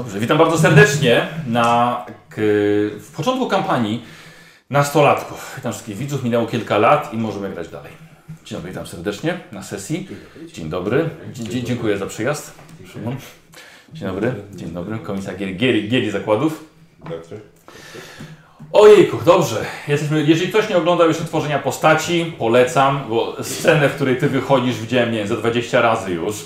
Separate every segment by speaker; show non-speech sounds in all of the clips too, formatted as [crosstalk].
Speaker 1: Dobrze, witam bardzo serdecznie na, k, w początku kampanii nastolatków. Witam wszystkich widzów, minęło kilka lat i możemy grać dalej. Dzień dobry, witam serdecznie na sesji. Dzień dobry, Dzie- dzie- dziękuję za przyjazd. Szymon. Dzień dobry, dzień dobry, komisja gier, gier, gier i zakładów.
Speaker 2: Dobrze.
Speaker 1: Ojejku, dobrze. Jesteśmy, jeżeli ktoś nie oglądał jeszcze tworzenia postaci, polecam, bo scenę, w której ty wychodzisz, widziałem nie wiem, za 20 razy już.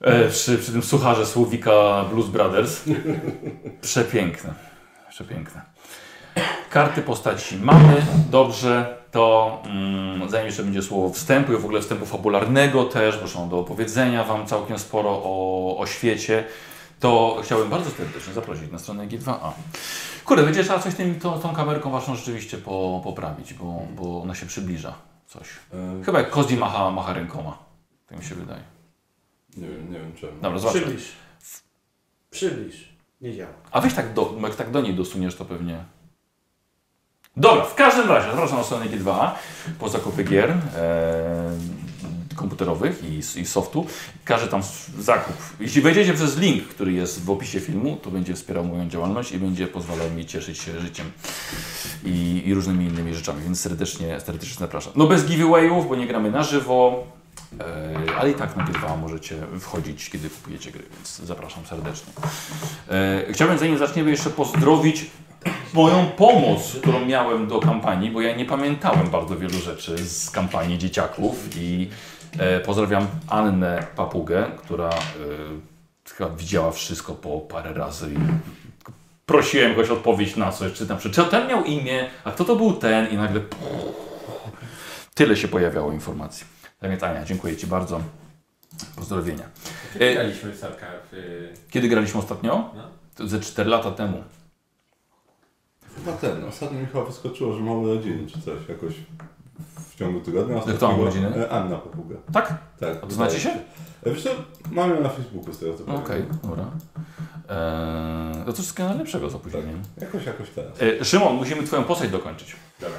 Speaker 1: E, przy, przy tym sucharze Słowika Blues Brothers. Przepiękne. Przepiękne. Karty postaci mamy, dobrze. To mm, zanim jeszcze będzie słowo wstępu i w ogóle wstępu fabularnego też, bo są do opowiedzenia Wam całkiem sporo o, o świecie, to chciałbym bardzo serdecznie zaprosić na stronę G2A. Kurde, będzie trzeba coś tym, tą, tą kamerką Waszą rzeczywiście po, poprawić, bo, bo ona się przybliża coś.
Speaker 2: E,
Speaker 1: Chyba jak Kozi macha, macha rękoma. Tak mi się wydaje.
Speaker 2: nie wiem, nie wiem czemu.
Speaker 1: Dobra, No, zobaczmy.
Speaker 3: Przybliż. Przybliż. Nie działa.
Speaker 1: A weź tak do, jak tak do niej dosuniesz, to pewnie. Dobra, w każdym razie zapraszam na stronę G2 po zakupy gier e, komputerowych i, i softu. Każdy tam s- zakup. Jeśli wejdziecie przez link, który jest w opisie filmu, to będzie wspierał moją działalność i będzie pozwalał mi cieszyć się życiem i, i różnymi innymi rzeczami, więc serdecznie, serdecznie zapraszam. No bez giveawayów, bo nie gramy na żywo, e, ale i tak na G2 możecie wchodzić, kiedy kupujecie gry, więc zapraszam serdecznie. E, Chciałbym, zanim zaczniemy, jeszcze pozdrowić moją pomoc, którą miałem do kampanii, bo ja nie pamiętałem bardzo wielu rzeczy z kampanii dzieciaków i e, pozdrawiam Annę Papugę, która e, chyba widziała wszystko po parę razy i prosiłem kogoś o odpowiedź na coś, czy na przykład, czy ten miał imię, a kto to był ten i nagle tyle się pojawiało informacji. Tak więc Ania, dziękuję Ci bardzo. Pozdrowienia. E,
Speaker 4: Graliśmy w Sarka w... y,
Speaker 1: Kiedy graliśmy ostatnio?
Speaker 4: No.
Speaker 1: To ze 4 lata temu.
Speaker 2: Chyba ten. Ostatnio mi chyba wyskoczyło, że mamy rodziny czy coś. Jakoś w ciągu tygodnia.
Speaker 1: kto ma
Speaker 2: ostatniego-
Speaker 1: rodziny?
Speaker 2: E, Anna Popuga.
Speaker 1: Tak?
Speaker 2: Tak.
Speaker 1: A to znacie się?
Speaker 2: E, Wiesz co, mam ją na Facebooku z tego co
Speaker 1: No Okej,
Speaker 2: pamiętam.
Speaker 1: dobra. Eee, no to wszystkiego najlepszego z opóźnieniem.
Speaker 2: Jakoś, jakoś tak. teraz.
Speaker 1: E, Szymon, musimy twoją postać dokończyć.
Speaker 4: Dobra,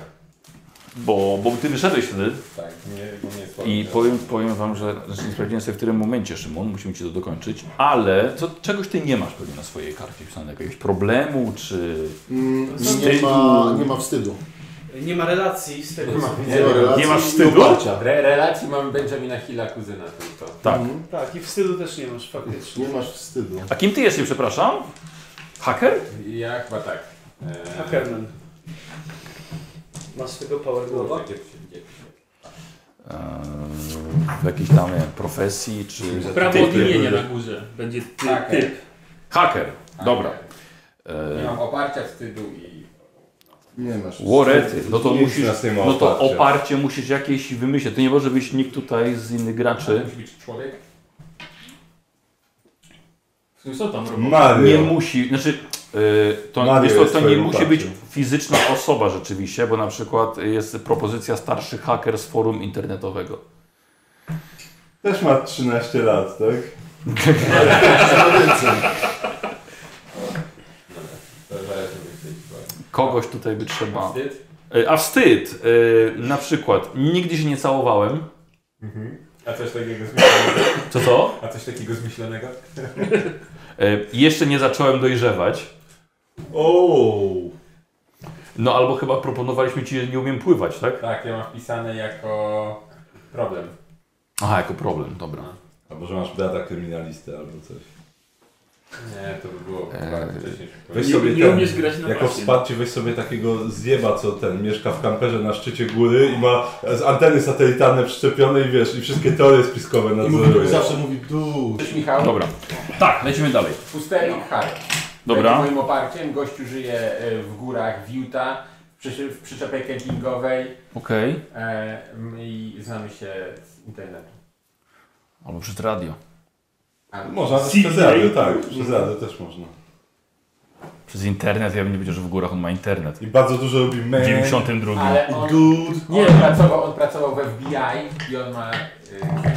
Speaker 1: Bo, bo ty wyszedłeś wtedy
Speaker 4: tak, nie, bo nie słabo.
Speaker 1: i powiem, powiem wam, że znaczy nie sprawdziłem sobie w którym momencie, Szymon, musimy ci to dokończyć, ale co, czegoś ty nie masz pewnie na swojej karcie wpisanego, jakiegoś problemu, czy...
Speaker 5: Mm,
Speaker 1: Wstydu.
Speaker 5: nie, ma, nie ma wstydu.
Speaker 3: Nie ma relacji z tego. co-
Speaker 5: Nie, ma relacji
Speaker 1: nie masz
Speaker 5: i
Speaker 1: wstydu?
Speaker 5: oparcia.
Speaker 4: Re, relacji mamy Benjamina Hilla, kuzyna tylko.
Speaker 1: Tak.
Speaker 5: Mhm.
Speaker 3: Tak, i wstydu też nie masz faktycznie.
Speaker 5: Nie masz wstydu.
Speaker 1: A kim ty jesteś, przepraszam? Haker?
Speaker 4: Ja chyba tak. E,
Speaker 3: Hackerman. Ma swego power
Speaker 4: kurwa,
Speaker 3: głowa.
Speaker 4: gdzie to E, się dzieje?
Speaker 1: Eee, w jakiejś tam nie wiem, profesji, czy...
Speaker 6: Prawo
Speaker 1: Typie.
Speaker 6: odmienienia na górze. Będzie ty,
Speaker 4: Tak,
Speaker 6: typ.
Speaker 1: Haker,
Speaker 4: tak,
Speaker 1: dobra.
Speaker 4: tak. Nie
Speaker 1: Eee,
Speaker 4: mam oparcia, wstydu i...
Speaker 5: Nie masz wstydu.
Speaker 1: Łorety, no to
Speaker 2: Nic
Speaker 1: musisz...
Speaker 2: nas nie ma
Speaker 1: No to
Speaker 2: oparcia.
Speaker 1: oparcie musisz jakieś wymyśleć. To nie może być nikt tutaj z innych graczy.
Speaker 4: Musi być człowiek.
Speaker 6: Co tam robią?
Speaker 1: Nie
Speaker 2: Mario.
Speaker 1: musi, znaczy yy, to,
Speaker 2: Mario
Speaker 1: wiesz co,
Speaker 2: jest
Speaker 1: to nie
Speaker 2: twoim
Speaker 1: musi
Speaker 2: oparciem.
Speaker 1: być fizyczna osoba rzeczywiście, bo na przykład jest propozycja starszy haker z forum internetowego.
Speaker 2: Też ma 13 lat, tak?
Speaker 4: Dobra, to zależy od wstydu.
Speaker 1: Kogoś tutaj by trzeba.
Speaker 4: Wstyd?
Speaker 1: Yy, A wstyd, yy, na przykład nigdy się nie całowałem.
Speaker 4: Mhm. A coś takiego zmyślonego?
Speaker 1: Co to?
Speaker 4: A coś takiego zmyślonego?
Speaker 1: Yy, jeszcze nie zacząłem dojrzewać.
Speaker 4: Ooo!
Speaker 1: No albo chyba proponowaliśmy ci, że nie umiem pływać, tak?
Speaker 4: Tak, ja mam wpisane jako problem.
Speaker 1: Aha, jako problem, dobra.
Speaker 2: A może masz brata kryminalistę albo coś.
Speaker 4: Nie, to by było
Speaker 1: Eee,
Speaker 4: bardzo wcześniej.
Speaker 2: Weź
Speaker 6: Nie,
Speaker 2: sobie
Speaker 6: nie
Speaker 2: ten,
Speaker 6: umiesz grać na
Speaker 2: jako
Speaker 6: basie.
Speaker 2: wsparcie weź sobie takiego zjeba, co ten, mieszka w kamperze na szczycie góry i ma z anteny satelitarne przyczepione i wiesz, i wszystkie teorie spiskowe
Speaker 5: I mówi,
Speaker 2: nadzoruje.
Speaker 5: zawsze mówi du.
Speaker 4: Cześć Michał.
Speaker 1: Dobra. Tak, lecimy dalej.
Speaker 4: Pustelnik Harry.
Speaker 1: Dobra.
Speaker 4: Będzie moim oparciem. Gościu żyje e, w górach w Utah, w, przy, w przyczepie kempingowej
Speaker 1: Okej.
Speaker 4: e, m- i znamy się z internetu.
Speaker 1: Albo przez radio.
Speaker 4: A,
Speaker 2: Można też
Speaker 6: CDA.
Speaker 2: przez radio, tak, przez radio też można.
Speaker 1: Przez internet, ja bym nie wiedział, że w górach on ma internet.
Speaker 2: I bardzo dużo robi
Speaker 1: W
Speaker 2: meme.
Speaker 1: 92.
Speaker 4: ale on,
Speaker 5: Good.
Speaker 4: on, pracował, on pracował w FBI i on ma e,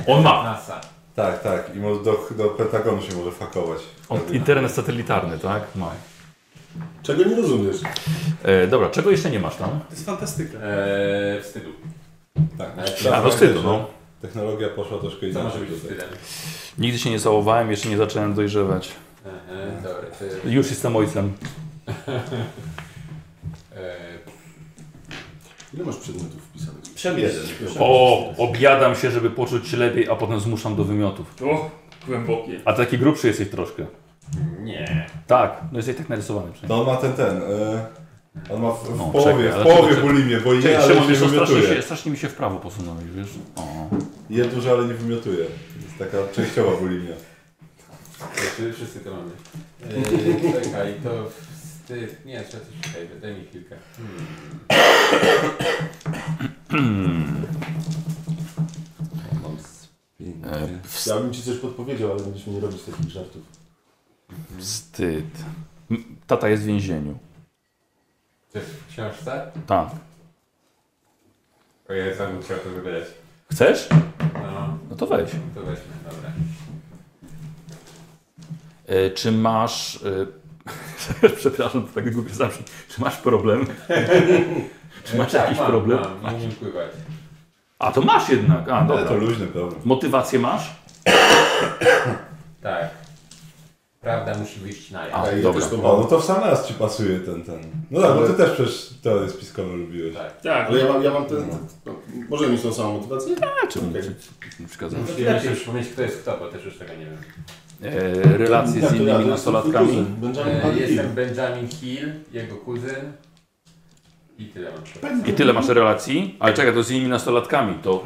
Speaker 1: On ma.
Speaker 4: NASA.
Speaker 2: Tak, tak. I może do, do Pentagonu się może fakować.
Speaker 1: On, internet satelitarny, tak? Ma.
Speaker 5: Czego nie rozumiesz?
Speaker 1: E, dobra, czego jeszcze nie masz tam?
Speaker 3: To jest fantastyka.
Speaker 4: E, wstydu.
Speaker 2: Tak,
Speaker 4: Ale
Speaker 2: Ja
Speaker 1: A do
Speaker 2: wiem,
Speaker 1: wstydu,
Speaker 2: że
Speaker 1: no.
Speaker 2: Technologia poszła troszkę
Speaker 4: Co może
Speaker 2: inaczej
Speaker 4: być
Speaker 2: tutaj.
Speaker 4: wstydem?
Speaker 1: Nigdy się nie całowałem, jeszcze nie zacząłem dojrzewać.
Speaker 4: Aha, E, Dobra, to...
Speaker 1: Już jestem ojcem.
Speaker 4: E,
Speaker 5: Ile masz przedmiotów wpisanych?
Speaker 3: Przemysł.
Speaker 5: Jeden.
Speaker 3: Przemysł.
Speaker 1: O, objadam się, żeby poczuć się lepiej, a potem zmuszam do wymiotów.
Speaker 6: O, głębokie.
Speaker 1: A taki grubszy jesteś troszkę.
Speaker 4: nie.
Speaker 1: Tak, no jesteś tak narysowany przynajmniej.
Speaker 2: No on ma ten, ten. e, on ma w, w
Speaker 1: No,
Speaker 2: połowie,
Speaker 1: czekaj, ale
Speaker 2: w połowie
Speaker 1: czekaj,
Speaker 2: bulimię, bo
Speaker 1: Czekaj,
Speaker 2: je, ale
Speaker 1: Szymon,
Speaker 2: się
Speaker 1: wiesz, co, strasznie, się,
Speaker 2: wymiotuje.
Speaker 1: strasznie mi się w prawo posunąłeś, wiesz? O.
Speaker 2: Je dużo, ale nie wymiotuje. To jest taka częściowa bulimia.
Speaker 4: Znaczy, wszyscy to mamy. E, czekaj, to wstyd. Nie, trzeba coś tutaj, daj mi chwilkę. Hmm.
Speaker 5: Mam z Ja bym ci coś podpowiedział, ale będziesz mi nie robić takich żartów.
Speaker 1: Wstyd. M- Tata jest w więzieniu.
Speaker 4: To jest w książce?
Speaker 1: Tak.
Speaker 4: O ja sam bym chciał to wygadać.
Speaker 1: Chcesz?
Speaker 4: No,
Speaker 1: No to weź.
Speaker 4: to weźmy, dobra.
Speaker 1: E, czy masz... E, [laughs] przepraszam, to tak głupie zawsze. Czy masz problem? [laughs] Czy masz
Speaker 4: E,
Speaker 1: jakiś
Speaker 4: mam,
Speaker 1: problem?
Speaker 4: Mam, nie umiem pływać.
Speaker 1: A, to masz jednak. A,
Speaker 2: Ale
Speaker 1: dobra.
Speaker 2: to luźny problem.
Speaker 1: Motywację masz?
Speaker 4: Tak. Prawda musi wyjść na jaw.
Speaker 1: A,
Speaker 5: ja
Speaker 1: dobra.
Speaker 5: też to
Speaker 2: O, no
Speaker 5: mam.
Speaker 2: to w sam raz ci pasuje ten, ten. No tak, bo ty
Speaker 5: Ale-
Speaker 2: też przecież teorię spiskową lubiłeś.
Speaker 4: Tak.
Speaker 6: Tak,
Speaker 5: Ale ja mam, ja mam ten... No, możemy mieć tą samą motywację?
Speaker 1: A, czy
Speaker 5: Okej.
Speaker 1: nie przeszkadza?
Speaker 4: Musimy się przypomnieć, kto jest kto, bo też już tego nie wiem.
Speaker 1: E, relacje
Speaker 5: Tak,
Speaker 1: z
Speaker 5: to ja, to
Speaker 1: innymi
Speaker 5: ja
Speaker 1: nastolatkami?
Speaker 5: jestem Benjamin
Speaker 4: E,
Speaker 5: Franklin.
Speaker 4: jestem Benjamin Hill, jego kuzyn. I tyle mam.
Speaker 1: I tyle masz relacji? Ale czekaj, to z innymi nastolatkami, to...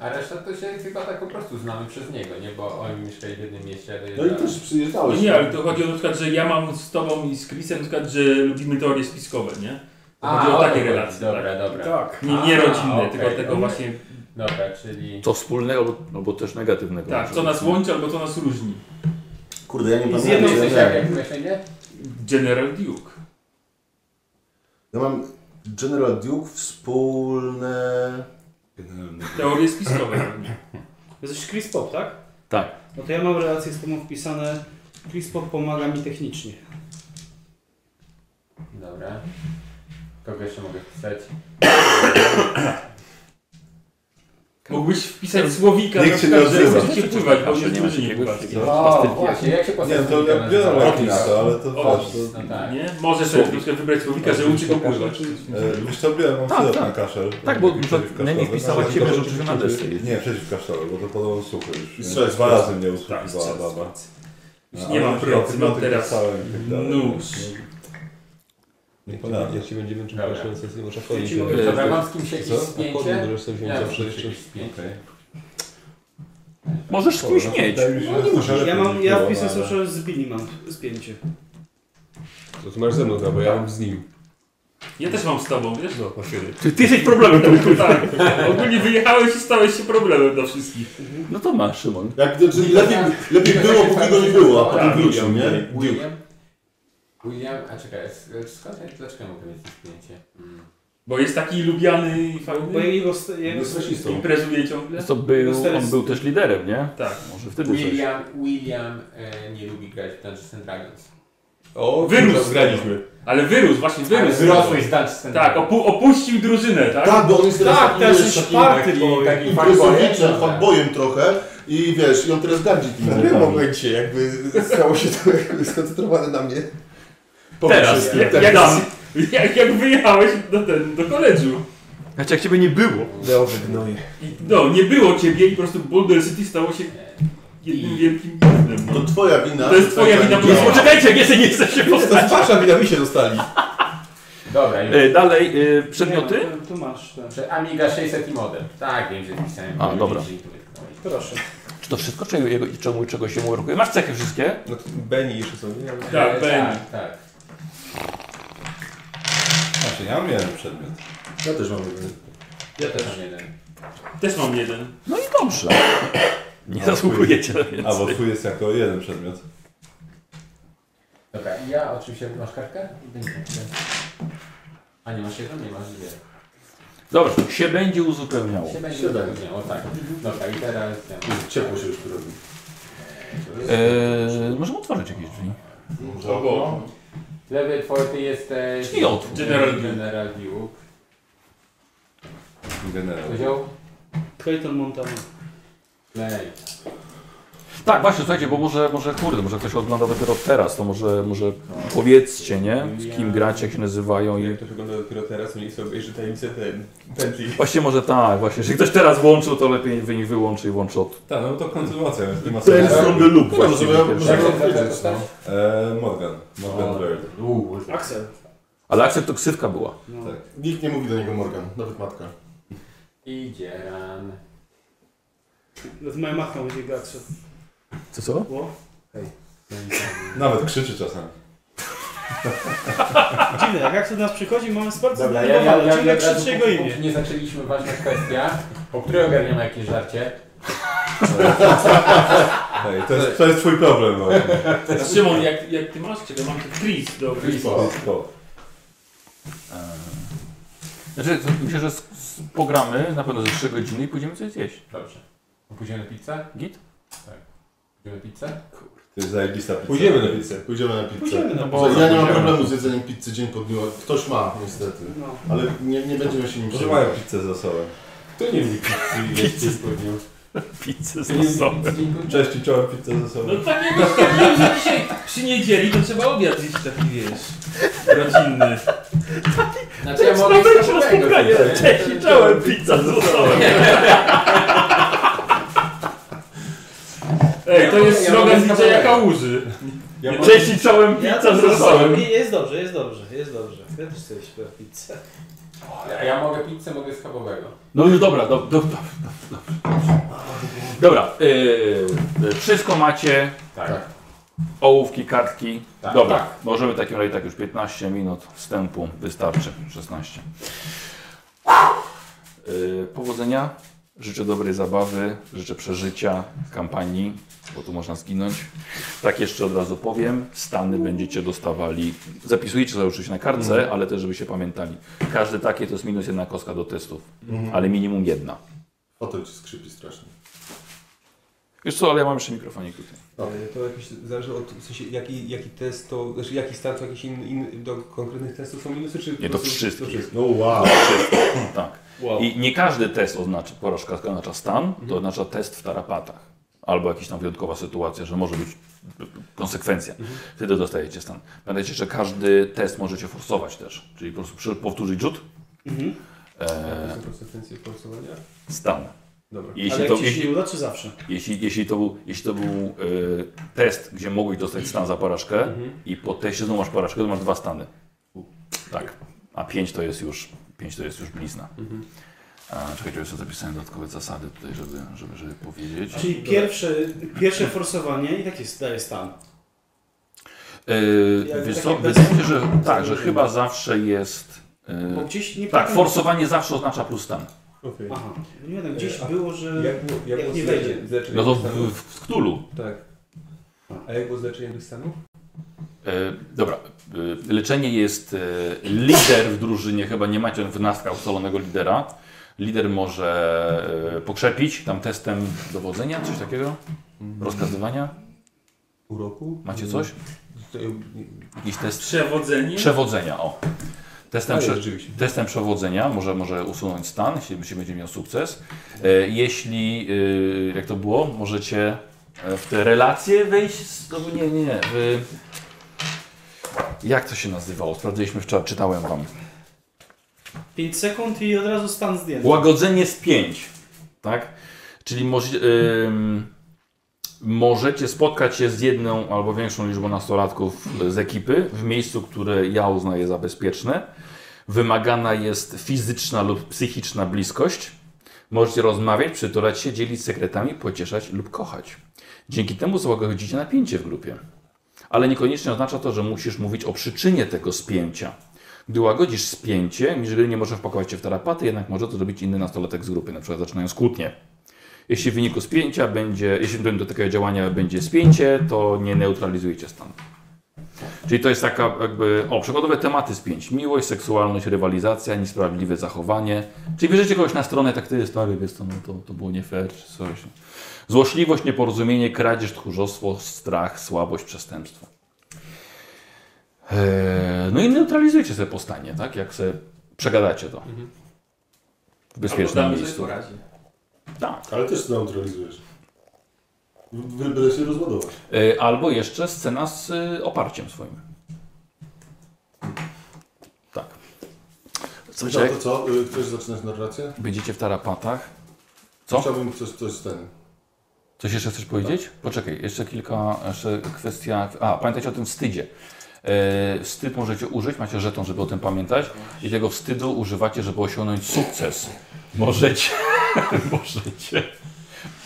Speaker 4: A reszta to się chyba tak po prostu znamy przez niego, nie? Bo oni mieszkali w jednym mieście, ale
Speaker 5: No i też
Speaker 6: No
Speaker 5: przyjeżdżałeś.
Speaker 6: nie, ale to chodzi o na przykład, że ja mam z tobą i z Chrisem na przykład, że lubimy teorie spiskowe, nie? To chodzi o
Speaker 4: to
Speaker 6: takie
Speaker 4: chodzi.
Speaker 6: relacje.
Speaker 4: Dobra, dobra.
Speaker 5: Tak.
Speaker 6: Nie, nie
Speaker 4: A,
Speaker 6: rodzinne,
Speaker 4: okej,
Speaker 6: tylko tego
Speaker 4: okej.
Speaker 6: właśnie,
Speaker 4: Dobra, czyli...
Speaker 1: Co wspólnego, albo, albo też negatywnego.
Speaker 6: tak, co nas łączy albo co nas różni.
Speaker 5: Kurde, ja nie
Speaker 4: Z
Speaker 5: pamiętam.
Speaker 4: jedną
Speaker 5: ja,
Speaker 4: jesteś jak,
Speaker 5: miałem-
Speaker 4: jak myślenie?
Speaker 6: General Duke.
Speaker 5: ja mam General Duke wspólne...
Speaker 6: Teorie spiskowe. dla mnie.
Speaker 3: Jesteś Chris Pop, tak?
Speaker 1: Tak.
Speaker 3: No to ja mam relacje z tobą wpisane. Chris Pop pomaga mi technicznie.
Speaker 4: Dobra. Kogo jeszcze mogę wpisać?
Speaker 6: Mógłbyś wpisać słowika,
Speaker 2: Nikt
Speaker 6: na
Speaker 2: się
Speaker 6: przykład,
Speaker 2: nie
Speaker 6: że
Speaker 2: odzywa.
Speaker 6: chcecie pływać, bo
Speaker 1: Zawsze
Speaker 6: nie
Speaker 1: nie ma
Speaker 6: drużynie
Speaker 1: jakiegoś
Speaker 6: pływacie.
Speaker 1: takiego-
Speaker 4: O,
Speaker 1: Pastyl-
Speaker 4: właśnie, jak się
Speaker 2: Nie, to
Speaker 4: pastyl
Speaker 2: ja biorę
Speaker 4: nazywa?
Speaker 2: jakieś to, ale to
Speaker 6: O,
Speaker 2: wiesz, to...
Speaker 4: No tak.
Speaker 6: Nie? Możesz sobie na przykład wybrać słowika, że uczy go pływać.
Speaker 2: E, Wiesz co, biorę, mam
Speaker 1: Tak,
Speaker 2: syrop
Speaker 1: tak.
Speaker 2: na kaszel.
Speaker 1: Tak, bo
Speaker 2: Taki
Speaker 1: na-
Speaker 2: przeciwkaszlowy.
Speaker 1: na nich wpisała
Speaker 2: No,
Speaker 1: ciebie,
Speaker 2: to-
Speaker 1: że oczywiście na desce jest.
Speaker 2: Nie, przeciwkaszlowy, bo to podobno suchy
Speaker 5: I
Speaker 2: już.
Speaker 5: strzelec
Speaker 2: Dwa
Speaker 5: jest.
Speaker 2: razy mnie
Speaker 6: Tak,
Speaker 2: usłuchiwała baba.
Speaker 6: Już
Speaker 2: A,
Speaker 6: nie
Speaker 2: ale
Speaker 6: mam
Speaker 2: na
Speaker 6: pracy,
Speaker 2: przykład
Speaker 6: mam teraz
Speaker 2: pisałem i tak dalej.
Speaker 6: nóż.
Speaker 2: Nie ponadto.
Speaker 7: Ja ci będziemy męczył
Speaker 4: Dobra.
Speaker 7: proszę, sesję masz
Speaker 3: Ja
Speaker 7: akordii.
Speaker 3: ci mogę-
Speaker 4: Dobra, mam z kimś jakieś
Speaker 2: Co?
Speaker 7: Akordii
Speaker 4: spięcie?
Speaker 7: możesz sobie wziąć
Speaker 4: Ja
Speaker 7: zawsze
Speaker 4: muszę
Speaker 7: jeszcze.
Speaker 4: jakieś spięcie.
Speaker 1: Możesz z kimś mieć.
Speaker 2: Wydaje mi się, że no to lepiej
Speaker 3: Ja mam,
Speaker 2: niż
Speaker 3: ja
Speaker 2: było,
Speaker 3: wpisy
Speaker 2: ale-
Speaker 3: słyszę z Billy mam spięcie.
Speaker 7: To ty masz ze mną, chyba, bo ja mam z nim.
Speaker 6: Ja też mam z tobą, wiesz?
Speaker 7: No, na chwilę.
Speaker 1: Ty, ty jesteś problemem tu.
Speaker 6: [laughs] Tak. Ogólnie wyjechałeś i stałeś się problemem dla wszystkich.
Speaker 1: No to masz, Szymon.
Speaker 5: Jak, znaczy, lepiej, lepiej było, póki go nie
Speaker 2: Tak,
Speaker 5: było, a potem wrócił, nie? Duke.
Speaker 4: tak William? William? A czekaj, s- e, skąd ja, dlaczego mogę mieć to zdjęcie? Mm.
Speaker 6: Bo jest taki lubiany i
Speaker 3: Bo
Speaker 6: fajny.
Speaker 3: jego, st- jego
Speaker 5: Jest rasistą.
Speaker 6: Imprezuje ciągle.
Speaker 1: To
Speaker 3: No
Speaker 1: był,
Speaker 3: teraz-
Speaker 1: on był też liderem, nie?
Speaker 6: Tak.
Speaker 1: Może wtedy coś.
Speaker 4: William, William e, nie lubi grać w Dungeons and Dragons.
Speaker 7: O,
Speaker 6: Wyrósł.
Speaker 7: to zgraliśmy.
Speaker 6: Ale wyrósł, właśnie
Speaker 4: Ale
Speaker 6: wyrósł.
Speaker 4: wyrosłeś z Dungeons and
Speaker 6: Tak,
Speaker 4: Dragons.
Speaker 6: opu opuścił drużynę, tak?
Speaker 5: Tak, bo on jest teraz
Speaker 3: Tak,
Speaker 5: taki,
Speaker 3: teraz
Speaker 5: wiesz,
Speaker 3: jest
Speaker 5: taki
Speaker 3: party
Speaker 4: taki-
Speaker 3: boy.
Speaker 4: taki-
Speaker 5: imprezowiczem,
Speaker 4: fanboyem.
Speaker 5: fanboyem trochę i wiesz, i on teraz gardzi tym
Speaker 7: W tym momencie No, jakby stało się to jakby skoncentrowane na mnie.
Speaker 6: Teraz, jak,
Speaker 7: tak.
Speaker 6: jak, [laughs] jak, jak wyjechałeś do, ten, do koledżu.
Speaker 1: Znaczy jak ciebie nie było.
Speaker 7: Leo wygnoje.
Speaker 6: I, no, nie było ciebie i po prostu Boulder City stało się jednym wielkim gównem.
Speaker 5: To tak
Speaker 6: No.
Speaker 5: twoja wina.
Speaker 6: To jest twoja wina, bo
Speaker 5: Nie,
Speaker 6: no.
Speaker 1: Poczekajcie, nie, nie chcę się
Speaker 7: To jest wasza wina, wy się dostali.
Speaker 4: Dobra, już.
Speaker 1: E, dalej, e, przedmioty?
Speaker 3: Nie, no, Tu masz, tak.
Speaker 4: Prze- Amiga 600 i modem. Tak, wiem, że pisałem.
Speaker 1: A, dobra.
Speaker 3: proszę.
Speaker 1: Czy to wszystko, czego, jego- czemu, czego się mu rokuje? Masz cechy wszystkie?
Speaker 7: No to Benny jeszcze są, nie? Ale-
Speaker 6: Tak,
Speaker 4: E,
Speaker 6: Benny.
Speaker 4: Tak, tak.
Speaker 2: Znaczy, ja miałem przedmiot.
Speaker 5: Ja też mam jeden.
Speaker 4: Ja też mam jeden.
Speaker 6: Też mam jeden.
Speaker 1: No i dobrze. Nie [laughs] zasługujecie na
Speaker 2: A, bo
Speaker 1: więcej.
Speaker 2: twój jest jako jeden przedmiot.
Speaker 4: Dobra, i ja oczywiście masz kartkę? Będzie. A nie masz jedną? Nie masz dwie.
Speaker 1: Dobra, się będzie uzupełniało.
Speaker 4: Się będzie
Speaker 5: Siedem.
Speaker 4: uzupełniało, tak. Dobra, i teraz... ja mam-
Speaker 5: Ciepło się już tu robi.
Speaker 1: E, możemy otworzyć jakieś drzwi.
Speaker 5: No,
Speaker 6: Bo.
Speaker 4: Lewy twój, ty jesteś...
Speaker 1: Czyli otwór.
Speaker 6: General Duke.
Speaker 4: General Duke.
Speaker 2: Generalnie.
Speaker 4: Kozioł?
Speaker 3: Clayton Montana.
Speaker 4: Play.
Speaker 1: Tak, właśnie, słuchajcie, bo może, może kurde, może ktoś ogląda dopiero teraz, to może, może powiedzcie, nie? Z kim gracie, jak się nazywają i...
Speaker 8: Jak to wygląda dopiero teraz, mniej sobie obejrzy tajemnicę ten, pętli.
Speaker 1: Właśnie może tak, właśnie, jeżeli ktoś teraz włączył, to lepiej wy- wyłączy i włączy od...
Speaker 2: Tak, no to kontynuacja. Nie ma
Speaker 5: Tales
Speaker 2: sensu. No
Speaker 5: from the Loop
Speaker 1: Kurwa,
Speaker 5: właściwie.
Speaker 1: żeby-
Speaker 5: pierwszy.
Speaker 4: Jak się nazywa
Speaker 5: tak, no.
Speaker 4: postać?
Speaker 2: E, Morgan. Morgan Bird.
Speaker 5: Uuu,
Speaker 3: Axel.
Speaker 1: Ale akcja to ksywka była.
Speaker 3: No.
Speaker 2: Tak.
Speaker 5: Nikt nie mówi do niego Morgan, nawet matka.
Speaker 4: Idzie ran.
Speaker 3: Z moją matką będzie grać.
Speaker 1: Co, co?
Speaker 3: Było?
Speaker 2: Nawet krzyczy czasami.
Speaker 3: Dziwne, jak Axel do nas przychodzi, mamy bardzo
Speaker 4: Dobra, ja, ja, ja,
Speaker 3: ciągle
Speaker 4: ja,
Speaker 3: krzyczy jego imię.
Speaker 4: Nie zaczęliśmy ważna kwestia, o której ogarniamy jakieś żarcie.
Speaker 2: Hej, to,
Speaker 5: Tak.
Speaker 2: jest, to jest twój problem.
Speaker 5: [laughs]
Speaker 2: No.
Speaker 6: Szymon, jak, jak ty masz? Czego mam? Chris, do Chris.
Speaker 2: To.
Speaker 1: Znaczy, to myślę, że z, z, pogramy na pewno ze 3 godziny i pójdziemy coś zjeść.
Speaker 4: Dobrze. Pójdziemy na pizzę?
Speaker 1: Git?
Speaker 4: Pójdziemy na pizzę?
Speaker 2: To jest zajebista pizza.
Speaker 8: Pójdziemy na pizzę.
Speaker 5: Pójdziemy na pizzę.
Speaker 3: Pójdziemy na
Speaker 1: bo-
Speaker 5: No ja nie mam
Speaker 1: Pójdziemy.
Speaker 5: problemu z jedzeniem pizzy dzień po dniu. Ktoś ma, niestety.
Speaker 3: No.
Speaker 5: Ale nie, nie będziemy się nim
Speaker 2: Może
Speaker 5: przejmować.
Speaker 2: mają pizzę ze sobą.
Speaker 4: To nie mi pizzy jest dzień po dniu.
Speaker 1: Pizzę
Speaker 4: To nie
Speaker 1: z sobą.
Speaker 4: mi pizzy dzień po dniu.
Speaker 2: Cześć, ciąłem pizzę ze sobą.
Speaker 6: No tak jak stwierdziłem, że dzisiaj przy niedzieli to trzeba obiad jeść taki, wiesz, rodzinny.
Speaker 4: Znaczy ja mogę iść na spotkanie.
Speaker 6: Cześć, czołem, pizza z rosołem. [laughs] Ej, to jest
Speaker 4: Ja
Speaker 6: slogan
Speaker 4: mogę
Speaker 6: DJ-a
Speaker 4: skanować.
Speaker 6: Kałuży.
Speaker 8: Ja mam-
Speaker 6: Cześć i czołem,
Speaker 3: No.
Speaker 9: Ja
Speaker 6: pizza z
Speaker 9: to
Speaker 6: rosołem.
Speaker 9: Nie, Jest dobrze, jest dobrze, jest dobrze. Ja też chcę iść na pizzę.
Speaker 4: Ja, ja mogę pizzę, mogę schabowego.
Speaker 1: No już dobra, do, do, do, do, do, Dobra, yy, yy, wszystko macie,
Speaker 4: Tak.
Speaker 1: ołówki, kartki.
Speaker 4: Tak.
Speaker 1: Dobra, możemy w takim razie tak już 15 minut wstępu, wystarczy 16. Yy, powodzenia, życzę dobrej zabawy, życzę przeżycia kampanii, bo tu można zginąć. Tak jeszcze od razu powiem, stany będziecie dostawali, zapisujecie sobie oczywiście na kartce, ale też żeby się pamiętali. Każde takie to jest minus jedna kostka do testów, ale minimum jedna.
Speaker 5: Fotel ci skrzypi strasznie.
Speaker 1: Wiesz co, ale ja mam jeszcze mikrofonik tutaj.
Speaker 8: E, To jakiś, zależy od, w sensie, jaki, jaki test to, znaczy jaki stan to jakiś in, in, do konkretnych testów są minusy, czy po
Speaker 1: Nie, do
Speaker 8: prostu-
Speaker 1: wszystkich.
Speaker 8: do wszystkich?
Speaker 5: No wow.
Speaker 1: Tak. I nie każdy test oznacza, porażka oznacza stan,
Speaker 3: Mhm.
Speaker 1: to oznacza test w tarapatach. Albo jakaś tam wyjątkowa sytuacja, że może być konsekwencja.
Speaker 3: Mhm.
Speaker 1: Wtedy dostajecie stan. Pamiętajcie, że każdy test możecie forsować też. Czyli po prostu przy- powtórzyć rzut,
Speaker 3: Mhm.
Speaker 1: e,
Speaker 8: Są konsekwencje forsowania?
Speaker 1: stan.
Speaker 8: Dobra.
Speaker 1: Jeśli
Speaker 3: Ale
Speaker 1: to,
Speaker 3: jak ci się
Speaker 1: jeśli,
Speaker 3: nie uda, czy zawsze?
Speaker 1: jeśli, jeśli to był, jeśli to był e, test, gdzie mogłeś dostać stan za porażkę i po teście znowu masz porażkę, to masz dwa stany. Tak. A pięć to jest już, pięć to jest już blizna. A, czekajcie, ja sobie zapisałem dodatkowe zasady tutaj, żeby, żeby, żeby powiedzieć. E,
Speaker 3: Czyli pierwsze, pierwsze forsowanie i tak jest, daje stan.
Speaker 1: Yy,
Speaker 9: Jak
Speaker 1: wiesz
Speaker 9: takie
Speaker 1: co,
Speaker 9: bez-
Speaker 1: wydaje mi się, że tak, że chyba zawsze jest...
Speaker 3: Bo
Speaker 1: Yy,
Speaker 3: gdzieś nie
Speaker 1: tak,
Speaker 3: pamiętam-
Speaker 1: forsowanie zawsze oznacza plus stan.
Speaker 8: Okej.
Speaker 3: Aha, no nie wiem, gdzieś
Speaker 8: A-
Speaker 3: było, że...
Speaker 8: Jak było, jak
Speaker 3: Jak
Speaker 8: było
Speaker 3: nie
Speaker 8: z
Speaker 3: wejdzie.
Speaker 8: leczeniem- z leczeniem
Speaker 1: No to w,
Speaker 8: stanu?
Speaker 1: w, w Cthulhu.
Speaker 8: Tak. A jak było z leczeniem tych stanów?
Speaker 1: E, dobra, e, leczenie jest e, lider w drużynie, chyba nie macie w nastka ustalonego lidera. Lider może e, pokrzepić tam testem dowodzenia, coś takiego, rozkazywania.
Speaker 8: Pół roku?
Speaker 1: Mhm. Macie coś?
Speaker 8: To-
Speaker 1: Jakiś test
Speaker 6: Przewodzenie.
Speaker 1: przewodzenia, o. Testem,
Speaker 8: A, jest,
Speaker 1: prze,
Speaker 8: rzeczywiście.
Speaker 1: testem przewodzenia może, może usunąć stan, jeśli jeśli będzie miał sukces. E, jeśli, e, jak to było, możecie e, w te relacje wejść, z, no, nie, nie, nie, w, jak to się nazywało? Sprawdziliśmy wczoraj, czytałem wam.
Speaker 3: 5 sekund i od razu stan zdjęty.
Speaker 1: Łagodzenie z 5. Tak? Czyli może, ym, możecie spotkać się z jedną albo większą liczbą nastolatków z ekipy w miejscu, które ja uznaję za bezpieczne. Wymagana jest fizyczna lub psychiczna bliskość. Możecie rozmawiać, przytulać się, dzielić sekretami, pocieszać lub kochać. Dzięki temu złagodzicie napięcie w grupie. Ale niekoniecznie oznacza to, że musisz mówić o przyczynie tego spięcia. Gdy łagodzisz spięcie, Miżgry nie może wpakować się w tarapaty, jednak może to zrobić inny nastolatek z grupy, na przykład zaczynając kłótnie. Jeśli w wyniku spięcia będzie, jeśli do takiego działania będzie spięcie, to nie neutralizujecie stanu. Czyli to jest taka jakby, o, przykładowe tematy spięć. Miłość, seksualność, rywalizacja, niesprawiedliwe zachowanie. Czyli bierzecie kogoś na stronę, tak ty jest, stary, wiesz co, no to, to było nie fair, czy coś. Złośliwość, nieporozumienie, kradzież, tchórzostwo, strach, słabość, przestępstwo. Eee, No i neutralizujecie sobie postanie, tak? Jak sobie przegadacie to. W bezpiecznym
Speaker 6: Mhm. Albo damy
Speaker 1: miejscu.
Speaker 6: sobie poradzić.
Speaker 1: Tak.
Speaker 5: Ale też neutralizujesz. Wy- Byle się rozładować.
Speaker 1: E, Albo jeszcze scena z e, oparciem swoim. Tak. Coś
Speaker 5: Dobra,
Speaker 1: jak
Speaker 5: to co? Y, Chcesz zaczynać narrację?
Speaker 1: będziecie w tarapatach. Co?
Speaker 5: Chciałbym coś, coś z ten.
Speaker 1: Coś jeszcze chcesz powiedzieć? Poczekaj, jeszcze kilka, jeszcze kwestia. A, pamiętajcie o tym wstydzie. E, wstyd możecie użyć, macie żeton, żeby o tym pamiętać. I tego wstydu używacie, żeby osiągnąć sukces. Możecie, [laughs] możecie.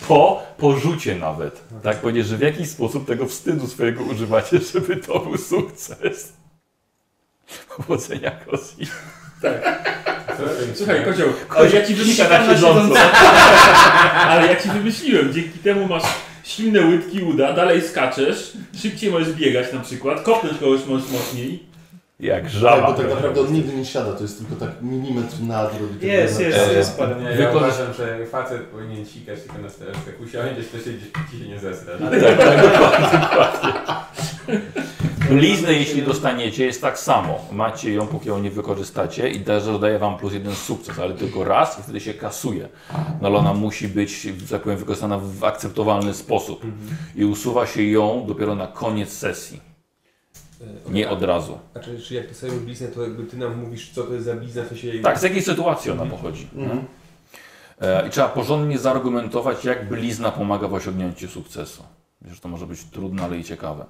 Speaker 1: Po, po rzucie nawet. Tak powiedzieć, że w jakiś sposób tego wstydu swojego używacie, żeby to był sukces. Powodzenia Kozji.
Speaker 6: Słuchaj, kocioł, ale ja ci wymyśliłem
Speaker 3: Siada
Speaker 6: na
Speaker 3: na
Speaker 6: siedząco. [laughs] ale ja ci wymyśliłem, dzięki temu masz silne łydki uda, dalej skaczesz, szybciej możesz biegać na przykład, kopnąć kogoś możesz mocniej.
Speaker 1: Jak
Speaker 5: Tak,
Speaker 1: żaba.
Speaker 5: bo tak naprawdę on nigdy nie siada, to jest tylko tak milimetr nadrób. i tak
Speaker 3: Jest,
Speaker 5: dalej.
Speaker 3: jest, jest parę.
Speaker 4: Nie, ja
Speaker 1: Wykorzy-
Speaker 4: uważam, że facet powinien sikać tylko na sterce. Jak usiądziesz, to siedzisz i się nie zesrasz.
Speaker 1: Tak, tak, dokładnie, dokładnie. Bliznę, jeśli dostaniecie, jest tak samo. Macie ją, póki ją nie wykorzystacie i też dodaje wam plus jeden sukces, ale tylko raz i wtedy się kasuje. No ale ona musi być, że tak powiem, wykorzystana w akceptowalny sposób. I usuwa się ją dopiero na koniec sesji, nie od razu.
Speaker 8: E, A czy, czy jak dostajemy bliznę, to jakby ty nam mówisz, co to jest za blizna, to się jej...
Speaker 1: Tak, z jakiej sytuacji ona pochodzi. nie? E, I trzeba porządnie zaargumentować, jak blizna pomaga w osiągnięciu sukcesu. Wiesz, że to może być trudne, ale i ciekawe.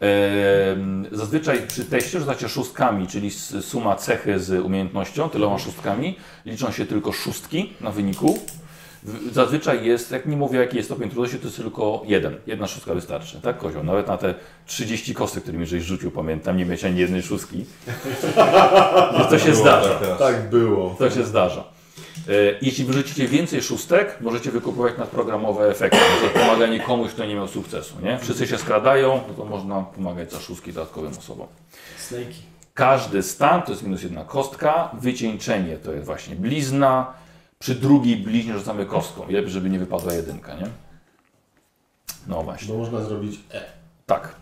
Speaker 1: Em, Zazwyczaj przy teście rzucacie szóstkami, czyli s- suma cechy z umiejętnością, tyloma szóstkami. Liczą się tylko szóstki na wyniku. W- Zazwyczaj jest, jak nie mówię jaki jest stopień trudności, to jest tylko jeden. Jedna szóstka wystarczy, tak kozioł? Nawet na te 30 kostek, którymi żeś rzucił, pamiętam, nie miałeś ani jednej
Speaker 2: [laughs]
Speaker 1: szóstki. Więc to się
Speaker 2: Było
Speaker 1: zdarza.
Speaker 2: tak teraz.
Speaker 5: Tak było.
Speaker 1: To się zdarza. E, Jeśli wyrzucicie więcej szóstek, możecie wykupować nadprogramowe efekty. Na przykład pomaganie komuś, kto nie miał sukcesu. Nie? Wszyscy się skradają, no to można pomagać za szóstki dodatkowym osobom.
Speaker 9: Snake'i.
Speaker 1: Każdy stan to jest minus jedna kostka. Wycieńczenie to jest właśnie blizna. Przy drugiej bliźnie rzucamy kostką. I lepiej, żeby nie wypadła jedynka, nie? No właśnie.
Speaker 5: Bo można zrobić
Speaker 1: Tak.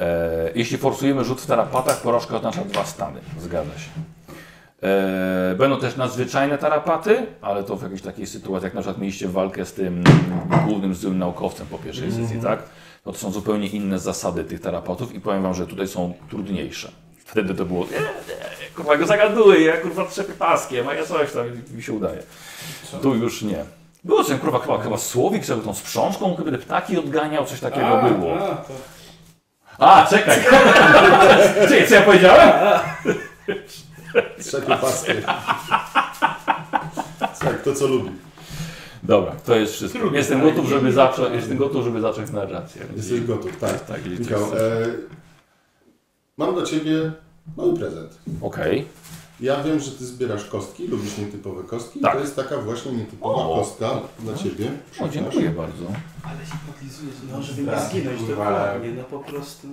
Speaker 1: E, jeśli forsujemy rzut w tarapatach, porażka oznacza dwa stany. Zgadza się. E, będą też nadzwyczajne tarapaty, ale to w jakiejś takiej sytuacji, jak na przykład mieliście walkę z tym głównym złym naukowcem po pierwszej sesji, tak? No to są zupełnie inne zasady tych tarapatów i powiem Wam, że tutaj są trudniejsze. Wtedy to było, nie, nie, kurwa go zagaduję, ja kurwa trzepię paskiem, a ja coś tam i mi się udaje. Tu już nie. Było coś, kurwa, chyba, chyba słowik, żeby tą sprzączką, chyba te ptaki odganiał, coś takiego było.
Speaker 3: A, to
Speaker 1: A, czekaj. [laughs] Czekaj, co ja powiedziałem?
Speaker 5: trzepie paskę. tak, to co lubi.
Speaker 1: Dobra, to jest wszystko. Jestem gotów, żeby zacząć, jestem gotów, żeby zacząć narrację.
Speaker 5: Jesteś gotów, tak.
Speaker 1: Tak, i
Speaker 5: Michał,
Speaker 1: coś-
Speaker 5: e, mam dla Ciebie mały prezent.
Speaker 1: Okej.
Speaker 5: Ja wiem, że Ty zbierasz kostki, lubisz nietypowe kostki.
Speaker 1: Tak.
Speaker 5: To jest taka właśnie nietypowa
Speaker 1: O.
Speaker 5: kostka dla Ciebie.
Speaker 1: O, dziękuję bardzo.
Speaker 9: Ale się podlizujesz, no żeby nie
Speaker 4: Tak,
Speaker 9: zginąć
Speaker 4: kurwa.
Speaker 9: dokładnie, no po prostu.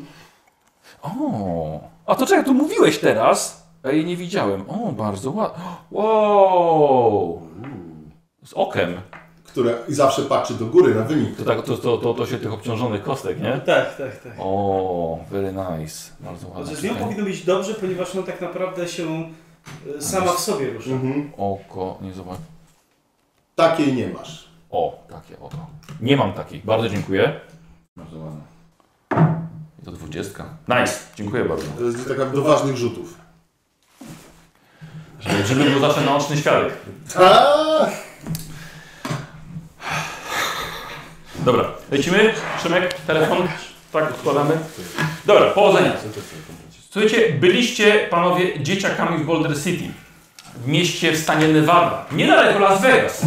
Speaker 1: O, a to czekaj, tu mówiłeś teraz? A jej nie widziałem. O, bardzo ładnie. Wow. Z okiem.
Speaker 5: Która i zawsze patrzy do góry na wynik.
Speaker 1: To, tak, to, to, to, to się tych obciążonych kostek, nie?
Speaker 9: Tak, tak, tak.
Speaker 1: O, very nice. Bardzo ładnie.
Speaker 3: Znaczy, z nią powinno być dobrze, ponieważ ona tak naprawdę się y, sama w sobie rusza.
Speaker 5: Mhm.
Speaker 1: Oko, nie zobacz.
Speaker 5: Takiej nie masz.
Speaker 1: O, takie oto. Nie mam takiej. Bardzo dziękuję. Bardzo ładne. I to dwudziestka. Nice. Dziękuję bardzo.
Speaker 5: To jest taka do ważnych rzutów.
Speaker 1: Żeby był zawsze naoczny świadek.
Speaker 5: Tak!
Speaker 1: Dobra, lecimy. Szymek, telefon. Tak, odkładamy. Dobra, powodzenia. Słuchajcie, byliście panowie dzieciakami w Boulder City. W mieście w stanie Nevada. Niedaleko Las Vegas.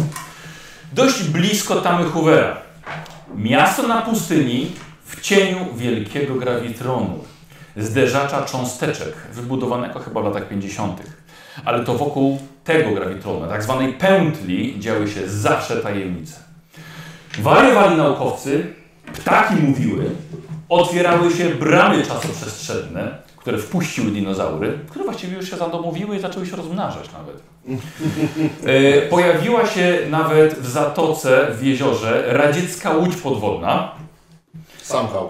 Speaker 1: Dość blisko tamy Hoovera. Miasto na pustyni w cieniu wielkiego grawitronu. Zderzacza cząsteczek, wybudowanego chyba w latach 50. Ale to wokół tego grawitronu, tak zwanej pętli, działy się zawsze tajemnice. Wariowali naukowcy, ptaki mówiły, otwierały się bramy czasoprzestrzenne, które wpuściły dinozaury, które właściwie już się zadomowiły i zaczęły się rozmnażać nawet. [laughs] E, pojawiła się nawet w zatoce, w jeziorze, radziecka łódź podwodna.
Speaker 5: Sam hał.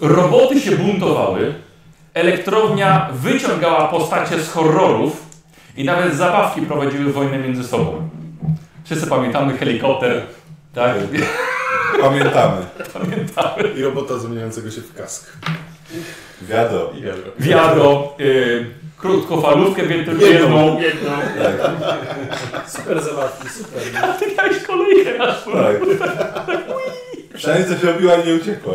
Speaker 1: Roboty się buntowały, elektrownia wyciągała postacie z horrorów i nawet zabawki prowadziły wojnę między sobą. Wszyscy pamiętamy helikopter, tak?
Speaker 2: Pamiętamy.
Speaker 7: I robota zamieniającego się w kask.
Speaker 2: Wiado.
Speaker 1: Wiadro, y, krótkofalówkę wielkopierną.
Speaker 6: Jedną.
Speaker 3: Tak,
Speaker 9: Super zabawki, super.
Speaker 1: Ty miałeś kolejkę aż po-
Speaker 2: Tak. Przynajmniej coś robiła i nie uciekła.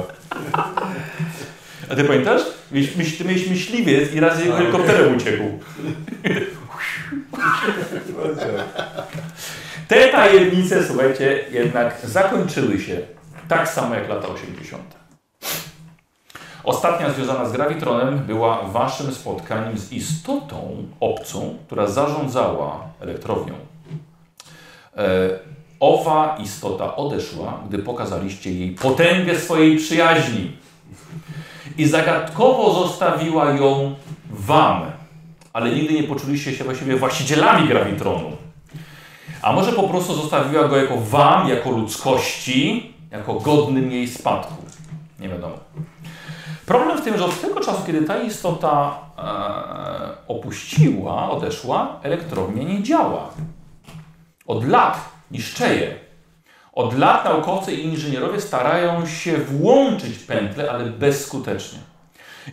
Speaker 1: A ty pamiętasz? Mieliś, myśl, ty miałeś myśliwiec i raz jego helikopterem uciekł. [laughs] Te tajemnice, słuchajcie, jednak zakończyły się tak samo jak lata 80. Ostatnia związana z Gravitronem była waszym spotkaniem z istotą obcą, która zarządzała elektrownią. E, owa istota odeszła, gdy pokazaliście jej potęgę swojej przyjaźni i zagadkowo zostawiła ją wam, ale nigdy nie poczuliście się właściwie właścicielami Gravitronu. A może po prostu zostawiła go jako wam, jako ludzkości, jako godnym jej spadku. Nie wiadomo. Problem w tym, że od tego czasu, kiedy ta istota e, opuściła, odeszła, elektrownia nie działa. Od lat niszczeje. Od lat naukowcy i inżynierowie starają się włączyć pętlę, ale bezskutecznie.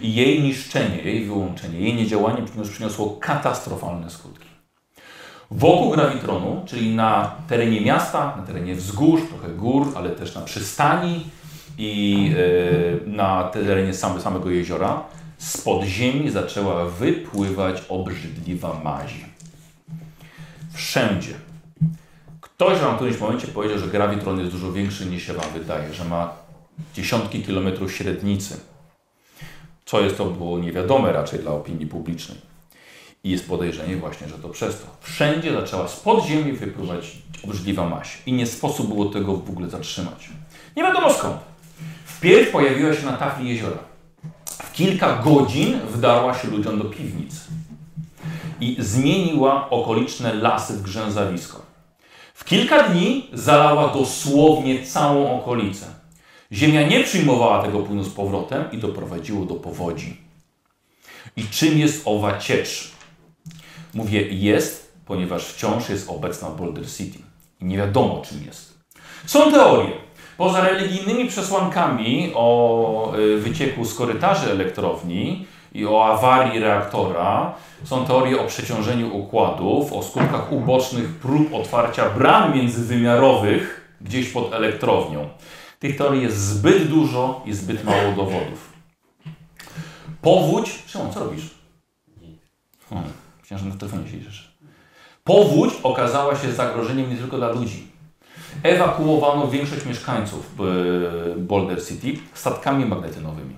Speaker 1: I jej niszczenie, jej wyłączenie, jej niedziałanie przynios- przyniosło katastrofalne skutki. Wokół grawitronu, czyli na terenie miasta, na terenie wzgórz, trochę gór, ale też na przystani i e, na terenie same, samego jeziora, spod ziemi zaczęła wypływać obrzydliwa maź. Wszędzie. Ktoś wam w którymś momencie powiedział, że grawitron jest dużo większy niż się wam wydaje, że ma dziesiątki kilometrów średnicy. Co jest to było niewiadome raczej dla opinii publicznej. I jest podejrzenie właśnie, że to przez to. Wszędzie zaczęła spod ziemi wypływać obrzydliwa maś. I nie sposób było tego w ogóle zatrzymać. Nie wiadomo skąd. Wpierw pojawiła się na tafli jeziora. W kilka godzin wdarła się ludziom do piwnic. I zmieniła okoliczne lasy w grzęzawisko. W kilka dni zalała dosłownie całą okolicę. Ziemia nie przyjmowała tego płynu z powrotem i doprowadziło do powodzi. I czym jest owa ciecz? Mówię jest, ponieważ wciąż jest obecna w Boulder City. I nie wiadomo czym jest. Są teorie. Poza religijnymi przesłankami o y, wycieku z korytarzy elektrowni i o awarii reaktora, są teorie o przeciążeniu układów, o skutkach ubocznych prób otwarcia bram międzywymiarowych gdzieś pod elektrownią. Tych teorii jest zbyt dużo i zbyt mało dowodów. Powódź. Szymon, co robisz? Hmm, myślałem, że na telefonie siedzisz. Powódź okazała się zagrożeniem nie tylko dla ludzi. Ewakuowano większość mieszkańców e, Boulder City statkami magnetynowymi.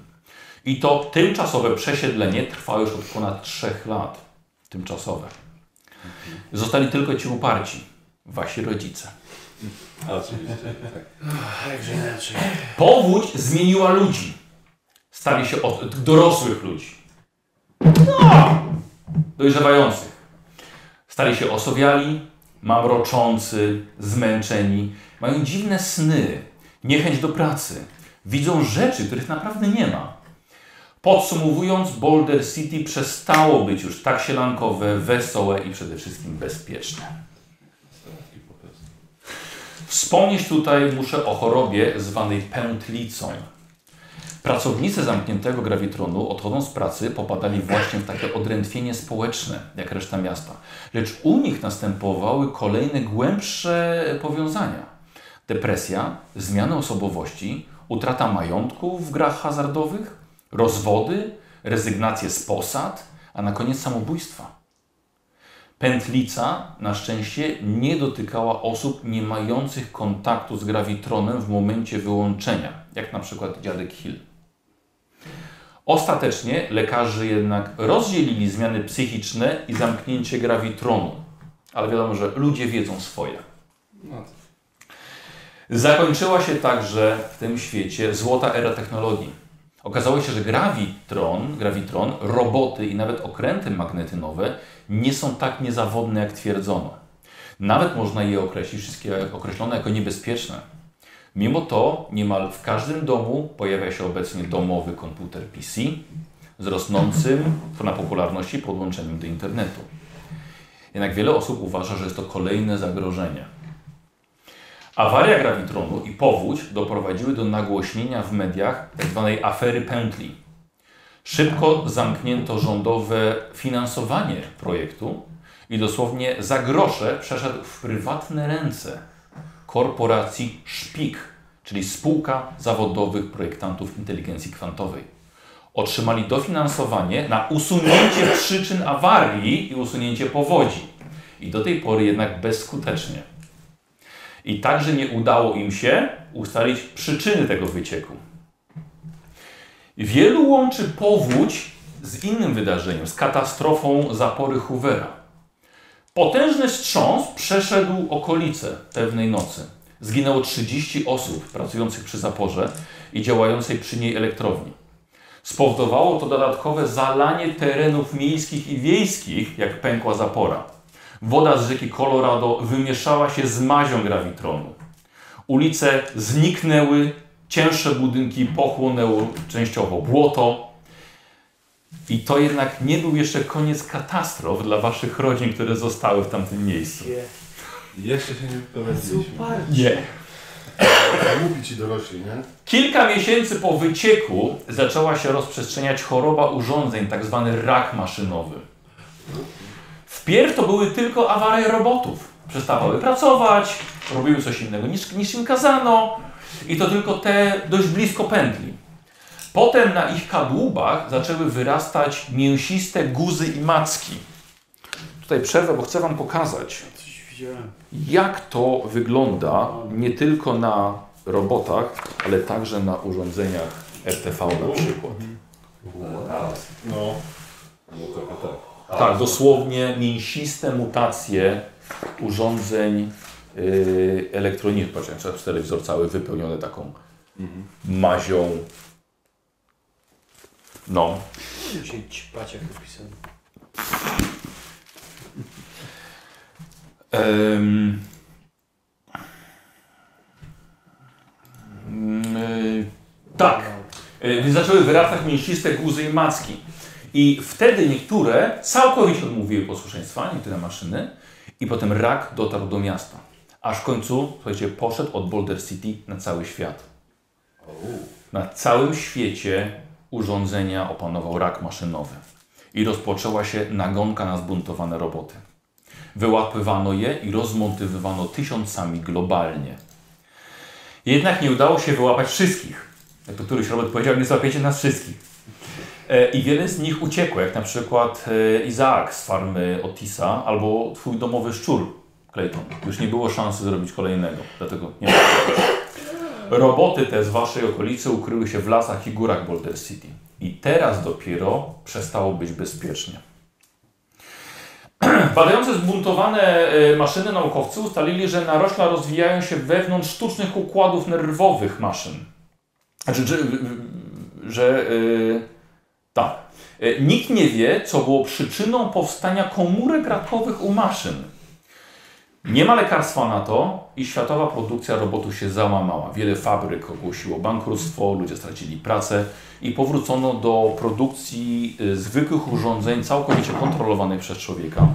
Speaker 1: I to tymczasowe przesiedlenie trwa już od ponad trzech lat. Tymczasowe. Zostali tylko ci uparci, wasi rodzice.
Speaker 9: Także inaczej.
Speaker 1: Powódź zmieniła ludzi. Stali się od dorosłych ludzi. No, dojrzewających. Stali się osowiali, mamroczący, zmęczeni. Mają dziwne sny, niechęć do pracy. Widzą rzeczy, których naprawdę nie ma. Podsumowując, Boulder City przestało być już tak sielankowe, wesołe i przede wszystkim bezpieczne. Wspomnieć tutaj muszę o chorobie zwanej pętlicą. Pracownicy zamkniętego grawitronu, odchodząc z pracy, popadali właśnie w takie odrętwienie społeczne, jak reszta miasta. Lecz u nich następowały kolejne głębsze powiązania. Depresja, zmiany osobowości, utrata majątku w grach hazardowych, rozwody, rezygnacje z posad, a na koniec samobójstwa. Pętlica na szczęście nie dotykała osób nie mających kontaktu z grawitronem w momencie wyłączenia, jak na przykład dziadek Hill. Ostatecznie lekarze jednak rozdzielili zmiany psychiczne i zamknięcie grawitronu, ale wiadomo, że ludzie wiedzą swoje. Zakończyła się także w tym świecie złota era technologii. Okazało się, że grawitron, grawitron, roboty i nawet okręty magnetynowe nie są tak niezawodne, jak twierdzono. Nawet można je określić, wszystkie określone jako niebezpieczne. Mimo to niemal w każdym domu pojawia się obecnie domowy komputer PC z rosnącym na popularności podłączeniem do internetu. Jednak wiele osób uważa, że jest to kolejne zagrożenie. Awaria grawitronu i powódź doprowadziły do nagłośnienia w mediach tzw. afery pętli. Szybko zamknięto rządowe finansowanie projektu i dosłownie za grosze przeszedł w prywatne ręce korporacji Szpik, czyli Spółka Zawodowych Projektantów Inteligencji Kwantowej. Otrzymali dofinansowanie na usunięcie przyczyn awarii i usunięcie powodzi. I do tej pory jednak bezskutecznie. I także nie udało im się ustalić przyczyny tego wycieku. Wielu łączy powódź z innym wydarzeniem, z katastrofą zapory Hoovera. Potężny wstrząs przeszedł okolice pewnej nocy. Zginęło 30 osób pracujących przy zaporze i działającej przy niej elektrowni. Spowodowało to dodatkowe zalanie terenów miejskich i wiejskich, jak pękła zapora. Woda z rzeki Colorado wymieszała się z mazią grawitronu. Ulice zniknęły, cięższe budynki pochłonęło częściowo błoto. I to jednak nie był jeszcze koniec katastrof dla waszych rodzin, które zostały w tamtym miejscu.
Speaker 2: Jeszcze się nie wyprowadziliśmy.
Speaker 1: Nie.
Speaker 5: Mówi ci dorośli, nie?
Speaker 1: Kilka miesięcy po wycieku zaczęła się rozprzestrzeniać choroba urządzeń, tak zwany rak maszynowy. Wpierw to były tylko awarie robotów. Przestawały pracować, robiły coś innego niż, niż im kazano i to tylko te dość blisko pętli. Potem na ich kadłubach zaczęły wyrastać mięsiste guzy i macki. Tutaj przerwę, bo chcę Wam pokazać,
Speaker 9: Coś widziałem.
Speaker 1: jak to wygląda nie tylko na robotach, ale także na urządzeniach RTV na przykład.
Speaker 5: No.
Speaker 2: No trochę tak.
Speaker 1: Tak, dosłownie mięsiste mutacje urządzeń yy, elektronicznych. Patrzcie, na przykład telewizor cały wypełniony taką mazią. No.
Speaker 9: Musieli ćpać jak napisane.
Speaker 1: Em, mm, y, tak.
Speaker 9: No.
Speaker 1: Y, Więc zaczęły wyrastać mięsiste guzy i macki. I wtedy niektóre całkowicie odmówiły posłuszeństwa, niektóre maszyny. I potem rak dotarł do miasta. Aż w końcu, słuchajcie, poszedł od Boulder City na cały świat. Na całym świecie urządzenia opanował rak maszynowy. I rozpoczęła się nagonka na zbuntowane roboty. Wyłapywano je i rozmontowywano tysiącami globalnie. Jednak nie udało się wyłapać wszystkich. Jak to któryś robot powiedział, nie złapiecie nas wszystkich. E, I wiele z nich uciekło, jak na przykład e, Izaak z farmy Otisa albo twój domowy szczur Clayton. Już nie było szansy zrobić kolejnego, dlatego nie ma. Roboty te z waszej okolicy ukryły się w lasach i górach Boulder City. I teraz dopiero przestało być bezpiecznie. [clears throat] Badające zbuntowane e, maszyny naukowcy ustalili, że narośla rozwijają się wewnątrz sztucznych układów nerwowych maszyn. Znaczy, że, że e, tak. E, Nikt nie wie, co było przyczyną powstania komórek rakowych u maszyn. Nie ma lekarstwa na to i światowa produkcja robotów się załamała. Wiele fabryk ogłosiło bankructwo, ludzie stracili pracę i powrócono do produkcji y, zwykłych urządzeń całkowicie kontrolowanych przez człowieka.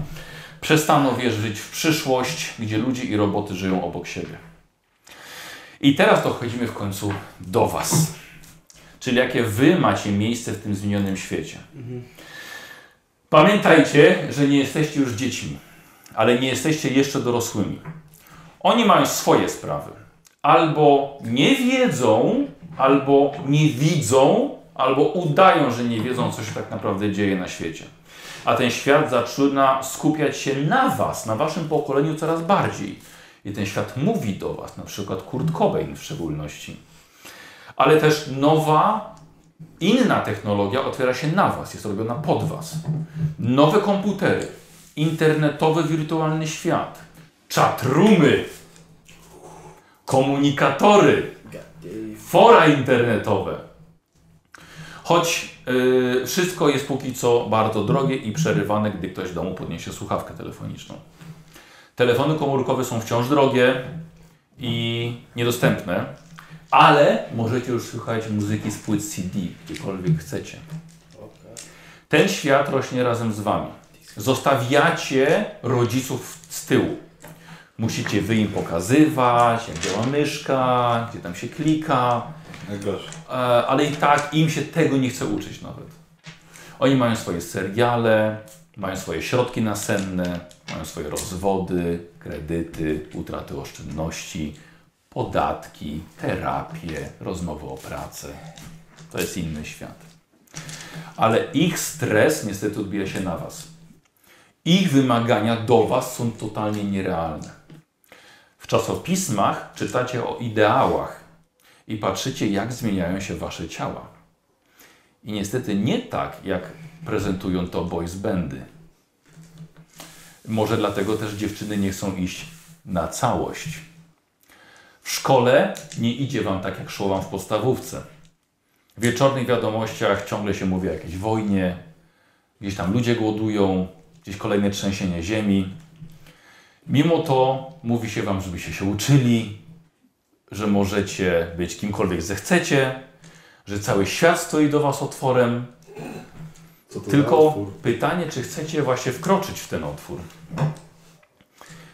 Speaker 1: Przestano wierzyć w przyszłość, gdzie ludzie i roboty żyją obok siebie. I teraz dochodzimy w końcu do Was. Czyli jakie Wy macie miejsce w tym zmienionym świecie. Pamiętajcie, że nie jesteście już dziećmi ale nie jesteście jeszcze dorosłymi. Oni mają swoje sprawy. Albo nie wiedzą, albo nie widzą, albo udają, że nie wiedzą, co się tak naprawdę dzieje na świecie. A ten świat zaczyna skupiać się na Was, na Waszym pokoleniu coraz bardziej. I ten świat mówi do Was, na przykład Kurt Cobain w szczególności. Ale też nowa, inna technologia otwiera się na Was, jest robiona pod Was. Nowe komputery, internetowy wirtualny świat, czatrumy, komunikatory, fora internetowe. Choć y, wszystko jest póki co bardzo drogie i przerywane, gdy ktoś w domu podniesie słuchawkę telefoniczną. Telefony komórkowe są wciąż drogie i niedostępne, ale możecie już słuchać muzyki z płyt CD, gdziekolwiek chcecie. Ten świat rośnie razem z wami zostawiacie rodziców z tyłu. Musicie wy im pokazywać, jak działa myszka, gdzie tam się klika,
Speaker 2: Najgorsze.
Speaker 1: e, ale i tak im się tego nie chce uczyć nawet. Oni mają swoje seriale, mają swoje środki nasenne, mają swoje rozwody, kredyty, utraty oszczędności, podatki, terapie, rozmowy o pracę. To jest inny świat. Ale ich stres niestety odbija się na Was. Ich wymagania do Was są totalnie nierealne. W czasopismach czytacie o ideałach i patrzycie, jak zmieniają się Wasze ciała. I niestety nie tak, jak prezentują to boys bandy. Może dlatego też dziewczyny nie chcą iść na całość. W szkole nie idzie Wam tak, jak szło Wam w podstawówce. W wieczornych wiadomościach ciągle się mówi o jakiejś wojnie, gdzieś tam ludzie głodują, gdzieś kolejne trzęsienie ziemi. Mimo to mówi się Wam, żebyście się uczyli, że możecie być kimkolwiek zechcecie, że cały świat stoi do Was otworem.
Speaker 5: Co to za
Speaker 1: Tylko
Speaker 5: otwór?
Speaker 1: pytanie, czy chcecie właśnie wkroczyć w ten otwór.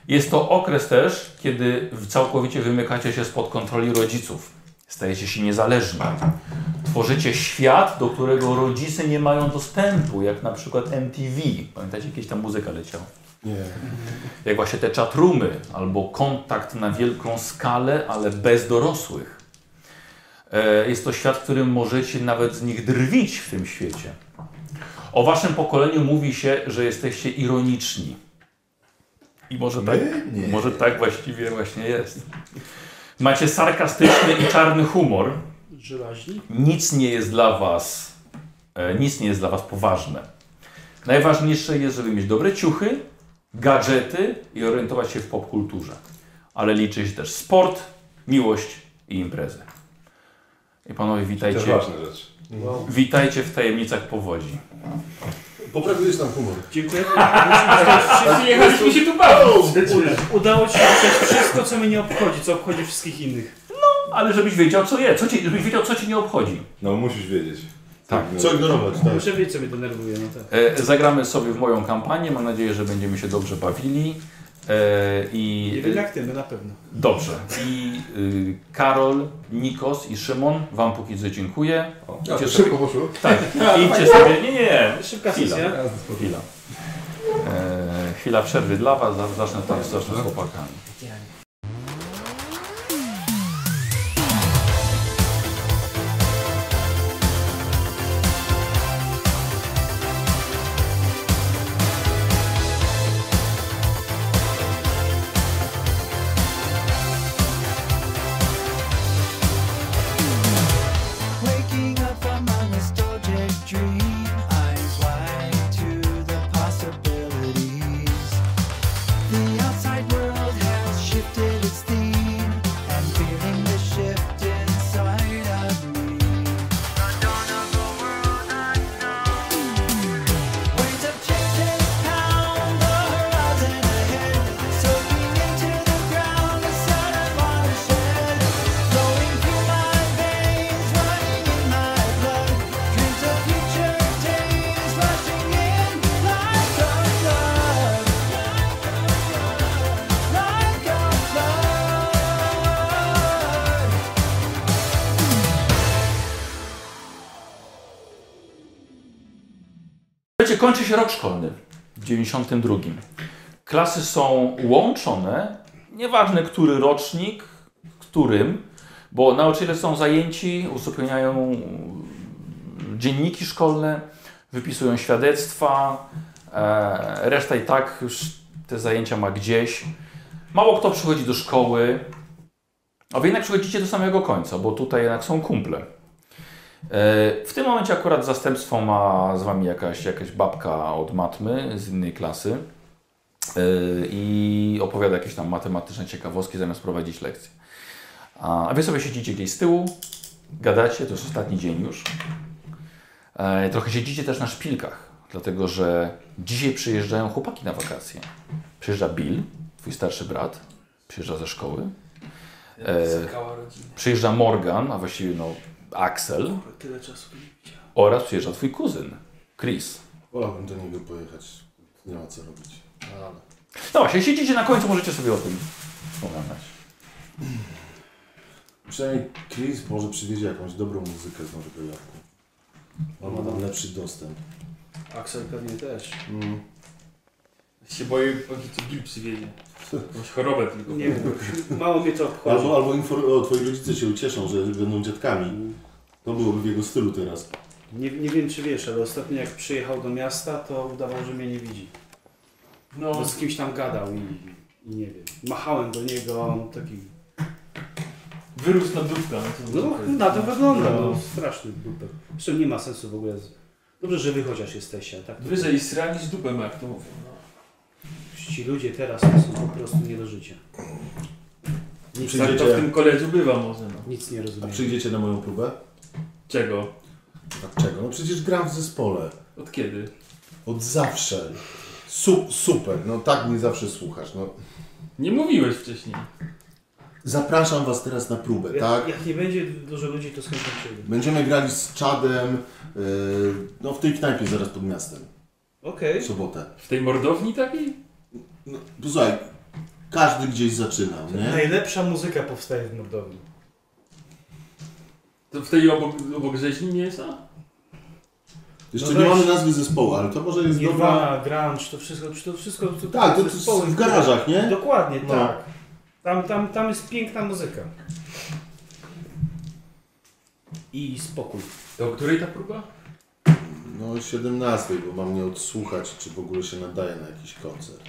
Speaker 1: Jest to okres też, kiedy całkowicie wymykacie się spod kontroli rodziców. Stajecie się niezależni. Tworzycie świat, do którego rodzice nie mają dostępu, jak na przykład MTV. Pamiętacie, jakieś tam muzyka leciała?
Speaker 5: Nie.
Speaker 1: jak właśnie te czatrumy, albo kontakt na wielką skalę, ale bez dorosłych. E, Jest to świat, w którym możecie nawet z nich drwić w tym świecie. O waszym pokoleniu mówi się, że jesteście ironiczni. I może tak, może tak właściwie właśnie jest. Macie sarkastyczny i czarny humor.
Speaker 9: Żylaźni?
Speaker 1: Nic nie jest dla was, e, nic nie jest dla was poważne. Najważniejsze jest, żeby mieć dobre ciuchy, gadżety i orientować się w popkulturze. Ale liczy się też sport, miłość i imprezy. I panowie,
Speaker 2: To
Speaker 1: witajcie,
Speaker 2: ważne rzeczy.
Speaker 7: No.
Speaker 1: witajcie w tajemnicach powodzi.
Speaker 5: Poprawiłeś nam humor.
Speaker 3: Dziękuję.
Speaker 6: Wszyscy jechaliśmy się tu bawić.
Speaker 3: Udało ci się przejść wszystko, co mnie nie obchodzi, co obchodzi wszystkich innych.
Speaker 1: Ale żebyś wiedział, co je, co ci, żebyś wiedział, co ci nie obchodzi.
Speaker 2: No musisz wiedzieć.
Speaker 1: Tak.
Speaker 2: No.
Speaker 5: Co ignorować, tak.
Speaker 3: Muszę wiedzieć, co mnie denerwuje, no tak.
Speaker 1: E, zagramy sobie w moją kampanię. Mam nadzieję, że będziemy się dobrze bawili. E, I
Speaker 9: Nie wiem jak ty,
Speaker 3: no
Speaker 9: my na pewno.
Speaker 1: dobrze. I y, Karol, Nikos i Szymon, wam póki co dziękuję.
Speaker 7: A, to
Speaker 1: Idźcie
Speaker 7: szybko poszło.
Speaker 1: Tak, idźcie sobie. Nie, nie, nie.
Speaker 3: Szybka
Speaker 1: Chwila.
Speaker 3: sesja.
Speaker 1: Chwila. E, chwila przerwy dla Was, zaraz zacznę tam zacznę z chłopakami.
Speaker 10: Waking up from my nostalgic dream, eyes wide to the possibilities. The outside world has shifted its theme, and feeling the shift inside of me. The dawn of a world unknown. Waves of change pound the horizon ahead, soaking into the ground a sudden watershed. Flowing through my veins, running in my blood. Dreams of future days rushing in like a flood, like a flood.
Speaker 1: Słuchajcie, kończy się rok szkolny w 92. Klasy są łączone, nieważne który rocznik, którym, bo nauczyciele są zajęci, uzupełniają mm, dzienniki szkolne, wypisują świadectwa, e, reszta i tak już te zajęcia ma gdzieś. Mało kto przychodzi do szkoły, a wy jednak przychodzicie do samego końca, bo tutaj jednak są kumple. E, W tym momencie akurat zastępstwo ma z wami jakaś, jakaś babka od matmy z innej klasy e, i opowiada jakieś tam matematyczne ciekawostki zamiast prowadzić lekcje. A a wy sobie siedzicie gdzieś z tyłu, gadacie, to jest ostatni dzień już. E, Trochę siedzicie też na szpilkach, dlatego że dzisiaj przyjeżdżają chłopaki na wakacje. Przyjeżdża Bill, twój starszy brat, przyjeżdża ze szkoły. E,
Speaker 9: Zakała rodzina.
Speaker 1: Przyjeżdża Morgan, a właściwie no Axel.
Speaker 9: Tyle czasu by nie widziałem.
Speaker 1: Oraz przyjeżdża twój kuzyn, Chris.
Speaker 5: Wolałbym do niego pojechać. Nie ma co robić. Ale
Speaker 1: No właśnie, siedzicie na końcu, możecie sobie o tym wspominać.
Speaker 5: Przynajmniej Chris może przywiezie jakąś dobrą muzykę z Nowego Jorku. On ma tam lepszy dostęp.
Speaker 9: Axel pewnie też.
Speaker 5: Mm.
Speaker 6: Się boję, on ci co gil przywiezie. Jakąś chorobę tylko.
Speaker 3: Nie wiem, mało mnie to obchodzi.
Speaker 5: Albo, albo infor- o, twoi rodzice się ucieszą, że będą dziadkami. To byłoby w jego stylu teraz.
Speaker 3: Nie, nie wiem czy wiesz, ale ostatnio jak przyjechał do miasta, to udawał, że mnie nie widzi.
Speaker 6: No.
Speaker 3: Bo z kimś tam gadał i, i nie wiem. Machałem do niego a on taki.
Speaker 6: Wyrósł na dupka.
Speaker 3: No na to wygląda, no straszny dupek. Zresztą nie ma sensu w ogóle. Z... Dobrze, że wy chociaż jesteście, a tak? to-
Speaker 6: Wyżej sra niż dupę ma, jak to mówią.
Speaker 3: Ci ludzie teraz to są po prostu nie do życia.
Speaker 6: Nic
Speaker 3: Nic,
Speaker 6: tak to w tym koledżu bywa może, no.
Speaker 3: nic nie
Speaker 5: A
Speaker 3: rozumiem.
Speaker 5: przyjdziecie na moją próbę?
Speaker 6: Czego?
Speaker 5: Dlaczego? No przecież gram w zespole.
Speaker 6: Od kiedy?
Speaker 5: Od zawsze. Su- super, no tak mnie zawsze słuchasz. No.
Speaker 6: Nie mówiłeś wcześniej.
Speaker 5: Zapraszam Was teraz na próbę,
Speaker 3: Jak,
Speaker 5: tak?
Speaker 3: jak nie będzie dużo ludzi, to skończymy.
Speaker 5: Będziemy grali z Czadem, yy, no w tej knajpie zaraz pod miastem,
Speaker 3: Okej.
Speaker 5: w sobotę.
Speaker 6: W tej mordowni takiej?
Speaker 5: No, Posłuchaj, każdy gdzieś zaczynał, nie?
Speaker 9: Najlepsza muzyka powstaje w Mordowi.
Speaker 6: To w tej obok, obok rzeźni mięsa?
Speaker 5: Jeszcze
Speaker 9: No weź.
Speaker 5: nie mamy nazwy zespołu, ale to może jest dobra...
Speaker 9: Nirvana, grunge, to wszystko, to wszystko... To,
Speaker 5: Tak, to, to
Speaker 9: zespoły,
Speaker 5: w garażach, nie?
Speaker 9: Dokładnie,
Speaker 5: No.
Speaker 9: tak. Tam, tam, tam jest piękna muzyka.
Speaker 3: I spokój.
Speaker 6: To o której ta próba?
Speaker 5: No 17, bo mam nie odsłuchać, czy w ogóle się nadaje na jakiś koncert.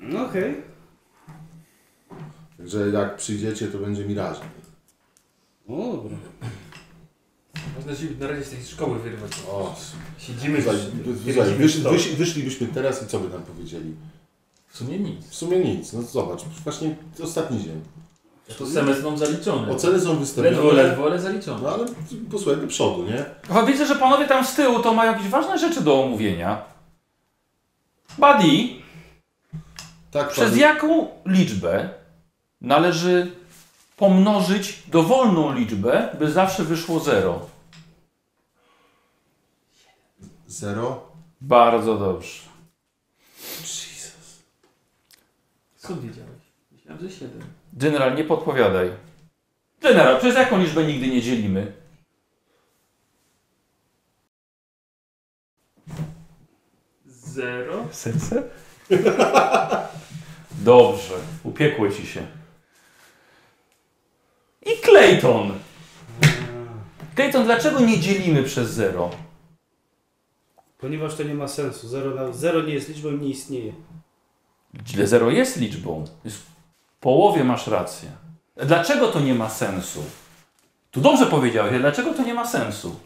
Speaker 3: No okej.
Speaker 5: Także jak przyjdziecie, to będzie mi raźniej.
Speaker 3: No dobra.
Speaker 6: Można się na razie z tej szkoły wyrwać.
Speaker 5: O,
Speaker 6: Siedzimy
Speaker 5: Słuchaj,
Speaker 6: przy-
Speaker 5: słuchaj,
Speaker 6: pierdzimy
Speaker 5: wysz,
Speaker 6: w to.
Speaker 5: wysz, wyszlibyśmy teraz i co by nam powiedzieli?
Speaker 6: W sumie nic.
Speaker 5: W sumie nic, no zobacz, właśnie ostatni dzień.
Speaker 6: To semestr mam zaliczony.
Speaker 5: Oceny są wystawione.
Speaker 6: Ledwo, ledwo, ale zaliczone.
Speaker 5: No ale posłuchaj, do przodu, nie?
Speaker 1: A widzę, że panowie tam z tyłu to mają jakieś ważne rzeczy do omówienia. Buddy,
Speaker 5: Tak,
Speaker 1: przez
Speaker 5: panie-
Speaker 1: jaką liczbę należy pomnożyć dowolną liczbę, by zawsze wyszło zero?
Speaker 5: Zero?
Speaker 1: Bardzo dobrze.
Speaker 5: Jesus.
Speaker 6: Skąd wiedziałeś? Myślałem, że 7.
Speaker 1: General, nie podpowiadaj. General, przez jaką liczbę nigdy nie dzielimy?
Speaker 6: Zero?
Speaker 1: Serce? [laughs] Dobrze, upiekło ci się. I Clayton. Clayton, dlaczego nie dzielimy przez zero?
Speaker 3: Ponieważ to nie ma sensu. Zero, na, zero nie jest liczbą, nie istnieje.
Speaker 1: Źle Zero jest liczbą. Jest w połowie masz rację. Dlaczego to nie ma sensu? Tu dobrze powiedziałeś, ale dlaczego to nie ma sensu?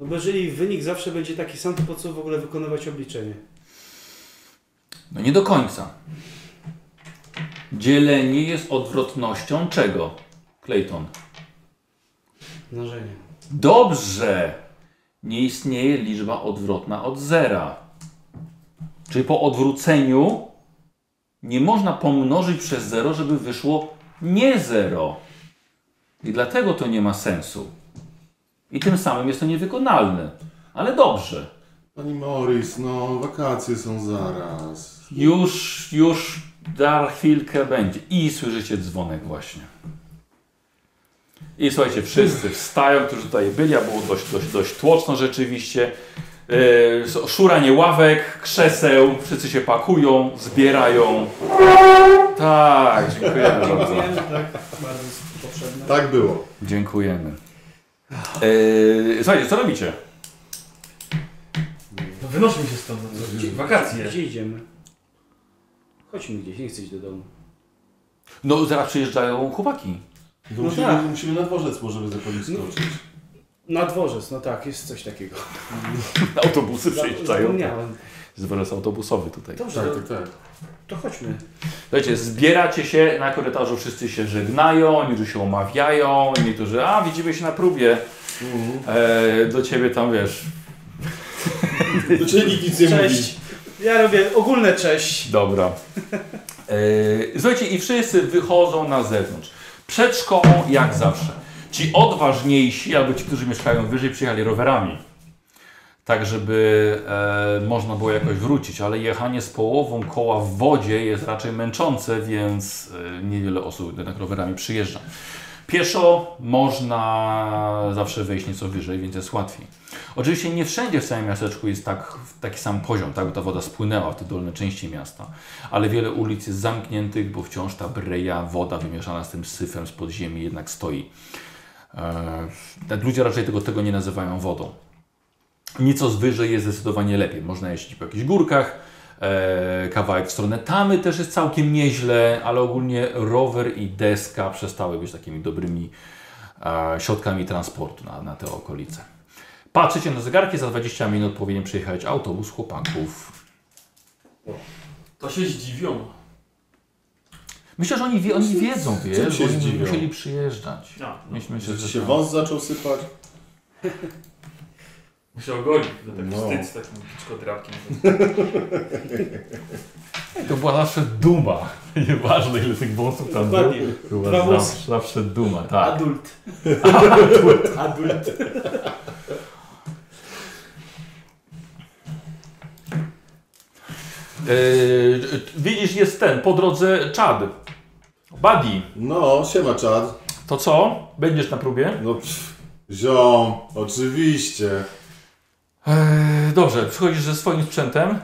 Speaker 3: No bo jeżeli wynik zawsze będzie taki sam, to po co w ogóle wykonywać obliczenie?
Speaker 1: No nie do końca. Dzielenie jest odwrotnością czego? Clayton.
Speaker 3: Mnożenie.
Speaker 1: Dobrze! Nie istnieje liczba odwrotna od zera. Czyli po odwróceniu nie można pomnożyć przez zero, żeby wyszło nie zero. I dlatego to nie ma sensu. I tym samym jest to niewykonalne. Ale dobrze.
Speaker 5: Pani Morris, no wakacje są zaraz.
Speaker 1: Już, już za chwilkę będzie. I słyszycie dzwonek właśnie. I słuchajcie, wszyscy wstają, którzy tutaj byli, a było dość, dość, dość tłoczno rzeczywiście. Yy, so- szuranie ławek, krzeseł, wszyscy się pakują, zbierają. Tak, dziękujemy bardzo.
Speaker 3: Wiem, tak, bardzo jest potrzebne.
Speaker 5: Tak było.
Speaker 1: Dziękujemy. Yy, słuchajcie, co robicie?
Speaker 6: No wynośmy się stąd. no co? Wakacje.
Speaker 3: Gdzie idziemy? Chodźmy gdzieś, nie chcę iść do domu.
Speaker 1: No zaraz przyjeżdżają chłopaki.
Speaker 5: No
Speaker 3: No
Speaker 5: musimy,
Speaker 3: tak.
Speaker 5: musimy na dworzec możemy za policji skoczyć.
Speaker 3: Na dworzec, no tak, jest coś takiego.
Speaker 1: Autobusy przyjeżdżają.
Speaker 3: Zapomniałem.
Speaker 1: Dworzec autobusowy tutaj.
Speaker 3: Dobrze,
Speaker 5: Tak,
Speaker 3: to,
Speaker 5: tak, tak.
Speaker 3: to chodźmy.
Speaker 1: Słuchajcie, zbieracie się, na korytarzu wszyscy się żegnają, niektórzy się omawiają, niektórzy, a widzimy się na próbie, e, do ciebie tam wiesz.
Speaker 5: To czyli nikt nic nie mówi.
Speaker 3: Cześć. Ja robię ogólne cześć.
Speaker 1: Dobra. E, słuchajcie, i wszyscy wychodzą na zewnątrz. Przed szkołą jak zawsze. Ci odważniejsi, albo ci, którzy mieszkają wyżej, przyjechali rowerami. tak żeby e, można było jakoś wrócić, ale jechanie z połową koła w wodzie jest raczej męczące, więc e, niewiele osób jednak rowerami przyjeżdża. Pieszo można zawsze wejść nieco wyżej, więc jest łatwiej. Oczywiście nie wszędzie w całym miasteczku jest tak, taki sam poziom, tak, bo ta woda spłynęła w te dolne części miasta, ale wiele ulic jest zamkniętych, bo wciąż ta breja, woda wymieszana z tym syfem z podziemi jednak stoi. E, ludzie raczej tego, tego nie nazywają wodą. Nieco wyżej jest zdecydowanie lepiej. Można jeździć po jakichś górkach, e, kawałek w stronę Tamy też jest całkiem nieźle, ale ogólnie rower i deska przestały być takimi dobrymi e, środkami transportu na, na te okolice. Patrzycie na zegarki, za 20 minut powinien przyjechać autobus chłopaków.
Speaker 6: To się zdziwią.
Speaker 1: Myślę, że oni, wie, oni wiedzą,
Speaker 6: Czym
Speaker 1: wiesz,
Speaker 6: się
Speaker 1: bo oni
Speaker 6: zdziwią?
Speaker 1: musieli przyjeżdżać.
Speaker 6: A, no.
Speaker 1: Myślę,
Speaker 6: Że
Speaker 1: że
Speaker 6: się
Speaker 1: tak.
Speaker 6: wąs
Speaker 5: zaczął sypać.
Speaker 6: Musiał golić, to tak
Speaker 5: No.
Speaker 6: wstyd z takim piczkodrapkiem.
Speaker 1: To była zawsze duma. [laughs] Nieważne ile tych wąsów tam było.
Speaker 6: Dokładnie.
Speaker 5: Tak.
Speaker 1: Była
Speaker 6: Dwa włosy.
Speaker 1: zawsze, zawsze duma, tak.
Speaker 6: Adult.
Speaker 1: Adult.
Speaker 6: Adult.
Speaker 1: Yy, widzisz, jest ten, po drodze Czad. Buddy.
Speaker 5: No, siema Czad.
Speaker 1: To co? Będziesz na próbie?
Speaker 5: No, pff, ziom, oczywiście.
Speaker 1: Eee, dobrze, przychodzisz ze swoim sprzętem.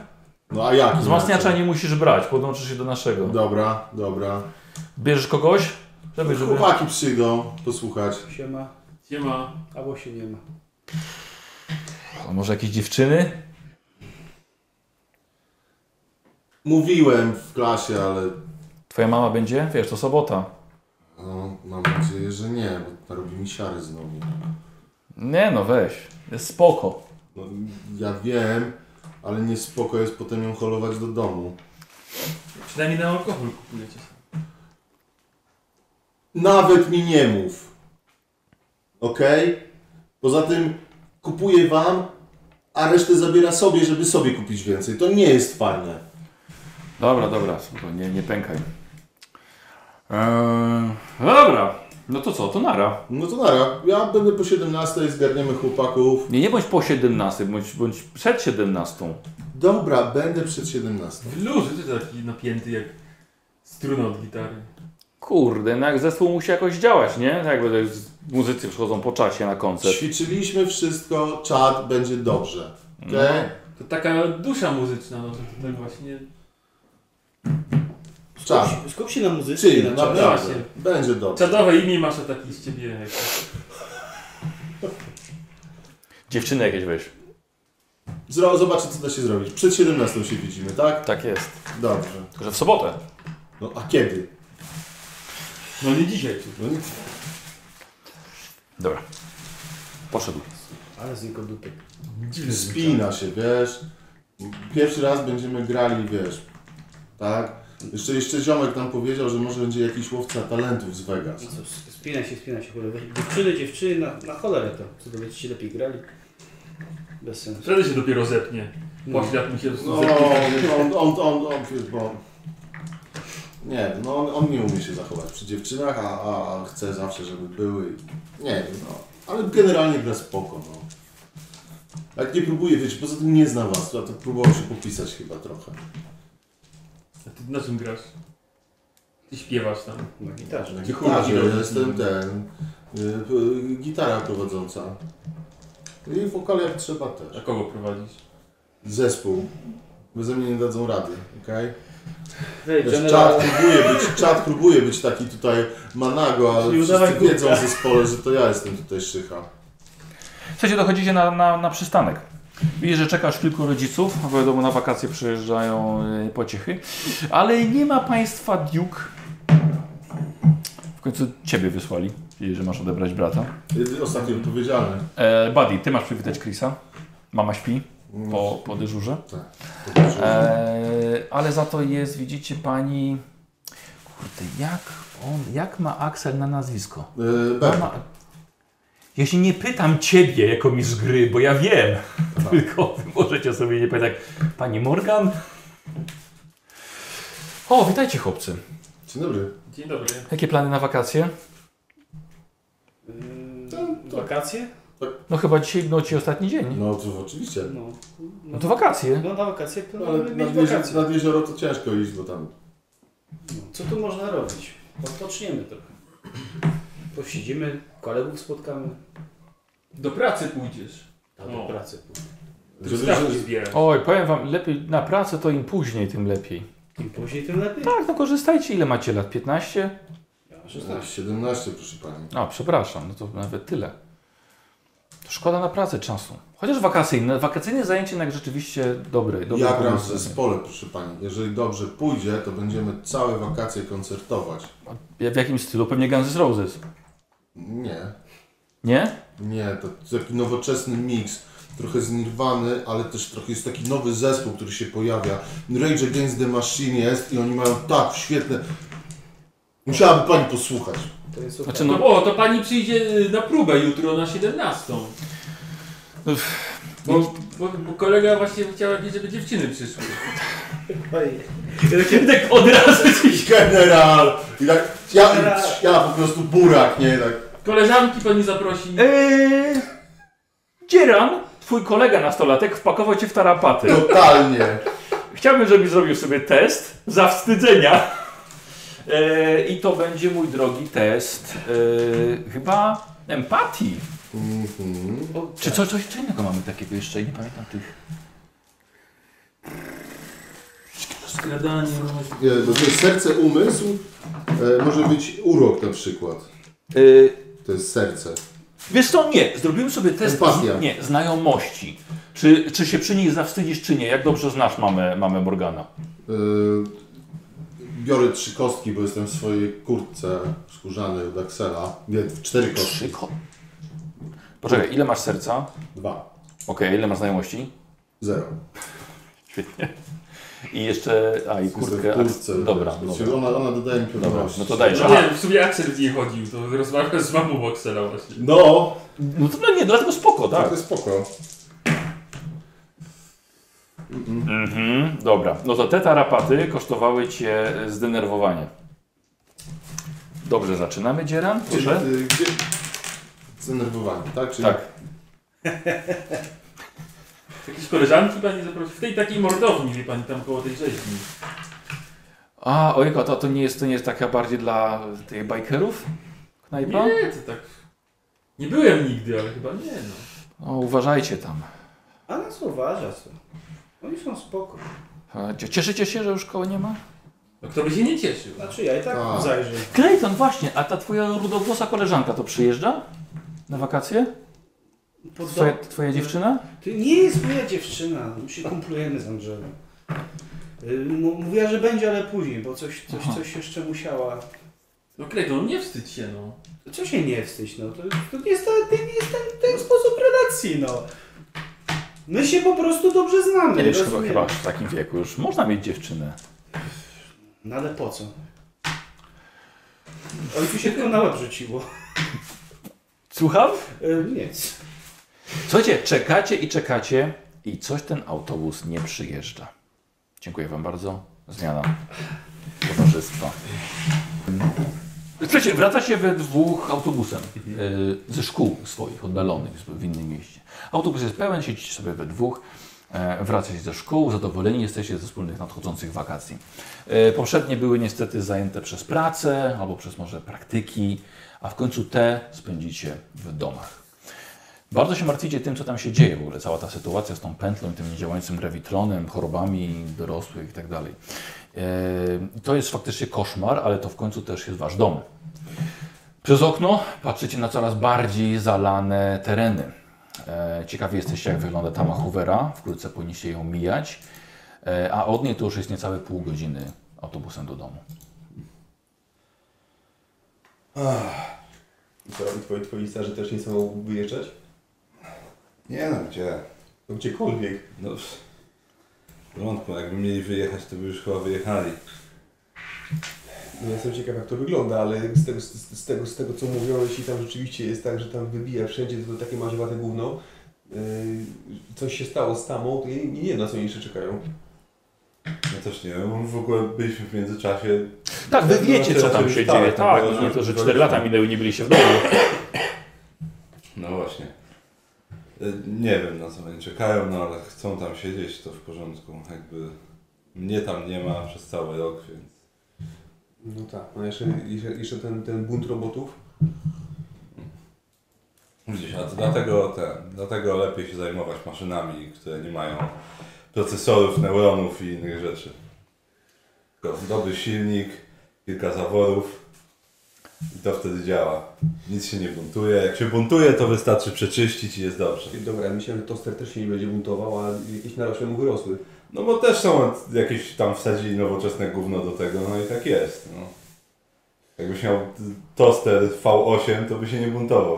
Speaker 5: No a jak?
Speaker 1: Wzmacniacza
Speaker 6: Znaczy-
Speaker 5: inaczej?
Speaker 1: nie musisz brać, podłączysz się do naszego.
Speaker 5: Dobra, dobra.
Speaker 1: Bierzesz kogoś? Żeby, żeby...
Speaker 5: Chłopaki przyjdą posłuchać.
Speaker 9: Siema.
Speaker 6: Siema.
Speaker 9: Albo się nie ma.
Speaker 1: A może jakieś dziewczyny?
Speaker 5: Mówiłem w klasie, ale
Speaker 1: Twoja mama będzie? Wiesz, to sobota.
Speaker 5: no, mam nadzieję, że nie, bo robi mi siary znowu.
Speaker 1: Nie no, weź. Jest spoko.
Speaker 5: No, ja wiem, ale nie spoko jest potem ją holować do domu.
Speaker 6: Przynajmniej na alkohol kupujecie.
Speaker 5: Nawet mi nie mów. Okej? Poza tym kupuję wam, a resztę zabiera sobie, żeby sobie kupić więcej. To nie jest fajne.
Speaker 1: Dobra, dobra, spoko, nie, nie pękaj. Eee, no dobra, no to co, to nara.
Speaker 5: No to nara. Ja będę po 17, zgarniemy chłopaków.
Speaker 1: Nie, nie bądź po 17, bądź, bądź przed 17.
Speaker 5: Dobra, będę przed 17.
Speaker 6: W luzy ty taki napięty jak struna od gitary.
Speaker 1: Kurde, no jak zespół musi jakoś działać, nie? Tak Jakby to jest, muzycy przychodzą po czasie na koncert.
Speaker 5: Ćwiczyliśmy wszystko, czat będzie dobrze. Okej?
Speaker 6: To taka dusza muzyczna, no to, to tak właśnie...
Speaker 5: Czad.
Speaker 9: Skup się na muzyce.
Speaker 5: Czyli,
Speaker 9: na czasie.
Speaker 5: naprawdę. Będzie dobrze.
Speaker 6: Czadowe imię masz a taki z ciebie jak...
Speaker 1: Dziewczyny jakieś weź.
Speaker 5: Zro- zobaczę, co da się zrobić. Przed 17 się widzimy, tak?
Speaker 1: Tak jest.
Speaker 5: Dobrze.
Speaker 1: Tylko, że w sobotę.
Speaker 5: No a kiedy?
Speaker 6: No nie dzisiaj. czy-
Speaker 5: No, nie-
Speaker 1: Dobra. Poszedł.
Speaker 9: Ale z niego dupy.
Speaker 6: Dziwny
Speaker 5: Spina się, wiesz. Pierwszy raz będziemy grali, wiesz. Tak? Jeszcze, jeszcze ziomek nam powiedział, że może będzie jakiś łowca talentów z Vegas.
Speaker 9: No cóż, spina się, spina się, cholera. Dziewczyny, dziewczyny, na, na cholerę to. Co to będziecie lepiej grali? Bez sensu.
Speaker 6: Wtedy się dopiero zepnie. Poślad mu się
Speaker 5: No,
Speaker 6: zepnie.
Speaker 5: on, on, on, on, wiesz, bo... Nie, no on, on nie umie się zachować przy dziewczynach, a, a, a chce zawsze, żeby były. i- Nie wiem, no. Ale generalnie gra spoko, no. Jak nie próbuje, wiecie, poza tym nie zna was, a to próbował się popisać chyba trochę.
Speaker 6: A ty na czym grasz? Ty śpiewasz tam.
Speaker 9: Na gitarze.
Speaker 5: Na
Speaker 6: Taki
Speaker 5: gitarze,
Speaker 6: chór.
Speaker 5: Tak, ja jestem ten... y, y, Gitara prowadząca. I wokal jak trzeba
Speaker 6: A
Speaker 5: też.
Speaker 6: kogo prowadzisz?
Speaker 5: Zespół. Beze mnie nie dadzą rady, okej?
Speaker 9: Hej,
Speaker 5: Wiesz,
Speaker 9: generał.
Speaker 5: czat próbuje, być, czat próbuje być taki tutaj manago, ale
Speaker 9: Czyli udawaj
Speaker 5: wszyscy
Speaker 9: kubka.
Speaker 5: wiedzą w zespole, że to ja jestem tutaj szycha.
Speaker 1: Słuchajcie, dochodzicie na, na, na przystanek. Widzisz, że czekasz kilku rodziców, bo wiadomo, na wakacje przyjeżdżają y, pociechy, ale nie ma państwa Duke. W końcu ciebie wysłali, widzisz, że masz odebrać brata.
Speaker 5: Jedyny Ostatnio odpowiedzialny.
Speaker 1: E, Buddy, ty masz przywitać Chrisa. Mama śpi po, po dyżurze. E, ale za to jest, widzicie, pani... Kurde, jak on, jak ma Axel na nazwisko?
Speaker 5: Yy,
Speaker 1: Mama... No. Ja się nie pytam ciebie jako mistrz gry, bo ja wiem. [laughs] Tylko wy możecie sobie nie pytać. Pani Morgan? O, witajcie chłopcy.
Speaker 5: Dzień dobry.
Speaker 6: Dzień dobry.
Speaker 1: Jakie plany na wakacje?
Speaker 9: Ym, Wakacje?
Speaker 1: No chyba dzisiaj no, ci ostatni dzień.
Speaker 5: No to oczywiście.
Speaker 9: No,
Speaker 1: No to wakacje.
Speaker 9: No na wakacje
Speaker 5: Ale
Speaker 9: planujemy mieć
Speaker 5: nad, jezioro,
Speaker 9: wakacje.
Speaker 5: nad jezioro to ciężko iść, bo tam
Speaker 9: Co tu można robić? Odpoczniemy trochę. Posiedzimy, kolegów spotkamy.
Speaker 6: Do pracy pójdziesz.
Speaker 9: A do
Speaker 5: No.
Speaker 6: O.
Speaker 9: pracy pójdę.
Speaker 6: Ty stawki zbierasz.
Speaker 1: Oj, powiem wam, lepiej na pracę to im później, tym lepiej.
Speaker 9: Im później, tym lepiej.
Speaker 1: Tak, no korzystajcie. Ile macie lat? 15?
Speaker 9: Ja,
Speaker 5: no,
Speaker 9: 16.
Speaker 5: 17, proszę pani.
Speaker 1: A, przepraszam, no to nawet tyle. To szkoda na pracę czasu. Chociaż wakacyjne, wakacyjne zajęcie jednak rzeczywiście dobre. dobre
Speaker 5: ja gram w
Speaker 1: pomysł.
Speaker 5: zespole, proszę pani. Jeżeli dobrze pójdzie, to będziemy całe wakacje koncertować.
Speaker 1: W jakim stylu? Pewnie Guns N' Roses.
Speaker 5: Nie,
Speaker 1: Nie?
Speaker 5: nie, to taki nowoczesny miks. Trochę z Nirwany, ale też trochę jest taki nowy zespół, który się pojawia. Rage Against the Machine jest i oni mają tak świetne... Musiałaby pani posłuchać. [laughs]
Speaker 9: To jest super.
Speaker 1: Znaczy,
Speaker 6: No
Speaker 1: no,
Speaker 6: o, to pani przyjdzie y, na próbę jutro na 17.
Speaker 1: no,
Speaker 6: Bo, bo, bo kolega właśnie chciał jakieś, żeby dziewczyny przyszły.
Speaker 9: Oj.
Speaker 6: Tak od razu ci
Speaker 5: General! I tak, ja, ja po prostu burak, nie? Tak.
Speaker 6: Koleżanki pani zaprosi.
Speaker 1: Eee, Dzieran, twój kolega nastolatek wpakował cię w tarapaty.
Speaker 5: Totalnie.
Speaker 1: Chciałbym, żebyś zrobił sobie test zawstydzenia. Eee, I to będzie mój drogi test eee, chyba empatii.
Speaker 5: Mhm.
Speaker 1: Czy coś, coś czy innego mamy takiego jeszcze? Nie pamiętam tych.
Speaker 6: Skradanie.
Speaker 5: Nie, bo to jest E, serce, umysł. E, może być urok na przykład.
Speaker 1: Eee,
Speaker 5: To jest serce.
Speaker 1: Wiesz co, nie, zrobiłem sobie test
Speaker 5: Empatia.
Speaker 1: z, nie, znajomości. Czy, czy się przy niej zawstydzisz, czy nie? Jak dobrze znasz mamę, mamę Morgana?
Speaker 5: E, biorę trzy kostki, bo jestem w swojej kurtce skórzanej od Axela. Nie, cztery kostki.
Speaker 1: Trzy ko... Poczekaj, ile masz serca?
Speaker 5: Dwa.
Speaker 1: Okej, ile masz znajomości?
Speaker 5: Zero.
Speaker 1: Świetnie. I jeszcze, a i kurtkę.
Speaker 5: Jestem w kurtce.
Speaker 1: a, dobra,
Speaker 5: wiesz, no.
Speaker 1: dobra.
Speaker 5: Ona, ona dodaje mi
Speaker 1: Dobra,
Speaker 5: pewności.
Speaker 1: no to dajesz.
Speaker 6: No
Speaker 1: Aha,
Speaker 6: nie, w sumie Axel z niej chodził, to rozmawiał z mamą Boxela właśnie.
Speaker 5: No,
Speaker 1: no to no nie, dlatego spoko,
Speaker 5: tak.
Speaker 1: tak.
Speaker 5: to jest spoko.
Speaker 1: Mhm, dobra, no to te tarapaty kosztowały Cię zdenerwowanie. Dobrze, zaczynamy, Dzieran,
Speaker 5: Gdzie,
Speaker 1: proszę.
Speaker 5: y, gdzie... Zdenerwowanie, tak? Czyli
Speaker 1: Tak.
Speaker 6: Jakieś koleżanki pani zaprosi. W tej takiej mordowni, wie pani, tam koło tej rzeźni.
Speaker 1: A, ojejku, to, to nie jest to nie jest taka bardziej dla tych bikerów? Knajpa?
Speaker 6: Nie, to tak... Nie byłem nigdy, ale chyba nie no.
Speaker 1: No, uważajcie tam.
Speaker 9: A nas uważa co? Oni są spoko.
Speaker 1: A, E, cie- Cieszycie się, że już koło nie ma?
Speaker 6: No kto by się nie cieszył?
Speaker 9: Znaczy ja i tak
Speaker 5: A.
Speaker 9: zajrzę.
Speaker 1: Clayton, właśnie, a ta Twoja rudowłosa koleżanka to przyjeżdża? Na wakacje?
Speaker 9: Pod
Speaker 1: Twoja,
Speaker 9: dom.
Speaker 1: twoja dziewczyna?
Speaker 9: To nie jest moja dziewczyna. My się kumplujemy z Andrzejem. Y, m- Mówiła, że będzie, ale później, bo coś, coś,
Speaker 1: Aha.
Speaker 9: coś jeszcze musiała.
Speaker 6: No Clayton, nie wstydź się no.
Speaker 9: Co się nie wstydź, no? To, to nie jest, ten, nie jest ten, ten sposób relacji, no. My się po prostu dobrze znamy.
Speaker 1: Nie, już chyba,
Speaker 9: rozumiemy.
Speaker 1: chyba w takim wieku już można mieć dziewczynę.
Speaker 9: No ale po co? Oj, tu się tylko na łeb rzuciło.
Speaker 1: Słucham?
Speaker 9: Y, Nic.
Speaker 1: Słuchajcie, czekacie i czekacie i coś ten autobus nie przyjeżdża. Dziękuję Wam bardzo. Zmiana towarzystwa. Słuchajcie, wraca się we dwóch autobusem y, ze szkół swoich oddalonych w innym mieście. Autobus jest pełen, siedzicie sobie we dwóch. E, Wracacie ze szkół, zadowoleni jesteście ze wspólnych nadchodzących wakacji. E, Poprzednie były niestety zajęte przez pracę albo przez może praktyki, a w końcu te spędzicie w domach. Bardzo się martwicie tym, co tam się dzieje w ogóle, cała ta sytuacja z tą pętlą, i tym niedziałającym rewitronem, chorobami dorosłych i tak dalej. E, To jest faktycznie koszmar, ale to w końcu też jest wasz dom. Przez okno patrzycie na coraz bardziej zalane tereny. E, Ciekawi jesteście, jak wygląda tama Hoovera. Wkrótce powinniście ją mijać, E, a od niej to już jest niecałe pół godziny autobusem do domu.
Speaker 2: I co, i twoi, twoi starzy też nie chcą wyjeżdżać?
Speaker 11: Nie no, gdzie?
Speaker 2: No gdziekolwiek. No, pff. Rądko, no jakby mieli wyjechać, to by już chyba wyjechali.
Speaker 12: No, ja jestem ciekaw, jak to wygląda, ale z tego, z, z, z tego, z tego co mówią, jeśli tam rzeczywiście jest tak, że tam wybija wszędzie to takie marzowate gówno, yy, coś się stało z tamą, to ja nie, nie wiem, na co oni jeszcze czekają.
Speaker 2: No też nie wiem, w ogóle byliśmy w międzyczasie.
Speaker 1: Tak, wy
Speaker 2: No,
Speaker 1: wiecie, co
Speaker 2: teraz
Speaker 1: tam
Speaker 2: już
Speaker 1: się
Speaker 2: tak,
Speaker 1: dzieje.
Speaker 2: tak,
Speaker 1: Tak,
Speaker 2: bo
Speaker 1: no nie to, że
Speaker 2: już-
Speaker 1: 4 lata minęły, nie byliście w domu.
Speaker 2: No właśnie. nie wiem na co oni czekają, no ale chcą tam siedzieć, to w porządku. Jakby mnie tam nie ma przez cały rok, więc
Speaker 8: No tak, no jeszcze, jeszcze, jeszcze ten, ten bunt robotów.
Speaker 2: Widzisz, a to dlatego, ten, dlatego lepiej się zajmować maszynami, które nie mają procesorów, neuronów i innych rzeczy. Tylko dobry silnik, kilka zaworów i to wtedy działa. Nic się nie buntuje. Jak się buntuje, to wystarczy przeczyścić i jest dobrze.
Speaker 8: Dobra, myślałem, że toster też się nie będzie buntował, a jakieś narośle mu wyrosły.
Speaker 2: No bo też są jakieś tam wsadzili nowoczesne gówno do tego, no i tak jest. No. Jakbyś miał t- toster V8, to by się nie buntował.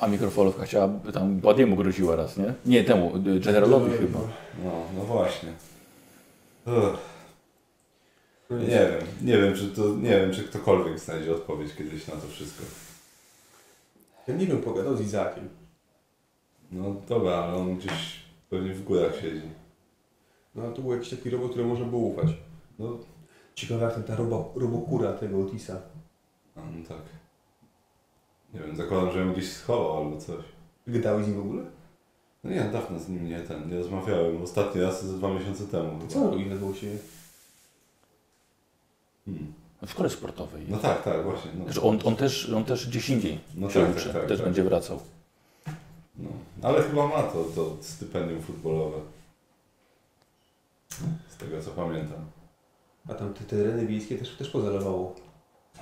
Speaker 1: A mikrofalówka chciała, tam Badiemu groziła raz, nie? Nie, temu, y, generalowi
Speaker 2: No,
Speaker 1: chyba.
Speaker 2: No, no właśnie. Ugh.
Speaker 8: No
Speaker 2: Nie
Speaker 8: nic.
Speaker 2: wiem, nie wiem, czy to, nie wiem, czy ktokolwiek znajdzie odpowiedź kiedyś na to wszystko.
Speaker 8: Ja nie wiem, pogadał z Izakiem.
Speaker 2: No dobra, ale on gdzieś pewnie w górach siedzi.
Speaker 8: No ale to był jakiś taki robot, któremu można było ufać.
Speaker 2: No,
Speaker 8: Ciekawe jak tam ta robo, robokura tego Otisa.
Speaker 2: a, no tak. Nie wiem, zakładam, że ją gdzieś schował albo coś.
Speaker 8: Gadałeś z nim w ogóle?
Speaker 2: No nie, dawno z nim nie ten, nie rozmawiałem. Ostatni raz ze dwa miesiące temu chyba.
Speaker 8: Co on robi na głosie?
Speaker 2: Hmm.
Speaker 1: W szkole sportowej.
Speaker 2: No tak, tak, właśnie. No.
Speaker 1: Znaczy on, on, też, on też gdzieś indziej
Speaker 2: No
Speaker 1: się
Speaker 2: tak,
Speaker 1: uczy,
Speaker 2: tak, tak,
Speaker 1: też
Speaker 2: tak.
Speaker 1: będzie wracał.
Speaker 2: No. Ale chyba ma to, to stypendium futbolowe. Z tego co pamiętam.
Speaker 8: A tam te tereny wiejskie też, też pozalewało.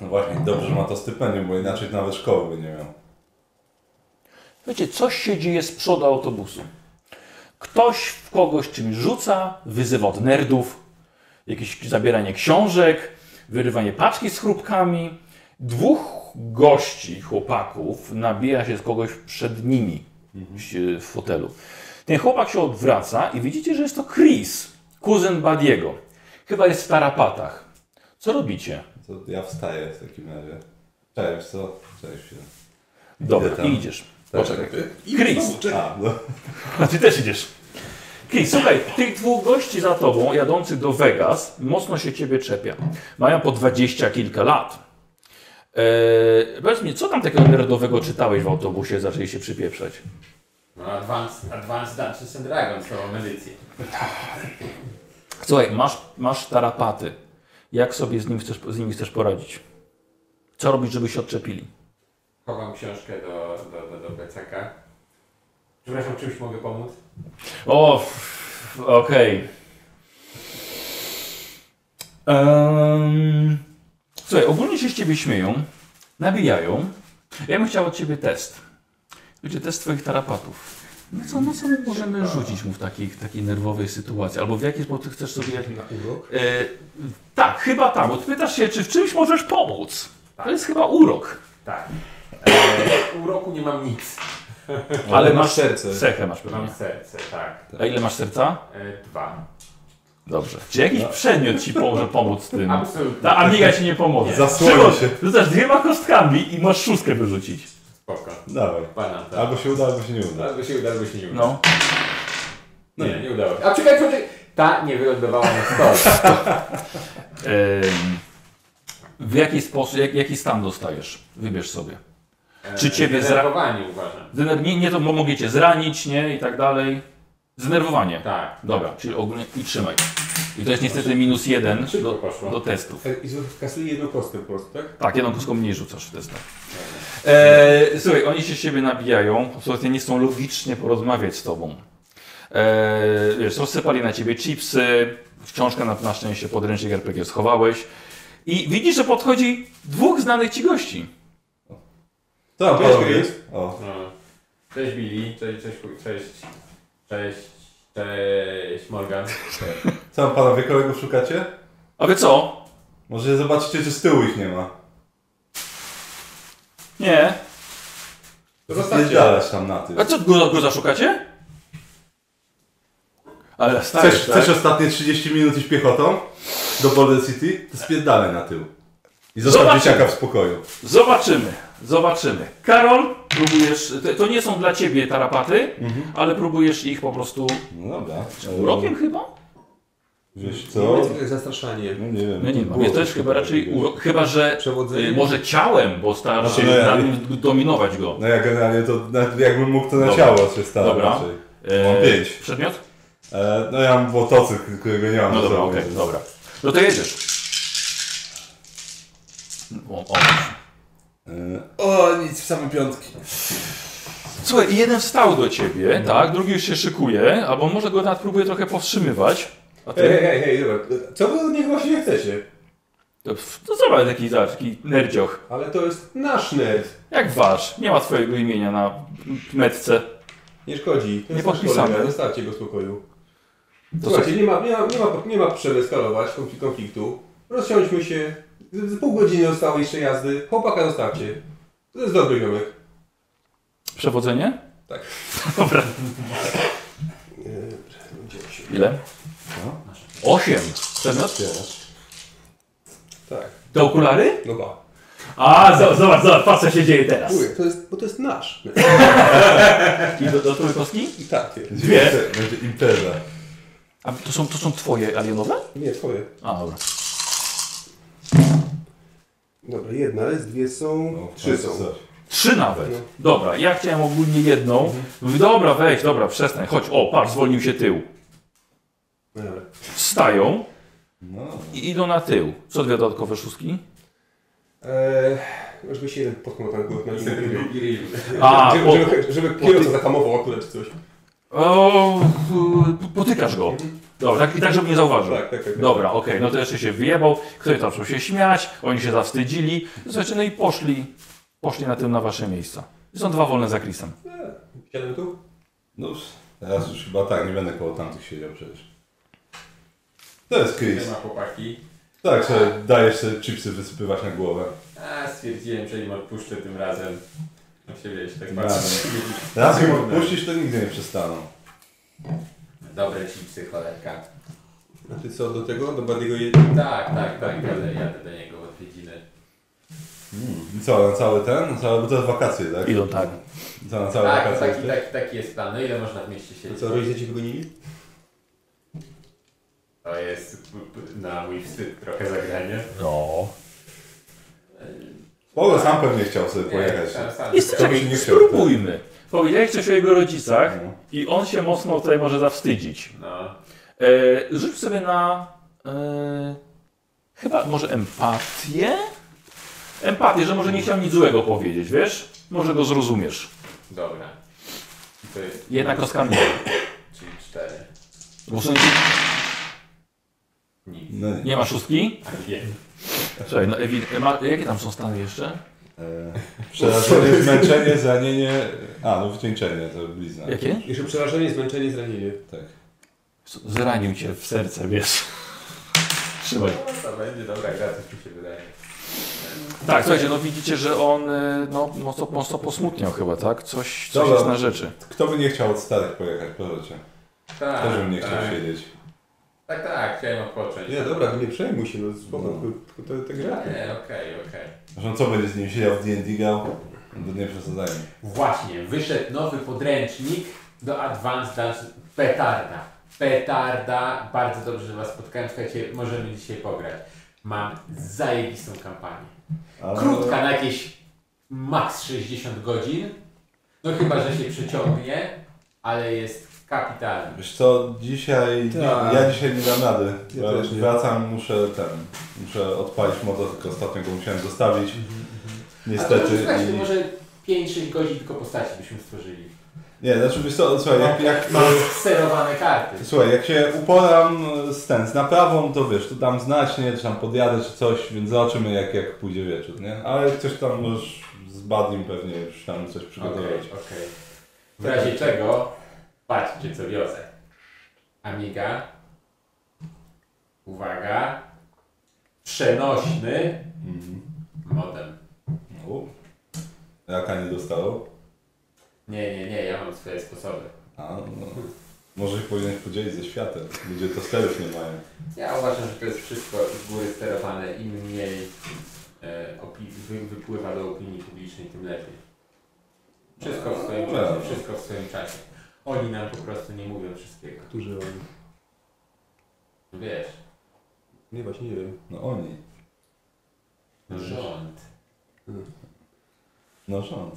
Speaker 2: No właśnie, dobrze, że ma to stypendium, bo inaczej nawet szkoły by nie miał.
Speaker 1: Wiecie, coś się dzieje z przodu autobusu. Ktoś w kogoś czymś rzuca, wyzywa od nerdów, jakieś zabieranie książek, wyrywanie paczki z chrupkami. Dwóch gości, chłopaków, nabija się z kogoś przed nimi
Speaker 2: Mhm.
Speaker 1: si- w fotelu. Ten chłopak się odwraca i widzicie, że jest to Chris, kuzyn Badiego. Chyba jest w tarapatach. Co robicie?
Speaker 2: To ja wstaję w takim razie. Cześć, co? Cześć. się.
Speaker 1: Dobra,
Speaker 2: Idę tam.
Speaker 1: i idziesz.
Speaker 2: Tak,
Speaker 1: Poczekaj.
Speaker 2: tak, tak.
Speaker 1: Chris.
Speaker 2: A, no.
Speaker 1: A ty też idziesz. Chris, słuchaj, tych dwóch gości za tobą, jadących do Vegas, mocno się ciebie czepia. Mają po dwadzieścia kilka lat. Eee, powiedz mi, co tam takiego nerdowego czytałeś w autobusie, zaczęli się przypieprzać?
Speaker 4: No, Advanced, Advanced Dungeons and Dragons, całą edycję.
Speaker 1: Słuchaj, masz, masz tarapaty. Jak sobie z, nim chcesz, z nimi chcesz poradzić? Co robić, żeby się odczepili?
Speaker 4: Chowam książkę do, do, do, do plecaka. Przepraszam, czymś mogę pomóc?
Speaker 1: O, f- okej. Em, Słuchaj, ogólnie się z ciebie śmieją, nabijają. Ja bym chciał od ciebie test. Wiecie, test twoich tarapatów. No co, no co my możemy rzucić mu w takiej, takiej nerwowej sytuacji? Albo w jaki sposób chcesz sobie... Na urok? tak, chyba tak, bo ty pytasz się, czy w czymś możesz pomóc. To jest chyba urok.
Speaker 4: Tak. E, uroku nie mam nic.
Speaker 1: Ale Ale masz masz serce. cechę masz pewnie.
Speaker 4: Mam serce, tak.
Speaker 1: A ile masz serca?
Speaker 4: E, dwa.
Speaker 1: Dobrze. Czy jakiś przedmiot ci może [laughs] pomóc w tym?
Speaker 4: Absolutnie.
Speaker 1: Ta Amiga ci nie pomoże.
Speaker 4: Nie.
Speaker 2: Zasłoni
Speaker 1: Szymon,
Speaker 2: się.
Speaker 1: Rzucasz dwiema kostkami i masz szóstkę wyrzucić.
Speaker 4: Spoko.
Speaker 2: Dawaj.
Speaker 4: Pana, tak.
Speaker 2: Albo się uda, albo się nie uda.
Speaker 4: Albo się uda, albo się nie uda.
Speaker 1: No.
Speaker 4: No nie, nie udało się. A czekaj, czekaj. Ta nie wylądowała na stole.
Speaker 1: Em, w jaki sposób, jak, jaki stan dostajesz? Wybierz sobie. Czy ciebie zra...
Speaker 4: Zdenerwowanie E, uważam.
Speaker 1: Zdener- Nie, nie, to bo mogę cię zranić, nie? I tak dalej. Zdenerwowanie.
Speaker 4: Tak.
Speaker 1: Dobra, czyli ogólnie i trzymaj. I to jest niestety minus jeden
Speaker 4: Szybko
Speaker 1: do,
Speaker 4: poszło.
Speaker 1: do testów.
Speaker 8: E, I kasuje jedną kostkę po prostu, tak?
Speaker 1: Tak, jedną kostką mniej rzucasz w testach. Eee, słuchaj, oni się z siebie nabijają, absolutnie nie chcą logicznie porozmawiać z tobą. Eee, wiesz, rozsypali na ciebie chipsy, książkę na, na szczęście podręcznik RPG schowałeś i widzisz, że podchodzi dwóch znanych ci gości.
Speaker 2: To
Speaker 8: Cześć,
Speaker 2: panowie.
Speaker 8: Chris.
Speaker 2: O,
Speaker 4: No. Cześć Billy, cześć, cześć, cześć, cześć, cześć, cześć Morgan.
Speaker 2: co tam panowie, kogo szukacie?
Speaker 1: A wy co?
Speaker 2: Może zobaczycie, czy z tyłu ich nie ma.
Speaker 1: Nie.
Speaker 2: Zostawcie. tam na tym.
Speaker 1: A co, go, go zaszukacie? Ale tak? stary,
Speaker 2: Chcesz, chcesz ostatnie 30 minut iść piechotą do Boulder City? To spierdalaj na tył. I zostaw
Speaker 1: Zobaczymy.
Speaker 2: dzieciaka w spokoju.
Speaker 1: Zobaczymy, zobaczymy. Karol, próbujesz, to, to nie są dla ciebie Mhm. tarapaty, ale próbujesz ich po prostu
Speaker 2: No dobra.
Speaker 1: urokiem chyba?
Speaker 2: Wiesz
Speaker 8: Nie
Speaker 2: co?
Speaker 8: ma czegoś jak zastraszanie.
Speaker 2: No nie wiem.
Speaker 1: No nie ma. Mnie też chyba raczej, u... chyba że
Speaker 8: Przewodzenie?
Speaker 1: y, może ciałem, bo stara się
Speaker 2: No ja-
Speaker 1: nad nim dominować go.
Speaker 2: No ja generalnie to na- jakbym mógł to na
Speaker 1: Dobra.
Speaker 2: ciało się stało
Speaker 1: Dobra.
Speaker 2: raczej.
Speaker 1: E,
Speaker 2: Mam pięć.
Speaker 1: Przedmiot?
Speaker 2: E, no ja mam motocykl, którego nie mam
Speaker 1: No
Speaker 2: ze
Speaker 1: dobra,
Speaker 2: sobą,
Speaker 1: okej,
Speaker 2: więc-
Speaker 1: dobra. No to jedziesz. O, o.
Speaker 2: E, O, nic, w same piątki.
Speaker 1: Słuchaj, jeden wstał do ciebie, tak, drugi już się szykuje, albo może go nawet próbuje trochę powstrzymywać. A
Speaker 8: Hej,
Speaker 1: ty?
Speaker 8: hej, hej, dobra. Co wy od niego właściwie chcecie?
Speaker 1: To, to zobacz, taki, zobacz, taki nerdzioch.
Speaker 8: Ale to jest nasz nerd.
Speaker 1: Jak wasz? Nie ma twojego imienia na metce.
Speaker 8: Nie szkodzi. To
Speaker 1: Nie
Speaker 8: jest nasz
Speaker 1: podpisane.
Speaker 8: kolega, Zostawcie go w spokoju.
Speaker 1: To
Speaker 8: Słuchajcie, nie ma, nie ma, nie ma, nie ma potrzeby skalować konflik- konfliktu. Rozsiądźmy się. Z, z pół godziny zostało jeszcze jazdy. Chłopaka zostawcie. To jest dobry ziomek.
Speaker 1: Przewodzenie?
Speaker 8: Tak.
Speaker 1: [laughs] Dobra. Ile? Osiem. Przedmiot?
Speaker 8: Tak.
Speaker 1: Te okulary?
Speaker 8: No ba.
Speaker 6: A, zo- zobacz, zobacz, patrz co się dzieje teraz.
Speaker 8: Mówię, to jest, bo to jest nasz.
Speaker 1: [laughs] I do, do trójkostki?
Speaker 8: I tak jest.
Speaker 1: Dwie.
Speaker 2: Będzie impreza.
Speaker 1: A to są, to są twoje alienowe?
Speaker 8: Nie, twoje.
Speaker 1: A, dobra.
Speaker 8: Dobra, jedna jest, dwie są,
Speaker 2: No,
Speaker 8: trzy są.
Speaker 2: coś.
Speaker 1: Trzy
Speaker 8: No.
Speaker 1: nawet. Dobra, ja chciałem ogólnie jedną.
Speaker 8: Mhm.
Speaker 1: Mówię, Dobra, weź, dobra, przestań, chodź. O, patrz, zwolnił się tył.
Speaker 8: No Dobra.
Speaker 1: Wstają
Speaker 2: No.
Speaker 1: i idą na tył. Co dwie dodatkowe szóstki?
Speaker 8: Eee, żeby się jeden potknął tam [laughs] głowę na inny ryj.
Speaker 1: A,
Speaker 8: żeby,
Speaker 1: po-
Speaker 8: żeby, żeby kierowca zahamował akurat czy coś.
Speaker 1: O, p- potykasz go. Dobra, tak, i tak, żeby nie zauważył.
Speaker 8: Tak, tak, tak.
Speaker 1: Dobra, okej, no to jeszcze się wyjebał, ktoś tam zaczął się śmiać, oni się zawstydzili, słuchajcie, no i poszli, poszli na tym na wasze miejsca. Są dwa wolne za Chrisem.
Speaker 8: Siadłem tu?
Speaker 2: No już, teraz już chyba tak, nie będę koło tamtych siedział przecież. To jest
Speaker 4: Nie
Speaker 2: Chris.
Speaker 4: ma chłopaki.
Speaker 2: Tak, że dajesz sobie chipsy wysypywać na głowę.
Speaker 4: A, stwierdziłem, że im odpuszczę tym razem. No się wiesz, tak
Speaker 2: No.
Speaker 4: bardzo.
Speaker 2: Teraz jak odpuścisz, to nigdy nie przestaną.
Speaker 4: Dobre chipsy, cholerka.
Speaker 8: A ty co, do tego? Do Badiego je...
Speaker 4: Tak, tak, tak, jadę, jadę do niego w odwiedziny.
Speaker 2: I co, na cały ten? Na cały, bo to jest wakacje, tak?
Speaker 1: Idą tak.
Speaker 2: Co, na całe
Speaker 4: Tak,
Speaker 2: wakacje?
Speaker 4: taki,
Speaker 2: jesteś?
Speaker 4: taki, taki jest plan. No ile można w mieście
Speaker 8: To
Speaker 4: siedzieć?
Speaker 8: co, rodzice ci wygonili?
Speaker 4: To jest p- p- na mój wstyd trochę zagranie.
Speaker 1: No.
Speaker 2: Spoko, sam pewnie chciał sobie
Speaker 4: Nie, tak.
Speaker 2: pojechać.
Speaker 4: sam- sam-
Speaker 1: Jest
Speaker 2: To byś nie
Speaker 1: czekaj,
Speaker 2: chciał,
Speaker 1: tak, spróbujmy. Powiedziałeś coś o jego rodzicach
Speaker 2: No.
Speaker 1: i on się mocno tutaj może zawstydzić.
Speaker 4: No.
Speaker 1: E, rzuć sobie na, e, chyba może empatię? Empatię, że może nie chciał nic złego powiedzieć, wiesz? Może go zrozumiesz.
Speaker 4: Dobra. I to jest.
Speaker 1: Jedna kostka mniej.
Speaker 4: Czyli cztery.
Speaker 1: Bo są...
Speaker 4: Nic.
Speaker 2: No nie.
Speaker 1: Nie ma szóstki?
Speaker 4: A nie.
Speaker 1: Słuchaj, no, ewi- ma, jakie tam są stany jeszcze?
Speaker 2: [laughs] E,
Speaker 8: [laughs]
Speaker 2: przerażenie, zmęczenie, zranienie... A, no wycieńczenie, to blizna.
Speaker 1: Jakie?
Speaker 8: Jeszcze przerażenie, zmęczenie, zranienie.
Speaker 2: Tak.
Speaker 1: Z- Zranił cię w serce, wiesz. Trzymaj.
Speaker 4: No, to będzie dobra gra, coś mi się wydaje.
Speaker 1: Tak, słuchajcie, no widzicie, że on y, no, mocno, mocno posmutniał chyba, tak? Coś, coś
Speaker 2: Dobra.
Speaker 1: jest na rzeczy.
Speaker 2: Kto by nie chciał od starych pojechać, proszę cię.
Speaker 4: Tak.
Speaker 2: Też bym nie chciał
Speaker 4: tak.
Speaker 2: siedzieć.
Speaker 4: Tak, tak, chciałem odpocząć.
Speaker 8: Nie, dobra, nie przejmuj się, no spoko,
Speaker 2: No.
Speaker 8: tylko te, te gra.
Speaker 4: Nie, okej, okej.
Speaker 2: Zresztą co będzie z nim siedział w D&D grał? No to nie przesadzajmy.
Speaker 4: Właśnie, wyszedł nowy podręcznik do Advanced Dungeons. Petarda. Petarda. Bardzo dobrze, że Was spotkałem. Słuchajcie, możemy dzisiaj pograć. Mam zajebistą kampanię.
Speaker 2: Ale-
Speaker 4: Krótka, na jakieś max 60 godzin. No chyba, że się przeciągnie, ale jest kapitalny.
Speaker 2: Wiesz co, dzisiaj,
Speaker 8: Tak.
Speaker 2: ja dzisiaj nie dam rady.
Speaker 8: Ja
Speaker 2: Ja
Speaker 8: też nie.
Speaker 2: Wracam, muszę ten, muszę odpalić motocykl, ostatnio go musiałem zostawić.
Speaker 8: Mhm,
Speaker 4: A to,
Speaker 2: Niestety.
Speaker 4: słuchajcie,
Speaker 2: I...
Speaker 4: może 5-6 godzin tylko postaci byśmy stworzyli.
Speaker 2: Nie, znaczy wiesz co, słuchaj, jak, jak,
Speaker 8: No.
Speaker 4: Mam sterowane karty.
Speaker 2: słuchaj, jak się uporam e, z ten, z naprawą, to wiesz, to dam znać, nie, czy tam podjadę, czy coś, więc zobaczymy jak, jak pójdzie wieczór, nie? Ale coś tam już z Badim pewnie już tam coś
Speaker 4: Okej,
Speaker 2: przygotować.
Speaker 4: okej. W razie czego, patrzcie co wiozę. Amiga. Uwaga. Przenośny
Speaker 2: Mhm.
Speaker 4: modem.
Speaker 2: U. Jaka nie dostało?
Speaker 4: Nie, nie, nie, ja mam swoje sposoby.
Speaker 2: A, no. Może się powinieneś podzielić ze światem. Ludzie to sterów nie mają.
Speaker 4: Ja uważam, że to jest wszystko z góry sterowane. Im mniej e, opi- wy- wypływa do opinii publicznej, tym lepiej. Wszystko w swoim czasie, wszystko w swoim czasie. Oni nam po prostu nie mówią wszystkiego.
Speaker 8: Którzy oni?
Speaker 4: Wiesz.
Speaker 8: Nie, właśnie nie wiem.
Speaker 2: No oni.
Speaker 4: Rząd.
Speaker 2: No rząd.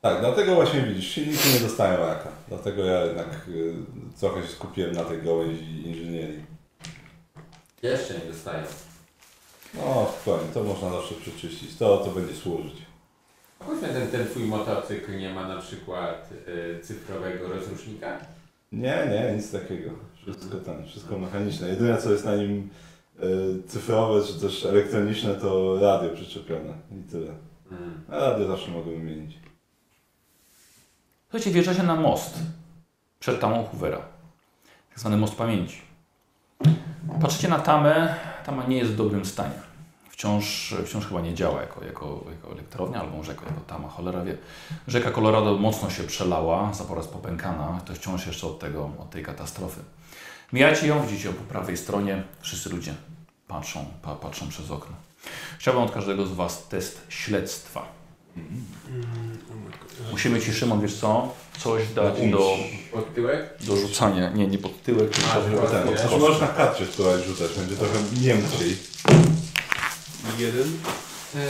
Speaker 2: Tak, dlatego właśnie widzisz, silniki nie dostają raka. Dlatego ja jednak y, trochę się skupiłem na tej gałęzi inżynierii.
Speaker 4: Jeszcze nie dostają.
Speaker 2: No, spokojnie, to można zawsze przeczyścić. To, to będzie służyć.
Speaker 4: Pójdźmy ten, ten twój motocykl nie ma na przykład y, cyfrowego rozrusznika?
Speaker 2: Nie, nie, nic takiego. Wszystko tam, wszystko mechaniczne. Jedyne co jest na nim y, cyfrowe czy też elektroniczne to radio przyczepione i tyle.
Speaker 4: Mm.
Speaker 2: A radio zawsze mogę wymienić.
Speaker 1: Słuchajcie, wjeżdżacie na most przed tamą Hoovera. Tak zwany most pamięci. Patrzycie na tamę. Tama nie jest w dobrym stanie. Wciąż, wciąż chyba nie działa jako, jako, jako elektrownia, albo może jako, jako tama, cholera wie. Rzeka Colorado mocno się przelała, zapora jest popękana. To wciąż jeszcze od, tego, od tej katastrofy. Mijacie ją, widzicie ją po prawej stronie. Wszyscy ludzie patrzą, pa, patrzą przez okno. Chciałbym od każdego z Was test śledztwa. Musimy ci, Szymon, wiesz co? Coś dać do,
Speaker 4: Pod tyłek?
Speaker 1: do rzucania. Nie, nie pod tyłek, tylko
Speaker 4: A,
Speaker 1: pod,
Speaker 4: że
Speaker 1: ten,
Speaker 4: pod
Speaker 1: pod
Speaker 4: tyłek.
Speaker 1: kostek.
Speaker 2: Można katrze spróbować rzucać, będzie trochę miękciej.
Speaker 8: Jeden.
Speaker 4: Eee,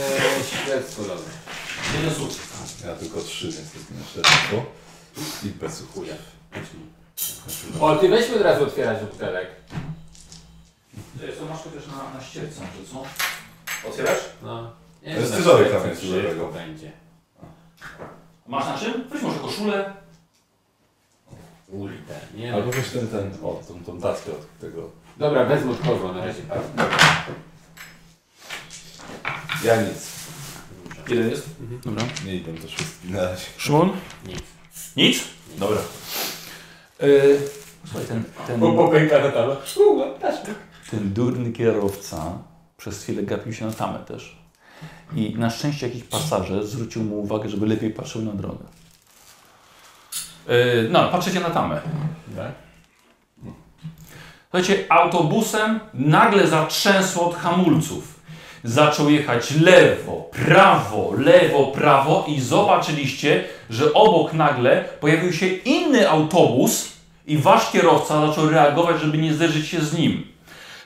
Speaker 4: śledztwo dobre.
Speaker 2: Jeden sukces. Ja tylko trzy niestety na śledztwo. I bez chuja.
Speaker 4: O, ty weźmy od razu otwierać butelek.
Speaker 1: To masz chociaż na, na ścierce, że co? Otwierasz?
Speaker 4: No. Nie
Speaker 2: To jest
Speaker 4: wiem,
Speaker 2: scyzoryk
Speaker 4: na
Speaker 2: tam
Speaker 4: co
Speaker 2: jest
Speaker 4: to
Speaker 2: scyzorego.
Speaker 4: będzie.
Speaker 1: Masz na czym? Weź może koszulę.
Speaker 4: Ulita. Nie
Speaker 2: Albo
Speaker 4: no.
Speaker 2: weź ten, ten, o, tą, tą taskę od tego.
Speaker 4: Dobra, wezmę od kozła na razie. patrz.
Speaker 2: Ja nic.
Speaker 1: Jeden jest. Dobra.
Speaker 2: Nie idą to wszystkie na razie.
Speaker 1: Szymon?
Speaker 4: Nic.
Speaker 1: Nic? Dobra. Yy, słuchaj, ten, ten,
Speaker 4: popęka na tamę.
Speaker 2: no,
Speaker 1: ten durny kierowca przez chwilę gapił się na tamę też. I na szczęście jakiś pasażer zwrócił mu uwagę, żeby lepiej patrzył na drogę. Yy, no, patrzycie na tamę.
Speaker 4: Tak.
Speaker 1: Słuchajcie, autobusem nagle zatrzęsło od hamulców. Zaczął jechać lewo, prawo, lewo, prawo i zobaczyliście, że obok nagle pojawił się inny autobus i wasz kierowca zaczął reagować, żeby nie zderzyć się z nim.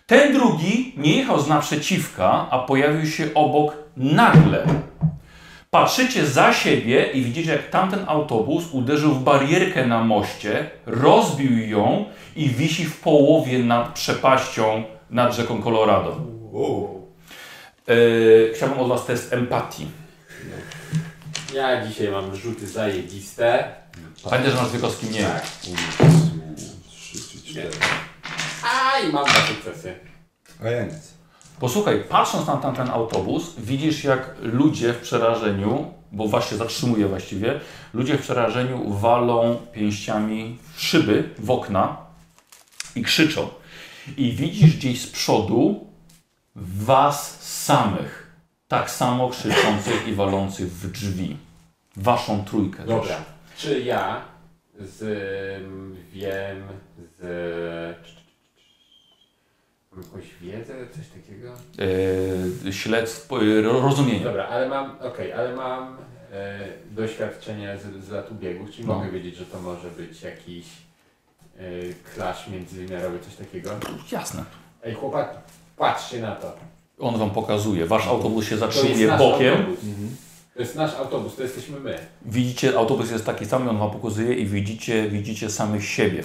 Speaker 1: Ten drugi nie jechał z naprzeciwka, a pojawił się obok nagle. Patrzycie za siebie i widzicie, jak tamten autobus uderzył w barierkę na moście, rozbił ją i wisi w połowie nad przepaścią nad rzeką Colorado.
Speaker 2: Wow.
Speaker 1: Yy, chciałbym od Was test empatii.
Speaker 4: Ja dzisiaj mam rzuty zajebiste.
Speaker 1: Pamiętaj, że masz dwie kostki mniej.
Speaker 4: Tak.
Speaker 2: Trzy czy cztery.
Speaker 4: A i mam dwa sukcesy.
Speaker 2: A ja nic.
Speaker 1: Posłuchaj, patrząc na tamten autobus, widzisz jak ludzie w przerażeniu, bo właśnie zatrzymuje właściwie, ludzie w przerażeniu walą pięściami w szyby, w okna i krzyczą. I widzisz gdzieś z przodu was samych, tak samo krzyczących i walących w drzwi. Waszą trójkę.
Speaker 4: Dobra. Czy ja z m, wiem z mam jakąś wiedzę, coś takiego?
Speaker 1: Yy, śledztwo, yy, rozumienie.
Speaker 4: Dobra, ale mam, okej, ale mam e, doświadczenie z, z lat ubiegłych, czyli
Speaker 1: No.
Speaker 4: mogę wiedzieć, że to może być jakiś e, clash międzywymiarowy, coś takiego.
Speaker 1: Jasne.
Speaker 4: Ej chłopaki, patrzcie na to.
Speaker 1: On wam pokazuje. Wasz autobus się
Speaker 4: To jest
Speaker 1: zatrzymuje
Speaker 4: nasz
Speaker 1: Znaczy bokiem.
Speaker 4: autobus. To jest nasz autobus, to jesteśmy my.
Speaker 1: Widzicie, autobus jest taki sam, i on wam pokazuje i widzicie, widzicie samych siebie.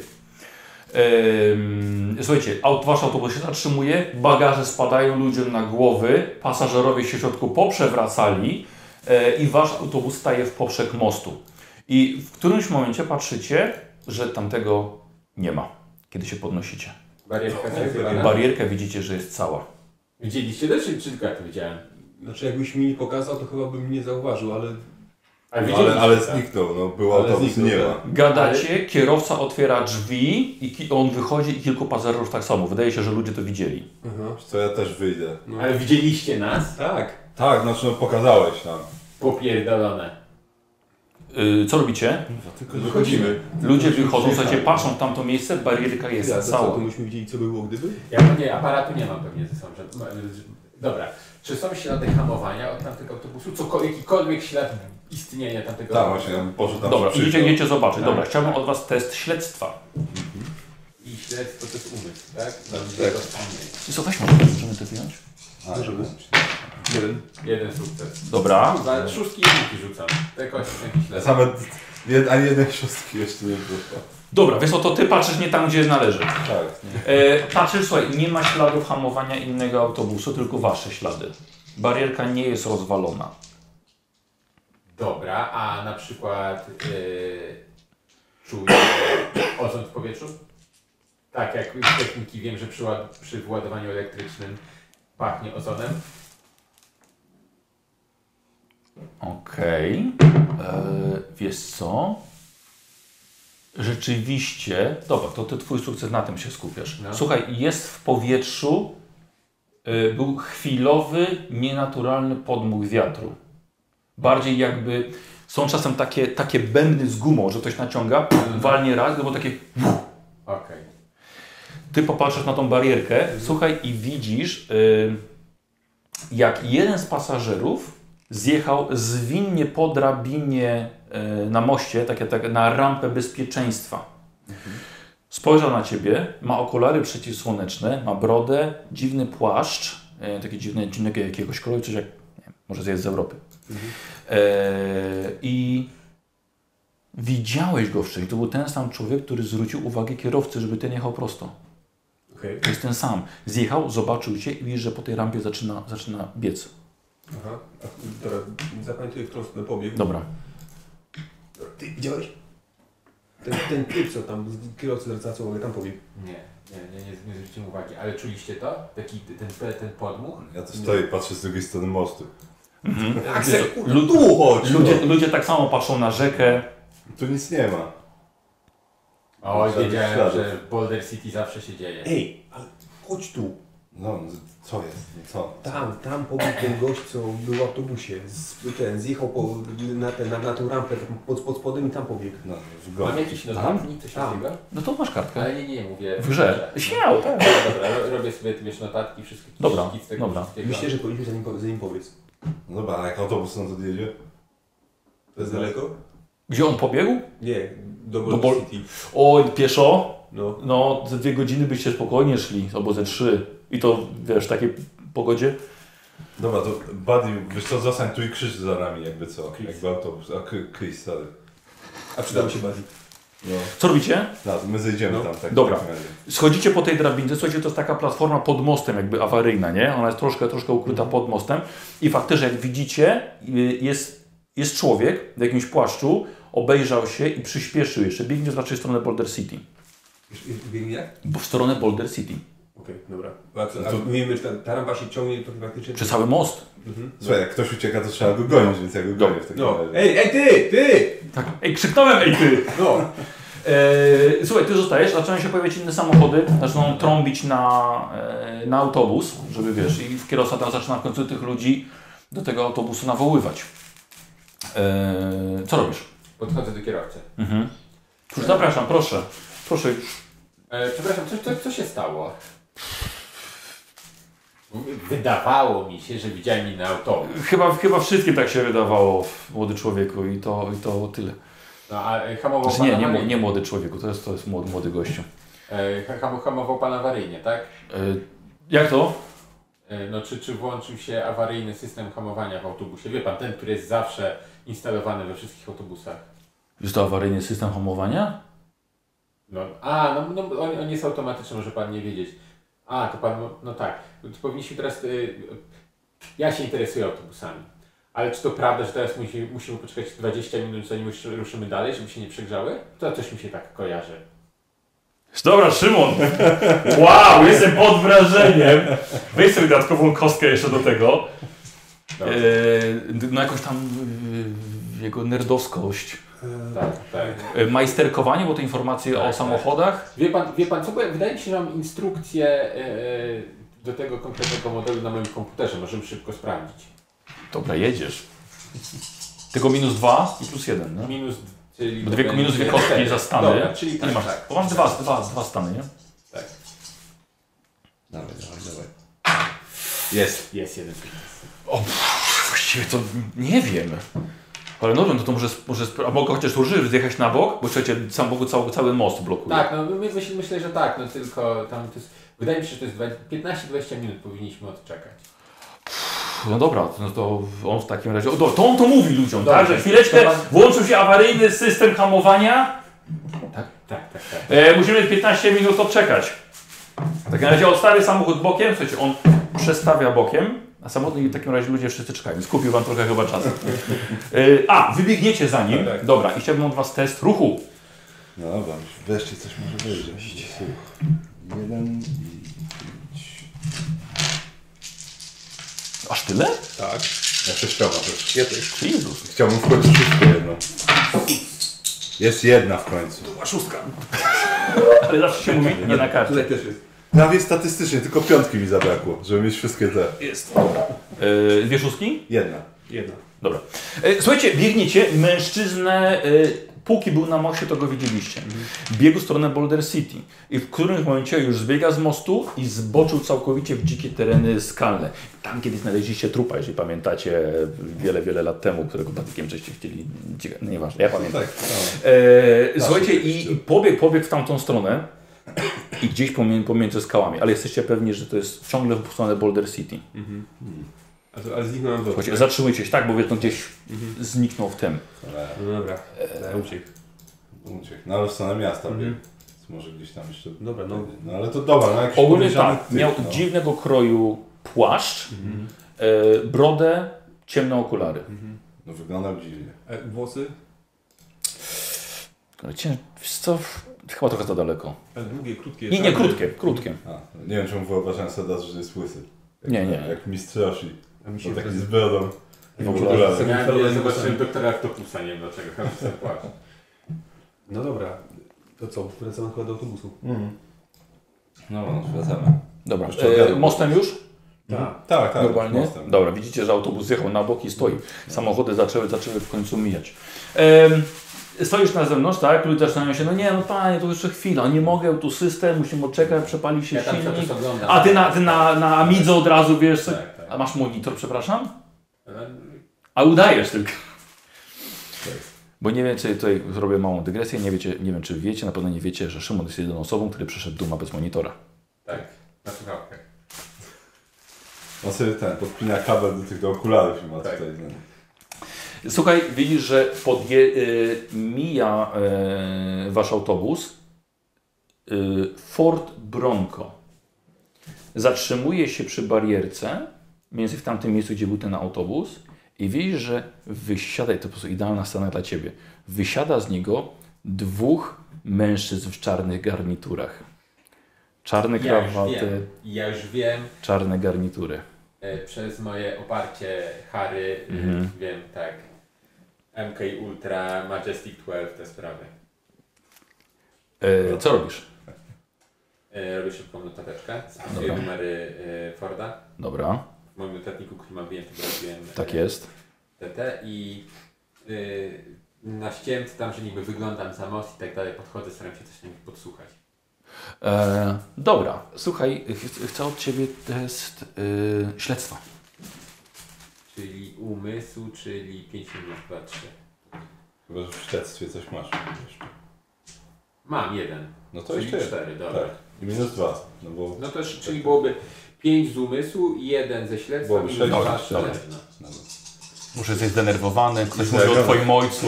Speaker 1: Ehm, słuchajcie, aut, wasz autobus się zatrzymuje, bagaże spadają ludziom na głowy, pasażerowie się w środku poprzewracali e, i wasz autobus staje w poprzek mostu. I w którymś momencie patrzycie, że tamtego nie ma, kiedy się podnosicie.
Speaker 4: Barierka
Speaker 1: I
Speaker 4: zerwana.
Speaker 1: barierkę widzicie, że jest cała.
Speaker 4: Widzieliście też, czy tylko ja to widziałem?
Speaker 8: Znaczy jakbyś mi nie pokazał, to chyba bym nie zauważył, ale
Speaker 4: Ale
Speaker 2: Ale,
Speaker 4: widzieliście,
Speaker 2: No, ale
Speaker 4: tak?
Speaker 2: zniknął, no był
Speaker 8: Ale
Speaker 2: autobus,
Speaker 8: zniknął,
Speaker 2: nie
Speaker 8: tak.
Speaker 2: ma.
Speaker 1: Gadacie, kierowca otwiera drzwi i ki- on wychodzi i kilku pasażerów tak samo. Wydaje się, że ludzie to widzieli.
Speaker 2: Wiesz Co ja też wyjdę.
Speaker 4: Ale widzieliście nas?
Speaker 8: tak.
Speaker 2: Tak, znaczy no pokazałeś nam.
Speaker 4: Popierdolone.
Speaker 1: Y, co robicie?
Speaker 8: No,
Speaker 2: Tylko wychodzimy.
Speaker 1: Ludzie wychodzą, słuchajcie, patrzą w tamto miejsce, barierka jest
Speaker 8: Ja, to co,
Speaker 1: cała.
Speaker 8: to myśmy widzieli, co by było gdyby?
Speaker 4: Ja nie, aparatu nie mam pewnie ze sobą. Że, dobra. Czy są ślady hamowania od tamtego autobusu? Cokol, jakikolwiek ślad istnienia tamtego
Speaker 2: Tak, właśnie, ja bym poszedł tam
Speaker 8: no.
Speaker 1: Dobra,
Speaker 2: szybciej.
Speaker 8: Tak.
Speaker 1: idziecie, idziecie zobaczyć.
Speaker 4: Tak.
Speaker 1: Dobra, chciałbym od Was test śledztwa.
Speaker 4: I śledztwo to jest umysł, tak?
Speaker 2: Tak.
Speaker 1: I co, weźmy, możemy to wyjąć?
Speaker 2: Możemy.
Speaker 4: Jeden. Jeden sukces.
Speaker 1: Dobra.
Speaker 4: Za szóstki i jedynki rzucam. Te kości, jakieś śledztwo.
Speaker 2: Same, jed, ani jednej szóstki jeszcze nie było.
Speaker 1: Dobra, wiesz co, to ty patrzysz nie tam, gdzie należy.
Speaker 2: Tak.
Speaker 1: E, patrzysz, słuchaj, nie ma śladów hamowania innego autobusu, tylko wasze ślady. Barierka nie jest rozwalona.
Speaker 4: Dobra, a na przykład yy, czuję [coughs] ozon w powietrzu? Tak, jak z techniki wiem, że przy, ład- przy wyładowaniu elektrycznym pachnie ozonem.
Speaker 1: Okej. E, Wiesz co? Rzeczywiście. Dobra, to ty twój sukces na tym się skupiasz.
Speaker 4: No.
Speaker 1: Słuchaj, jest w powietrzu. e, Był chwilowy, nienaturalny podmuch wiatru. Bardziej jakby. Są czasem takie, takie bębny z gumą, że ktoś naciąga, walnie raz, no bo takie
Speaker 4: Okej.
Speaker 1: ty popatrzysz na tą barierkę, słuchaj, i widzisz, y, jak jeden z pasażerów zjechał zwinnie po drabinie y, na moście, takie, tak, na rampę bezpieczeństwa. Spojrzał na ciebie, ma okulary przeciwsłoneczne, ma brodę, dziwny płaszcz, y, takie dziwne, dziwnego jakiegoś koloru, coś jak, nie wiem, może zjeść z Europy. E, I widziałeś go wcześniej. To był ten sam człowiek, który zwrócił uwagę kierowcy, żeby ten jechał prosto.
Speaker 9: Okej.
Speaker 1: To jest ten sam. Zjechał, zobaczył cię i widzisz, że po tej rampie zaczyna, zaczyna biec.
Speaker 8: Aha, a, dobra, zapamiętuję, w którą stronę pobiegł.
Speaker 1: Dobra.
Speaker 8: Ty widziałeś? Ten, ten typ, co tam, z- kierowcy zwracają uwagę, tam pobiegł.
Speaker 4: Nie, nie, nie, nie, nie zwróciłem uwagi. Ale czuliście to? Taki, ten, ten, ten podmuch?
Speaker 2: Ja tu stoję i patrzę z drugiej strony mostu.
Speaker 8: Aksel, kurde,
Speaker 1: Lud-
Speaker 8: Tak, tu chodź! no.
Speaker 1: Ludzie, ludzie tak samo patrzą na rzekę.
Speaker 2: Tu nic nie ma.
Speaker 4: O,
Speaker 2: Śladów,
Speaker 4: wiedziałem,
Speaker 2: śladów.
Speaker 4: że w Boulder City zawsze się dzieje.
Speaker 8: Ej, ale chodź tu!
Speaker 2: No, co jest? No, Co?
Speaker 8: Tak. Tam, tam pobiegł ten gość, co był w autobusie. Z, ten, zjechał po, na, ten, na, na tą rampę tam pod, pod spodem i tam pobiegł.
Speaker 2: No, w go.
Speaker 4: Mam jakiś notatnik, coś
Speaker 8: Tam.
Speaker 4: takiego?
Speaker 1: No to masz kartkę.
Speaker 4: Ale nie, nie, mówię.
Speaker 1: W grze. Śmiało, tak.
Speaker 4: Dobra, ro- robię sobie, ty wiesz, notatki, wszystkie kiszki
Speaker 1: Dobra,
Speaker 4: z tego
Speaker 1: dobra.
Speaker 4: wszystkiego.
Speaker 8: Myślę, że powinniśmy za nim, po- za nim powiedz.
Speaker 2: No dobra, ale jak autobus stąd odjedzie?
Speaker 8: To jest daleko?
Speaker 1: Gdzie on pobiegł?
Speaker 8: Nie, do
Speaker 1: Do
Speaker 8: Gold
Speaker 1: Bol-
Speaker 8: City.
Speaker 1: O, pieszo.
Speaker 8: No.
Speaker 1: No, ze dwie godziny byście spokojnie szli, albo ze trzy. I to, wiesz, w takiej pogodzie.
Speaker 2: Dobra, to Buddy, wiesz co, zostań tu i krzycz za nami, jakby co. Jakby autobus. A K- Chris, sorry.
Speaker 8: A przydał się bardziej.
Speaker 2: No,
Speaker 1: Co robicie?
Speaker 2: no to my zejdziemy
Speaker 8: No.
Speaker 2: tam. Tak,
Speaker 1: Dobra.
Speaker 2: w takim razie.
Speaker 1: Schodzicie po tej drabince, słuchajcie, to jest taka platforma pod mostem, jakby awaryjna, nie? Ona jest troszkę, troszkę ukryta
Speaker 8: Mhm.
Speaker 1: pod mostem. I faktycznie, jak widzicie, y, jest, jest człowiek w jakimś płaszczu, obejrzał się i przyspieszył jeszcze. Biegnie z waszej strony Boulder City.
Speaker 8: Biegnie jak?
Speaker 1: Bo w stronę Boulder City.
Speaker 8: Okej, dobra. A,
Speaker 2: No
Speaker 8: co, a mówimy, że ta, ta rampa się ciągnie to praktycznie...
Speaker 1: Przez cały most.
Speaker 8: Mhm.
Speaker 2: Słuchaj, jak ktoś ucieka, to trzeba go gonić, więc ja go gonię w takim
Speaker 8: No,
Speaker 2: razie.
Speaker 8: ej, ej ty, ty!
Speaker 1: Tak. Ej, krzyknąłem, ej ty!
Speaker 8: No,
Speaker 1: Eee, słuchaj, ty zostajesz, zaczynają się pojawiać inne samochody, zaczynają trąbić na, e, na autobus, żeby wiesz, i kierowca tam zaczyna w końcu tych ludzi do tego autobusu nawoływać. Eee, co robisz?
Speaker 4: Podchodzę do kierowcy.
Speaker 1: Mhm. Cóż, zapraszam, proszę. Proszę już.
Speaker 4: E, przepraszam, co, co, co się stało? Wydawało mi się, że widziałem inny autobus.
Speaker 1: Chyba, chyba wszystkim tak się wydawało, młody człowieku, i to, i to tyle.
Speaker 4: No a e, hamował
Speaker 1: Znaczy, nie,
Speaker 4: pan
Speaker 1: nie, mł-
Speaker 4: awaryjnie.
Speaker 1: nie młody człowieku, to jest, to jest młody, młody gościu.
Speaker 4: E, ha- hamu- hamował pan awaryjnie, tak?
Speaker 1: Eee, jak to?
Speaker 4: E, no czy, czy włączył się awaryjny system hamowania w autobusie? Wie pan, ten, który jest zawsze instalowany we wszystkich autobusach.
Speaker 1: Jest to awaryjny system hamowania?
Speaker 4: No, a, no, no on, on jest automatyczny, może pan nie wiedzieć. A, to pan, no tak. To powinniśmy teraz, y, ja się interesuję autobusami. Ale czy to prawda, że teraz musi, musimy poczekać 20 minut, zanim już ruszymy dalej, żeby się nie przegrzały? To coś mi się tak kojarzy.
Speaker 1: Dobra, Szymon! Wow, jestem pod wrażeniem! Weź sobie dodatkową kostkę jeszcze do tego. E,
Speaker 4: Dobra.
Speaker 1: no jakąś tam e, jego nerdowskość.
Speaker 4: Tak, tak.
Speaker 1: E, majsterkowanie, bo to informacje o samochodach.
Speaker 4: Wie pan, wie pan co, bo ja- wydaje mi się, że mam instrukcję y, y, do tego konkretnego modelu na moim komputerze. Możemy szybko sprawdzić.
Speaker 1: Dobra, jedziesz. Tylko minus dwa i plus jeden, nie?
Speaker 4: Minus, d- czyli...
Speaker 1: Bo
Speaker 4: to
Speaker 1: dwie,
Speaker 4: będzie
Speaker 1: minus dwie kostki
Speaker 4: cztery.
Speaker 1: za stany.
Speaker 4: Dobra, czyli
Speaker 1: Ile
Speaker 4: tak,
Speaker 1: masz?
Speaker 4: tak.
Speaker 1: Bo masz dwa, dwa, dwa stany, nie?
Speaker 2: Dawaj, dawaj, dawaj. Jest.
Speaker 4: Jest jeden sukces.
Speaker 1: Właściwie to nie wiem. Ale no wiem, to, to może, sp- może sp- a mogę chociaż użyć, zjechać na bok, bo słuchajcie, sam boku cały, cały most blokuje.
Speaker 4: Tak, no my myśl, myślę, że tak, no tylko tam to jest, wydaje mi się, że to jest dwa- 15-20 minut powinniśmy odczekać.
Speaker 1: No dobra, no to on w takim razie. O, do- to on to mówi ludziom,
Speaker 4: Dobrze.
Speaker 1: tak? Że chwileczkę
Speaker 4: To pan-
Speaker 1: włączył się awaryjny system hamowania.
Speaker 4: Tak, tak, tak.
Speaker 1: E, musimy 15 minut odczekać. W takim razie odstawię samochód bokiem, słuchajcie, on przestawia bokiem, a samochód i w takim razie ludzie wszyscy czekają. Skupił wam trochę chyba czasu. E, a, wybiegniecie za nim. Dobra, i chciałbym od was test ruchu.
Speaker 2: No dobra, wreszcie coś może wyjdzie. Słuch. Jeden i pięć.
Speaker 1: Aż tyle?
Speaker 2: Tak. Ja sześcioma też. Ja też.
Speaker 1: Jezus.
Speaker 2: Chciałbym w końcu szóstkę jedną. Jest jedna w końcu.
Speaker 1: Była szóstka. Ale zawsze się mówi nie na karcie.
Speaker 2: też jest. Prawie statystycznie, tylko piątki mi zabrakło, żeby mieć wszystkie te.
Speaker 1: Jest. E, dwie szóstki?
Speaker 2: Jedna.
Speaker 1: Jedna. Dobra. E, słuchajcie, biegniecie. Mężczyznę, e, póki był na moście, to go widzieliście. Biegł w stronę Boulder City i w którymś momencie już zbiega z mostu i zboczył całkowicie w dzikie tereny skalne. Tam kiedyś znaleźliście trupa, jeżeli pamiętacie, e, wiele, wiele lat temu, którego patykiem żeście chcieli... dzika- No nieważne, ja pamiętam.
Speaker 2: Tak,
Speaker 1: E, słuchajcie, i, i pobiegł, pobiegł w tamtą stronę i gdzieś pomiędzy, pomiędzy skałami, ale jesteście pewni, że to jest ciągle w stronę Boulder City.
Speaker 8: Mhm. A, to, a zniknął nam
Speaker 1: Słuchajcie, zatrzymujcie się, tak, bo wiedzą gdzieś
Speaker 8: Mhm.
Speaker 1: zniknął w tym.
Speaker 8: No dobra, uciekł.
Speaker 2: Uciekł. No ale w stronę miasta
Speaker 1: Mhm.
Speaker 2: biegł. Więc Może gdzieś tam jeszcze.
Speaker 8: Dobra, no.
Speaker 2: No ale to dobra, no jakiś
Speaker 1: Ogólnie
Speaker 2: podejrzany
Speaker 1: tak,
Speaker 2: typ,
Speaker 1: miał
Speaker 2: no.
Speaker 1: dziwnego kroju płaszcz,
Speaker 8: Mhm.
Speaker 1: e, brodę, ciemne okulary.
Speaker 2: No wyglądał dziwnie.
Speaker 8: E, włosy?
Speaker 1: Ale cię- Wiesz co, chyba trochę za daleko.
Speaker 8: Ale długie, krótkie.
Speaker 1: Nie, nie, krótkie, krótkie.
Speaker 2: A, nie wiem czemu wyobrażałem sobie, teraz, że jest łysy. Jak,
Speaker 1: Nie, nie.
Speaker 2: Jak mistrz Roshi.
Speaker 8: A mi się
Speaker 2: Bo taki
Speaker 8: wyobraża-
Speaker 2: z brodą.
Speaker 1: W
Speaker 2: ogóle.
Speaker 1: okularach.
Speaker 8: Sobie
Speaker 4: Ja, ja
Speaker 8: wyobrażam
Speaker 4: zobaczyłem
Speaker 8: sobie.
Speaker 4: doktora Octopusa, nie wiem dlaczego, chyba się zapłacę.
Speaker 8: No dobra, to co, wracamy chyba do autobusu.
Speaker 2: No, no, wracamy.
Speaker 1: Dobra,
Speaker 2: Jeszcze
Speaker 1: e,
Speaker 2: wiadomo.
Speaker 1: mostem już?
Speaker 8: Tak.
Speaker 2: Tak, tak.
Speaker 1: Globalnie?
Speaker 2: mostem.
Speaker 1: Dobra, widzicie, że autobus zjechał na bok i stoi. Samochody zaczęły, zaczęły w końcu mijać. Em, Stoisz na zewnątrz, tak? Ludzie zaczynają się, no nie, no panie, to jeszcze chwila, nie mogę, tu system, musimy odczekać, przepali się
Speaker 4: Ja tam cały
Speaker 1: silnik.
Speaker 4: czas oglądam.
Speaker 1: A ty na, ty na, na Amidze od razu wiesz, co...
Speaker 4: Tak, tak.
Speaker 1: a masz monitor, przepraszam?
Speaker 4: No,
Speaker 1: A udajesz tylko. Bo nie wiem, czy tutaj zrobię małą dygresję, nie, wiecie, nie wiem, czy wiecie, na pewno nie wiecie, że Szymon jest jedyną osobą, który przeszedł Duma bez monitora.
Speaker 4: Tak, na słuchawkę.
Speaker 2: On sobie ten, podpina kabel do tych do okularów i ma
Speaker 4: Tak.
Speaker 2: tutaj. No.
Speaker 1: Słuchaj, widzisz, że podje, y, mija y, wasz autobus y, Ford Bronco. Zatrzymuje się przy barierce, mniej więcej w tamtym miejscu, gdzie był ten autobus i widzisz, że wysiada, i to po prostu idealna scena dla ciebie, wysiada z niego dwóch mężczyzn w czarnych garniturach. Czarne
Speaker 4: Ja już
Speaker 1: krawaty,
Speaker 4: wiem, ja już wiem,
Speaker 1: czarne garnitury.
Speaker 4: e, przez moje oparcie Harry, e,
Speaker 1: Mhm.
Speaker 4: wiem, tak, MK Ultra, Majestic 12, te sprawy. No
Speaker 1: E, co robisz?
Speaker 4: E, Robię szybką notateczkę, spisuję
Speaker 1: Dobra.
Speaker 4: numery e, Forda.
Speaker 1: Dobra,
Speaker 4: W moim notatniku, który mam wyjęty, zrobiłem e,
Speaker 1: tak jest.
Speaker 4: TT i y, na ścięty tam, że niby wyglądam za most i tak dalej, podchodzę, staram się coś na nich podsłuchać.
Speaker 1: E, dobra, słuchaj, ch- chcę od ciebie test e, śledztwa.
Speaker 4: Czyli umysł, czyli 5 minut, 2, 3.
Speaker 2: Chyba, że w śledztwie coś masz jeszcze.
Speaker 4: Mam jeden.
Speaker 2: No to
Speaker 4: czyli
Speaker 2: jeszcze jeden.
Speaker 4: 4, dobra.
Speaker 2: Tak. I minus dwa. No bo...
Speaker 4: No to sz- czyli byłoby 5 z umysłu i 1 ze śledztwa,
Speaker 2: Byłoby
Speaker 4: minus
Speaker 2: sześć,
Speaker 4: 2,
Speaker 2: dobra,
Speaker 4: 4.
Speaker 2: dobra.
Speaker 4: No.
Speaker 2: no bo-
Speaker 1: Muszę jesteś zdenerwowany, ktoś mówi o
Speaker 2: Zdenerwowany.
Speaker 1: twoim ojcu.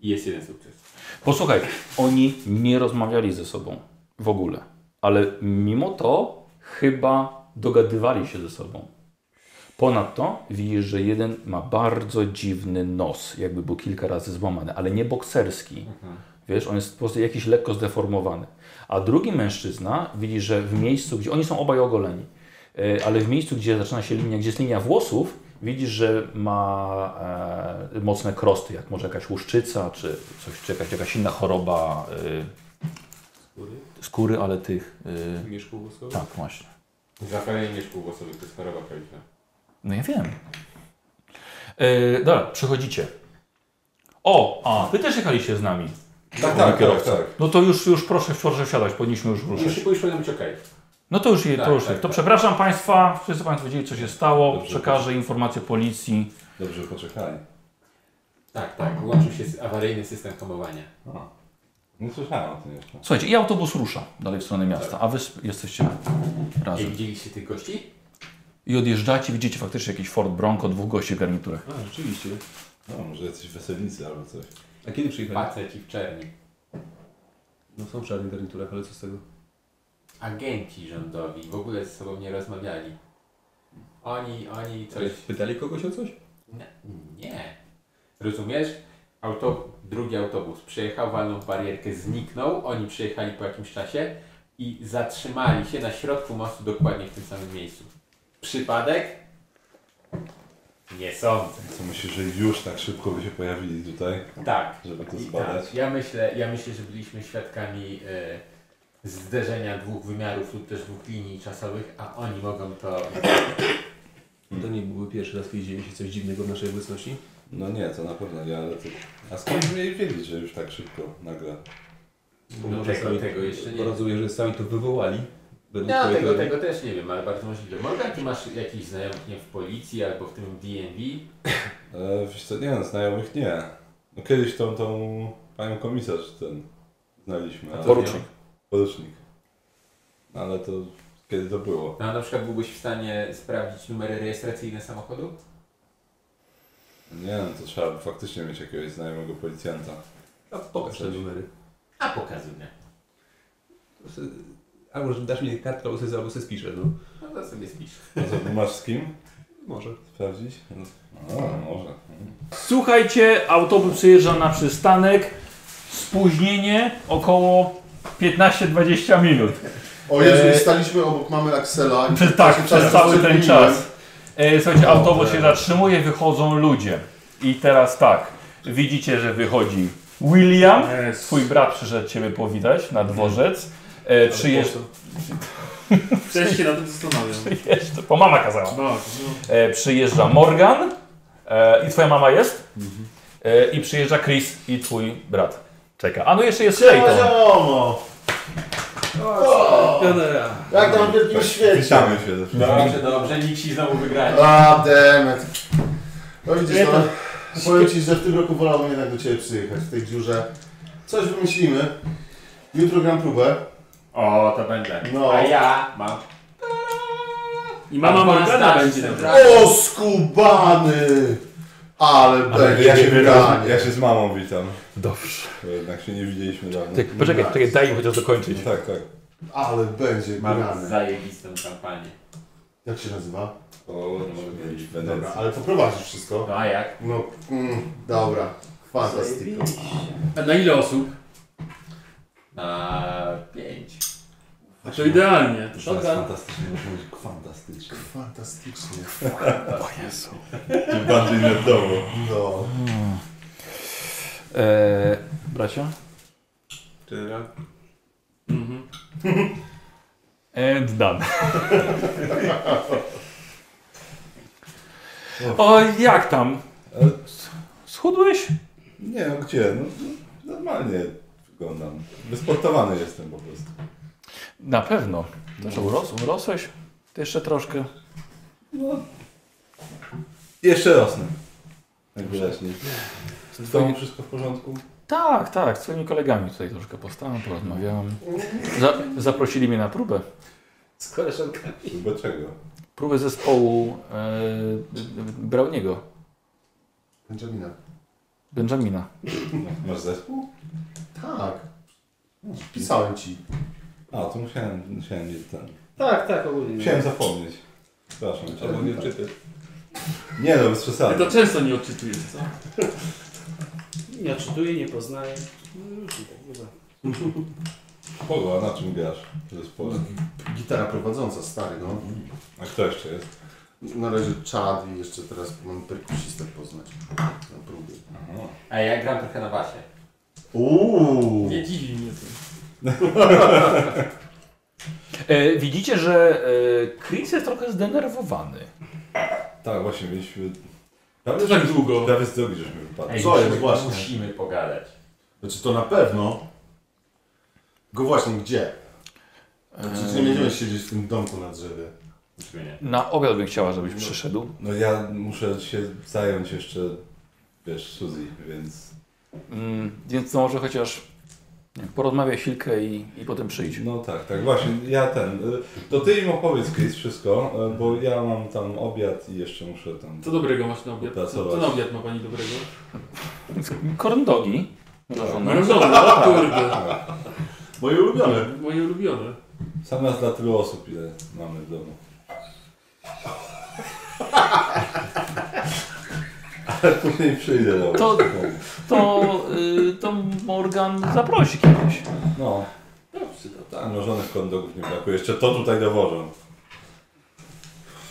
Speaker 4: I jest jeden sukces.
Speaker 1: Posłuchaj, oni nie rozmawiali ze sobą w ogóle, ale mimo to chyba dogadywali się ze sobą. Ponadto widzisz, że jeden ma bardzo dziwny nos, jakby był kilka razy złamany, ale nie bokserski. Wiesz, on jest po prostu jakiś lekko zdeformowany. A drugi mężczyzna widzi, że w miejscu, gdzie oni są obaj ogoleni, e, ale w miejscu, gdzie zaczyna się linia, gdzie jest linia włosów, widzisz, że ma e, mocne krosty, jak może jakaś łuszczyca, czy coś, czy jakaś, jakaś inna choroba e, skóry, ale tych. e,
Speaker 4: Mieszku głosowy?
Speaker 1: tak, właśnie.
Speaker 4: Zapalenie mieszku głosowych, to jest choroba prawdziwa.
Speaker 1: No ja wiem. E, dobra, przychodzicie. O, a, wy też jechaliście z nami.
Speaker 2: Tak, tak, tak, tak.
Speaker 1: No to już, już proszę, proszę wsiadać, powinniśmy już ruszyć.
Speaker 4: Już, już powinno być okej.
Speaker 1: No to już je,
Speaker 4: Tak,
Speaker 1: to już
Speaker 4: tak,
Speaker 1: je. To
Speaker 4: tak.
Speaker 1: przekażam przepraszam Państwa, wszyscy Państwo wiedzieli co się stało,
Speaker 2: Dobrze.
Speaker 1: przekażę informację policji
Speaker 2: Dobrze poczekali.
Speaker 4: Tak, tak, włączył się s- awaryjny system hamowania.
Speaker 2: Nie słyszałem o tym jeszcze.
Speaker 1: Słuchajcie, i autobus rusza dalej w stronę miasta, a wy sp- jesteście
Speaker 4: I
Speaker 1: razem.
Speaker 4: widzieliście tych gości?
Speaker 1: I odjeżdżacie, widzicie faktycznie jakiś Ford Bronco, dwóch gości w garniturach.
Speaker 2: A, rzeczywiście. No, może jacyś weselnicy albo coś.
Speaker 12: A kiedy przyjechali?
Speaker 4: Faceci w czerni.
Speaker 12: No są w czarnych garniturach, ale co z tego?
Speaker 4: Agenci rządowi w ogóle ze sobą nie rozmawiali. Oni, oni
Speaker 12: Ale
Speaker 4: coś...
Speaker 12: pytali kogoś o coś?
Speaker 4: Nie. nie. Rozumiesz? Auto... Drugi autobus przyjechał, walnął w barierkę, zniknął. Oni przyjechali po jakimś czasie i zatrzymali się na środku mostu dokładnie w tym samym miejscu. Przypadek? Nie sądzę.
Speaker 2: Co myślisz, że już tak szybko by się pojawili tutaj?
Speaker 4: Tak.
Speaker 2: Żeby to
Speaker 4: I
Speaker 2: zbadać?
Speaker 4: Tak, ja, myślę, ja myślę, że byliśmy świadkami y, zderzenia dwóch wymiarów lub też dwóch linii czasowych, a oni mogą to...
Speaker 8: No
Speaker 12: To nie byłby pierwszy raz, kiedy dzieje się coś dziwnego w naszej obecności?
Speaker 2: No nie, to na pewno nie, ale ty... A skąd mieli wiedzieć, że już tak szybko nagle?
Speaker 12: Bo
Speaker 4: No
Speaker 12: może
Speaker 4: tego- tego jeszcze nie.
Speaker 12: bo Rozumiem, że sami to wywołali. Według
Speaker 4: No,
Speaker 12: twojego-
Speaker 4: tego, tego też nie wiem, ale bardzo możliwe. Morgan, ty masz jakiś znajomych nie w policji albo w tym D&D?
Speaker 2: E, wiesz co, nie wiem, znajomych nie. No kiedyś tą, tą panią komisarz ten znaliśmy. ale-
Speaker 1: Porucznik.
Speaker 2: Porucznik. No, ale to kiedy to było?
Speaker 4: No, na przykład byłbyś w stanie sprawdzić numery rejestracyjne samochodu?
Speaker 2: Nie wiem, to trzeba by faktycznie mieć jakiegoś znajomego policjanta.
Speaker 12: A pokaż te numery.
Speaker 4: A pokazuję.
Speaker 12: To se- Albo że dasz mi kartkę, albo sobie, albo sobie spiszę, no.
Speaker 4: No to sobie spisz.
Speaker 2: A co, masz z kim
Speaker 12: Może.
Speaker 2: sprawdzić? No, no może.
Speaker 1: Słuchajcie, autobus przyjeżdża na przystanek. Spóźnienie około 15-20 minut.
Speaker 5: O Jezu,
Speaker 1: Eee,
Speaker 5: i staliśmy obok mamy Axela. i
Speaker 1: Przez, tak,
Speaker 5: się
Speaker 1: przez cały ten
Speaker 5: przemieniłem.
Speaker 1: czas. E, słuchajcie,
Speaker 5: O,
Speaker 1: autobus
Speaker 5: tak.
Speaker 1: się zatrzymuje, wychodzą ludzie. I teraz tak, widzicie, że wychodzi William. Twój brat przyszedł Ciebie powitać na dworzec. E, przyjeżdż...
Speaker 6: Też się na tym zastanawiam.
Speaker 1: [laughs] Jeszcze, bo mama kazała.
Speaker 6: No,
Speaker 1: E, przyjeżdża Morgan e, i twoja mama jest. E, I przyjeżdża Chris i twój brat. Czeka. A no jeszcze jest Clayton.
Speaker 5: Wiadomo.
Speaker 9: Genera.
Speaker 5: Jak tam w wielkim
Speaker 1: Tak.
Speaker 5: świecie.
Speaker 2: Witamy się ze wszystkim.
Speaker 4: Dobrze, dobrze, nikt ci znowu wygrali.
Speaker 5: A, demet. No widzisz,
Speaker 6: Nie,
Speaker 5: no,
Speaker 6: to-
Speaker 5: powiem Ci, że w tym roku wolałbym jednak do Ciebie przyjechać, w tej dziurze. Coś wymyślimy. Jutro gram próbę.
Speaker 4: O, to będę.
Speaker 5: No.
Speaker 4: A ja mam...
Speaker 6: I mama
Speaker 4: Advanced
Speaker 6: Morgana
Speaker 4: Arts
Speaker 6: będzie tam.
Speaker 4: Central.
Speaker 5: O, skubany! Ale będzie
Speaker 2: Tak, Ja się,
Speaker 5: granie.
Speaker 2: ja się z mamą witam,
Speaker 1: Dobrze.
Speaker 2: bo jednak się nie widzieliśmy dawno.
Speaker 1: Ty, poczekaj, poczekaj, daj mi chociaż dokończyć.
Speaker 2: No Tak, tak.
Speaker 5: Ale będzie
Speaker 4: Mam
Speaker 5: grane.
Speaker 4: zajebistą kampanię.
Speaker 5: Jak się nazywa?
Speaker 2: O,
Speaker 12: no,
Speaker 2: może mieć
Speaker 5: Dobra,
Speaker 2: Wenecję.
Speaker 5: ale poprowadzisz wszystko.
Speaker 4: No a jak?
Speaker 5: No, mm, dobra. Fantastyko.
Speaker 6: A na ile osób?
Speaker 4: Na pięć.
Speaker 6: A to idealnie.
Speaker 2: To jest fantastycznie, może być fantastycznie.
Speaker 5: Fantastycznie.
Speaker 2: Tym bardziej nerdowo.
Speaker 5: No.
Speaker 1: E, bracia?
Speaker 13: General.
Speaker 6: Mhm.
Speaker 1: And done. o, jak tam?
Speaker 2: E,
Speaker 1: Schudłeś?
Speaker 2: Nie no gdzie, no no, normalnie wyglądam. Wysportowany jestem po prostu.
Speaker 1: Na pewno. Też uros, urosłeś? Ty jeszcze troszkę.
Speaker 2: Jeszcze rosnę. Najwyraźniej. Z tobą wszystko w porządku?
Speaker 1: Tak, tak, z twoimi kolegami tutaj troszkę postałem, porozmawiałem. Za, zaprosili mnie na próbę.
Speaker 9: Z koleżankami.
Speaker 2: Chyba czego?
Speaker 1: Próbę zespołu e, Browniego,
Speaker 5: Benjamina.
Speaker 1: Benjamina.
Speaker 2: Masz zespół?
Speaker 5: Tak. Pisałem ci.
Speaker 2: A, to musiałem, musiałem mieć ten.
Speaker 9: Tak, tak, ogólnie.
Speaker 2: Musiałem zapomnieć. Przepraszam cię.
Speaker 12: Albo nie czyty.
Speaker 2: Nie no, bez
Speaker 6: Ja
Speaker 2: przesady.
Speaker 6: to często nie odczytujesz, co?
Speaker 9: Nie odczytuję, nie poznaję. No już i tak, chyba.
Speaker 2: Kogo, a na czym grasz w zespole?
Speaker 5: Gitara prowadząca, stary, no.
Speaker 2: A kto jeszcze jest?
Speaker 5: Na razie czad i jeszcze teraz mam perkusistę poznać. Na próbie.
Speaker 2: Aha.
Speaker 4: A ja gram trochę na basie.
Speaker 5: Uuu.
Speaker 6: Nie dziwi mnie to.
Speaker 1: E, widzicie, że e, Chris jest trochę zdenerwowany.
Speaker 2: Tak, właśnie mieliśmy...
Speaker 6: To tak długo.
Speaker 2: Prawie z drogi żeśmy wypadli.
Speaker 4: Ej,
Speaker 5: Co
Speaker 4: musimy-
Speaker 5: jest właśnie?
Speaker 4: Musimy pogadać.
Speaker 5: Znaczy to na pewno.
Speaker 9: Eee.
Speaker 5: Go właśnie gdzie? Znaczy, czy nie będziemy siedzieć w tym domku na drzewie.
Speaker 4: Brzmienie.
Speaker 1: Na obiad bym chciała, żebyś przyszedł.
Speaker 2: No ja muszę się zająć jeszcze, wiesz, Suzy, więc...
Speaker 1: Mm, więc to może chociaż nie, wiem, porozmawiaj chwilkę i, i potem przyjdź.
Speaker 2: No tak, tak, właśnie, ja ten... y, To ty im opowiedz, Chris, wszystko, y, bo ja mam tam obiad i jeszcze muszę tam...
Speaker 6: Co dobrego masz na obiad? Co,
Speaker 2: Pracować.
Speaker 6: co na obiad ma pani dobrego?
Speaker 1: Korndogi. Mm,
Speaker 6: [laughs] Mrożone, o kurde.
Speaker 2: Moje ulubione.
Speaker 6: Moje ulubione.
Speaker 2: Sam nas dla tylu osób, ile mamy w domu. [laughs] Ale później przyjdę do
Speaker 1: To, to, y, to Morgan zaprosi kiedyś.
Speaker 2: No. Dobrze, no tak. Mrożonych kondogów nie brakuje. Jeszcze to tutaj dowożą.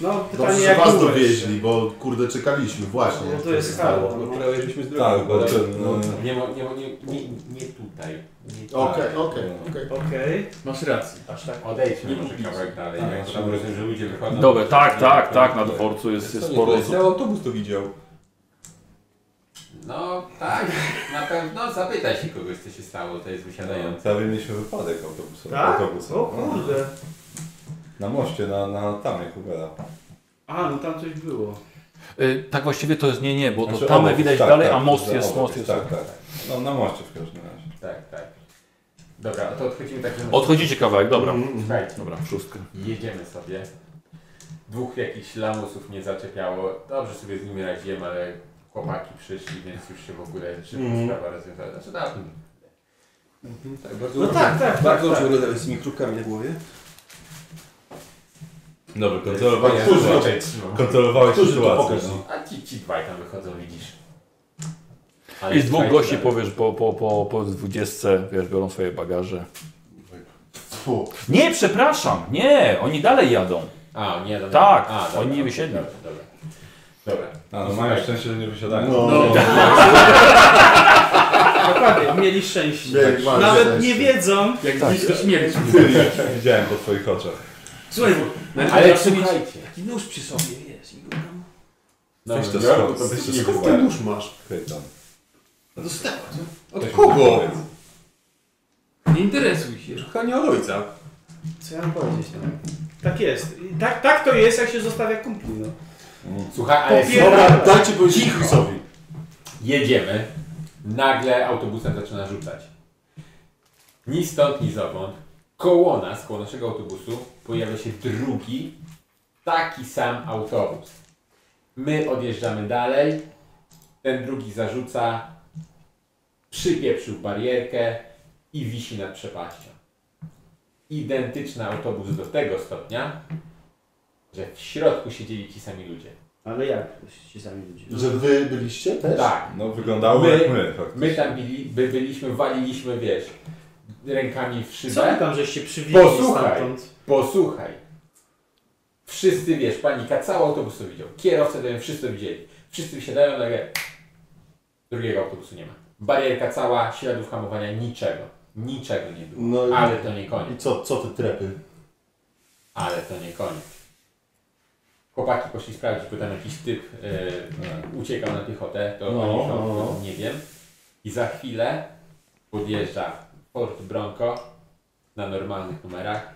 Speaker 9: No, pytanie
Speaker 5: Dobrze, że
Speaker 9: jak
Speaker 5: was
Speaker 9: długo
Speaker 5: dowieźli, bo kurde czekaliśmy, właśnie.
Speaker 9: No to jest
Speaker 5: Tak,
Speaker 9: stało.
Speaker 12: No, prawie żeśmy zdrowi.
Speaker 2: Tak, bo ten...
Speaker 5: No.
Speaker 2: e,
Speaker 4: Nie, mo- nie, mo- nie, nie, nie tutaj. Nie tutaj.
Speaker 9: Tak.
Speaker 5: Okej, no. okej, okej.
Speaker 9: no. Okej.
Speaker 6: Masz rację.
Speaker 9: Aż tak.
Speaker 4: Odejdźmy
Speaker 6: Nie
Speaker 4: może
Speaker 6: kupić.
Speaker 4: kawałek dalej.
Speaker 2: Tak,
Speaker 4: jak
Speaker 2: no,
Speaker 4: tam
Speaker 2: tak.
Speaker 4: rozumiem, że ludzie wychodzą.
Speaker 1: Dobra, tak, tak, tak, na dworcu jest, jest sporo osób.
Speaker 12: Cały autobus to widział.
Speaker 4: No tak, na pewno zapytaj się kogoś, co się stało, to jest wysiadające.
Speaker 2: Prawie mieliśmy wypadek autobusowy.
Speaker 9: Tak?
Speaker 2: autobusowy.
Speaker 9: O kurde.
Speaker 2: Na moście, na, na tam jak Ubera.
Speaker 9: A, no tam coś było.
Speaker 1: Y, tak właściwie to jest nie, nie, bo to
Speaker 2: Znaczy,
Speaker 1: tamę
Speaker 2: obok,
Speaker 1: widać
Speaker 2: tak,
Speaker 1: dalej,
Speaker 2: tak,
Speaker 1: a most
Speaker 2: że
Speaker 1: jest,
Speaker 2: obok
Speaker 1: most jest.
Speaker 2: Tak, tak. No na moście w każdym razie.
Speaker 4: Tak, tak. Dobra, to odchodzimy tak, że...
Speaker 1: Odchodzicie kawałek, dobra.
Speaker 2: Mhm.
Speaker 4: Słuchajcie,
Speaker 1: Dobra, szóstkę.
Speaker 4: jedziemy sobie. Dwóch jakichś lamusów nie zaczepiało. Dobrze sobie z nimi radziłem, ale chłopaki przyszli, więc już się w ogóle szybko
Speaker 9: Mhm.
Speaker 4: sprawa rozwiązała. Znaczy Mhm. na
Speaker 12: Tak, bardzo
Speaker 9: No tak, tak, tak.
Speaker 12: Mhm.
Speaker 9: tak.
Speaker 12: Bardzo dobrze wyglądałeś z tymi kropkami na głowie.
Speaker 2: Dobra, kontrolowałeś
Speaker 4: Ja
Speaker 2: sytuację.
Speaker 4: zobaczę, trzymam.
Speaker 2: Kontrolowałeś
Speaker 5: Którzy to
Speaker 2: sytuację.
Speaker 5: pokaż,
Speaker 2: No.
Speaker 4: A ci, ci dwaj tam wychodzą, widzisz. Ale tak.
Speaker 1: I z dwóch
Speaker 4: słuchajcie,
Speaker 1: gości
Speaker 4: dalej.
Speaker 1: powiesz po, po, po, po 20, wiesz, biorą swoje bagaże.
Speaker 5: Fu.
Speaker 1: Nie, przepraszam, nie, oni dalej jadą.
Speaker 4: A, oni jadą.
Speaker 1: Tak,
Speaker 4: A,
Speaker 1: oni
Speaker 4: okej,
Speaker 1: wysiedli.
Speaker 4: Dobra, dobra. dobra.
Speaker 2: A, no
Speaker 4: Słuchaj.
Speaker 2: mają szczęście, że nie wysiadają.
Speaker 5: No,
Speaker 9: Dokładnie, Tak, mieli szczęście.
Speaker 5: Mieli bardzo
Speaker 9: Tak. Nawet
Speaker 5: szczęście.
Speaker 9: nie wiedzą.
Speaker 6: Jak blisko śmierci.
Speaker 2: [laughs] Widziałem po twoich oczach.
Speaker 6: Słuchaj, bo...
Speaker 4: Ale słuchajcie.
Speaker 14: Taki nóż przy sobie, wiesz, i go tam...
Speaker 4: No,
Speaker 2: Weź to
Speaker 4: dobra,
Speaker 2: skąd,
Speaker 4: to
Speaker 2: weź to
Speaker 4: nie
Speaker 2: skąd.
Speaker 5: Skąd ten nóż masz?
Speaker 2: Pytam.
Speaker 14: Dostała, co?
Speaker 2: Od
Speaker 5: kogo?
Speaker 6: Nie interesuj się.
Speaker 12: Chyba nie od ojca.
Speaker 9: Co ja mam powiedzieć? No? Tak jest. I tak, tak to jest, jak się zostawia kumpli. No.
Speaker 4: Słuchaj, ale
Speaker 9: Popier-
Speaker 5: Dobra, dajcie powiedzieć Chrisowi.
Speaker 4: jedziemy. Nagle autobusem zaczyna rzucać. Ni stąd, ni zowąd. Koło nas, koło naszego autobusu pojawia się drugi, taki sam autobus. My odjeżdżamy dalej. Ten drugi zarzuca, przypieprzył barierkę i wisi nad przepaścią. Identyczny autobus do tego stopnia, że w środku siedzieli ci sami ludzie.
Speaker 9: Ale jak ci sami ludzie?
Speaker 5: Że wy byliście też?
Speaker 4: Tak,
Speaker 2: No wyglądało
Speaker 4: My-
Speaker 2: jak my, faktycznie.
Speaker 4: My
Speaker 1: tak-
Speaker 4: tam byli, by byliśmy, waliliśmy, wiesz, rękami w
Speaker 9: Co wy
Speaker 4: szybę.
Speaker 9: tam żeście przywieźli
Speaker 4: Posłuchaj.
Speaker 9: stamtąd?
Speaker 4: Posłuchaj. Wszyscy, wiesz, panika, cały autobus to widział. Kierowca ten, wszyscy to widzieli. Wszyscy wsiadają, nagle drugiego autobusu nie ma. Barierka cała, śladów hamowania, niczego. Niczego nie było.
Speaker 5: No i-
Speaker 4: Ale to nie
Speaker 5: I
Speaker 4: koniec.
Speaker 5: co, co te trepy?
Speaker 4: Ale to nie koniec. Chłopaki poszli sprawdzić, bo tam jakiś typ e, uciekał na piechotę, to
Speaker 5: No,
Speaker 4: no,
Speaker 5: no.
Speaker 4: nie wiem. I za chwilę podjeżdża Ford Bronco na normalnych numerach,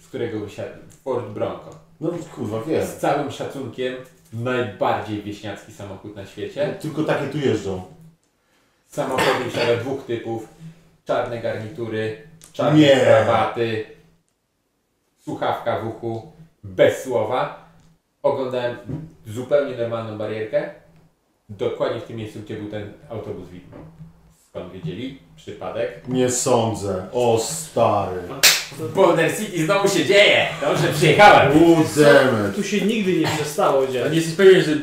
Speaker 4: z którego wysiadł Ford Bronco.
Speaker 5: No kurwa, wiem.
Speaker 4: Z całym szacunkiem najbardziej wieśniacki samochód na świecie.
Speaker 5: Tylko takie tu jeżdżą.
Speaker 4: Z Samochodu wysiada dwóch typów, czarne garnitury, czarne
Speaker 5: Nie.
Speaker 4: krawaty, słuchawka w uchu, bez słowa. Oglądałem zupełnie normalną barierkę, dokładnie w tym miejscu, gdzie był ten autobus widmo. Skąd wiedzieli? Przypadek.
Speaker 5: Nie sądzę. O stary.
Speaker 4: W Boulder City znowu się dzieje! Dobrze, przyjechałem!
Speaker 5: Udemet.
Speaker 9: Tu się nigdy nie przestało
Speaker 6: A
Speaker 9: dziać.
Speaker 6: nie jesteś pewien, że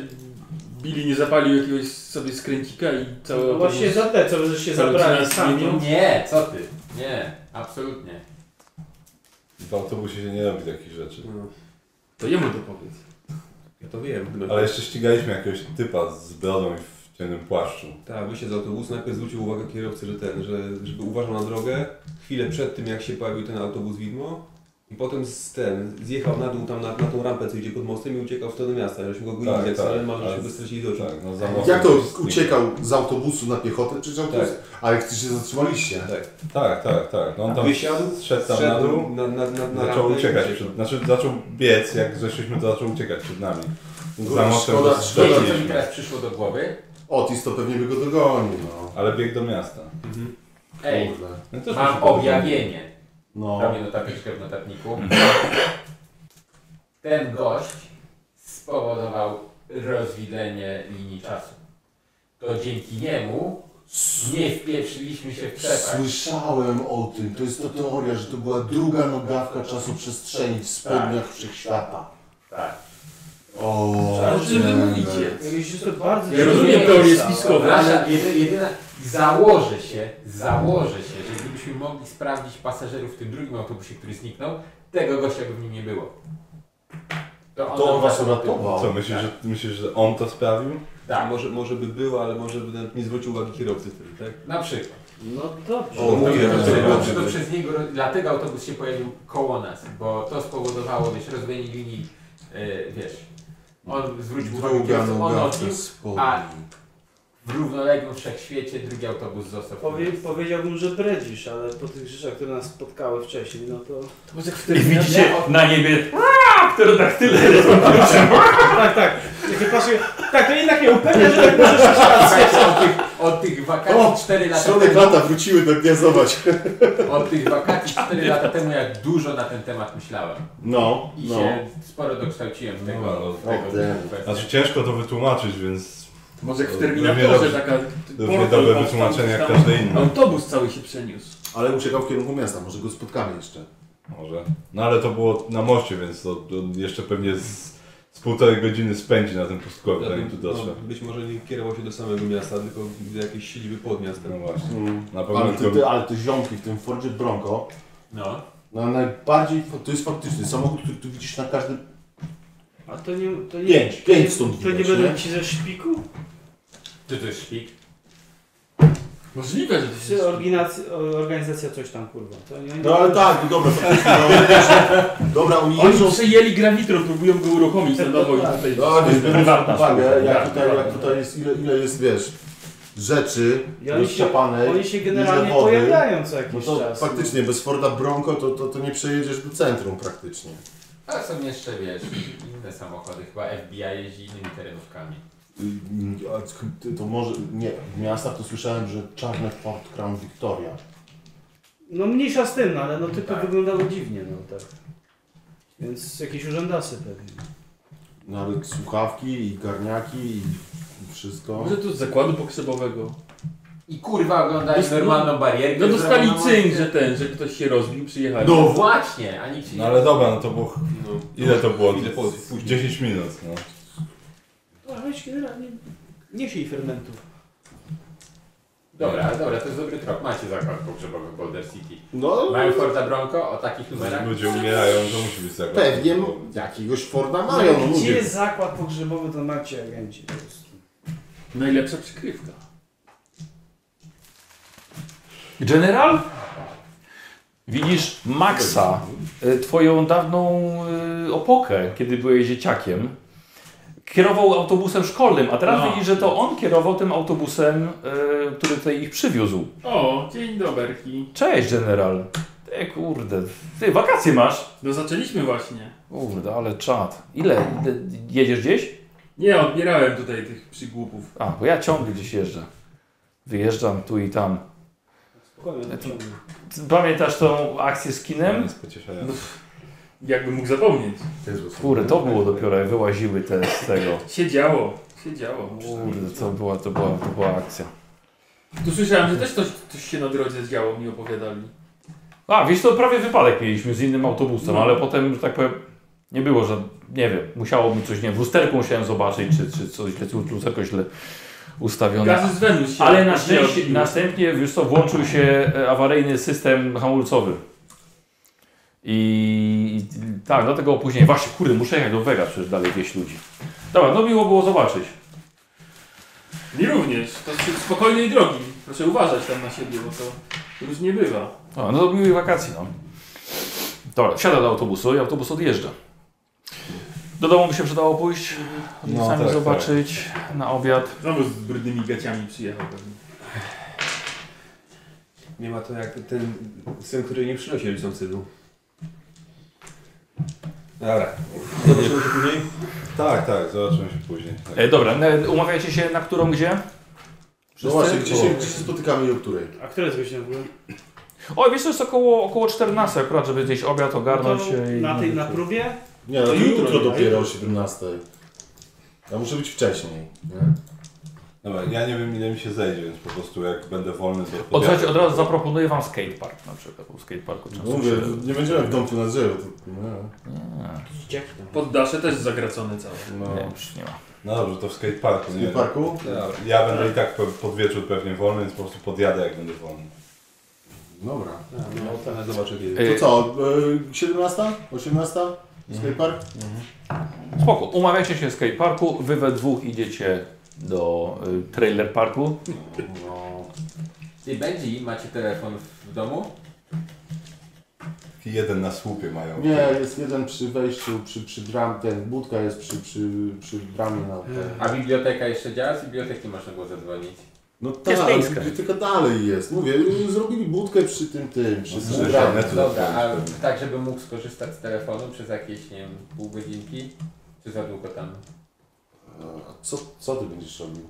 Speaker 6: Billy nie zapalił jakiegoś sobie skręcika i cały
Speaker 9: No właśnie
Speaker 6: autobus-
Speaker 9: za te, co żeście
Speaker 6: Cały
Speaker 9: zabrali
Speaker 6: czas
Speaker 9: sami.
Speaker 6: zmienił.
Speaker 4: Nie, co ty? Nie, absolutnie.
Speaker 2: W autobusie się nie robi takich rzeczy.
Speaker 1: No.
Speaker 6: To jemu to powiedz.
Speaker 12: Ja to wiem.
Speaker 2: Ale jeszcze ścigaliśmy jakiegoś typa z brodą i w ciemnym płaszczu.
Speaker 12: Tak, wysiadł z autobusu, najpierw zwrócił uwagę kierowcy, że ten, że, żeby uważał na drogę. Chwilę przed tym, jak się pojawił ten autobus widmo, I potem z ten, zjechał na dół tam na, na tą rampę, co idzie pod mostem i uciekał w stronę miasta. Żeśmy go gonili
Speaker 2: Tak,
Speaker 12: jak
Speaker 2: tak,
Speaker 12: tak, ale
Speaker 2: ale-
Speaker 12: żeśmy go stracili do oczu.
Speaker 2: tak, no za mocno.
Speaker 12: Jak-
Speaker 5: Jak to uciekał z autobusu na piechotę czy z autobusu?
Speaker 2: Tak.
Speaker 5: Ale ty się zatrzymaliście.
Speaker 12: tak.
Speaker 2: Tak, tak, tak. No on tam
Speaker 12: Wysiadł,
Speaker 2: szedł tam na
Speaker 12: wszedł
Speaker 2: dół,
Speaker 12: na, na, na,
Speaker 2: zaczął
Speaker 12: na rampę i
Speaker 2: uciekać.
Speaker 12: uciekł.
Speaker 2: Przed, znaczy zaczął biec, jak zeszliśmy, to zaczął uciekać przed nami. Za
Speaker 5: Kurwa,
Speaker 2: mostem
Speaker 5: szkoda-
Speaker 2: go
Speaker 5: szkoda,
Speaker 4: Wiecie, co mi
Speaker 2: strzeliliśmy.
Speaker 4: teraz przyszło do głowy?
Speaker 5: Otis to pewnie by go dogonił, no.
Speaker 2: Ale biegł do miasta.
Speaker 4: Ej,
Speaker 5: Kurde.
Speaker 2: No też mi się
Speaker 4: mam
Speaker 2: podoba.
Speaker 4: objawienie.
Speaker 5: No.
Speaker 4: Robię notateczkę w notatniku.
Speaker 5: Mhm.
Speaker 4: Ten gość spowodował rozwidlenie linii czasu. To dzięki niemu nie wpieprzyliśmy się w przepaść.
Speaker 5: Słyszałem o tym. To jest ta teoria, że to była druga nogawka czasu przestrzeni w spodniach wszechświata.
Speaker 4: Tak.
Speaker 5: O,
Speaker 6: O czym wy mówicie?
Speaker 9: Jakieś jest to bardzo...
Speaker 6: Ja rozumiem teorię spiskową.
Speaker 4: Nasza jedy, jedyna... Założę się, założę się, że gdybyśmy mogli sprawdzić pasażerów w tym drugim autobusie, który zniknął, tego gościa by w nim nie było.
Speaker 5: To on was
Speaker 2: Co,
Speaker 5: uratował.
Speaker 2: myślisz, że, myślisz, że on to sprawił?
Speaker 4: Tak,
Speaker 12: Może, może by było, ale może by nawet nie zwrócił uwagi kierowcy wtedy, tak?
Speaker 4: na przykład.
Speaker 9: No dobrze.
Speaker 5: O, mówię,
Speaker 4: to,
Speaker 5: że-
Speaker 2: Znaczy,
Speaker 4: to, to przez niego, dlatego autobus się pojawił koło nas, bo to spowodowało, wiesz, rozwojenie linii, e, wiesz, on zwrócił uwagę
Speaker 5: Druga
Speaker 4: kierowcy, on
Speaker 5: nogawka
Speaker 4: odbił,
Speaker 5: spodni.
Speaker 4: A- w równoległym wszechświecie drugi autobus został.
Speaker 9: Powie, powiedziałbym, że bredzisz, ale po tych rzeczach, które nas spotkały wcześniej, no to...
Speaker 1: I widzicie na niebie pterodaktyle.
Speaker 9: Tak, tak. Jak się patrzy, tak, to jednak nie upewnia, że tak możesz mieć rację.
Speaker 4: Słuchajcie, od tych, od tych
Speaker 5: O,
Speaker 4: wakacji 4 lata
Speaker 5: Środek
Speaker 4: temu,
Speaker 5: lata wróciły do gniazdować.
Speaker 4: od tych wakacji 4 lata temu, jak dużo na ten temat myślałem
Speaker 5: No,
Speaker 4: i
Speaker 5: no.
Speaker 4: się sporo dokształciłem tego,
Speaker 2: No,
Speaker 4: tego,
Speaker 5: damn.
Speaker 4: kwestii.
Speaker 2: Znaczy ciężko to wytłumaczyć, więc
Speaker 6: Może jak w
Speaker 2: Równie
Speaker 6: Terminatorze
Speaker 2: dob-
Speaker 6: taka...
Speaker 2: równie dobre wytłumaczenie jak każde inne.
Speaker 6: Autobus cały się przeniósł.
Speaker 5: Ale uciekał w kierunku miasta, może go spotkamy jeszcze.
Speaker 2: Może. No ale to było na moście, więc to, to jeszcze pewnie z, z półtorej godziny spędzi na tym pustkowiu, zanim tu dotrze.
Speaker 12: No, być może nie kierował się do samego miasta, tylko do jakiejś siedziby pod miastem.
Speaker 2: No właśnie. Na pewno
Speaker 5: Mm. Ale
Speaker 2: tylko...
Speaker 5: te, te, ale te ziomki w tym Fordzie Bronco,
Speaker 4: No.
Speaker 5: no najbardziej, to jest faktycznie samochód, który tu widzisz na każdym...
Speaker 9: A to nie... To nie
Speaker 5: Pięć,
Speaker 9: to nie-
Speaker 5: pięć stąd
Speaker 9: To nie
Speaker 5: widać,
Speaker 9: będą
Speaker 5: nie?
Speaker 9: ci ze szpiku?
Speaker 4: Czy to jest szpik?
Speaker 6: Możliwe, że to
Speaker 9: Czy
Speaker 6: się...
Speaker 9: organizacja, organizacja coś tam, kurwa? To nie,
Speaker 5: No ale tak, no dobra, faktycznie, no, [laughs] dobra, oni jeżdżą...
Speaker 6: Oni przejęli grawitron, próbują go uruchomić na nowo i tutaj...
Speaker 5: No, nie biorąc pod
Speaker 1: Prywatna
Speaker 5: uwagę,
Speaker 1: sprawa,
Speaker 5: jak
Speaker 1: tak,
Speaker 5: tutaj, jak tutaj jest, ile, ile jest, wiesz, rzeczy
Speaker 9: Ja
Speaker 5: ja
Speaker 9: oni
Speaker 5: rozciapanej,
Speaker 9: Oni się generalnie
Speaker 5: wody.
Speaker 9: pojawiają co
Speaker 5: no
Speaker 9: jakiś
Speaker 5: to
Speaker 9: czas.
Speaker 5: faktycznie, bez Forda Bronco to, to, to nie przejedziesz do centrum praktycznie.
Speaker 4: Ale są jeszcze, wiesz, inne samochody, chyba FBI jeździ innymi terenówkami.
Speaker 5: Y, a ch- ty- To może, nie, w miastach to słyszałem, że czarny Ford Crown Victoria.
Speaker 9: No mniejsza z tym, no, ale no tylko
Speaker 4: Tak.
Speaker 9: wyglądało dziwnie, no tak. Więc jakieś urzędasy pewnie.
Speaker 5: Nawet słuchawki i garniaki i wszystko.
Speaker 6: Może to z zakładu pokrzebowego.
Speaker 4: I kurwa oglądali
Speaker 6: Dost-
Speaker 4: normalną barierkę.
Speaker 6: No dostali
Speaker 4: zrobioną.
Speaker 6: cynk, że ten, że ktoś się rozbił, przyjechali.
Speaker 4: No właśnie, a nikt się nie...
Speaker 2: No ale dobra, no to było... Ile to było?
Speaker 12: Chwilę po-
Speaker 2: 10 minut, no.
Speaker 9: No, weź generalnie nie siej fermentów.
Speaker 4: Dobra, dobra, to jest dobry trop. Macie zakład pogrzebowy w Boulder City.
Speaker 5: No,
Speaker 4: Mają Forda Bronco o takich numerach.
Speaker 2: Ludzie umierają, to musi być tak.
Speaker 5: pewnie m- jakiegoś Forda mają, no
Speaker 9: Gdzie
Speaker 5: mówię.
Speaker 9: jest zakład pogrzebowy, to macie agenci po prostu.
Speaker 6: Najlepsza przykrywka.
Speaker 1: General? Widzisz Maxa, y, twoją dawną y, opokę, kiedy byłeś dzieciakiem. Kierował autobusem szkolnym, a teraz
Speaker 6: No.
Speaker 1: widzisz, że to on kierował tym autobusem, y, który tutaj ich przywiózł.
Speaker 6: O, dzień doberki.
Speaker 1: Cześć, general. Ty kurde, ty wakacje masz?
Speaker 6: No zaczęliśmy właśnie.
Speaker 1: Kurde, ale czad. Ile? Ile? Jedziesz gdzieś?
Speaker 6: Nie, odbierałem tutaj tych przygłupów.
Speaker 1: A, bo ja ciągle gdzieś jeżdżę. Wyjeżdżam tu i tam.
Speaker 9: Spokojnie,
Speaker 1: Ja to-
Speaker 9: ciągle.
Speaker 1: Pamiętasz tą akcję z kinem?
Speaker 2: Jest pocieszające.
Speaker 6: Jakby mógł zapomnieć.
Speaker 1: Kurde, to było dopiero, jak wyłaziły te z tego.
Speaker 6: Siedziało. Siedziało.
Speaker 1: Kurde, to była, to była, to była akcja.
Speaker 6: Tu słyszałem, że też coś, coś się na drodze zdziało, mi opowiadali.
Speaker 1: A, wiesz, to prawie wypadek mieliśmy z innym autobusem,
Speaker 6: No.
Speaker 1: ale potem, że tak powiem, nie było, że, nie wiem, musiało mi coś, nie wiem, w lusterku musiałem zobaczyć, czy, czy coś, źle- lusterko źle ustawione.
Speaker 6: Gazy z Wenus się
Speaker 1: Ale No na
Speaker 6: nie
Speaker 1: szczęście,
Speaker 6: odbiły.
Speaker 1: następnie, wiesz co, włączył się e, awaryjny system hamulcowy. I i tak, dlatego opóźnienie. Właśnie, kurde, muszę jechać do Vegas, przecież dalej wieś ludzi. Dobra, no miło było zobaczyć.
Speaker 6: Mi również. To z spokojnej drogi. Proszę uważać tam na siebie, bo to różnie bywa.
Speaker 1: A, no to miłych wakacji, no. Dobra, wsiada do autobusu i autobus odjeżdża. Do domu by się przydało pójść,
Speaker 15: Mhm.
Speaker 6: No,
Speaker 1: sami
Speaker 6: tak,
Speaker 1: zobaczyć na obiad.
Speaker 6: Znowu z brudnymi gaciami przyjechał pewnie.
Speaker 16: Nie ma to jak ten syn, który nie przynosi rodzicom cydu. Dobra. Zobaczymy się później?
Speaker 2: Tak, tak, zobaczymy się później. Tak.
Speaker 1: E, dobra, e, umawiacie się na którą gdzie?
Speaker 5: No właśnie, gdzie się, gdzie się spotykamy i o której?
Speaker 15: A która jest godzina w ogóle?
Speaker 1: O, wiesz, to jest około, około 14 akurat, żeby gdzieś obiad ogarnąć.
Speaker 15: No to
Speaker 1: e, i-
Speaker 15: na tej- na próbie?
Speaker 5: Nie, no
Speaker 15: To
Speaker 5: to
Speaker 15: jutro,
Speaker 5: jutro
Speaker 15: nie?
Speaker 5: dopiero o 17. Ja muszę być wcześniej. Nie?
Speaker 2: Dobra, ja nie wiem ile mi się zejdzie, więc po prostu jak będę wolny to
Speaker 1: Od, słuchajcie, od razu zaproponuję wam skatepark na przykład, bo w skateparku często
Speaker 5: No Mówię,
Speaker 1: się...
Speaker 5: nie będziemy w domku na drzewo. To, no.
Speaker 6: Poddasze też zagracone całe.
Speaker 5: No.
Speaker 1: Nie, już nie ma.
Speaker 2: No dobrze, to w skateparku. nie?
Speaker 5: skateparku?
Speaker 2: Ja, ja będę i tak pe- pod wieczór pewnie wolny, więc po prostu podjadę jak będę wolny.
Speaker 5: Dobra.
Speaker 2: No to zobaczę kiedy.
Speaker 5: To co, e, 17? 18? Skatepark?
Speaker 1: Spoko, umawiacie się w skateparku, wy we dwóch idziecie do y, trailer parku.
Speaker 5: No.
Speaker 4: I będzie i macie telefon w domu?
Speaker 2: Jeden na słupie mają.
Speaker 5: Nie, jest jeden przy wejściu, przy, przy bram, ten budka jest przy, przy, przy bramie na ten.
Speaker 4: A biblioteka jeszcze działa? Z biblioteki można było zadzwonić.
Speaker 5: No
Speaker 1: Jest
Speaker 5: tak,
Speaker 1: miejska.
Speaker 5: ale tylko dalej jest. Mówię, zrobili budkę przy tym, tym,
Speaker 4: No,
Speaker 5: przy, przy
Speaker 2: słyszę,
Speaker 5: bramie.
Speaker 2: nie? Tu
Speaker 4: Dobra, a
Speaker 2: zadzwonić
Speaker 4: tak, żeby mógł skorzystać z telefonu przez jakieś, nie wiem, pół godzinki? Czy za długo tam?
Speaker 5: A Co, co ty będziesz robił?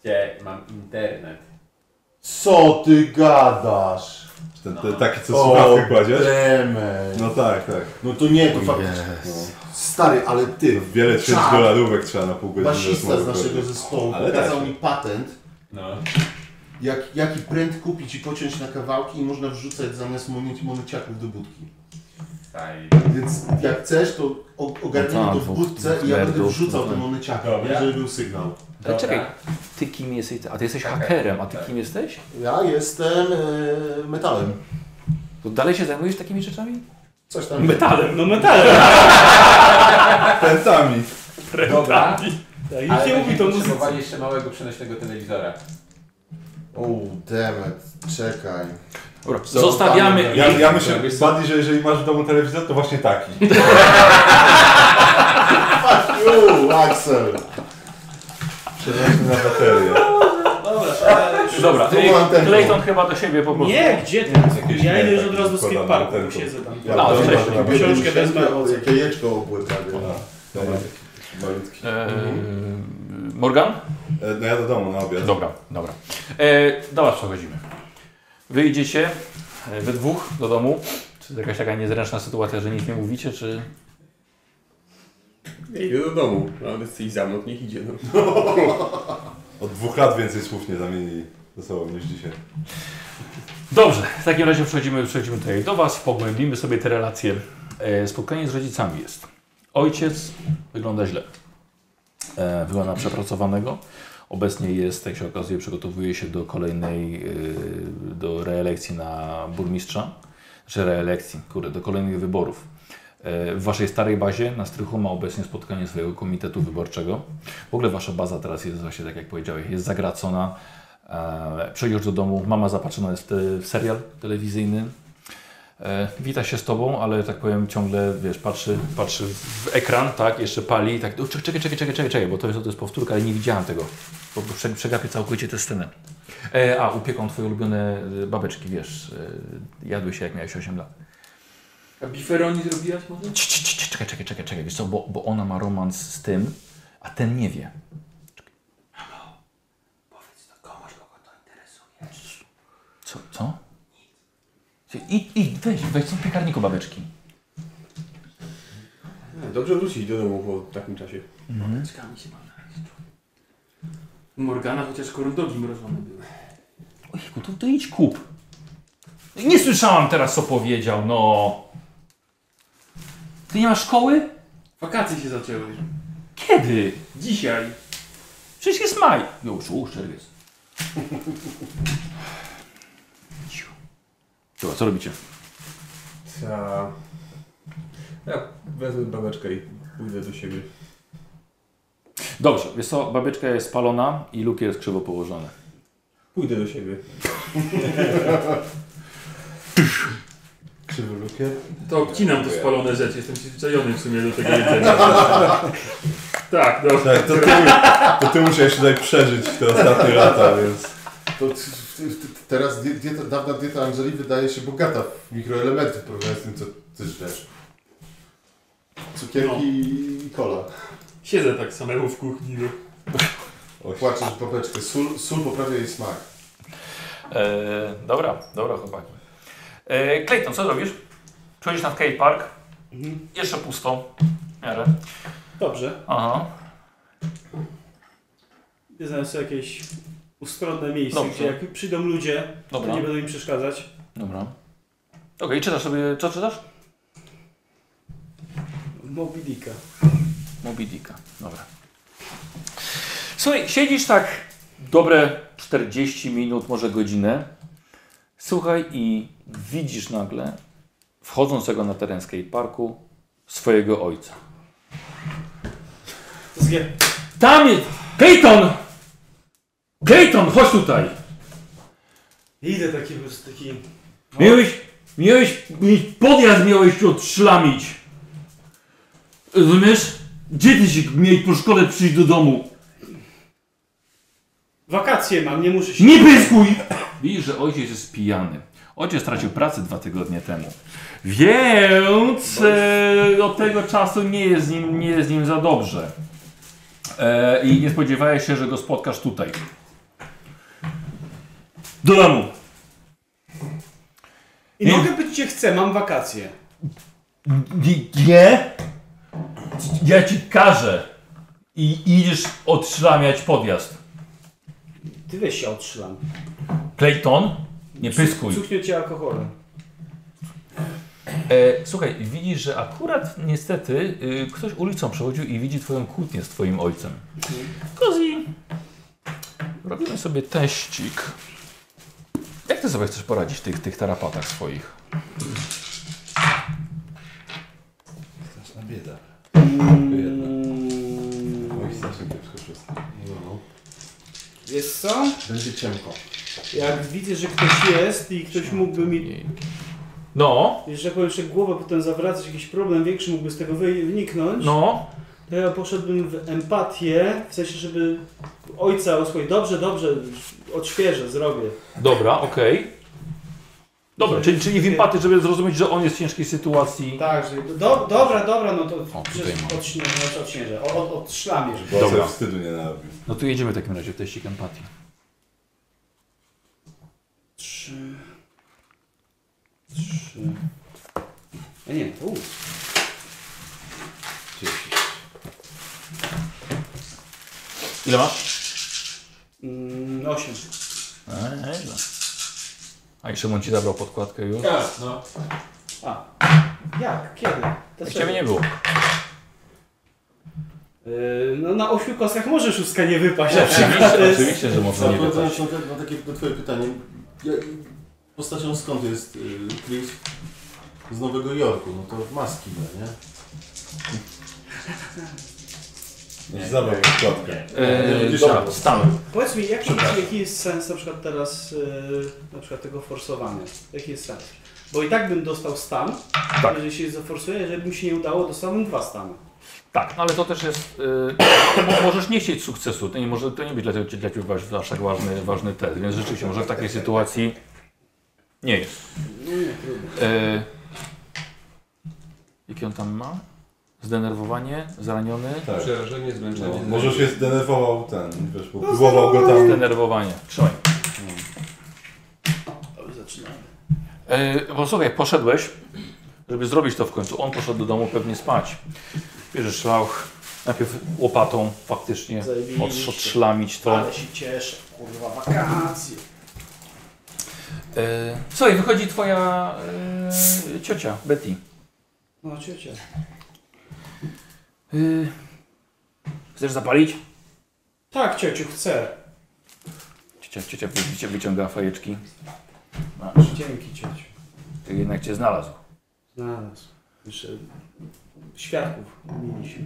Speaker 4: Gdzie mam internet?
Speaker 5: Co ty gadasz?
Speaker 2: Ten, ten, taki co słuchawkę kładziesz?
Speaker 5: demet.
Speaker 2: No tak, tak. no.
Speaker 5: No to nie, to faktycznie. Stary, ale ty,
Speaker 2: Wiele 1000
Speaker 5: Czad.
Speaker 2: dolarówek trzeba na pół godziny
Speaker 5: basista
Speaker 2: rozmowy
Speaker 5: z naszego
Speaker 2: prowadzić.
Speaker 5: zespołu
Speaker 2: Ale
Speaker 5: pokazał
Speaker 2: tak.
Speaker 5: mi patent,
Speaker 4: No.
Speaker 5: jak, jaki pręt kupić i pociąć na kawałki i można wrzucać zamiast monu- monociaków do budki.
Speaker 4: Fajnie.
Speaker 5: Więc jak chcesz, to o- ogarnijmy
Speaker 1: No tak,
Speaker 5: to w
Speaker 1: bo-
Speaker 5: budce i ja będę
Speaker 1: merdów,
Speaker 5: wrzucał
Speaker 1: no
Speaker 5: te
Speaker 1: tak.
Speaker 5: moneciaki,
Speaker 4: Dobra.
Speaker 5: nie, żeby był sygnał.
Speaker 1: Ale
Speaker 4: Dobra.
Speaker 1: E, czekaj, ty kim jesteś? A ty jesteś hakerem, a ty kim jesteś?
Speaker 5: Ja jestem e, metalem.
Speaker 1: To dalej się zajmujesz takimi rzeczami?
Speaker 5: Coś tam.
Speaker 1: Metalem.
Speaker 9: No
Speaker 1: [laughs]
Speaker 9: metalem.
Speaker 2: Pętami.
Speaker 4: Dobra,
Speaker 9: Tak,
Speaker 4: ale
Speaker 9: Nikt nie mówi
Speaker 4: będziemy
Speaker 9: to muzyce.
Speaker 4: potrzebowali jeszcze małego przenośnego telewizora.
Speaker 5: O, demet,
Speaker 1: [laughs]
Speaker 5: czekaj.
Speaker 1: Dobra, zostawiamy.
Speaker 2: Ja, ja myślę, Buddy, że jeżeli masz w domu telewizor, to właśnie taki.
Speaker 5: Uuu, Axel!
Speaker 2: Przenośny na baterię.
Speaker 9: No,
Speaker 1: Dobra,
Speaker 5: Tu mam ten-
Speaker 1: Clayton chyba do siebie po prostu.
Speaker 9: Nie, gdzie ty? Ja idę już od razu do skateparku,
Speaker 2: Ten-
Speaker 9: bo się zadam.
Speaker 1: A,
Speaker 5: to
Speaker 1: wcześniej.
Speaker 5: chyba
Speaker 9: Książkę
Speaker 5: będzie
Speaker 9: wezmę.
Speaker 5: świetne, Jakie jeczko obłykawie.
Speaker 2: Dobra.
Speaker 1: E, Morgan?
Speaker 2: E, No ja do domu na obiad.
Speaker 1: Dobra, dobra. E, dobra, przechodzimy. Wyjdziecie e, we dwóch do domu. Czy to jakaś taka niezręczna sytuacja, że nic nie mówicie, czy...
Speaker 12: Nie idę do domu, ale chce iść za mną, to niech idzie. No.
Speaker 2: Od dwóch lat więcej słów nie zamienili ze sobą niż dzisiaj.
Speaker 1: Dobrze, w takim razie przechodzimy, przechodzimy tutaj do Was, pogłębimy sobie te relacje. E, spotkanie z rodzicami jest. Ojciec wygląda źle. E, wygląda na przepracowanego. Obecnie jest, jak się okazuje, przygotowuje się do kolejnej, e, do reelekcji na burmistrza. Znaczy reelekcji, kurde, do kolejnych wyborów. E, w Waszej starej bazie na Strychu ma obecnie spotkanie swojego komitetu wyborczego. W ogóle Wasza baza teraz jest właśnie, tak jak powiedziałeś, jest zagracona. E, Przyjdziesz do domu, mama zapatrzona jest e, w serial telewizyjny. E, Wita się z tobą, ale tak powiem ciągle, wiesz, patrzy, patrzy w ekran, tak, jeszcze pali i tak, "O, czekaj, czekaj, czekaj, czekaj, czekaj, bo to jest, to jest powtórka, ale nie widziałem tego, bo bo prze- przegapię całkowicie tę scenę. E, a, upieką twoje ulubione e, babeczki, wiesz, e, jadły się jak miałeś 8 lat.
Speaker 6: A biferoni zrobiłaś może?
Speaker 1: Cii, cii, cii, cii, Czekaj, czekaj, czekaj, czekaj, wiesz co, bo, bo ona ma romans z tym, a ten nie wie. Czekaj. Mamo, powiedz to komuś, kogo to interesuje. Co? Co? I, i weź, weź są w piekarniku babeczki.
Speaker 12: Dobrze wrócić do domu po takim czasie.
Speaker 6: Czekami się mam najeść. Morgana chociaż korundogi mrożone były.
Speaker 1: Ojku, to, to idź kup. Nie słyszałam teraz, co powiedział, no. Ty nie masz szkoły?
Speaker 6: Wakacje się zaczęły.
Speaker 1: Kiedy?
Speaker 6: Dzisiaj.
Speaker 1: Przecież jest maj. No, Już, już, czerwiec. Ciu. Dobra, co robicie?
Speaker 12: Ta... Ja wezmę babeczkę i pójdę do siebie.
Speaker 1: Dobrze, wiesz co, babeczka jest spalona i lukier jest krzywo położony.
Speaker 12: Pójdę do siebie.
Speaker 2: Krzywy lukier?
Speaker 6: To obcinam te spalone rzeczy, jestem przyzwyczajony w sumie do tego jedzenia. tak, dobra.
Speaker 2: Tak, to ty, to ty musiałeś tutaj przeżyć te ostatnie lata, więc...
Speaker 5: To t- t- t- teraz die- dieta, dawna dieta Angeli wydaje się bogata w mikroelementy w porównaniu z tym, co ty żresz. Cukierki
Speaker 6: No.
Speaker 5: i kola.
Speaker 6: Siedzę tak samemu w kuchni. no.
Speaker 5: Płaczesz babeczkę. Sól, sól poprawia jej smak.
Speaker 1: E, dobra, dobra chłopaki. E, Clayton, co robisz? Przechodzisz na Kate Park. Jeszcze pusto. W miarę.
Speaker 9: Mhm. Dobrze.
Speaker 1: Aha.
Speaker 9: Ja znalazłem sobie jakieś ustronne miejsce,
Speaker 1: Dobrze.
Speaker 9: gdzie jak przyjdą ludzie,
Speaker 1: Dobra.
Speaker 9: to nie będą im przeszkadzać.
Speaker 1: Dobra. Okej, czytasz sobie, co czytasz?
Speaker 9: Moby Dicka.
Speaker 1: Moby Dicka, dobra. Słuchaj, siedzisz tak dobre 40 minut, może godzinę. Słuchaj i widzisz nagle wchodzącego na teren skateparku swojego ojca.
Speaker 9: Zgie.
Speaker 1: Tam jest! Clayton! Clayton, chodź tutaj!
Speaker 9: Idę taki, po prostu taki...
Speaker 1: Miałeś, miałeś, miałeś podjazd miałeś tu odszlamić. Rozumiesz? Dzieci się mieli po szkole przyjść do domu.
Speaker 9: Wakacje mam, nie muszę się...
Speaker 1: Nie pyskuj! Widzisz, że ojciec jest pijany. Ojciec stracił pracę dwa tygodnie temu. Więc e, od tego czasu nie jest z nim, nie jest z nim za dobrze. E, I nie spodziewałeś się, że go spotkasz tutaj. Do domu.
Speaker 9: I mogę być gdzie chcę, mam wakacje.
Speaker 1: Nie? Ja ci każę. I idziesz odszlamiać podjazd.
Speaker 9: Ty weź się odszylam.
Speaker 1: Clayton, nie pyskuj.
Speaker 9: Cuchnie cię alkoholem.
Speaker 1: E, słuchaj, widzisz, że akurat niestety y, ktoś ulicą przechodził i widzi twoją kłótnię z twoim ojcem. Kozi, robimy sobie teścik. Jak ty sobie chcesz poradzić w tych, tych tarapatach swoich?
Speaker 2: Straszna bieda.
Speaker 5: Oj, strasznie kiepsko wszystko. No.
Speaker 9: Wiesz co?
Speaker 5: Będzie ciemko.
Speaker 9: Jak widzę, że ktoś jest i ktoś mógłby mi,
Speaker 1: No,
Speaker 9: że tak powiem, jeszcze głowę potem zawracać, jakiś problem większy mógłby z tego wyniknąć,
Speaker 1: no.
Speaker 9: to ja poszedłbym w empatię, w sensie, żeby ojca usłyszeć, dobrze, dobrze, odświeżę, zrobię.
Speaker 1: Dobra, okej. Dobra, czyli, czyli w empatii, żeby zrozumieć, że on jest w ciężkiej sytuacji.
Speaker 9: Tak, że do, dobra, dobra, no to
Speaker 1: tutaj
Speaker 9: przecież
Speaker 1: mam.
Speaker 9: odśnieżę, znaczy odśnieżę, od, od, odszlamię, żeby...
Speaker 2: Bo
Speaker 1: Dobra.
Speaker 2: sobie wstydu nie narobił.
Speaker 1: No tu jedziemy w takim razie w teścik empatii.
Speaker 9: Trzy... Trzy... A nie, u.
Speaker 1: Ile masz?
Speaker 9: Mm, osiem.
Speaker 1: no. A i Szymon ci zabrał podkładkę już?
Speaker 17: Tak, no.
Speaker 9: A. Jak? Kiedy? Dlaczego?
Speaker 1: Ciebie nie było.
Speaker 9: Yy, No na ośmiu kostkach może szóstka nie wypaść na przykład.
Speaker 1: Oczywiście,
Speaker 9: To jest-
Speaker 1: oczywiście że można nie
Speaker 5: na, na,
Speaker 1: pytać.
Speaker 5: na, takie, na twoje pytanie. Ja, postacią skąd jest y, Chris? Z Nowego Jorku. No to maski, nie?
Speaker 2: Zabrał kotkę.
Speaker 1: Eee, dobra, stanę.
Speaker 9: Powiedz mi, jaki, jaki jest sens na przykład teraz yy, na przykład tego forsowania? Jaki jest sens? Bo i tak bym dostał stan,
Speaker 1: Tak.
Speaker 9: jeżeli się zaforsuję, jeżeli mi się nie udało, dostałbym dwa stany.
Speaker 1: Tak, no ale to też jest. Y, możesz nie chcieć sukcesu. To nie, może, to nie być dla ciebie, dla ciebie waż, aż tak ważny, ważny test. Więc rzeczywiście, może w takiej sytuacji nie jest. Y, jaki on tam ma? Zdenerwowanie, zraniony,
Speaker 2: Tak.
Speaker 12: Przerażenie,
Speaker 2: No,
Speaker 12: zmęczenie.
Speaker 2: może się zdenerwował ten, wiesz, bo próbował go tam...
Speaker 1: zdenerwowanie. Trzymaj.
Speaker 9: Dobrze, zaczynamy.
Speaker 1: Yy, bo słuchaj, poszedłeś, żeby zrobić to w końcu. On poszedł do domu pewnie spać. Bierzesz szlauch, najpierw łopatą faktycznie
Speaker 9: Zajebiście.
Speaker 1: odsz- odszlamić to.
Speaker 9: Ale się cieszę, kurwa, wakacje.
Speaker 1: E, Słuchaj, wychodzi twoja e, ciocia, Betty.
Speaker 9: No ciocia.
Speaker 1: E, chcesz zapalić?
Speaker 9: Tak, ciociu, chcę.
Speaker 1: Ciocia, ciocia widzicie, wyciąga fajeczki.
Speaker 9: Dzięki, ciociu.
Speaker 1: Ty jednak cię znalazł.
Speaker 9: Znalazł. Jeszcze świadków mieliśmy.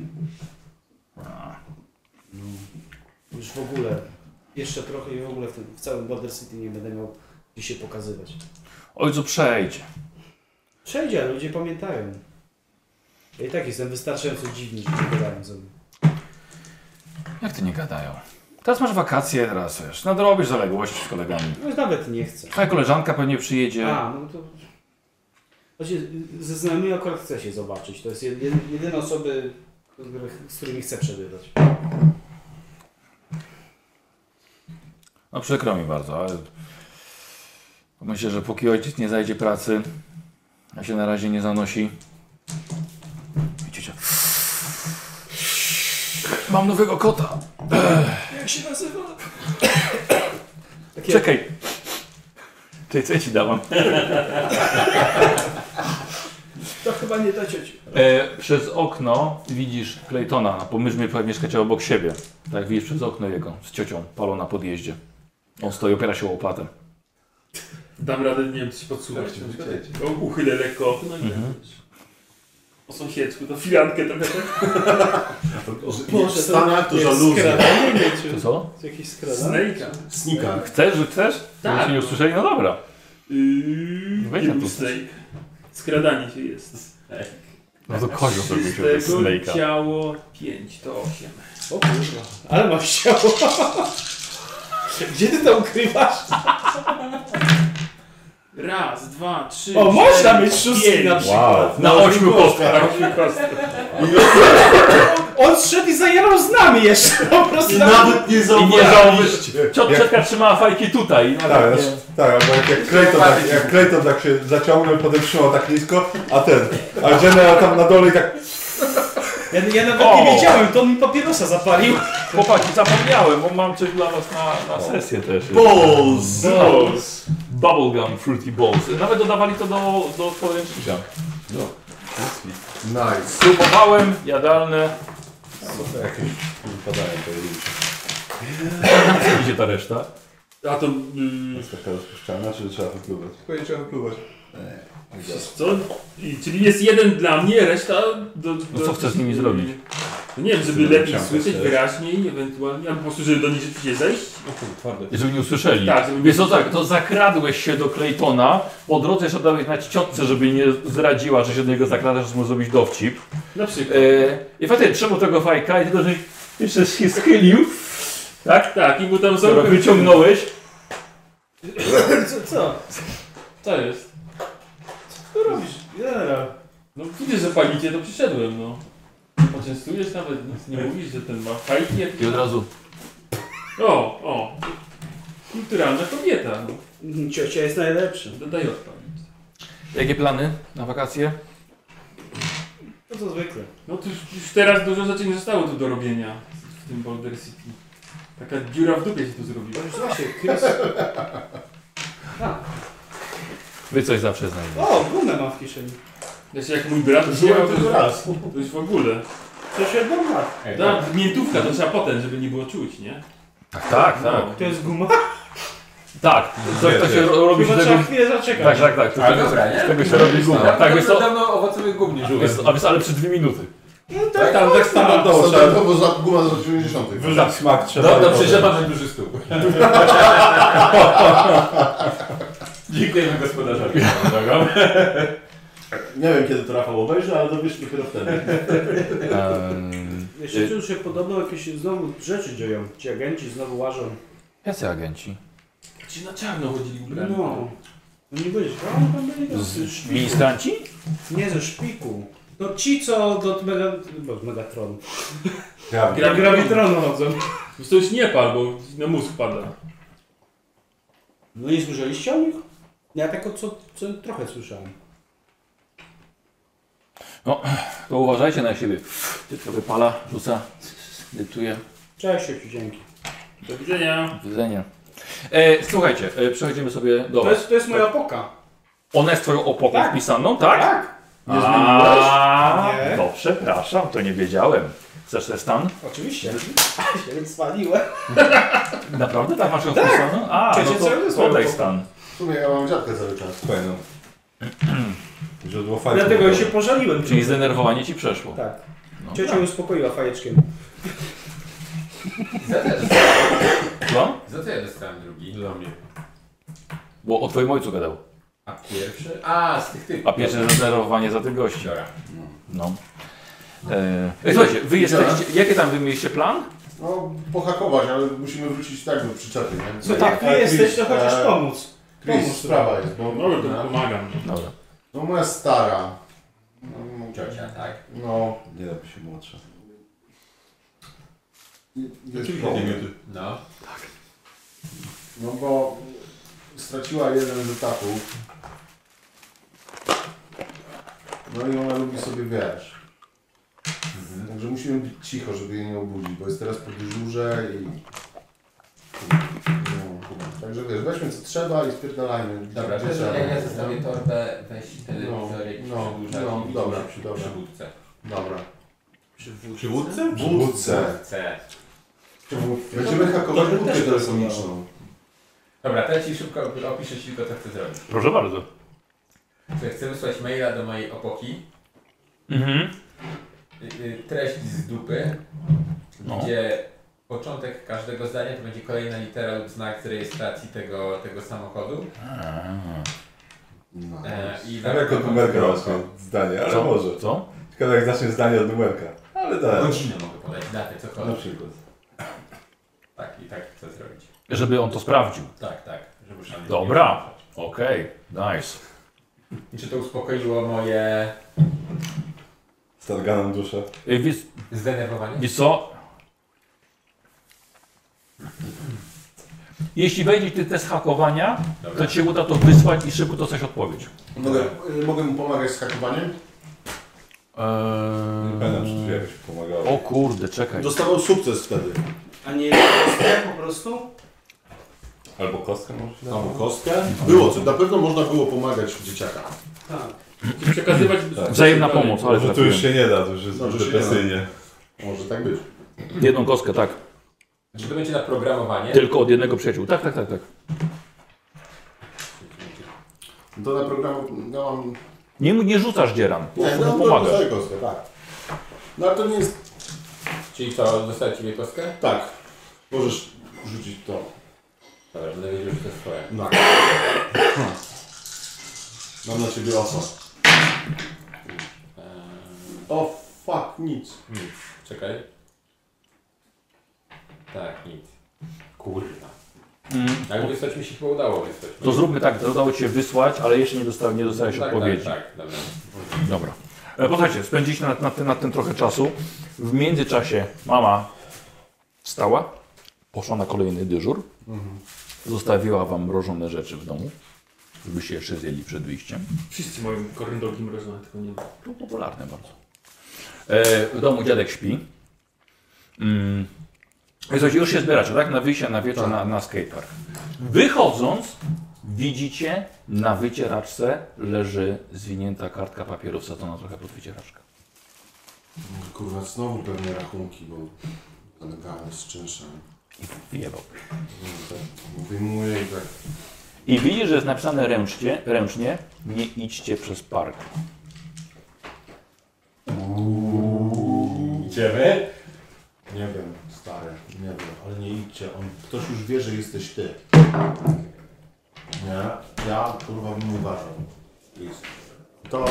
Speaker 9: No. Już w ogóle, jeszcze trochę i w ogóle w, tym, w całym Border City nie będę miał gdzie się pokazywać.
Speaker 1: Ojcu, przejdź.
Speaker 9: Przejdzie, ale ludzie pamiętają. Ja i tak jestem wystarczająco dziwny, że nie gadają ze mną.
Speaker 1: Jak ty nie gadają? Teraz masz wakacje, teraz wiesz, nadrobisz zaległości z kolegami.
Speaker 9: No nawet nie chcę.
Speaker 1: Twoja koleżanka pewnie przyjedzie.
Speaker 9: A, no to... Znaczy, ze znajomymi akurat chcę się zobaczyć. To jest jed- jed- jedyne osoby, z którymi chcę przebywać.
Speaker 1: No przykro mi bardzo, ale myślę, że póki ojciec nie zajdzie pracy, a się na razie nie zanosi. Widzicie? Mam nowego kota.
Speaker 9: Jak się nazywa?
Speaker 1: Czekaj. Ty, co ja ci dałam?
Speaker 9: To chyba nie da ciociu.
Speaker 1: E, przez okno widzisz Claytona, bo myśmy prawie mieszkacie obok siebie. Tak, widzisz przez okno jego z ciocią palą na podjeździe. On stoi, opiera się o łopatę.
Speaker 6: Dam radę, nie wiem, czy się podsuwać.
Speaker 5: chcieć.
Speaker 6: O, Uchylę lekko.
Speaker 1: Mhm.
Speaker 6: O sąsiedzku, to firankę trochę tak.
Speaker 5: W Stanach to żaluzje.
Speaker 1: To co?
Speaker 9: Jakiś
Speaker 6: Snake'a.
Speaker 5: Snika.
Speaker 1: Chcesz, że chcesz?
Speaker 6: Tak.
Speaker 1: Żebyście nie usłyszeli, no dobra.
Speaker 6: Yy,
Speaker 1: No Weź na
Speaker 6: był
Speaker 1: to.
Speaker 6: snake. Skradanie się jest.
Speaker 1: No to kozioł zrobił się
Speaker 6: Szóstego
Speaker 1: bez Snake'a.
Speaker 6: ciało 5 to 8.
Speaker 9: O kurwa, ale masz ciało. Gdzie ty to ukrywasz?
Speaker 6: Raz, dwa, trzy.
Speaker 9: O, można
Speaker 6: cztery,
Speaker 9: mieć szóstki
Speaker 6: pięć.
Speaker 9: na przykład.
Speaker 2: Wow.
Speaker 1: Na ośmiu kostkach.
Speaker 6: Tak, mi kostka.
Speaker 9: On szedł i zajarał z nami jeszcze. Po prostu
Speaker 5: I
Speaker 9: nam-
Speaker 5: nawet nie
Speaker 1: [laughs]
Speaker 5: zauważyliście.
Speaker 1: Ciotka trzymała fajki tutaj. No,
Speaker 2: Tak, znaczy, tak, albo jak, jak, Clayton tak, jak Clayton tak się zaciągnął i potem trzymał tak nisko, a ten, a General tam na dole i tak
Speaker 9: Ja, ja nawet
Speaker 1: O!
Speaker 9: nie wiedziałem, to on mi papierosa zapalił.
Speaker 1: Chłopaki, zapomniałem, bo mam coś dla was na, na sesję też.
Speaker 5: Balls!
Speaker 1: Balls. Bubblegum Fruity Balls. Nawet dodawali to do, do podręcznika.
Speaker 5: Nice.
Speaker 1: Próbowałem, jadalne.
Speaker 2: padają to jest
Speaker 1: Idzie ta reszta.
Speaker 6: A to. Yy,
Speaker 2: taka rozpuszczalna, czy trzeba wypluwać?
Speaker 18: Tylko nie trzeba wypluwać.
Speaker 6: co? I, czyli jest jeden dla mnie, reszta. Do, do,
Speaker 1: No co chcesz z nimi zrobić?
Speaker 6: No nie wiem, żeby lepiej
Speaker 2: Chciałem
Speaker 6: słyszeć
Speaker 2: też.
Speaker 6: wyraźniej, ewentualnie, albo po prostu, żeby do nich rzeczywiście zejść. No
Speaker 1: Jeżeli nie usłyszeli.
Speaker 6: Tak, żeby-
Speaker 1: Wiesz co, tak, to zakradłeś się do Claytona, po drodze jeszcze dałeś na ciotce, żeby nie zdradziła, że się do niego zakradasz, żeby mu zrobić dowcip.
Speaker 6: Na przykład.
Speaker 1: E, I faktycznie trzymał tego fajka i tylko, że jeszcze się schylił,
Speaker 6: Tak, tak, i mu tam
Speaker 1: którego
Speaker 6: zamknął.
Speaker 1: wyciągnąłeś.
Speaker 9: Co? Co,
Speaker 6: To jest.
Speaker 9: co robisz? Generał.
Speaker 6: No widzę, że palicie, to przyszedłem, no. Poczęstujesz nawet, nic nie mówisz, że ten ma fajki jak...
Speaker 1: I od razu
Speaker 6: O, o. Kulturalna kobieta, no.
Speaker 9: Mhm, Ciocia jest najlepsza.
Speaker 6: Dodaj odpalić.
Speaker 1: Jakie plany na wakacje?
Speaker 9: To co zwykle.
Speaker 6: No to już, już teraz dużo rzeczy nie zostało tu do robienia w tym Boulder City. Taka dziura w dupie się tu zrobiła.
Speaker 9: No już właśnie, Chris.
Speaker 1: Wy coś zawsze znajdziecie.
Speaker 9: O, gumę ma w kieszeni.
Speaker 6: Znaczy jak mój brat
Speaker 5: Żyłem
Speaker 6: wziął, to,
Speaker 5: tylko
Speaker 6: już-
Speaker 5: raz.
Speaker 6: to już w ogóle.
Speaker 9: To się guma.
Speaker 4: No,
Speaker 6: Da, miętówka to trzeba potem, żeby nie było czuć, nie?
Speaker 1: Tak, tak, tak.
Speaker 6: No.
Speaker 9: To jest guma?
Speaker 1: Tak, coś to się ro- robi z
Speaker 9: Chyba trzeba
Speaker 1: tego...
Speaker 9: chwilę zaczekać.
Speaker 1: Tak, tak, tak.
Speaker 4: Ale dobra, nie?
Speaker 1: Z tego się robi guma. Tak, wiesz co?
Speaker 4: dawno owocowych gum nie
Speaker 1: Wiesz co, A wiesz, ale przy dwie minuty.
Speaker 9: No tak,
Speaker 2: tam, tak standardowo trzeba
Speaker 5: Standardowo za guma z lat 90.
Speaker 2: wyrzać smak, trzeba...
Speaker 4: Dobra, przeżywamy duży stół. Dziękujemy gospodarzowi.
Speaker 5: Nie wiem kiedy to Rafał obejrzy, ale dowiesz dopiero wtedy.
Speaker 9: Tak. Jeszcze tu się podobno jakieś znowu rzeczy dzieją. Ci agenci znowu łażą.
Speaker 1: Jacy agenci?
Speaker 6: Ci na czarno chodzili ubrani.
Speaker 9: No. No nie będziesz. A, no, tam byli tacy szpiku.
Speaker 1: Ministranci?
Speaker 9: Nie ze szpiku. No ci co do mega... Boże, Megatronu.
Speaker 2: Ja,
Speaker 6: Gra-
Speaker 9: Gravitronu chodzą.
Speaker 6: Wiesz, to już nie pal, bo na mózg pada.
Speaker 9: No nie słyszeliście o nich? Ja tak o co, co trochę słyszałem.
Speaker 1: To uważajcie na siebie. Tylko wypala, rzuca, dyktuje.
Speaker 9: Cześć, sieci, dzięki.
Speaker 6: Do widzenia.
Speaker 1: Widzenie. E, słuchajcie, e, przechodzimy sobie do
Speaker 9: To
Speaker 1: was.
Speaker 9: jest, to jest moja opoka.
Speaker 1: Ona jest twoją opoką
Speaker 9: Tak.
Speaker 1: wpisaną, tak?
Speaker 5: Nie zmieniłeś?
Speaker 1: A,
Speaker 9: Nie.
Speaker 1: To przepraszam, to nie wiedziałem. Chcesz ten stan?
Speaker 9: Oczywiście. się wycwaliłem.
Speaker 1: Naprawdę tak masz ją wpisaną? A,
Speaker 9: Przecież
Speaker 1: no
Speaker 9: cały
Speaker 1: to
Speaker 9: zespół
Speaker 1: podaj
Speaker 9: opoką.
Speaker 1: stan.
Speaker 5: W sumie ja mam dziadkę cały czas.
Speaker 2: Słuchaj, no. Źródło fajne.
Speaker 9: Dlatego ja się pożaliłem.
Speaker 1: Czyli zdenerwowanie ci przeszło.
Speaker 9: Tak.
Speaker 1: No,
Speaker 9: Ciocia
Speaker 1: tak.
Speaker 9: mnie uspokoiła fajeczkiem.
Speaker 1: No,
Speaker 4: Za to ja dostałem drugi. Dla mnie.
Speaker 1: bo o twoim ojcu gadał.
Speaker 4: A pierwszy? A, z tych tych.
Speaker 1: A pierwsze rozdarowanie za tych gości. No. E, e, słuchajcie, wy jesteście. Jakie tam wy mieliście plan?
Speaker 5: No, pohakować, ale musimy wrócić tak do przyczepy, nie?
Speaker 1: No tak,
Speaker 5: Ale
Speaker 1: jesteś,
Speaker 5: Chris,
Speaker 1: to chociaż
Speaker 5: e,
Speaker 1: pomóc.
Speaker 5: Chris,
Speaker 1: Pomóż
Speaker 5: sprawa
Speaker 1: trochę.
Speaker 5: jest, bo...
Speaker 1: Dobra, to pomagam. Dobra.
Speaker 5: No moja stara. no, Ciocia,
Speaker 4: tak?
Speaker 5: No.
Speaker 2: Nie robi się młodsza.
Speaker 5: Jest
Speaker 2: Kilka
Speaker 5: problem.
Speaker 2: minuty.
Speaker 4: No.
Speaker 5: No bo straciła jeden z etapów. No i ona lubi sobie wiesz.
Speaker 4: Mhm.
Speaker 5: Także musimy być cicho, żeby jej nie obudzić, bo jest teraz po dyżurze i... No, także wiesz, weźmy co trzeba i spierdalajmy.
Speaker 4: Dobra,
Speaker 5: gdzie
Speaker 4: wiesz,
Speaker 5: trzeba.
Speaker 4: jak ja zostawię torbę, weź telewizor,
Speaker 5: No,
Speaker 4: jakiś
Speaker 5: no,
Speaker 4: przedłużacz
Speaker 5: no,
Speaker 4: i
Speaker 5: dobra,
Speaker 4: przy,
Speaker 5: dobra.
Speaker 4: przy wódce.
Speaker 5: Dobra.
Speaker 4: Przy wódce?
Speaker 5: Przy wódce. Przy wódce. Będziemy hakować
Speaker 4: To by
Speaker 5: wódkę
Speaker 4: też
Speaker 5: telefoniczną.
Speaker 4: Dobra, to ja ci szybko opiszę ci tylko, co chcę zrobić.
Speaker 1: Proszę bardzo.
Speaker 4: Słuchaj, chcę wysłać maila do mojej opoki.
Speaker 1: Mhm.
Speaker 4: Y, y, Treść z dupy,
Speaker 1: No.
Speaker 4: gdzie początek każdego zdania to będzie kolejna litera lub znak z rejestracji tego, tego samochodu.
Speaker 5: Tak. No.
Speaker 4: E, i
Speaker 1: Tak
Speaker 2: Ale jako numerka
Speaker 4: Co?
Speaker 2: masz zdanie, ale
Speaker 1: Co?
Speaker 2: może.
Speaker 1: Co?
Speaker 2: Tylko jak zaczniesz zdanie od numerka. Ale tak.
Speaker 4: Godzinę mogę podać, datę,
Speaker 5: No.
Speaker 4: cokolwiek.
Speaker 2: Na przykład.
Speaker 1: No.
Speaker 4: Tak, i tak chcę zrobić.
Speaker 1: Żeby on to sprawdził.
Speaker 4: Tak, tak. Żeby szanowni-
Speaker 1: Dobra. Okej, nice.
Speaker 4: I czy to uspokoiło moje
Speaker 2: Starganą duszę.
Speaker 1: E, Wiesz,
Speaker 4: zdenerwowanie?
Speaker 1: wiesz co? Jeśli wejdzie ty test hakowania,
Speaker 4: Dobra.
Speaker 1: to ci się uda to wysłać i szybko dostać odpowiedź.
Speaker 5: Mogę, y, mogę mu pomagać z hakowaniem?
Speaker 1: Eee...
Speaker 2: Pamiętam, że tu jakoś pomagało.
Speaker 1: O kurde, czekaj.
Speaker 5: Dostawał sukces wtedy.
Speaker 9: A nie kostkę po prostu?
Speaker 2: Albo kostkę może?
Speaker 5: Albo kostkę. Było co, na pewno można było pomagać u dzieciaka.
Speaker 9: Tak.
Speaker 6: Przekazywać...
Speaker 1: Tak. Wzajemna pomoc, ale
Speaker 2: Może tu już
Speaker 1: trafiłem.
Speaker 2: się nie da, to już jest
Speaker 5: Dobrze,
Speaker 2: Dobrze,
Speaker 5: się nie da.
Speaker 2: depresyjnie.
Speaker 5: Może tak być.
Speaker 1: Jedną kostkę, tak.
Speaker 4: Czy to będzie na programowanie?
Speaker 1: Tylko od jednego przyjaciół. Tak, tak, tak, tak.
Speaker 5: To na no, program dałam...
Speaker 1: Nie, nie rzucasz dzieran, po
Speaker 5: Nie,
Speaker 1: prostu
Speaker 5: no,
Speaker 1: mu
Speaker 5: no,
Speaker 1: pomagasz.
Speaker 5: dostaję kostkę, tak. No ale to nie jest...
Speaker 4: Czyli co, dostać Ci kostkę?
Speaker 5: Tak. Możesz rzucić to.
Speaker 4: Dobra, będę wiedział, że to jest twoje.
Speaker 5: No. Mam na ciebie oso.
Speaker 4: E,
Speaker 5: O fuck, nic.
Speaker 4: Nic. Czekaj. Tak, nic. Kurwa. Ale wysłać mi się chyba udało wysłać.
Speaker 5: no.
Speaker 1: To zróbmy tak, to udało Ci się wysłać, ale jeszcze nie, dosta- nie dostałeś
Speaker 4: tak,
Speaker 1: odpowiedzi.
Speaker 4: Tak, tak, dobra.
Speaker 1: Dobra. E, Posłuchajcie, spędziliście nad, nad, tym, nad tym trochę czasu. W międzyczasie mama wstała, poszła na kolejny dyżur, zostawiła Wam mrożone rzeczy w domu, żebyście jeszcze zjedli przed wyjściem.
Speaker 6: Wszyscy mają koryndogi mrożone, tylko nie ma.
Speaker 1: To popularne bardzo. E, w domu dziadek śpi. Mm. I Słuchajcie, już się zbieracie, tak? Na wyjście na wieczór na, na skatepark. Wychodząc, widzicie na wycieraczce leży zwinięta kartka papieru wsadzona trochę pod wycieraczkę.
Speaker 5: Kurwa, znowu pewne rachunki, bo zalegałem z czynszem.
Speaker 1: Wyjebał.
Speaker 5: No, tak. Wyjmuję i tak.
Speaker 1: I widzisz, że jest napisane ręcznie, ręcznie nie idźcie przez park.
Speaker 4: Idziemy?
Speaker 5: Nie wiem, stary, nie wiem, ale nie idźcie. On, ktoś już wie, że jesteś ty. Nie, ja kurwa bym nie uważał. Jest. To,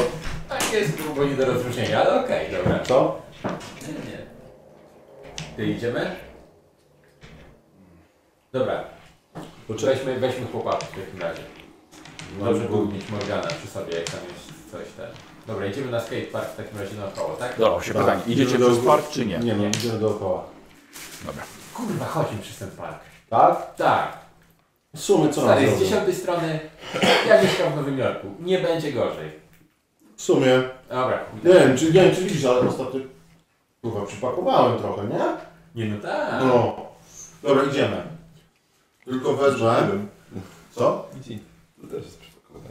Speaker 4: Tak jest, bo nie do rozróżnienia, ale okej, dobra.
Speaker 5: to?
Speaker 4: Nie, nie. Ty idziemy? Dobra. Weźmy, weźmy chłopaków w takim razie. Dobrze byłoby mieć Morgana przy sobie, jak tam jest coś ten. Dobra, idziemy na skatepark w takim razie naokoło, tak?
Speaker 1: Dobra, się
Speaker 5: Tak,
Speaker 1: pytanie, idziecie
Speaker 5: idziemy
Speaker 1: przez
Speaker 5: do-
Speaker 1: park czy nie?
Speaker 5: Nie no, idziemy dookoła.
Speaker 1: Dobra.
Speaker 4: Kurwa, chodźmy przez ten park.
Speaker 5: Tak?
Speaker 4: Tak.
Speaker 5: W sumie co nam
Speaker 4: Stary, z
Speaker 5: zrobią?
Speaker 4: dziesiątej strony ja mieszkam w Nowym Jorku. Nie będzie gorzej.
Speaker 5: W sumie,
Speaker 4: Dobra.
Speaker 5: nie wiem, czy, nie wiem, czy widzisz, ale ostatnio kurwa przypakowałem trochę, nie?
Speaker 4: Nie no tak.
Speaker 5: No. Dobra, idziemy. Tylko wezmę. Co?
Speaker 2: Idzi. To też jest przypakowane.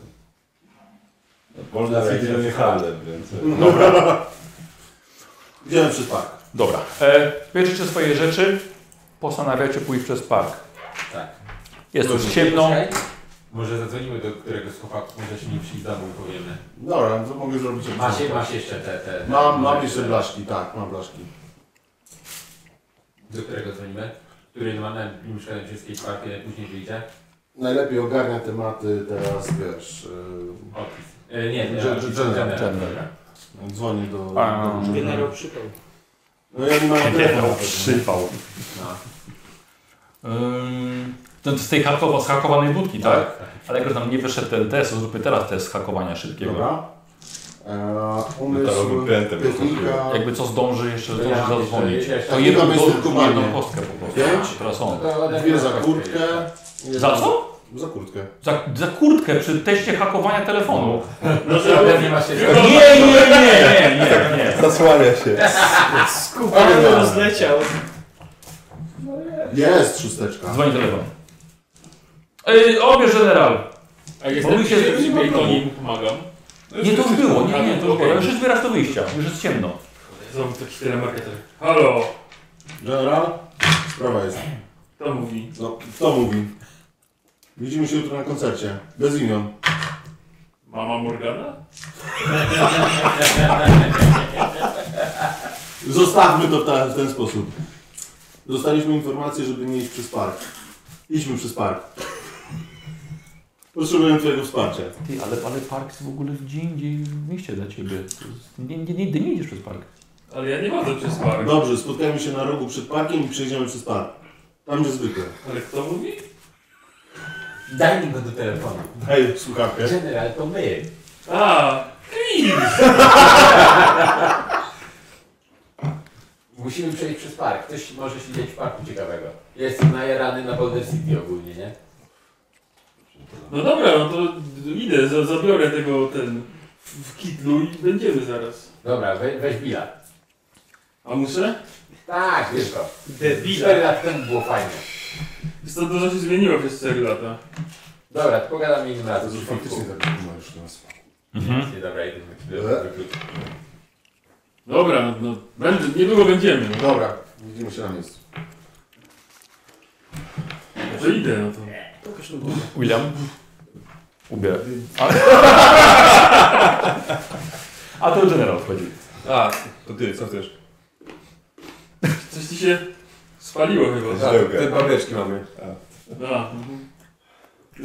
Speaker 4: Można
Speaker 2: Można idzie do mnie handlem, więc...
Speaker 5: Idziemy przez park.
Speaker 1: Dobra. E, bierzecie swoje rzeczy, postanawiacie pójść przez park.
Speaker 4: Tak.
Speaker 1: Jest
Speaker 5: Dobrze.
Speaker 1: już ciemno.
Speaker 4: Czekaj. Może zadzwonimy do któregoś z chłopaków, może się nie przyjść za mną i powiemy.
Speaker 5: Dobra, to mogę zrobić.
Speaker 4: Masz, masz jeszcze te, te, te
Speaker 5: Mam, mam jeszcze blaszki, tak, mam blaszki.
Speaker 4: Do którego dzwonimy? Który ma na nim szkodę wszystkich parki, później wyjdzie?
Speaker 5: najlepiej ogarnia tematy teraz, wiesz... e,
Speaker 4: E, nie, nie,
Speaker 5: Gen-
Speaker 4: nie,
Speaker 5: general.
Speaker 4: general.
Speaker 1: General.
Speaker 5: Dzwonię do...
Speaker 1: A,
Speaker 5: do-
Speaker 9: Generał przypał.
Speaker 5: No ja nie mam
Speaker 1: Generał przypał.
Speaker 4: No.
Speaker 1: Ym, To z tej hakowa, z hakowanej budki, tak? Ale jak już tam nie wyszedł ten test, to zróbmy teraz test hakowania szybkiego.
Speaker 5: Dobra. E, umysł,
Speaker 2: Metalowym prętem
Speaker 5: technika...
Speaker 1: Jakby co zdąży jeszcze
Speaker 4: To
Speaker 1: zdąży
Speaker 4: ja mam
Speaker 1: zadzwonić.
Speaker 4: jeszcze- jeszcze-
Speaker 1: To jedną,
Speaker 5: Mamy
Speaker 1: kostkę,
Speaker 5: zdecydowanie.
Speaker 1: jedną kostkę po prostu.
Speaker 5: Pięć?
Speaker 1: Teraz on.
Speaker 4: To-
Speaker 5: Dwie za kurtkę.
Speaker 1: Za co?
Speaker 5: Za kurtkę.
Speaker 1: Za, za kurtkę przy teście hakowania telefonu.
Speaker 6: No,
Speaker 4: Dobra, nie ma się
Speaker 1: Nie, nie, nie, [laughs] nie, nie, nie.
Speaker 2: Zasłania się.
Speaker 9: Skupany
Speaker 1: tak.
Speaker 9: rozleciał.
Speaker 5: Jest szósteczka.
Speaker 1: Dzwoni telefon. Yy, obierz general.
Speaker 6: A jestem
Speaker 1: Mówi się,
Speaker 6: się
Speaker 1: że nie ma
Speaker 6: szybciej, to
Speaker 1: problemu.
Speaker 6: nim pomagam.
Speaker 1: Nie, to już było, nie, nie, to już było.
Speaker 6: Okej.
Speaker 1: Już jest wyraz do wyjścia, już jest ciemno.
Speaker 6: Znowu taki telemarketer. Halo,
Speaker 5: General, sprawa jest.
Speaker 6: to mówi.
Speaker 5: No, kto mówi? Widzimy się jutro na koncercie. Bez imion.
Speaker 6: Mama Morgana?
Speaker 5: Zostawmy to w ta- w ten sposób. Dostaliśmy informację, żeby nie iść przez park. Idźmy przez park. Potrzebujemy Twojego wsparcia.
Speaker 1: Ty, ale, ale park jest w ogóle gdzie indziej w mieście dla ciebie. To jest- Nie, nie, nie, ty nie idziesz przez park.
Speaker 6: Ale ja nie chodzę przez park.
Speaker 5: Dobrze, spotkajmy się na rogu przed parkiem i przejdziemy przez park. Tam gdzie zwykle.
Speaker 6: Ale kto mówi?
Speaker 4: Daj mi go do telefonu.
Speaker 5: Hej, słuchawkę.
Speaker 4: General, to my.
Speaker 6: A, Chris!
Speaker 4: Musimy przejść przez park. Coś może się dziać w parku ciekawego. Jestem najarany na Boulder City ogólnie, nie?
Speaker 6: No dobra, no to idę, za, zabiorę tego ten w w kitlu i będziemy zaraz.
Speaker 4: Dobra, we, weź Billa.
Speaker 6: A muszę?
Speaker 4: Tak, wiesz to.
Speaker 9: Debila.
Speaker 4: 4 lat temu było fajnie.
Speaker 6: Jest to dużo się zmieniło przez 4 lata.
Speaker 4: Dobra, to pogadamy innym
Speaker 5: To
Speaker 4: razem. Mhm.
Speaker 5: już faktycznie tak ma już teraz.
Speaker 4: Nie, nie, dobra, idę.
Speaker 5: E?
Speaker 6: Dobra, no będę, niedługo będziemy. No
Speaker 5: Dobra, widzimy się na miejscu.
Speaker 6: to idę, no to.
Speaker 1: William? Ubie. A, A to generał wchodzi.
Speaker 2: A, to ty, co chcesz?
Speaker 6: Coś ci się spaliło chyba.
Speaker 2: Źle
Speaker 12: babeczki mamy.
Speaker 6: A, mhm.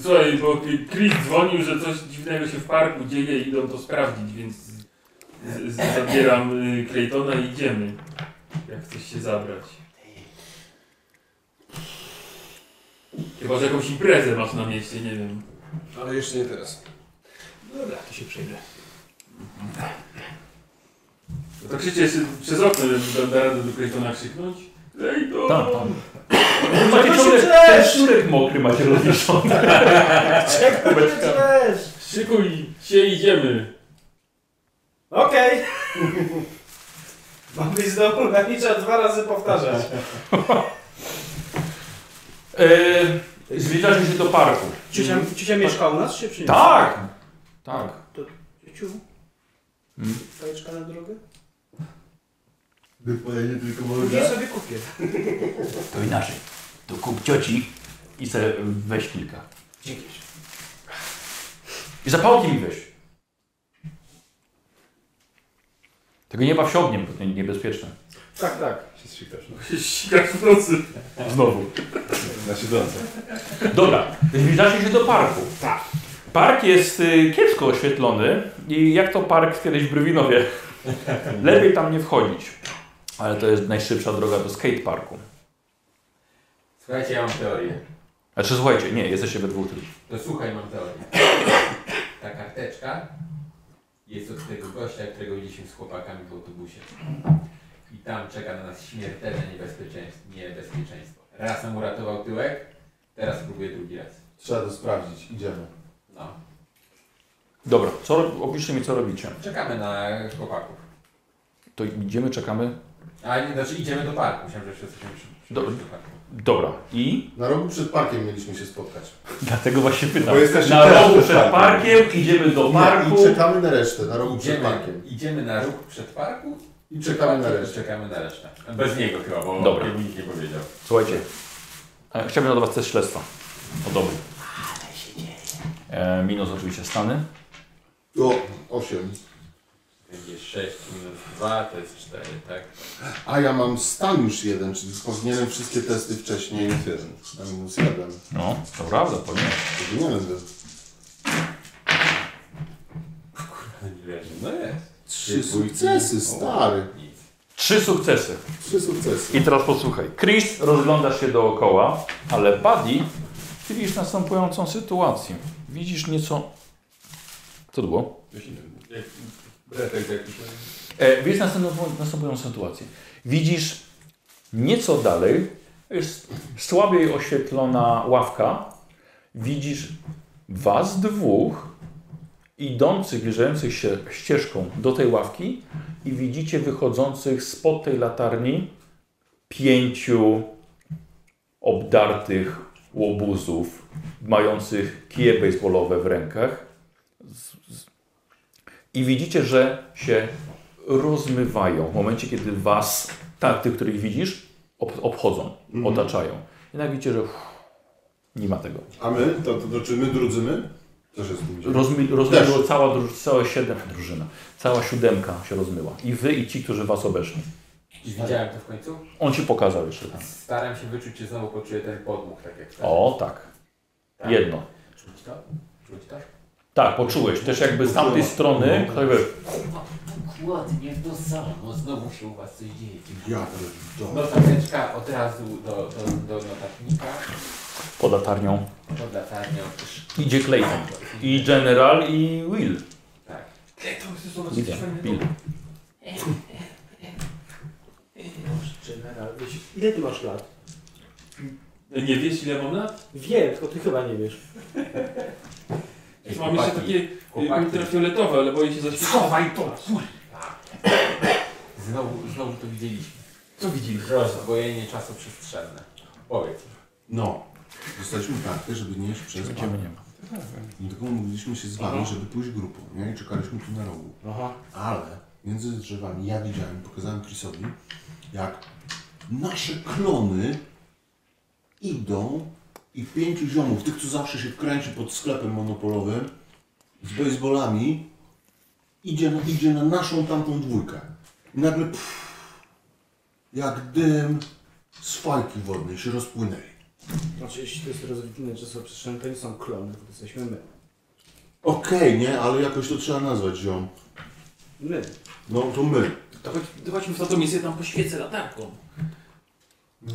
Speaker 6: Słuchaj, bo Ki- Chris dzwonił, że coś dziwnego się w parku dzieje i idą to sprawdzić, więc z, z, zabieram y, Claytona i idziemy. Jak chcesz się zabrać. Chyba, że jakąś imprezę masz na mieście, nie wiem.
Speaker 12: Ale jeszcze nie teraz.
Speaker 19: Dobra, to się przejdę.
Speaker 6: No To krzycie jeszcze przez okno, że da radę do Claytona krzyknąć. Clayton!
Speaker 1: Tam, tam.
Speaker 19: Czego
Speaker 1: Tak, Macie
Speaker 19: się
Speaker 1: ciągle, ten
Speaker 19: drzesz?
Speaker 1: sznurek mokry [laughs] macie rozwieszony.
Speaker 9: [laughs]
Speaker 19: Czego ty drzesz?
Speaker 6: Szykuj się, idziemy.
Speaker 9: [laughs]
Speaker 19: Okej. Mam być znowu na nicza dwa razy powtarzać.
Speaker 1: Yy, zbliżacie się do parku.
Speaker 9: Ciocia, ciocia mieszka u nas, czy przyniosła?
Speaker 1: Tak! Tak.
Speaker 9: Ciociu,
Speaker 1: Mm.
Speaker 9: fajeczka na drogę?
Speaker 5: Wypowiedzi tylko
Speaker 9: Później sobie kupię.
Speaker 1: To inaczej. To kup cioci i se weź kilka.
Speaker 9: Dzięki.
Speaker 1: I zapałki mi weź. Tego nie baw się ogniem, bo to niebezpieczne.
Speaker 9: Tak, tak.
Speaker 2: Się sikasz.
Speaker 6: Bo się Sikasz w nocy.
Speaker 1: Znowu.
Speaker 2: Na siedzące.
Speaker 1: Dobra, zbliżacie się do parku. Tak. Park jest y, kiepsko oświetlony i jak to park kiedyś w Brywinowie. Lepiej tam nie wchodzić. Ale to jest najszybsza droga do skateparku.
Speaker 4: Słuchajcie, ja mam teorię.
Speaker 1: Znaczy słuchajcie, nie, jesteście we dwóch tylko.
Speaker 4: To słuchaj, mam teorię. Ta karteczka jest od tego gościa, którego widzieliśmy z chłopakami w autobusie. I tam czeka na nas śmiertelne niebezpieczeństwo. niebezpieczeństwo. Raz nam uratował tyłek, teraz próbuję drugi raz.
Speaker 5: Trzeba to sprawdzić, idziemy.
Speaker 4: No.
Speaker 1: Dobra, co, ro- opiszcie mi co robicie.
Speaker 4: Czekamy na chłopaków.
Speaker 1: To idziemy, czekamy.
Speaker 4: A nie, znaczy idziemy do parku. Myślałem, że wszyscy się przy,
Speaker 1: Do-
Speaker 4: do, do parku.
Speaker 1: Dobra, i
Speaker 5: Na rogu przed parkiem mieliśmy się spotkać.
Speaker 1: dlatego właśnie pytam.
Speaker 2: Bo jesteście
Speaker 1: Na
Speaker 2: teraz
Speaker 1: rogu
Speaker 2: przed
Speaker 1: przed
Speaker 2: parkiem.
Speaker 1: parkiem, idziemy do parku.
Speaker 5: I czekamy na resztę, na rogu przed
Speaker 4: Idziemy,
Speaker 5: parkiem.
Speaker 4: idziemy na róg przed parku
Speaker 5: I czekamy na resztę.
Speaker 4: Czekamy na resztę. Bez niego chyba, bo
Speaker 1: Dobra.
Speaker 4: on nic nie powiedział.
Speaker 1: Słuchajcie, e, chciałbym od Was też śledztwa. O dobry. E, minus oczywiście Stany.
Speaker 5: O, 8.
Speaker 4: Będzie 6 minus 2, to jest 4, tak?
Speaker 5: A ja mam stan już jeden, czyli powinienem wszystkie testy wcześniej. Minus jeden. Na minus jeden.
Speaker 1: No, to prawda, powinien.
Speaker 5: Powinienem go.
Speaker 4: Nie wierzę. No jest.
Speaker 5: Trzy sukcesy, stary.
Speaker 1: Trzy sukcesy.
Speaker 5: Trzy sukcesy.
Speaker 1: I teraz posłuchaj. Chris rozgląda się dookoła, ale Buddy widzisz następującą sytuację. Widzisz nieco... Co to było?
Speaker 20: Bretek jakiś.
Speaker 1: E, widzisz następującą, następującą sytuację. Widzisz nieco dalej, jest słabiej oświetlona ławka. Widzisz was dwóch idących, zbliżających się ścieżką do tej ławki i widzicie wychodzących spod tej latarni pięciu obdartych łobuzów, mających kije baseballowe w rękach. Z- z- I widzicie, że się rozmywają w momencie, kiedy was, tak, tych, których widzisz, ob obchodzą, otaczają. Jednak widzicie, że uff, nie ma tego.
Speaker 5: A my? To, to, to czy my drudzymy? Też jest drudzimy.
Speaker 1: Rozmi
Speaker 5: Też.
Speaker 1: rozmyło cała, druż- cała siedem, drużyna, cała siódemka się rozmyła. I wy i ci, którzy was obeszli.
Speaker 4: Czy widziałem to w końcu?
Speaker 1: On ci pokazał jeszcze tam.
Speaker 4: Staram się wyczuć, czy znowu poczuję ten podmuch, tak jak teraz.
Speaker 1: O, tak.
Speaker 4: Tak.
Speaker 1: Jedno.
Speaker 4: Czuć to? Czuć to?
Speaker 1: Tak, poczułeś. Też jakby z tamtej strony ktoś by...
Speaker 4: Dokładnie to samo. Znowu się u was coś dzieje.
Speaker 5: Ja pierdolę.
Speaker 4: Notateczka No od razu do, do, do notatnika. tak,
Speaker 1: pod latarnią.
Speaker 4: Pod latarnią.
Speaker 1: Idzie Clayton. I General, i Will.
Speaker 4: Tak.
Speaker 1: Widzę. Bill.
Speaker 9: General, wiesz, ile ty masz lat?
Speaker 6: Nie wiesz ile mam lat?
Speaker 9: Wiem, tylko ty chyba nie wiesz.
Speaker 4: Ej,
Speaker 6: Mam jeszcze takie y,
Speaker 4: chłopaki.
Speaker 6: ultrafioletowe, ale boję się zaświecić.
Speaker 4: Schowaj to! Kurwa! Znowu, znowu to widzieliśmy.
Speaker 6: Co widzisz?
Speaker 4: Rozdwojenie czasu przestrzenne. Powiedz.
Speaker 5: No. Dostaliśmy kartę, żeby nie iść przez
Speaker 1: Będziemy
Speaker 5: bank.
Speaker 1: nie ma.
Speaker 5: Dlatego mogliśmy się z wami, żeby pójść grupą. Nie? I czekaliśmy tu na rogu.
Speaker 9: Aha.
Speaker 5: Ale między drzewami ja widziałem, pokazałem Chrisowi, jak nasze klony idą i pięciu ziomów, tych co zawsze się kręci pod sklepem monopolowym z baseballami, idzie, na- idzie na naszą tamtą dwójkę. I nagle pff, jak dym z fajki wodnej się rozpłynęli.
Speaker 9: Znaczy, jeśli to jest rozwinięte czasoprzestrzenne, to nie są klony, to jesteśmy my.
Speaker 5: Okej, nie, ale jakoś to trzeba nazwać ziom.
Speaker 9: My.
Speaker 5: No to my.
Speaker 6: To chodź, to chodźmy w to miejsce, tam poświecę latarką.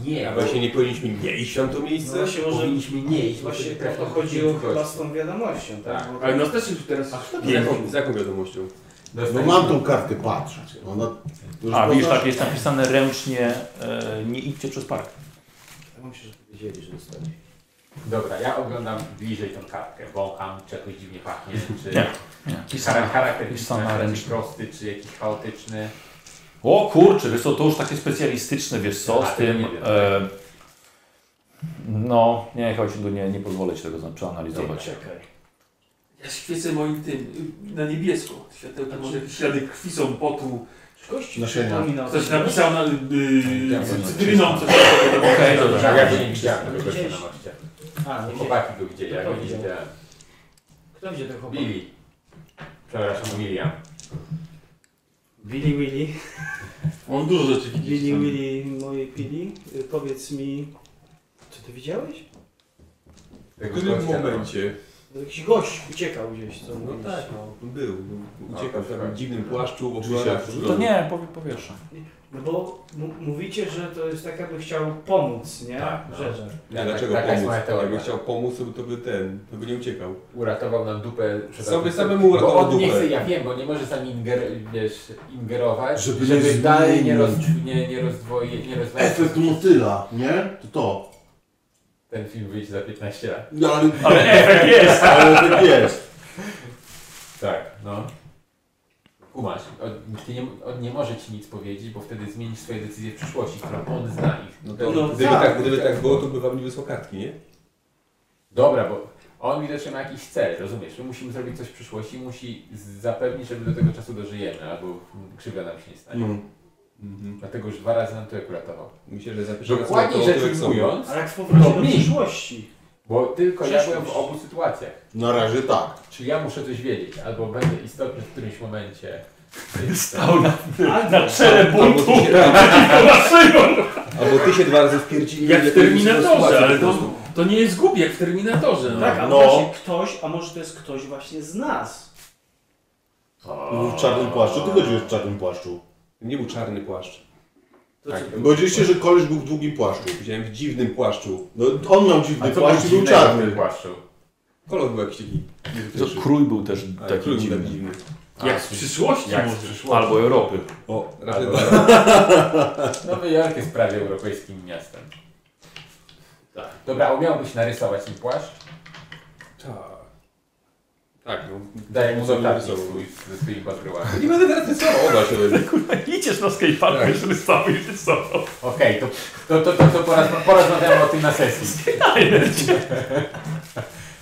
Speaker 4: Nie,
Speaker 12: A właśnie nie powinniśmy nie iść tam to miejsce?
Speaker 9: właśnie może-
Speaker 4: powinniśmy nie iść.
Speaker 9: Właśnie
Speaker 4: bo się
Speaker 9: o to
Speaker 4: trafi-
Speaker 9: chodziło
Speaker 4: chodź.
Speaker 9: chyba z tą wiadomością, tak?
Speaker 4: Tak.
Speaker 9: Bo-
Speaker 6: Ale nas też już teraz...
Speaker 12: Z jaką, z jaką wiadomością?
Speaker 5: No
Speaker 4: Dostaliśmy-
Speaker 5: mam tą kartkę, patrz. Ona, to już
Speaker 1: A, widzisz,
Speaker 5: poznasz?
Speaker 1: tak jest napisane ręcznie, e, nie idźcie przez park.
Speaker 9: Ja mam się, że wiedzieli, że dostali.
Speaker 4: Dobra, ja oglądam bliżej tą kartkę. Wącham, czy jakoś dziwnie
Speaker 1: [laughs]
Speaker 4: pachnie, czy...
Speaker 1: Nie, nie.
Speaker 4: Czy charak- charakterystyczny,
Speaker 1: Pisana
Speaker 4: czy
Speaker 1: ręcznie.
Speaker 4: prosty, czy jakiś chaotyczny.
Speaker 1: O kurczę, wiesz co, to już takie specjalistyczne, wiesz co,
Speaker 4: A,
Speaker 1: z
Speaker 4: to ja
Speaker 1: tym...
Speaker 4: nie wiem.
Speaker 1: E, no, nie, chyba ci tu nie, nie pozwolę ci tego zna- przeanalizować.
Speaker 9: Czekaj.
Speaker 6: Ja świecę moim tym, y, na niebiesko. Światełko, może jakieś ślady krwi są, potu.
Speaker 9: Kości
Speaker 5: Nasienia.
Speaker 9: przypomina-
Speaker 6: Ktoś napisał na...
Speaker 4: Ja
Speaker 6: Yy,
Speaker 4: bym-
Speaker 6: cytryną coś.
Speaker 1: Tak, Okej, dobra.
Speaker 4: Ja go nie widziałem, tego
Speaker 9: Widzieliście.
Speaker 4: gościa na moście.
Speaker 9: A, nie widziałem.
Speaker 4: Chłopaki go widzieli, ja go nie widziałem.
Speaker 9: Kto widział tego chłopaka?
Speaker 4: Billy. Przepraszam, William.
Speaker 9: Billy Willy.
Speaker 6: On dużo rzeczy
Speaker 9: Billy
Speaker 6: widzi.
Speaker 9: Willy, moje pili. Y, Powiedz mi, czy ty widziałeś?
Speaker 12: W
Speaker 4: Tego
Speaker 12: którym
Speaker 4: gościa na
Speaker 12: momencie
Speaker 9: Jakiś gość uciekał gdzieś, co
Speaker 12: no
Speaker 9: mówisz.
Speaker 12: tak, no, był,
Speaker 4: No,
Speaker 12: uciekał w
Speaker 4: tak.
Speaker 12: takim dziwnym płaszczu, w
Speaker 5: Oczywiście.
Speaker 12: okularach.
Speaker 1: To nie, powie, powieszę.
Speaker 9: No bo m- mówicie, że to jest tak, jakby chciał pomóc, nie?
Speaker 4: Tak, no.
Speaker 9: Rzeczach.
Speaker 12: Nie,
Speaker 4: Tak,
Speaker 12: dlaczego
Speaker 4: tak, taka jest
Speaker 12: pomóc?
Speaker 4: moja teoria.
Speaker 12: Jakby chciał pomóc, to by, to by ten, to by nie uciekał.
Speaker 4: Uratował nam dupę. przed
Speaker 12: Sobie
Speaker 4: autobusem.
Speaker 12: samemu uratował
Speaker 4: Bo on nie
Speaker 12: dupę.
Speaker 4: chce, ja wiem, bo nie może sam inger, wiesz, ingerować,
Speaker 5: Żeby
Speaker 4: żeby,
Speaker 5: nie zmienić.
Speaker 4: dalej nie, roz, nie, nie rozdwoić, nie rozwalić.
Speaker 5: Efekt motyla, nie? To to.
Speaker 4: Ten film wyjdzie za 15 lat.
Speaker 5: No, ale,
Speaker 1: Ale efekt jest!
Speaker 5: ale tak jest.
Speaker 4: Tak, no. Kumasz, on, ty nie, on nie może ci nic powiedzieć, bo wtedy zmienisz swoje decyzje w przyszłości, którą on zna ich.
Speaker 12: No to,
Speaker 9: No
Speaker 12: gdyby,
Speaker 9: tak.
Speaker 12: tak, gdyby tak było, to by wam nie wysłał kartki, nie?
Speaker 4: Dobra, bo on widocznie ma jakiś cel, rozumiesz? My musimy zrobić coś w przyszłości, musi z- zapewnić, żeby do tego czasu dożyjemy, albo krzywda nam się nie stanie.
Speaker 5: No.
Speaker 12: Mhm.
Speaker 4: Dlatego już dwa razy nam to uratował.
Speaker 12: Myślę, że zapiszemy
Speaker 4: Dokładnie
Speaker 12: sobie to, jak
Speaker 5: tak
Speaker 4: rzecz
Speaker 12: są.
Speaker 4: ujmując,
Speaker 9: Ale jak w powrocie
Speaker 4: No
Speaker 9: do
Speaker 4: mi.
Speaker 9: przyszłości.
Speaker 4: bo tylko ja byłem w
Speaker 9: Przeszłość.
Speaker 4: obu sytuacjach.
Speaker 5: Na razie tak.
Speaker 4: Czyli ja muszę coś wiedzieć, albo będę istotny w którymś momencie
Speaker 1: Stał na,
Speaker 9: Ale-
Speaker 1: na czele
Speaker 9: Albo
Speaker 1: buntu
Speaker 9: ty się-
Speaker 1: przeciwko naszym.
Speaker 8: Albo ty się dwa razy wpierdzili.
Speaker 6: Jak w Terminatorze, ale to, to nie jest głupie, jak w Terminatorze. No.
Speaker 3: Tak, a
Speaker 6: no.
Speaker 3: może ktoś, a może to jest ktoś właśnie z nas.
Speaker 5: W czarnym płaszczu. Ty chodziłeś w czarnym płaszczu.
Speaker 12: Nie był czarny płaszcz.
Speaker 3: To
Speaker 12: Tak,
Speaker 3: co-
Speaker 12: był
Speaker 5: Godziliście, że koleś był w długim płaszczu.
Speaker 12: Widziałem w dziwnym płaszczu.
Speaker 5: No on miał dziwny płaszcz i był czarny.
Speaker 12: płaszczu? Kolor był jakiś taki... niezwykły.
Speaker 1: Krój był też
Speaker 12: Ale
Speaker 1: taki
Speaker 12: krój był
Speaker 1: dziwny.
Speaker 12: taki dziwny.
Speaker 6: Jak z przyszłości
Speaker 12: Jak z
Speaker 6: może.
Speaker 12: przyszłości.
Speaker 1: Albo Europy.
Speaker 12: O, raczej
Speaker 4: Albo-
Speaker 12: tak.
Speaker 4: Nowy Jork jest prawie europejskim miastem.
Speaker 12: Tak.
Speaker 4: Dobra, umiałbyś narysować mi płaszcz?
Speaker 12: Tak, no.
Speaker 4: Daję mu
Speaker 12: Sobie
Speaker 4: notatnik
Speaker 12: narysował.
Speaker 4: swój z tymi patrywami.
Speaker 12: Nie będę teraz rysował. Oda No, [laughs] się będzie.
Speaker 1: Kurwa, idziesz na skateparku,
Speaker 12: Tak.
Speaker 1: już rysował i rysował.
Speaker 4: Okej, to, to, to, to, to poraz, porozmawiamy o tym na sesji.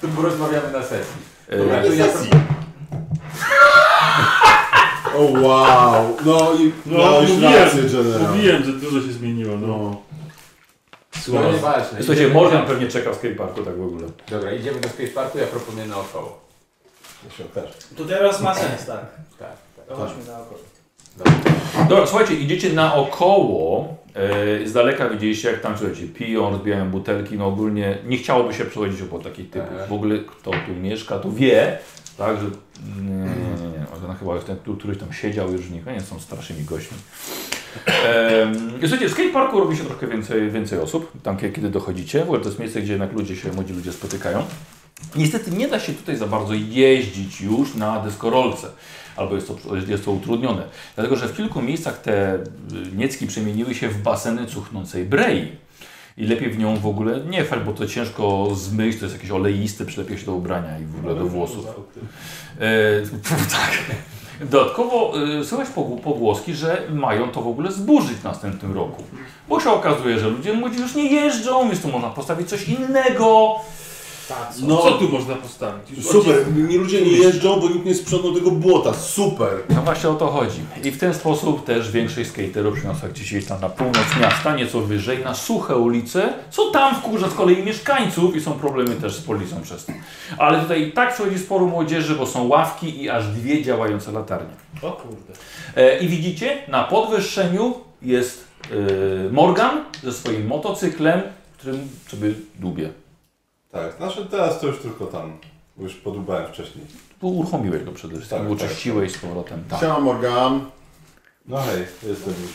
Speaker 4: To porozmawiamy na sesji.
Speaker 1: E,
Speaker 4: Dobra, to ja
Speaker 5: sesji. O wow. No i
Speaker 6: No,
Speaker 5: miałeś
Speaker 6: mówiłem,
Speaker 5: rację, generał.
Speaker 6: Tak, mówiłem, że dużo się zmieniło. No.
Speaker 5: No.
Speaker 4: No nieważne.
Speaker 1: Słuchajcie,
Speaker 4: idziemy-
Speaker 1: Morgan pewnie czeka w skateparku tak w ogóle.
Speaker 4: Dobra, idziemy do skateparku, ja proponuję naokoło.
Speaker 3: To teraz ma sens, tak.
Speaker 4: Tak, tak.
Speaker 3: To chodźmy naokoło.
Speaker 1: Dobra, słuchajcie, idziecie naokoło. e, Z daleka widzieliście, jak tam słuchajcie, piją, rozbijają butelki. No ogólnie nie chciałoby się przechodzić obok takich typów.
Speaker 4: Tak.
Speaker 1: W ogóle kto tu mieszka, to wie. Tak, że. Nie, nie, nie. Ona chyba już ten, tu, któryś tam siedział już nie, nie są starszymi gośćmi. Em, i Słuchajcie, w skateparku robi się trochę więcej, więcej osób, tam kie- kiedy dochodzicie. W ogóle to jest miejsce, gdzie jednak ludzie się, młodzi ludzie spotykają. Niestety nie da się tutaj za bardzo jeździć już na deskorolce, albo jest to, jest to utrudnione. Dlatego, że w kilku miejscach te y, niecki przemieniły się w baseny cuchnącej brei. I lepiej w nią w ogóle nie wpaść, bo to ciężko zmyć, to jest jakieś oleiste, przylepia się do ubrania i w ogóle do włosów. E, [laughs] tak. Dodatkowo y, słychać pogł- pogłoski, że mają to w ogóle zburzyć w następnym roku. Bo się okazuje, że ludzie młodzi już nie jeżdżą, więc tu można postawić coś innego.
Speaker 6: Tak, co,
Speaker 5: No.
Speaker 6: co tu można postawić? Już
Speaker 5: Super, nie- ludzie nie jeżdżą, bo nikt nie sprzątnął tego błota. Super.
Speaker 1: No właśnie o to chodzi. I w ten sposób też większość skaterów przyniosła gdzieś tam na północ miasta, nieco wyżej, na suche ulice, co tam wkurza z kolei mieszkańców i są problemy też z policją przez to. Ale tutaj i tak przychodzi sporo młodzieży, bo są ławki i aż dwie działające latarnie.
Speaker 9: O kurde.
Speaker 1: E, I widzicie, na podwyższeniu jest e, Morgan ze swoim motocyklem, którym sobie dłubie.
Speaker 2: Tak, znaczy teraz to już tylko tam. bo Już podubałem wcześniej.
Speaker 1: Tu uruchomiłeś go przede wszystkim,
Speaker 2: Tak,
Speaker 1: tak,
Speaker 2: tak,
Speaker 1: uczyściłeś z powrotem. Tak.
Speaker 5: Siema Morgan.
Speaker 2: No hej, jestem już.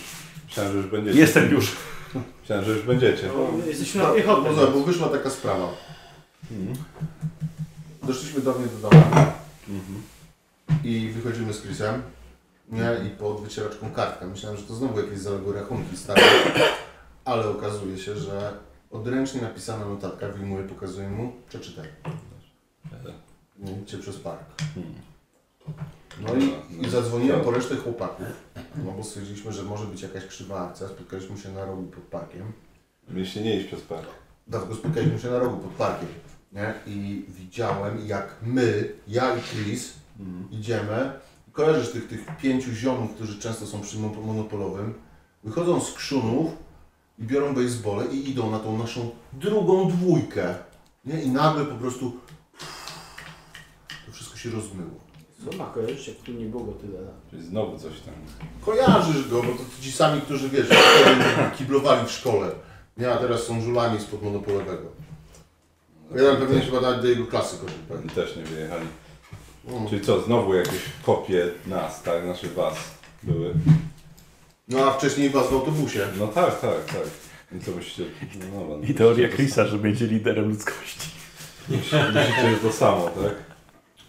Speaker 2: Myślałem, że już będziecie.
Speaker 1: Jestem już.
Speaker 2: Myślałem, że już będziecie.
Speaker 3: No, Jesteśmy na piechotę.
Speaker 5: Poza, bo wyszła taka sprawa. Doszliśmy do mnie do domu. I wychodzimy z Chrisem. Nie, i pod wycieraczką kartka. Myślałem, że to znowu jakieś zaległe rachunki stare. Ale okazuje się, że odręcznie napisana notatka wyjmuje, pokazuje mu, przeczytaj. No idźcie przez park. No i, i zadzwoniłem po resztę chłopaków, no bo stwierdziliśmy, że może być jakaś krzywa akcja. Spotkaliśmy się na rogu pod parkiem.
Speaker 2: Mieliście nie iść przez park.
Speaker 5: Dlatego spotkaliśmy się na rogu pod parkiem. Nie? I widziałem, jak my, ja i Chris idziemy. Kojarzysz tych, tych pięciu ziomów, którzy często są przy mon- monopolowym. Wychodzą z krzunów i biorą bejsbole i idą na tą naszą drugą dwójkę. Nie? I nagle po prostu to wszystko się rozmyło.
Speaker 3: Co ma kojarzyć, jak tu nie było tyle lat?
Speaker 2: Czyli znowu coś tam.
Speaker 5: Kojarzysz go, bo to ci sami, którzy wiesz, wtedy kiblowali w szkole. Nie, a teraz są żulami spod monopolowego. Jeden pewnie chyba nawet do jego klasy tak? kończy. pewnie.
Speaker 2: Oni też nie wyjechali.
Speaker 5: Mm.
Speaker 2: Czyli co, znowu jakieś kopie nas, tak? Znaczy was były.
Speaker 5: No a wcześniej was w autobusie.
Speaker 2: No tak, tak, tak. I co myślicie? No, no,
Speaker 1: I teoria Chrisa, że będzie liderem ludzkości.
Speaker 2: Myślicie, że to samo, tak?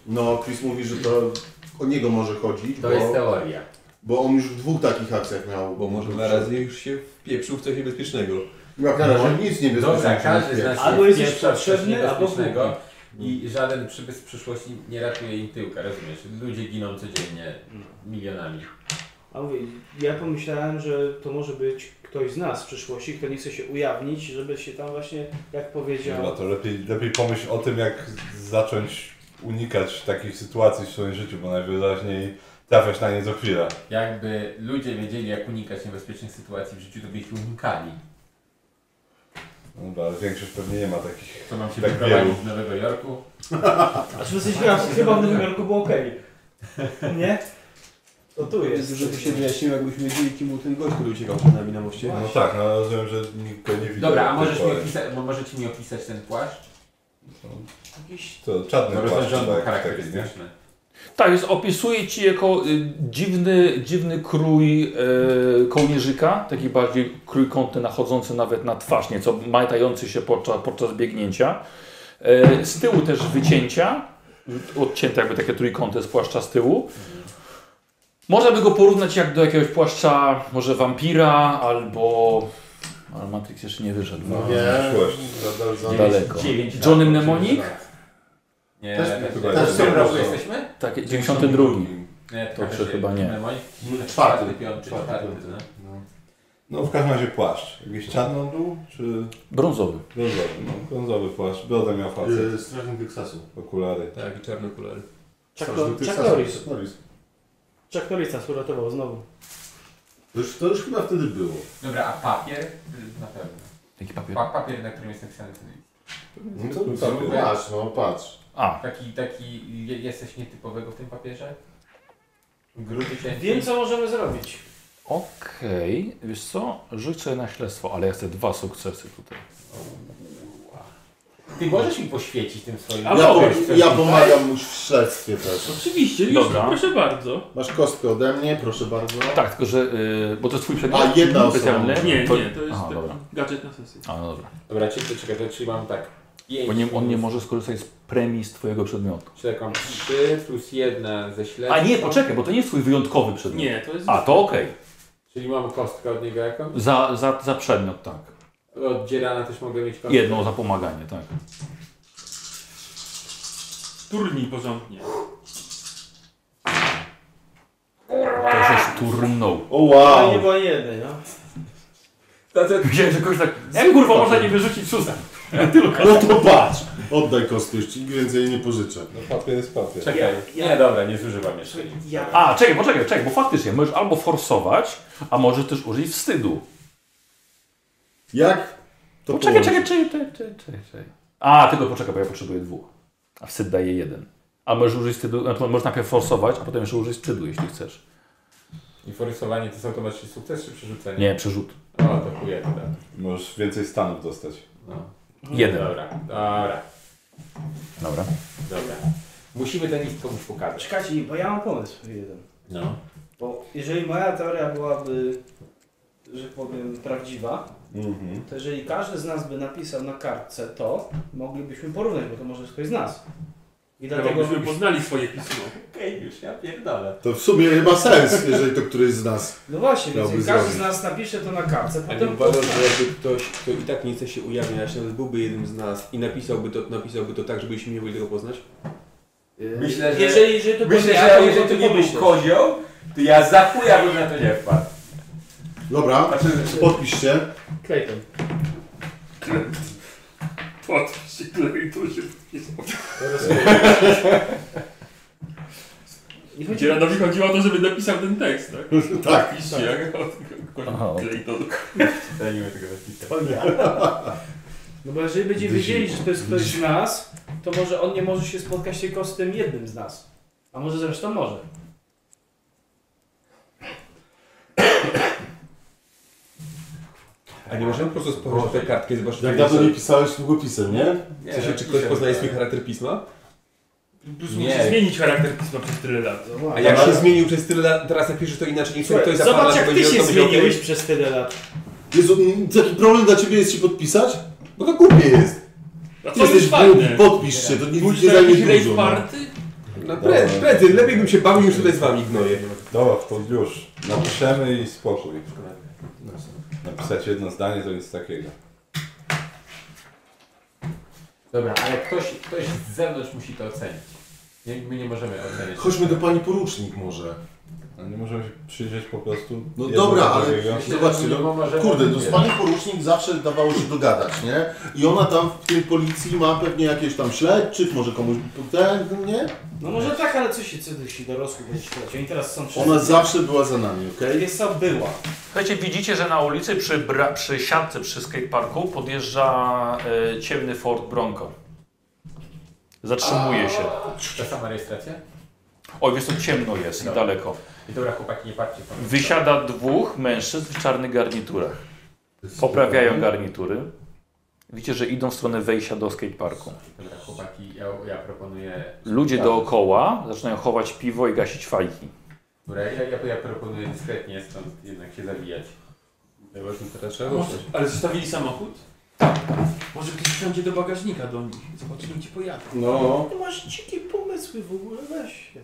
Speaker 5: No, Chris mówi, że to o niego może chodzić,
Speaker 4: To
Speaker 5: bo,
Speaker 4: jest teoria.
Speaker 5: bo on już w dwóch takich akcjach miał.
Speaker 12: Bo może na razie już się wpieprzył w coś niebezpiecznego.
Speaker 5: Jak na razie nic nie
Speaker 4: Dobra, każdy z nas
Speaker 5: wie.
Speaker 3: Albo
Speaker 4: jest
Speaker 3: jesteś
Speaker 4: pierwszy od coś
Speaker 3: potrzebny, albo
Speaker 4: niebezpiecznego I żaden przybysz z przyszłości nie ratuje im tyłka, rozumiesz? Ludzie giną codziennie milionami.
Speaker 3: A mówię, ja pomyślałem, że to może być ktoś z nas w przyszłości, kto nie chce się ujawnić, żeby się tam właśnie, jak
Speaker 2: Chyba
Speaker 3: powiedział...
Speaker 2: to lepiej, lepiej pomyśl o tym, jak zacząć unikać takich sytuacji w swoim życiu, bo najwyraźniej trafiasz na nie co chwilę.
Speaker 4: Jakby ludzie wiedzieli, jak unikać niebezpiecznych sytuacji w życiu, to by ich unikali.
Speaker 2: No dobra, ale większość pewnie nie ma takich.
Speaker 4: Co mam się
Speaker 2: Tak
Speaker 4: wyprowadzić
Speaker 2: wielu.
Speaker 4: z Nowego Jorku?
Speaker 3: A czy jesteś gra? Chyba w Nowym Jorku było okej. Nie?
Speaker 8: No tu jest. Żeby się wyjaśniło, jakbyśmy wiedzieli, kim był ten gość, który uciekał przed nami na moście.
Speaker 2: No tak, no rozumiem, że nikt go nie widział.
Speaker 4: Dobra, a
Speaker 2: do tej
Speaker 4: możesz mi
Speaker 2: pory.
Speaker 4: opisać, bo możecie mi opisać ten płaszcz? Jakiś
Speaker 2: To czarny
Speaker 4: no,
Speaker 2: płaszcz,
Speaker 4: rozpędzony
Speaker 2: tak, taki, nie?
Speaker 4: charakterystyczny.
Speaker 1: Tak, jest, opisuje ci jako y, dziwny, dziwny krój y, kołnierzyka, taki bardziej krój kątny, nachodzący nawet na twarz, nieco majtający się podczas, podczas biegnięcia. Y, z tyłu też wycięcia, odcięte jakby takie trójkąty z płaszcza z tyłu. Można by go porównać jak do jakiegoś płaszcza, może wampira albo... Ale Matrix jeszcze nie wyszedł.
Speaker 2: No,
Speaker 5: Nie.
Speaker 2: przyszłość.
Speaker 5: Za, za, za.
Speaker 1: Daleko.
Speaker 4: Dziewięć lat,
Speaker 1: Johnny
Speaker 4: dziewięć
Speaker 1: Mnemonic?
Speaker 4: lat. Nie,
Speaker 5: Też-
Speaker 4: też,
Speaker 2: chyba
Speaker 4: też,
Speaker 2: nie.
Speaker 4: w którym
Speaker 2: Też-
Speaker 4: roku jesteśmy?
Speaker 1: Tak, 92.
Speaker 4: Nie,
Speaker 1: Dobrze,
Speaker 4: trochę się-
Speaker 1: chyba nie.
Speaker 4: Mnemonic?
Speaker 5: Czwarty.
Speaker 4: piąty,
Speaker 5: Czwarty,
Speaker 4: czwarty.
Speaker 5: piąty.
Speaker 4: no.
Speaker 5: No.
Speaker 2: No w każdym razie płaszcz. Jakiś czarny on był, czy
Speaker 1: Brązowy.
Speaker 2: brązowy? No, brązowy płaszcz. Brodę miał facet,
Speaker 5: Yy, Strażnik Teksasu.
Speaker 2: okulary.
Speaker 12: Tak, czarne okulary.
Speaker 9: Chuck,
Speaker 5: Strażnik
Speaker 9: Chuck
Speaker 5: Teksasu,
Speaker 9: Norris.
Speaker 5: Norris.
Speaker 9: Chuck Norris nas uratował znowu.
Speaker 5: To już, to już chyba wtedy było.
Speaker 4: Dobra, a papier? Na pewno.
Speaker 1: Taki papier.
Speaker 4: Pa, papier, na którym jest napisany ten list.
Speaker 5: No to,
Speaker 2: co
Speaker 5: to
Speaker 2: było?
Speaker 5: patrz, no patrz.
Speaker 1: A,
Speaker 4: Taki, taki, je- jesteś nietypowego w tym papierze? Gruby cię.
Speaker 9: Wiem, co możemy zrobić.
Speaker 1: okej. Wiesz co? Rzuć sobie na śledztwo, ale ja chcę dwa sukcesy tutaj.
Speaker 4: Ty możesz mi poświecić tym swoim...
Speaker 9: A
Speaker 5: Ja,
Speaker 9: no,
Speaker 5: po,
Speaker 4: Coś, coś
Speaker 5: ja
Speaker 4: mi-
Speaker 5: pomagam mu w śledztwie też.
Speaker 6: Oczywiście, już
Speaker 1: Dobra.
Speaker 6: proszę bardzo.
Speaker 5: Masz kostkę ode mnie, proszę bardzo.
Speaker 1: Tak, tylko że. y, bo to jest twój przedmiot.
Speaker 5: A, jedna osoba.
Speaker 1: specjalny?
Speaker 6: Nie,
Speaker 1: To-
Speaker 6: nie, to jest
Speaker 1: Aha,
Speaker 6: taki
Speaker 1: dobra.
Speaker 6: gadżet na sesję.
Speaker 1: A, no dobra.
Speaker 4: Dobra, czekaj, czekaj, to czyli mam tak. pięć
Speaker 1: Bo nie, on nie
Speaker 4: plus-
Speaker 1: może skorzystać z premii z twojego przedmiotu.
Speaker 4: Czyli tak mam 3 plus 1 ze śledztwa.
Speaker 1: A nie, poczekaj, bo to nie jest twój wyjątkowy przedmiot.
Speaker 6: Nie, to jest... tak,
Speaker 1: A, to okej.
Speaker 4: Czyli mam kostkę od niego jaką?
Speaker 1: Za, za, za przedmiot, tak.
Speaker 4: Od dzierana też mogę mieć kostkę.
Speaker 1: Jedną za pomaganie, tak.
Speaker 6: Turnij porządnie.
Speaker 1: To żeś turnął.
Speaker 5: O
Speaker 9: Ale nie
Speaker 5: wow!
Speaker 9: była jednej, no.
Speaker 1: Widziałem, że kogoś tak... Jak kurwa można nie wyrzucić szóstek?
Speaker 5: No to patrz! Oddaj kostkę, już ci więcej nie pożyczę.
Speaker 2: No papier jest papier.
Speaker 4: Czekaj. Nie, dobra, nie zużywam jeszcze.
Speaker 9: Ja.
Speaker 1: A, czekaj, poczekaj, czekaj, bo faktycznie możesz albo forsować, a możesz też użyć wstydu.
Speaker 5: Jak? To
Speaker 1: No czekaj,
Speaker 5: połączyć?
Speaker 1: czekaj, czekaj, czekaj, czekaj, czekaj, czekaj. A, tylko poczekaj, bo ja potrzebuję dwóch. A wstyd daje jeden. A możesz użyć wstydu, znaczy możesz najpierw forsować, a potem jeszcze użyć wstydu, jeśli chcesz.
Speaker 4: I forysowanie to jest automatyczny sukces czy przerzucenie?
Speaker 1: Nie, przerzut.
Speaker 4: O, to chuje to da.
Speaker 2: Możesz więcej stanów dostać.
Speaker 4: No.
Speaker 1: Jeden.
Speaker 4: Dobra, dobra,
Speaker 1: Dobra.
Speaker 4: dobra. Musimy ten list komuś pokazać.
Speaker 9: Czekajcie, bo ja mam pomysł jeden.
Speaker 4: No.
Speaker 9: Bo jeżeli moja teoria byłaby, że powiem, prawdziwa,
Speaker 2: Mhm.
Speaker 9: to jeżeli każdy z nas by napisał na kartce to, moglibyśmy porównać, bo to może jest ktoś z nas. I
Speaker 6: Dlatego
Speaker 9: dlatego...
Speaker 6: byśmy poznali swoje pismo.
Speaker 4: Okej, już ja pierdolę.
Speaker 5: To w sumie chyba sens, jeżeli to któryś z nas.
Speaker 9: No właśnie, więc
Speaker 5: Miałby
Speaker 9: jeżeli każdy z
Speaker 5: zrobić.
Speaker 9: nas napisze to na kartce,
Speaker 12: A nie
Speaker 9: potem...
Speaker 12: uważasz, że jakby ktoś, kto i tak nie chce się ujawniać, nawet byłby jednym z nas i napisałby to, napisałby to tak, żebyśmy nie mogli tego poznać?
Speaker 4: Myślę, że...
Speaker 9: Jeżeli, jeżeli to
Speaker 4: Myślę,
Speaker 9: będzie
Speaker 4: że
Speaker 9: ja,
Speaker 4: jeżeli to nie był
Speaker 9: pomyśleć.
Speaker 4: kozioł, to ja za chuja bym na to nie wpadł.
Speaker 5: Dobra,
Speaker 4: Znaczy,
Speaker 5: podpisz się.
Speaker 9: Clayton.
Speaker 6: Patrz się klei, to się wpisało.
Speaker 9: I chodzi-
Speaker 6: Dzieranowi chodziło o to, żeby napisał ten tekst, tak?
Speaker 5: [laughs] Tak.
Speaker 6: Piszcie, jak
Speaker 1: Aha.
Speaker 6: klej to.
Speaker 4: Cenimy tego zapisu.
Speaker 9: No bo jeżeli będziemy wiedzieli, że to jest ktoś z nas, to może on nie może się spotkać tylko z tym jednym z nas. A może zresztą może.
Speaker 12: A nie możemy po prostu spojrzeć na tę kartkę i zobaczyć,
Speaker 5: Jak
Speaker 12: co
Speaker 5: dawno nie pisałeś długopisem, nie?
Speaker 4: Nie,
Speaker 12: w sensie, czy ktoś
Speaker 4: napiszę,
Speaker 12: poznaje
Speaker 4: tak.
Speaker 12: swój charakter pisma?
Speaker 6: Plus
Speaker 4: Nie.
Speaker 6: musi zmienić charakter pisma przez tyle lat.
Speaker 12: A jak się zmienił przez tyle lat, teraz jak piszesz to inaczej, niż ktoś za parę
Speaker 9: Zobacz
Speaker 12: lat
Speaker 9: jak ty
Speaker 12: będzie-
Speaker 9: się
Speaker 12: to będzie okej?
Speaker 9: zmieniłeś przez tyle lat.
Speaker 5: Jezu, m, taki problem dla ciebie jest się podpisać? Bo to głupie jest.
Speaker 6: A co
Speaker 5: Jesteś
Speaker 6: jest
Speaker 5: głupi,
Speaker 6: fajne?
Speaker 5: podpisz się, to nie,
Speaker 6: Musisz
Speaker 5: nie zajmie
Speaker 6: jakiś
Speaker 5: dużo.
Speaker 6: rave
Speaker 5: No.
Speaker 6: party?
Speaker 12: No prędzej, prędzej, lepiej bym się bawił niż tutaj z wami gnoję.
Speaker 2: Dobra, to już. Napiszemy i spokój. Napisać jedno zdanie to nic takiego.
Speaker 4: Dobra, ale ktoś, ktoś z zewnątrz musi to ocenić. Nie, my nie możemy oceniać.
Speaker 5: Chodźmy do pani porucznik może.
Speaker 2: No nie możemy się przyjrzeć po prostu.
Speaker 5: No
Speaker 2: jedno
Speaker 5: dobra,
Speaker 2: do
Speaker 5: ale-
Speaker 2: drugiego?
Speaker 4: Myślę,
Speaker 5: Zobaczcie,
Speaker 4: że
Speaker 5: no,
Speaker 4: mimo możemy-
Speaker 5: Kurde, no z pani porucznik zawsze dawało się dogadać, nie? I ona tam w tej policji ma pewnie jakieś tam śledczych, może komuś ten, nie?
Speaker 9: No może tak, ale co się co ty się dorosły będziesz śledzić? Oni teraz są wszyscy.
Speaker 5: Ona zawsze była za nami, okej?
Speaker 9: Jest co była.
Speaker 1: Słuchajcie, widzicie, że na ulicy przy, bra- przy siatce przy skateparku podjeżdża e, ciemny Ford Bronco. Zatrzymuje się.
Speaker 4: Ta sama rejestracja?
Speaker 1: Oj, wiesz, to ciemno jest i
Speaker 4: Dobra.
Speaker 1: daleko.
Speaker 4: I dobra, chłopaki, nie patrzcie tam.
Speaker 1: Wysiada dwóch mężczyzn w czarnych garniturach. Poprawiają garnitury. Widzicie, że idą w stronę wejścia do skateparku.
Speaker 4: Dobra, chłopaki, ja, ja proponuję...
Speaker 1: Ludzie dookoła zaczynają chować piwo i gasić fajki.
Speaker 4: Dobra, ja, ja, ja proponuję dyskretnie stąd jednak się zabijać. No.
Speaker 12: Chyba, że teraz trzeba
Speaker 6: Może,
Speaker 12: ruszać.
Speaker 6: ale zostawili samochód? Może ktoś wsiądzie do bagażnika do nich. Zobaczymy gdzie pojadą.
Speaker 7: No,
Speaker 3: Ty masz dzikie pomysły w ogóle, weź się.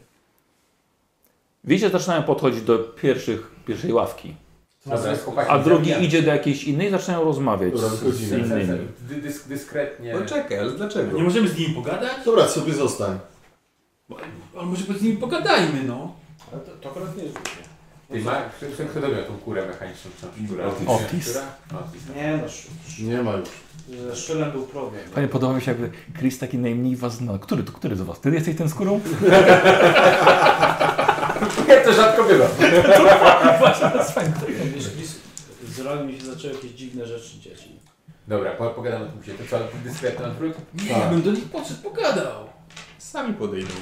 Speaker 1: Wiecie, zaczynają podchodzić do pierwszych, pierwszej ławki.
Speaker 4: Dobra, chłopaki,
Speaker 1: A drugi
Speaker 4: zabijamy.
Speaker 1: idzie do jakiejś innej i zaczynają rozmawiać
Speaker 5: Dobra,
Speaker 1: z, z
Speaker 5: wychodzimy.
Speaker 1: innymi.
Speaker 4: Dy, dysk, dyskretnie...
Speaker 12: No czekaj, ale dlaczego?
Speaker 6: Nie możemy z nimi pogadać?
Speaker 5: Dobra, sobie zostań.
Speaker 6: Ale może z nimi pogadajmy, no.
Speaker 12: Ale to, to akurat nie jest
Speaker 4: Ty ma, kto, kto, kto dobił tą kurę mechaniczną? Tą kurę?
Speaker 2: Otis.
Speaker 1: Otis.
Speaker 4: Która? Otis.
Speaker 3: Nie no, sz-
Speaker 5: Nie ma już.
Speaker 3: ze szczelem był problem.
Speaker 1: Panie, podoba mi się, jakby Chris taki najmniej was zna. Który, to- który z was? Ty jesteś ten skórą?
Speaker 4: Ja to rzadko bywa.
Speaker 3: Wiesz, Chris, z rogiem mi się zaczęły jakieś dziwne rzeczy dzieci.
Speaker 4: Dobra, po, pogadam o tym się. To co, dyskretny odwrót?
Speaker 6: Nie,
Speaker 5: Tak.
Speaker 6: ja bym do nich podszedł, pogadał.
Speaker 12: Sami podejdą.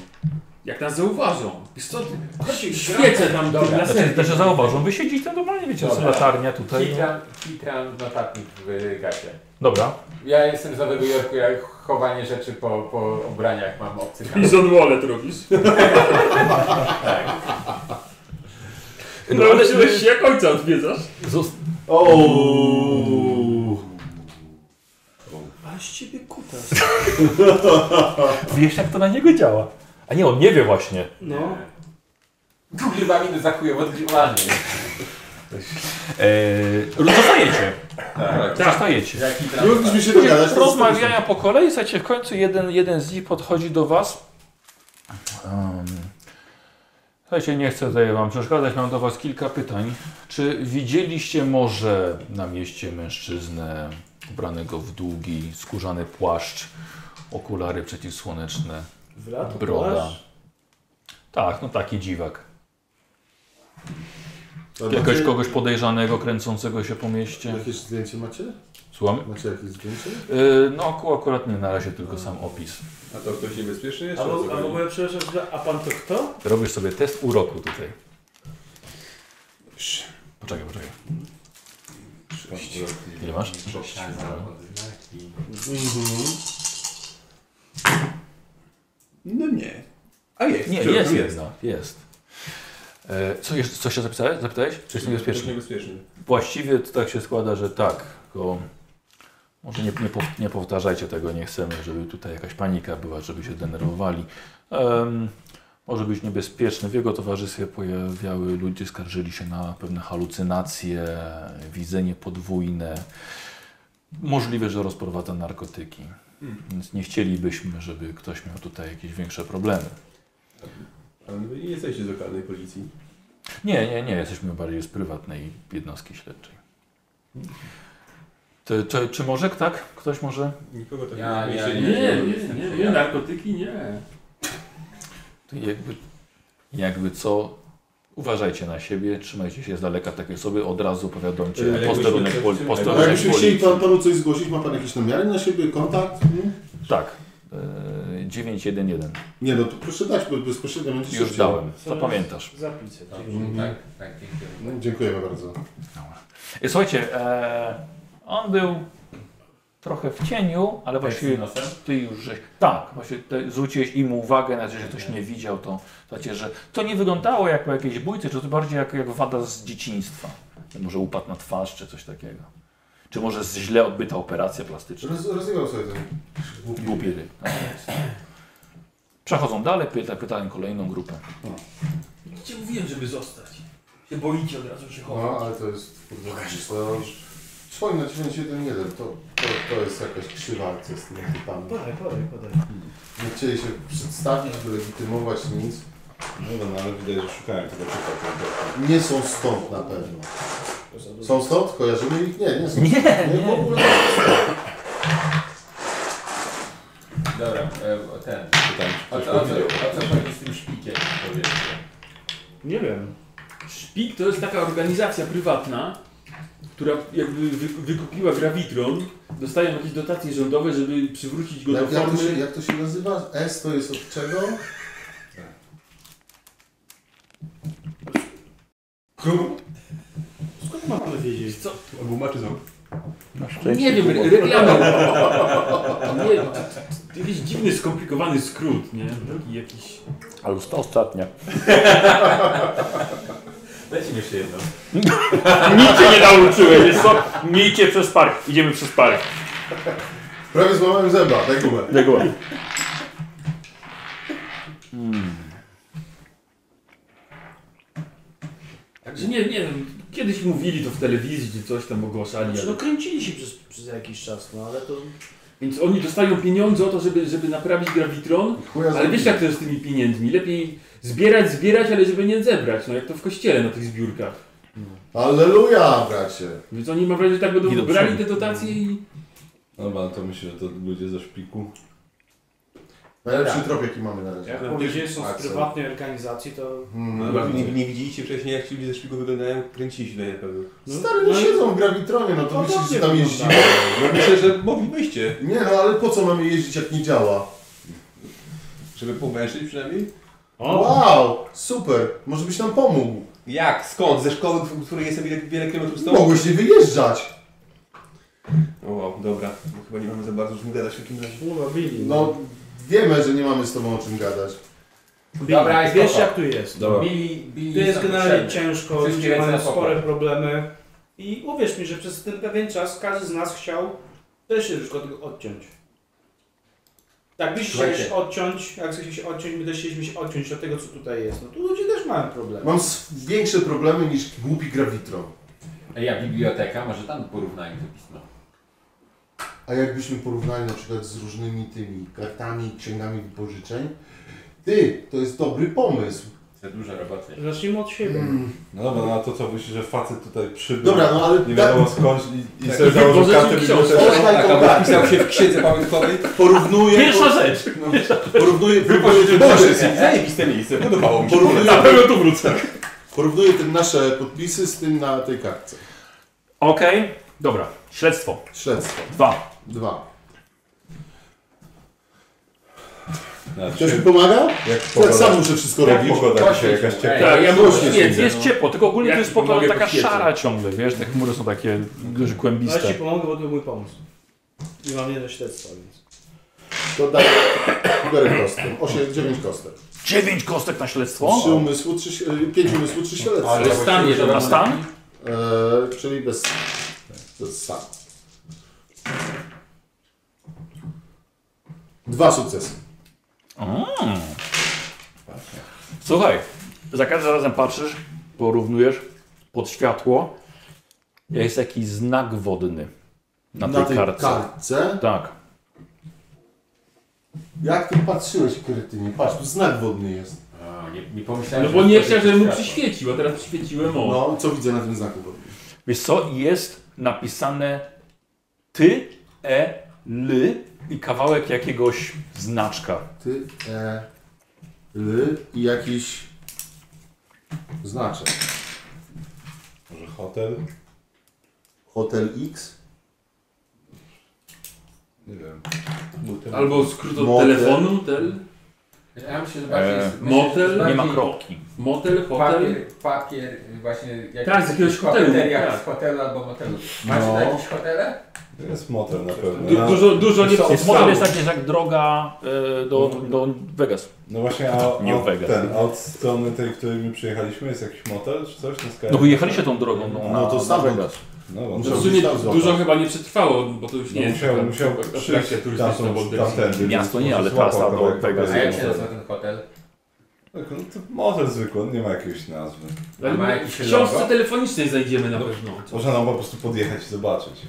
Speaker 6: Jak nas zauważą. Wiesz co,
Speaker 3: Chodź,
Speaker 6: świecę tam do
Speaker 4: Dobra.
Speaker 6: laserki.
Speaker 1: Znaczy, znaczy zauważą, wy siedzicie normalnie, wiecie, jest
Speaker 4: Dobra.
Speaker 1: latarnia tutaj. No.
Speaker 4: Kitram, kitram notatnik w y, gacie.
Speaker 1: Dobra.
Speaker 4: Ja jestem z Nowego Jorku, ja chowanie rzeczy po, po ubraniach mam obcy kanał.
Speaker 6: Prison wallet [laughs] robisz. No, ale się się jak ojca odwiedzasz.
Speaker 1: Zos-
Speaker 3: A z ciebie kuta.
Speaker 1: [laughs] Wiesz, jak to na niego działa. A nie, on nie wie właśnie.
Speaker 3: No.
Speaker 4: Kurwa minut za chujem odgrywanie.
Speaker 1: Eee, zostajecie.
Speaker 4: Tak.
Speaker 1: Zostajecie.
Speaker 4: Jak kitram...
Speaker 5: Nie mogliśmy się dogadać. to
Speaker 1: Rozmawiania po kolei, słuchajcie, w końcu jeden, jeden z nich podchodzi do was. Um, słuchajcie, nie chcę tutaj wam przeszkadzać, mam do was kilka pytań. Czy widzieliście może na mieście mężczyznę ubranego w długi, skórzany płaszcz, okulary przeciwsłoneczne,
Speaker 3: W lat
Speaker 1: broda? Tak, no taki dziwak.
Speaker 5: zostań.
Speaker 1: Jakiegoś
Speaker 5: Macie-
Speaker 1: kogoś podejrzanego, kręcącego się po mieście?
Speaker 5: Jakieś zdjęcie macie?
Speaker 1: Słucham?
Speaker 5: Macie jakieś zdjęcie?
Speaker 1: Yy, no aku- akurat nie, na razie tylko sam opis.
Speaker 12: A to ktoś niebezpieczny
Speaker 3: A
Speaker 12: jest?
Speaker 3: w,
Speaker 12: czy o
Speaker 3: a
Speaker 12: co
Speaker 3: w
Speaker 12: chodzi?
Speaker 3: ogóle, przepraszam, że- a pan to kto?
Speaker 1: Robisz sobie test uroku tutaj. Poczekaj, poczekaj. Ile masz?
Speaker 12: No nie. A jest.
Speaker 1: Nie, jest jedna, jest. E, Co jeszcze, coś się zapisałeś? zapytałeś? Czy jest
Speaker 12: Ktoś
Speaker 1: niebezpieczny?
Speaker 12: niebezpieczny.
Speaker 1: Właściwie to tak się składa, że tak, tylko może nie, nie, pow, nie powtarzajcie tego, nie chcemy, żeby tutaj jakaś panika była, żeby się denerwowali. Em, może być niebezpieczny. W jego towarzystwie pojawiały ludzie, skarżyli się na pewne halucynacje, widzenie podwójne. Możliwe, że rozprowadza narkotyki. Więc nie chcielibyśmy, żeby ktoś miał tutaj jakieś większe problemy.
Speaker 12: Ale wy nie jesteście z lokalnej policji.
Speaker 1: Nie, nie, nie. Jesteśmy bardziej z prywatnej jednostki śledczej. Czy, czy, czy może tak? Ktoś może?
Speaker 12: Nikogo
Speaker 5: tak-
Speaker 12: takiego
Speaker 4: Ja-
Speaker 12: w mieście
Speaker 4: ja-
Speaker 6: Nie,
Speaker 12: nie
Speaker 6: nie,
Speaker 12: było.
Speaker 6: nie, nie, nie, narkotyki nie.
Speaker 1: To jakby, jakby co? Uważajcie na siebie, trzymajcie się z daleka takiej osoby, od razu
Speaker 5: E,
Speaker 1: powiadomcie
Speaker 12: Ale jakbyśmy
Speaker 1: posterunek
Speaker 12: coś-
Speaker 1: pol,
Speaker 12: czy-
Speaker 5: A
Speaker 1: posterunek
Speaker 5: jakbyśmy chcieli
Speaker 1: policji.
Speaker 5: pan, panu coś zgłosić, ma pan jakieś namiary na siebie, kontakt?
Speaker 6: Mhm.
Speaker 5: Nie?
Speaker 1: Tak, e, 911.
Speaker 5: Nie no, to proszę dać, bo bezpośrednio będzie
Speaker 1: Już
Speaker 5: szybciej.
Speaker 1: dałem, zapamiętasz.
Speaker 3: Zapisy. tak.
Speaker 4: Tak, tak, dziękuję.
Speaker 5: No, dziękujemy bardzo.
Speaker 1: E, Słuchajcie, e, on był trochę w cieniu, ale właściwie
Speaker 4: nosem?
Speaker 1: Ty już żeś, tak, właśnie te, zwróciłeś im uwagę, na to, że ktoś nie widział, to znaczy, że to nie wyglądało jak po jakiejś bójce, czy to bardziej jak, jak wada z dzieciństwa. Może upadł na twarz, czy coś takiego. Czy może z- źle odbyta operacja plastyczna.
Speaker 5: Roz, rozumiem sobie to.
Speaker 1: Głupi ryj. No to jest. Przechodzą dalej, pyta, pytają kolejną grupę.
Speaker 6: Gdzie mówiłem, żeby zostać? Się boicie od razu się
Speaker 5: No,
Speaker 6: chować.
Speaker 5: ale to jest... Kurde, to... Swoim na 911, to, to, to jest jakaś krzywa akcja z tymi typami.
Speaker 3: Podaj, podaj, podaj.
Speaker 5: Nie chcieli się przedstawić, wylegitymować, nic.
Speaker 2: No, no ale widać, że szukałem tego czytania.
Speaker 5: Nie są stąd na pewno. Są stąd? Kojarzymy ich? Nie, nie są.
Speaker 1: Nie,
Speaker 5: w
Speaker 1: nie.
Speaker 5: ogóle.
Speaker 4: Dobra, e, o ten.
Speaker 2: Pytałem,
Speaker 4: A
Speaker 2: czy ktoś
Speaker 4: co, a
Speaker 2: to
Speaker 4: co,
Speaker 2: widział.
Speaker 4: a co chodzi z tym szpikiem? powiedzcie?
Speaker 3: Nie wiem.
Speaker 6: Szpik to jest taka organizacja prywatna, która jakby wy, wykupiła Gravitron, dostają jakieś dotacje rządowe, żeby No przywrócić go do
Speaker 5: Jak, jak, to
Speaker 6: formy.
Speaker 5: się, jak to się nazywa? S to jest od czego?
Speaker 12: Król?
Speaker 3: Skąd mam to wiedzieć?
Speaker 12: Co? Albo maczy ząb.
Speaker 1: Na
Speaker 12: Nie
Speaker 1: szczęście.
Speaker 12: wiem,
Speaker 1: było.
Speaker 12: reklama.
Speaker 6: Nie, to, to, to jakiś dziwny, skomplikowany skrót, nie? Taki jakiś...
Speaker 1: Ale już to ostatnia.
Speaker 4: Dajcie mi jeszcze jedno.
Speaker 1: Nic cię nie nauczyłem, wiesz co? Miejcie przez park. Idziemy przez park.
Speaker 5: Prawie złamałem zęba, daj gumę.
Speaker 1: Jaguar.
Speaker 6: Także nie, nie wiem, kiedyś mówili to w telewizji, czy coś tam ogłaszali,
Speaker 3: Znaczy,
Speaker 6: ale...
Speaker 3: no kręcili się przez, przez jakiś czas, no ale to...
Speaker 6: Więc oni dostają pieniądze o to, żeby, żeby naprawić Gravitron,
Speaker 5: Chuja
Speaker 6: ale wiesz
Speaker 5: zrobiłem.
Speaker 6: jak to jest z tymi pieniędzmi, lepiej zbierać, zbierać, ale żeby nie zebrać, no jak to w kościele na tych zbiórkach.
Speaker 5: Alleluja, bracie.
Speaker 6: Więc oni mam wrażenie, że tak będą
Speaker 1: Idą
Speaker 6: brali te
Speaker 1: przodem.
Speaker 6: dotacje i...
Speaker 2: Dobra, no to myślę, że to ludzie ze szpiku.
Speaker 5: Najlepszy trop, jaki mamy na razie.
Speaker 9: Jak powiedzieli, są z
Speaker 5: Axel.
Speaker 9: prywatnej organizacji, to...
Speaker 5: Mm.
Speaker 12: No, nie, nie widzieliście wcześniej, jak ci ludzie ze szpiku wyglądają, kręcili się do niej pewnie.
Speaker 3: No,
Speaker 5: Stary, nie siedzą w gravitronie, no to
Speaker 9: No
Speaker 5: myślisz,
Speaker 9: dobrze
Speaker 5: że tam
Speaker 9: wygląda.
Speaker 5: jeździmy.
Speaker 12: No myślę, że moglibyście,
Speaker 5: Nie, no ale po co mamy jeździć, jak nie działa?
Speaker 12: żeby powęszyć przynajmniej.
Speaker 5: Wow, super, może byś nam pomógł.
Speaker 12: Jak? Skąd? Ze szkoły, w której jestem wiele, wiele kilometrów stąd?
Speaker 5: Mogłeś nie wyjeżdżać.
Speaker 12: No. O, wow, dobra. Bo chyba nie mamy za bardzo czym gadać w takim razie.
Speaker 9: Kurwa, bili.
Speaker 5: No, wiemy, że nie mamy z tobą o czym gadać.
Speaker 9: bili.
Speaker 4: Dobra, jest
Speaker 9: Wiesz
Speaker 4: spoko.
Speaker 9: jak tu jest.
Speaker 2: Dobra.
Speaker 4: Bili, bili
Speaker 9: Tu jest
Speaker 4: są
Speaker 9: generalnie
Speaker 4: tak potrzebne.
Speaker 9: ciężko,
Speaker 4: Wszystkie
Speaker 9: ludzie
Speaker 4: ręce
Speaker 9: mają
Speaker 4: na pokład.
Speaker 9: spore problemy. I uwierz mi, że przez ten pewien czas każdy z nas chciał też się tylko tego odciąć. Tak, byś chciał
Speaker 4: Słuchajcie.
Speaker 9: się odciąć, jak chcecie się odciąć, my też chcieliśmy się odciąć od tego, co tutaj jest. No tu ludzie też mają problemy.
Speaker 5: Mam s- większe problemy niż głupi grawitron.
Speaker 4: A ja biblioteka, może tam porównajmy to pismo.
Speaker 5: A jakbyśmy porównali na przykład z różnymi tymi kartami, księgami wypożyczeń, ty, to jest dobry pomysł. Hmm.
Speaker 4: Za dużo roboty.
Speaker 9: Zacznijmy od siebie.
Speaker 2: No dobra, no a to co myślisz, że facet tutaj przybył?
Speaker 5: Dobra, no ale
Speaker 2: Nie
Speaker 5: da,
Speaker 2: wiadomo skąd i, i
Speaker 12: Tak,
Speaker 2: sobie założył
Speaker 6: wypożyczył
Speaker 2: kartę
Speaker 6: książkę.
Speaker 2: biblioteczną.
Speaker 5: Oddaj
Speaker 12: Tak,
Speaker 5: tą
Speaker 12: albo
Speaker 5: kartę.
Speaker 12: wpisał się w księdze pamiątkowej.
Speaker 5: Porównuję...
Speaker 1: Pierwsza rzecz!
Speaker 5: No, porównuję... Wypożyczę
Speaker 12: Zajebiste miejsce, podobało mi się.
Speaker 5: Porównuję,
Speaker 1: pewno tu wrócę.
Speaker 5: porównuję tym nasze podpisy z tym na tej kartce.
Speaker 1: Okej, dobra. Śledztwo.
Speaker 5: Śledztwo.
Speaker 1: Dwa.
Speaker 5: Dwa.
Speaker 2: Znaczy,
Speaker 5: Ktoś mi pomaga?
Speaker 2: Tak. jak
Speaker 5: Ja
Speaker 12: Tak.
Speaker 5: sam
Speaker 2: pogoda,
Speaker 5: muszę wszystko
Speaker 2: jak
Speaker 5: robić.
Speaker 2: pogoda dzisiaj, jakaś ciepła.
Speaker 1: Tak, ja
Speaker 5: właśnie
Speaker 1: właśnie jest,
Speaker 5: siedzę,
Speaker 1: jest ciepło, tylko ogólnie
Speaker 6: Ja
Speaker 1: to jest
Speaker 6: ci
Speaker 1: pogoda
Speaker 6: pomogę
Speaker 1: taka
Speaker 6: podświetlę.
Speaker 1: szara ciągle, wiesz, te chmury są takie duże,
Speaker 9: No, Ale
Speaker 1: kłębiste.
Speaker 9: ci pomogę, bo to mój pomysł. I mam jedno śledztwo, więc...
Speaker 5: To daję biorę kostkę. 8, 9 kostek.
Speaker 1: Dziewięć kostek na śledztwo?
Speaker 5: 3 umysłu, 3, 5 umysłu, 3 śledztwa.
Speaker 4: Ale stan nie
Speaker 1: Na stan?
Speaker 5: E, czyli bez... bez sam. Dwa sukcesy.
Speaker 1: Mm. Słuchaj, za każdym razem patrzysz, porównujesz pod światło, jest jakiś znak wodny na tej, kartce.
Speaker 5: kartce.
Speaker 1: Tak.
Speaker 5: Jak ty patrzyłeś, kretynie? Patrz, tu znak wodny jest.
Speaker 4: O, nie, nie pomyślałem,
Speaker 6: No bo nie chciał,
Speaker 4: wchodzi
Speaker 6: żebym mu
Speaker 4: w światło.
Speaker 6: przyświecił, a teraz przyświeciłem o.
Speaker 5: No, co widzę na tym znaku wodnym?
Speaker 1: Wiesz co, jest napisane ty, e, ly i kawałek jakiegoś znaczka.
Speaker 5: Ty, e, l i jakiś znaczek.
Speaker 2: Może hotel?
Speaker 5: Hotel X.
Speaker 2: Nie wiem.
Speaker 6: Albo skrót od
Speaker 5: Motel.
Speaker 6: telefonu, tel,
Speaker 4: Ja myślę, że bardziej...
Speaker 1: Eee,
Speaker 4: myślę, że
Speaker 6: motel?
Speaker 4: bardziej
Speaker 1: Nie ma kropki.
Speaker 6: motel, hotel.
Speaker 4: Papier, papier właśnie... Jak
Speaker 6: Tak, z jakiegoś hotelu,
Speaker 4: Kafeteria
Speaker 6: tak.
Speaker 4: z hotelu albo motelu. Macie
Speaker 5: No.
Speaker 4: na jakieś hotele?
Speaker 2: Jest motel na pewno. No,
Speaker 6: Du, dużo, dużo nie
Speaker 1: Jest model jest taki jak droga e, do, do Vegas.
Speaker 2: No właśnie, a,
Speaker 1: Nie
Speaker 2: a
Speaker 1: uwaga.
Speaker 2: ten, a od strony tej, której my przyjechaliśmy, jest jakiś motel czy coś? Na skarb?
Speaker 1: No wyjechaliście tą drogą no, na,
Speaker 5: No to
Speaker 1: na
Speaker 5: stamtąd.
Speaker 1: Vegas.
Speaker 2: No, no,
Speaker 5: Muszę
Speaker 6: No w
Speaker 5: być
Speaker 6: sumie
Speaker 5: tam złapać.
Speaker 6: dużo chyba nie przetrwało, bo to już nie
Speaker 2: no,
Speaker 6: jest
Speaker 2: musiał,
Speaker 6: taka
Speaker 2: musiał
Speaker 6: atrakcja
Speaker 2: przyjść
Speaker 6: turystyczna
Speaker 2: tamtąd,
Speaker 6: w Olbrycji.
Speaker 2: tamtędy.
Speaker 1: Miasto
Speaker 2: więc
Speaker 1: nie, ale
Speaker 2: złapał
Speaker 1: trasa do
Speaker 2: kawałek
Speaker 1: Vegas.
Speaker 4: A jak
Speaker 2: Vegasu.
Speaker 4: się nazywa ten hotel?
Speaker 2: Tak, no to motel zwykły, on nie ma jakiejś nazwy.
Speaker 6: Ale
Speaker 4: A ma
Speaker 6: my
Speaker 4: jakiś
Speaker 6: w książce
Speaker 4: logo?
Speaker 6: telefonicznej znajdziemy na pewno.
Speaker 2: Można nam po prostu podjechać i zobaczyć.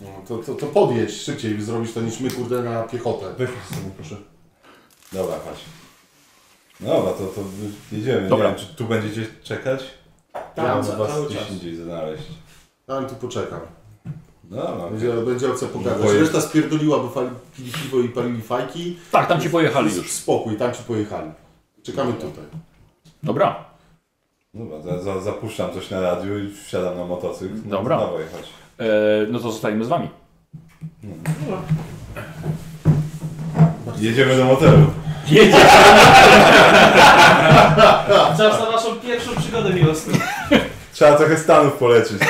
Speaker 5: No, to, to, to podjedź szybciej, zrobisz to niż my, kurde, na piechotę.
Speaker 2: Weź z sobą, proszę. Dobra, chodź. No Dobra, to, to jedziemy.
Speaker 1: Dobra.
Speaker 2: Nie wiem, czy tu będziecie czekać?
Speaker 6: Tak,
Speaker 9: Tak,
Speaker 5: Tam,
Speaker 2: ja
Speaker 5: za-
Speaker 2: was
Speaker 5: cały
Speaker 2: gdzieś
Speaker 5: czas.
Speaker 2: indziej znaleźć.
Speaker 5: Tam tu poczekam.
Speaker 2: No Dobra,
Speaker 5: Będzie, będzie opcja pogadać.
Speaker 2: Boję.
Speaker 5: Reszta spierdoliła, bo fali, pili piwo i palili fajki.
Speaker 1: Tak, tam ci pojechali już.
Speaker 5: Spokój, tam ci pojechali. Czekamy tutaj.
Speaker 1: Dobra.
Speaker 2: Dobra, za, za, zapuszczam coś na radiu i wsiadam na motocykl. No,
Speaker 1: Dobra.
Speaker 2: Dawaj, chodź.
Speaker 1: E, no to zostajemy z wami.
Speaker 2: Jedziemy do motelu.
Speaker 1: Jedzie.
Speaker 9: Czas na naszą pierwszą przygodę miłosną.
Speaker 2: Trzeba trochę Stanów polecić.
Speaker 21: Ja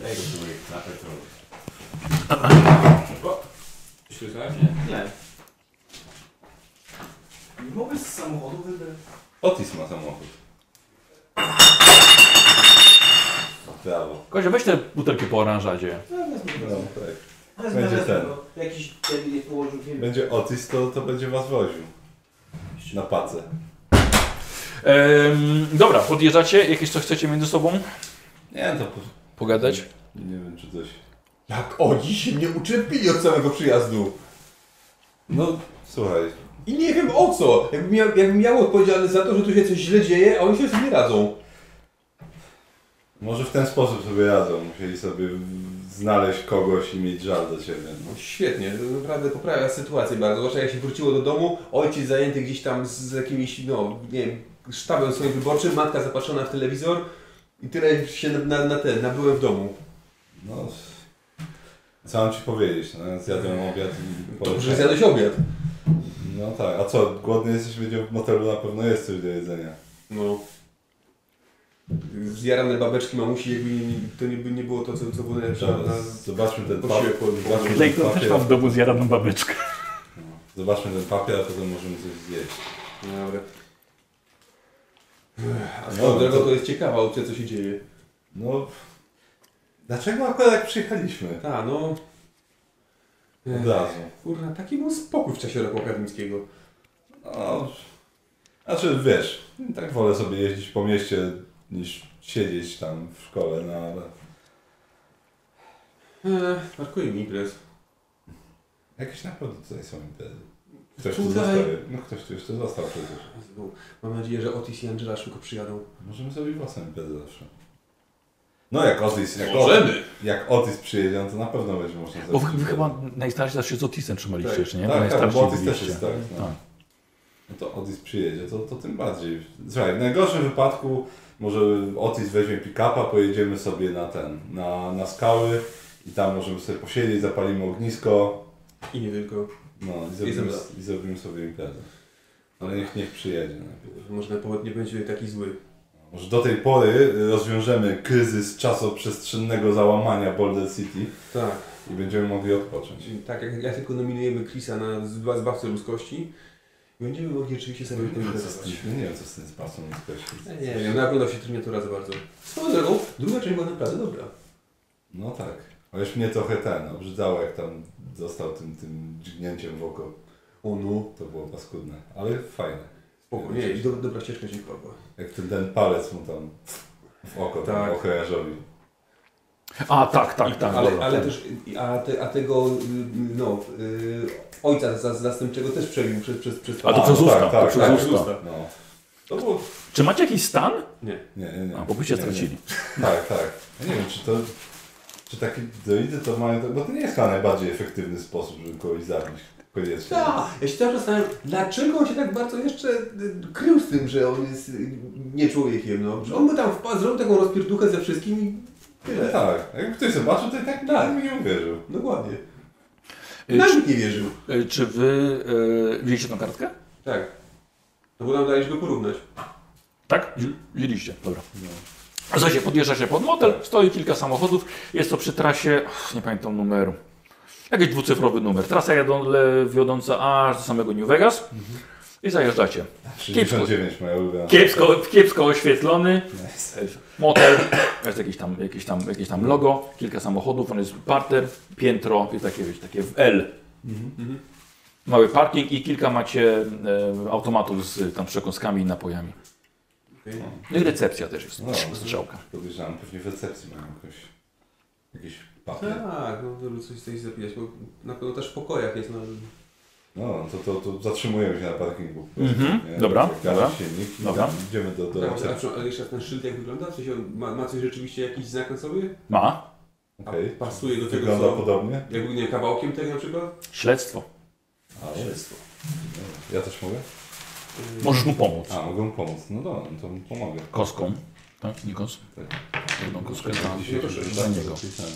Speaker 21: go próbuję na petrolu.
Speaker 22: Słyszałeś? Nie.
Speaker 23: Nie.
Speaker 9: Mogę z samochodu wybrać.
Speaker 2: Otis ma samochód. Brawo.
Speaker 1: Kozio, weź te butelki po oranżadzie.
Speaker 2: No, tak.
Speaker 9: Ale
Speaker 2: Będzie
Speaker 9: znalazłem
Speaker 2: ten.
Speaker 9: go. Jakiś ten jest położył film.
Speaker 2: Będzie Otis, to, to będzie was woził. Na pacę.
Speaker 1: Ehm, dobra, podjeżdżacie, jakieś coś chcecie między sobą
Speaker 2: Nie, to po...
Speaker 1: pogadać?
Speaker 2: Nie wiem, czy coś...
Speaker 12: Jak oni się mnie uczepili od samego przyjazdu.
Speaker 2: No, słuchaj.
Speaker 12: I nie wiem o co. Jakbym miał, jakbym miał odpowiedzialny za to, że tu się coś źle dzieje, a oni się z tym nie radzą.
Speaker 2: Może w ten sposób sobie radzą. Musieli sobie w- znaleźć kogoś i mieć żal do ciebie. No.
Speaker 12: No Świetnie, to naprawdę poprawia sytuację bardzo. Zwłaszcza jak się wróciło do domu, ojciec zajęty gdzieś tam z, z jakimiś, no nie wiem, sztabem swoim wyborczym, matka zapatrzona w telewizor i tyle się na, na, na ten, nabyłem w domu.
Speaker 2: no. Co mam ci powiedzieć? No, zjadłem obiad i...
Speaker 12: Dobrze, zjadłeś obiad.
Speaker 2: No tak, a co, głodny jesteś, będzie w motelu na pewno jest coś do jedzenia.
Speaker 12: No. Zjarane babeczki mamusi, jakby nie, nie- to nie, by nie było to, co, co było najlepsze.
Speaker 2: Dobra,
Speaker 12: Na,
Speaker 2: Zobaczmy ten
Speaker 12: Proszę,
Speaker 2: papier.
Speaker 12: powiem.
Speaker 2: Zobaczmy ten
Speaker 1: Lejko
Speaker 2: papier,
Speaker 1: też mam w domu zjadaną babeczkę.
Speaker 2: zobaczmy ten papier, a potem możemy coś zjeść.
Speaker 12: Dobra. Ech, A
Speaker 2: No,
Speaker 12: swoją drogą
Speaker 2: to-
Speaker 12: to jest ciekawa opcja, co się dzieje.
Speaker 2: No. Dlaczego akurat jak przyjechaliśmy?
Speaker 12: A, no...
Speaker 2: Od razu.
Speaker 12: Kurna, taki był spokój w czasie roku akademickiego.
Speaker 2: No. Znaczy wiesz, tak wolę sobie jeździć po mieście niż siedzieć tam w szkole, no ale.
Speaker 12: Eee, markuje mi imprez.
Speaker 2: Jakieś naprawdę tutaj są imprezy. Ktoś tu
Speaker 12: Tutaj?
Speaker 2: został. No ktoś tu jeszcze został przecież.
Speaker 12: Mam nadzieję, że Otis i Angela szybko przyjadą.
Speaker 2: Możemy sobie własną imprezę zawsze. No jak Otis, jak, Otis, jak Otis przyjedzie, no to na pewno będzie można
Speaker 1: Bo
Speaker 2: zrobić
Speaker 1: wy, wy
Speaker 2: imprezę.
Speaker 1: chyba najstarsi zawsze z Otisem trzymaliście jeszcze, nie?
Speaker 2: Tak, tak,
Speaker 1: najstarsi
Speaker 2: bo Otis też
Speaker 1: byliście.
Speaker 2: jest tak. No.
Speaker 1: Tak.
Speaker 2: no to Otis przyjedzie, to, to tym bardziej. Słuchaj, w najgorszym wypadku może Otis weźmie pick-upa, pojedziemy sobie na ten, na, na skały i tam możemy sobie posiedzieć, zapalimy ognisko
Speaker 12: I nie tylko.
Speaker 2: no, i, zrobimy,
Speaker 12: zemdla.
Speaker 2: i zrobimy sobie imprezę. Ale niech, niech przyjedzie najpierw.
Speaker 12: Może na powód nie będzie taki zły.
Speaker 2: Może do tej pory rozwiążemy kryzys czasoprzestrzennego załamania Boulder City
Speaker 12: Tak.
Speaker 2: i będziemy mogli odpocząć.
Speaker 12: Czyli Tak, jak, jak tylko nominujemy Chrisa na zba- zbawcę ludzkości, będziemy mogli rzeczywiście sobie poimprezować.
Speaker 2: Nie wiem, co z tym spasą
Speaker 12: Ja No Nie wiem, naglądał się Terminatora za bardzo. Swoją drogą, druga część była naprawdę dobra.
Speaker 2: No tak. Ależ mnie trochę ten obrzydzało, jak tam został tym, tym dźgnięciem w oko.
Speaker 12: O no,
Speaker 2: To było paskudne, ale fajne.
Speaker 12: spoko, nie, i do, dobra ścieżka się wpadła.
Speaker 2: Jak ten, ten palec mu tam w oko,
Speaker 12: Tak.
Speaker 2: tak. ochroniarzowi.
Speaker 1: A, tak, tak,
Speaker 12: I-
Speaker 1: tak.
Speaker 12: ale,
Speaker 1: dobra,
Speaker 12: ale
Speaker 1: tak.
Speaker 12: też, a, te, a tego, y, no, y, ojca za- zastępczego też przebił przez, przez, przez
Speaker 1: A to
Speaker 2: A,
Speaker 1: przez
Speaker 2: tak,
Speaker 1: usta,
Speaker 2: tak,
Speaker 1: to przez
Speaker 2: tak,
Speaker 1: usta.
Speaker 2: No. To było...
Speaker 1: Czy macie jakiś stan?
Speaker 2: Nie, nie, nie.
Speaker 1: A, bo byście
Speaker 2: Nie,
Speaker 1: stracili.
Speaker 2: Nie. Tak, tak. Ja nie wiem, czy to... Czy takie droidy to mają... to- Bo to nie jest chyba najbardziej efektywny sposób, żeby kogoś zabić. Koniecznie.
Speaker 12: Tak, ja się też zastanawiam, dlaczego on się tak bardzo jeszcze y, krył z tym, że on jest y, nie człowiekiem, no. Że on by tam wpadł, zrobił taką rozpierduchę ze wszystkim i
Speaker 2: No
Speaker 12: tyle.
Speaker 2: tak. Jakby ktoś zobaczył, to i tak, tak. mi nie uwierzył.
Speaker 12: Dokładnie.
Speaker 1: Y,
Speaker 12: Nawet nikt nie wierzył.
Speaker 1: Y, Czy wy y, wzięliście tą kartkę?
Speaker 12: Tak. No bo nam daliśmy go porównać.
Speaker 1: Tak? Wzięliście, dobra.
Speaker 2: No.
Speaker 1: W zasadzie podjeżdża się pod motel, stoi kilka samochodów, jest to przy trasie, uff, nie pamiętam numeru. Jakiś dwucyfrowy numer. Trasa jadą, le, wiodąca aż do samego New Vegas
Speaker 2: Mhm.
Speaker 1: i zajeżdżacie.
Speaker 2: 69 moja ulubiona.
Speaker 1: Kiepsko, kiepsko oświetlony, motel, jest jakieś tam, jakieś, tam, jakieś tam logo, kilka samochodów, on jest parter, piętro, jest takie, wiecie, takie w L.
Speaker 2: Mhm.
Speaker 1: Mały parking i kilka macie e, automatów z e, tam przekąskami i napojami. No i recepcja też jest,
Speaker 2: No.
Speaker 1: strzałka.
Speaker 2: Podejrzewam, pewnie w recepcji mają jakoś... Jakiś papier.
Speaker 12: Tak, no żeby coś coś zapijać, bo na pewno też w pokojach jest, no.
Speaker 2: No, to, to, to zatrzymujemy się na parkingu.
Speaker 1: Mhm,
Speaker 2: Nie?
Speaker 1: dobra,
Speaker 2: Garaż,
Speaker 1: dobra.
Speaker 2: Silnik, i
Speaker 1: Dobra.
Speaker 2: tam Idziemy do, do
Speaker 12: Tak, a,
Speaker 2: recepcji.
Speaker 12: przy- ale jeszcze ten szyld jak wygląda? W sensie on ma, ma coś rzeczywiście jakiś znak na sobie?
Speaker 1: Ma.
Speaker 12: A
Speaker 2: Okej.
Speaker 12: pasuje do tego,
Speaker 2: Wygląda
Speaker 12: co...
Speaker 2: podobnie?
Speaker 12: Jakby, nie wiem, kawałkiem tego na przykład?
Speaker 1: Śledztwo.
Speaker 2: A, jest. Ja też mogę?
Speaker 1: Możesz mu pomóc.
Speaker 2: A, mogę mu pomóc. No dobra, no to mu pomogę.
Speaker 1: Koską. Tak, Nikos?
Speaker 2: Tak.
Speaker 1: Jedną kostkę dla,
Speaker 2: Dzisiaj
Speaker 12: No proszę,
Speaker 2: już
Speaker 1: dla
Speaker 2: tak
Speaker 1: niego.
Speaker 2: zapisałem.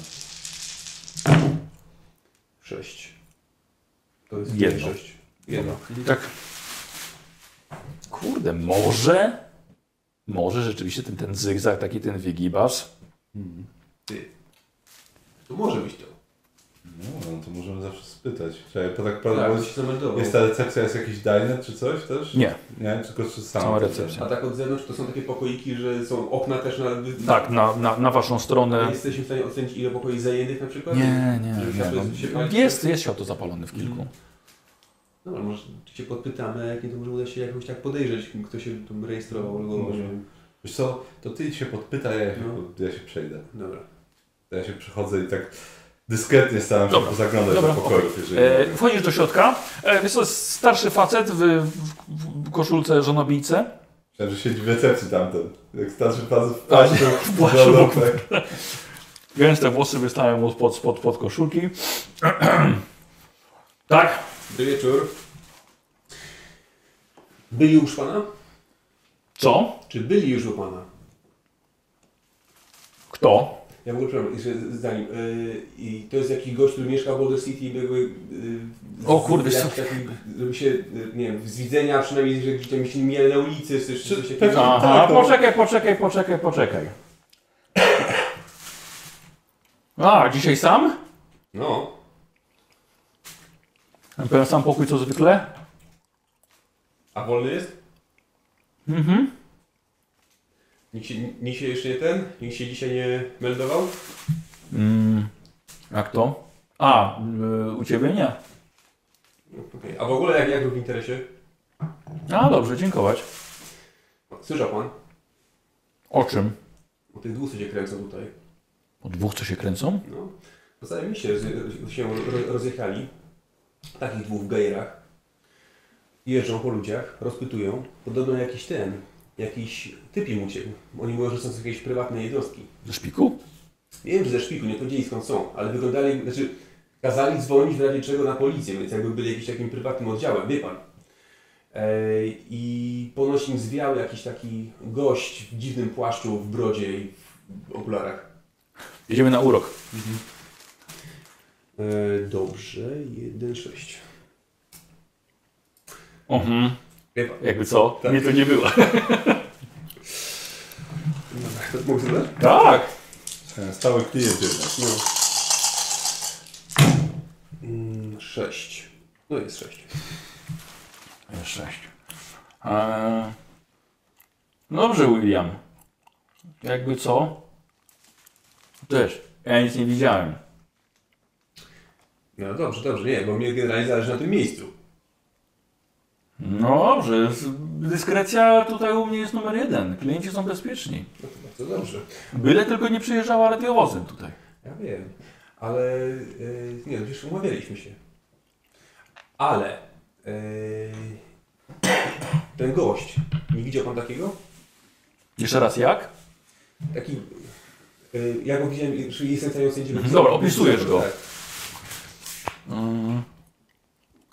Speaker 12: Sześć. To jest
Speaker 1: Jedno.
Speaker 12: sześć. Jedno.
Speaker 1: Tak. Kurde, może? Może rzeczywiście ten, ten zygzak, taki ten wygibas.
Speaker 12: Mhm. To może być to.
Speaker 2: No, no to możemy zawsze spytać. Czekaj, po tak
Speaker 12: Tak,
Speaker 2: prawdę,
Speaker 12: byś się zameldował.
Speaker 2: jest ta recepcja, jest jakiś dinet czy coś też?
Speaker 1: Nie,
Speaker 2: Nie, tylko czy sam?
Speaker 1: sama recepcja.
Speaker 12: A tak od zewnątrz to są takie pokoiki, że są okna też na...
Speaker 1: Tak, na, na, na waszą
Speaker 12: A
Speaker 1: stronę.
Speaker 12: Jesteśmy w stanie ocenić ile pokoi zajętych na przykład?
Speaker 1: Nie, nie,
Speaker 12: Żeby
Speaker 1: nie.
Speaker 12: światło się
Speaker 1: No,
Speaker 12: pojawiło?
Speaker 1: jest, jest światło zapalone w kilku.
Speaker 12: No, ale może się podpytamy, jak nie to może uda się jakoś tak podejrzeć, kto się tam rejestrował albo może...
Speaker 2: Wiesz co, to ty idź się podpytaj, a ja się,
Speaker 12: No.
Speaker 2: pod- ja się przejdę.
Speaker 12: Dobra.
Speaker 2: Ja się przychodzę i tak dyskretnie staram się
Speaker 1: Dobra.
Speaker 2: pozaglądać
Speaker 1: Dobra,
Speaker 2: do pokojów, jeżeli
Speaker 1: E,
Speaker 12: Mm.
Speaker 2: mogę.
Speaker 1: wchodzisz do środka. E, jest to jest starszy facet w, w, w koszulce żonobijce.
Speaker 2: Myślałem, że siedzi w recepcji tamten. Jak starszy pan w
Speaker 1: Tak,
Speaker 2: płaszczu.
Speaker 1: w płaszczu.
Speaker 2: No, no, tak.
Speaker 1: Gęste włosy wystają mu spod, spod, pod koszulki. [clears throat] tak,
Speaker 12: Dobry wieczór. Byli już pana?
Speaker 1: co?
Speaker 12: Czy byli już u pana?
Speaker 1: Kto?
Speaker 12: Ja w ogóle przepraszam, jeszcze zanim. Yy, I to jest jakiś gość, który mieszka w Boulder City i jakby... Yy,
Speaker 1: O kurde,
Speaker 12: jak,
Speaker 1: co-
Speaker 12: taki, żeby się, yy, nie wiem, z widzenia przynajmniej, że gdzieś tam się mijali na ulicy, czy coś, coś takiego.
Speaker 1: Aha, poczekaj, poczekaj, poczekaj, poczekaj. A, dzisiaj sam?
Speaker 12: No,
Speaker 1: Ten sam pokój co zwykle?
Speaker 12: a wolny jest?
Speaker 1: Mhm.
Speaker 12: Nikt się, nikt się jeszcze nie ten? Nikt się dzisiaj nie meldował?
Speaker 1: Mm, jak to? A, y, u ciebie nie.
Speaker 12: Okej, A w ogóle jak, jak był w interesie?
Speaker 1: A, dobrze, dziękować.
Speaker 12: Słyszał pan?
Speaker 1: O czym?
Speaker 12: O tych dwóch, co się kręcą tutaj.
Speaker 1: O dwóch, co się kręcą?
Speaker 12: No, wydaje mi się, że się ro- rozjechali. Takich dwóch w gajerach. Jeżdżą po ludziach, rozpytują. Podobno jakiś ten, jakiś typ im uciekł. Oni mówią, że są z jakiejś prywatnej jednostki.
Speaker 1: Ze szpiku?
Speaker 12: Nie wiem, czy ze szpiku, nie powiedzieli skąd są, ale wyglądali, znaczy kazali dzwonić w razie czego na policję, więc jakby byli jakimś takim prywatnym oddziałem, wie pan. Ej, I ponoć im zwiał jakiś taki gość w dziwnym płaszczu, w brodzie i w okularach.
Speaker 1: Jedziemy na urok.
Speaker 12: E, dobrze, 1-6.
Speaker 1: Mhm.
Speaker 12: Wie pan. tak
Speaker 1: Jakby co? Mnie to nie
Speaker 12: [laughs]
Speaker 1: było.
Speaker 12: To Mogę zadać?
Speaker 1: Tak.
Speaker 2: Ten E, Stały klient jednak.
Speaker 12: No. Mm, 6. No jest 6.
Speaker 1: Sześć. Eee, no dobrze, William. Jakby co? Też. Ja nic nie widziałem.
Speaker 12: No dobrze, dobrze, nie, bo mnie generalnie zależy na tym miejscu.
Speaker 1: No dobrze, z- dyskrecja tutaj u mnie jest numer jeden. Klienci są bezpieczni.
Speaker 12: No to bardzo dobrze.
Speaker 1: Byle tylko nie przyjeżdżała radiowozem tutaj.
Speaker 12: Ja wiem, ale y, nie, no przecież umawialiśmy się. Ale y, [coughs] ten gość, nie widział pan takiego?
Speaker 1: Jeszcze raz jak?
Speaker 12: Taki, y, ja go widziałem, czyli jestem w stanie ocenić...
Speaker 1: Mhm, dobra, opisujesz go.
Speaker 12: Tak.
Speaker 1: Mm.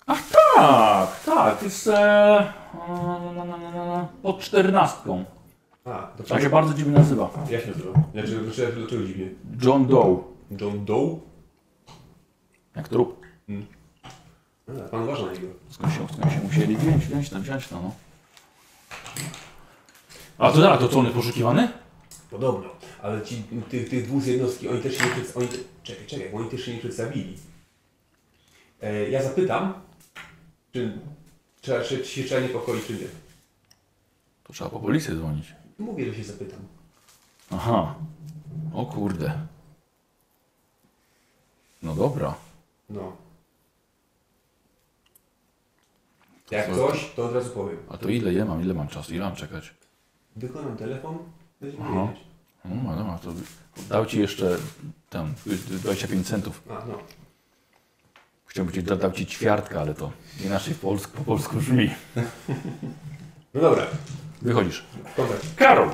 Speaker 1: Ach tak, tak, jest e, no, no, no, no, no, pod czternastką.
Speaker 12: A, to
Speaker 1: Tak się bardzo dziwnie nazywa.
Speaker 12: Ja się nazywam. Dlaczego, dlaczego, dlaczego dziwnie?
Speaker 1: John Doe.
Speaker 12: John Doe?
Speaker 1: Jak trup.
Speaker 12: A, pan uważa na niego.
Speaker 1: Skąd się, skąd się musieli wziąć, wziąć tam, wziąć tam, no. A to tak, to co on jest poszukiwany?
Speaker 12: Podobno. Ale ci, tych, tych dwóch z jednostki, oni też się nie przedstawili. Oni... Czekaj, czekaj, bo oni też się nie przedstawili. E, ja zapytam, czy, czy, czy, czy się trzeba niepokoić, czy nie.
Speaker 1: To trzeba po policję dzwonić.
Speaker 12: Mówię, że się zapytam.
Speaker 1: Aha. O kurde. No dobra.
Speaker 12: No. Jak coś, to od razu powiem.
Speaker 1: A to ile ja mam? Ile mam czasu? Ile mam czekać?
Speaker 12: Wykonam telefon, będziemy
Speaker 1: Aha.
Speaker 12: wiedzieć.
Speaker 1: No dobra, dobra, to dał ci jeszcze tam y, 25 centów.
Speaker 12: A, no.
Speaker 1: Chciałbym ci dać dał ci ćwiartka, ale to inaczej w polsku, po polsku brzmi.
Speaker 12: No dobra,
Speaker 1: Wychodzisz.
Speaker 12: kontakt.
Speaker 1: Karol!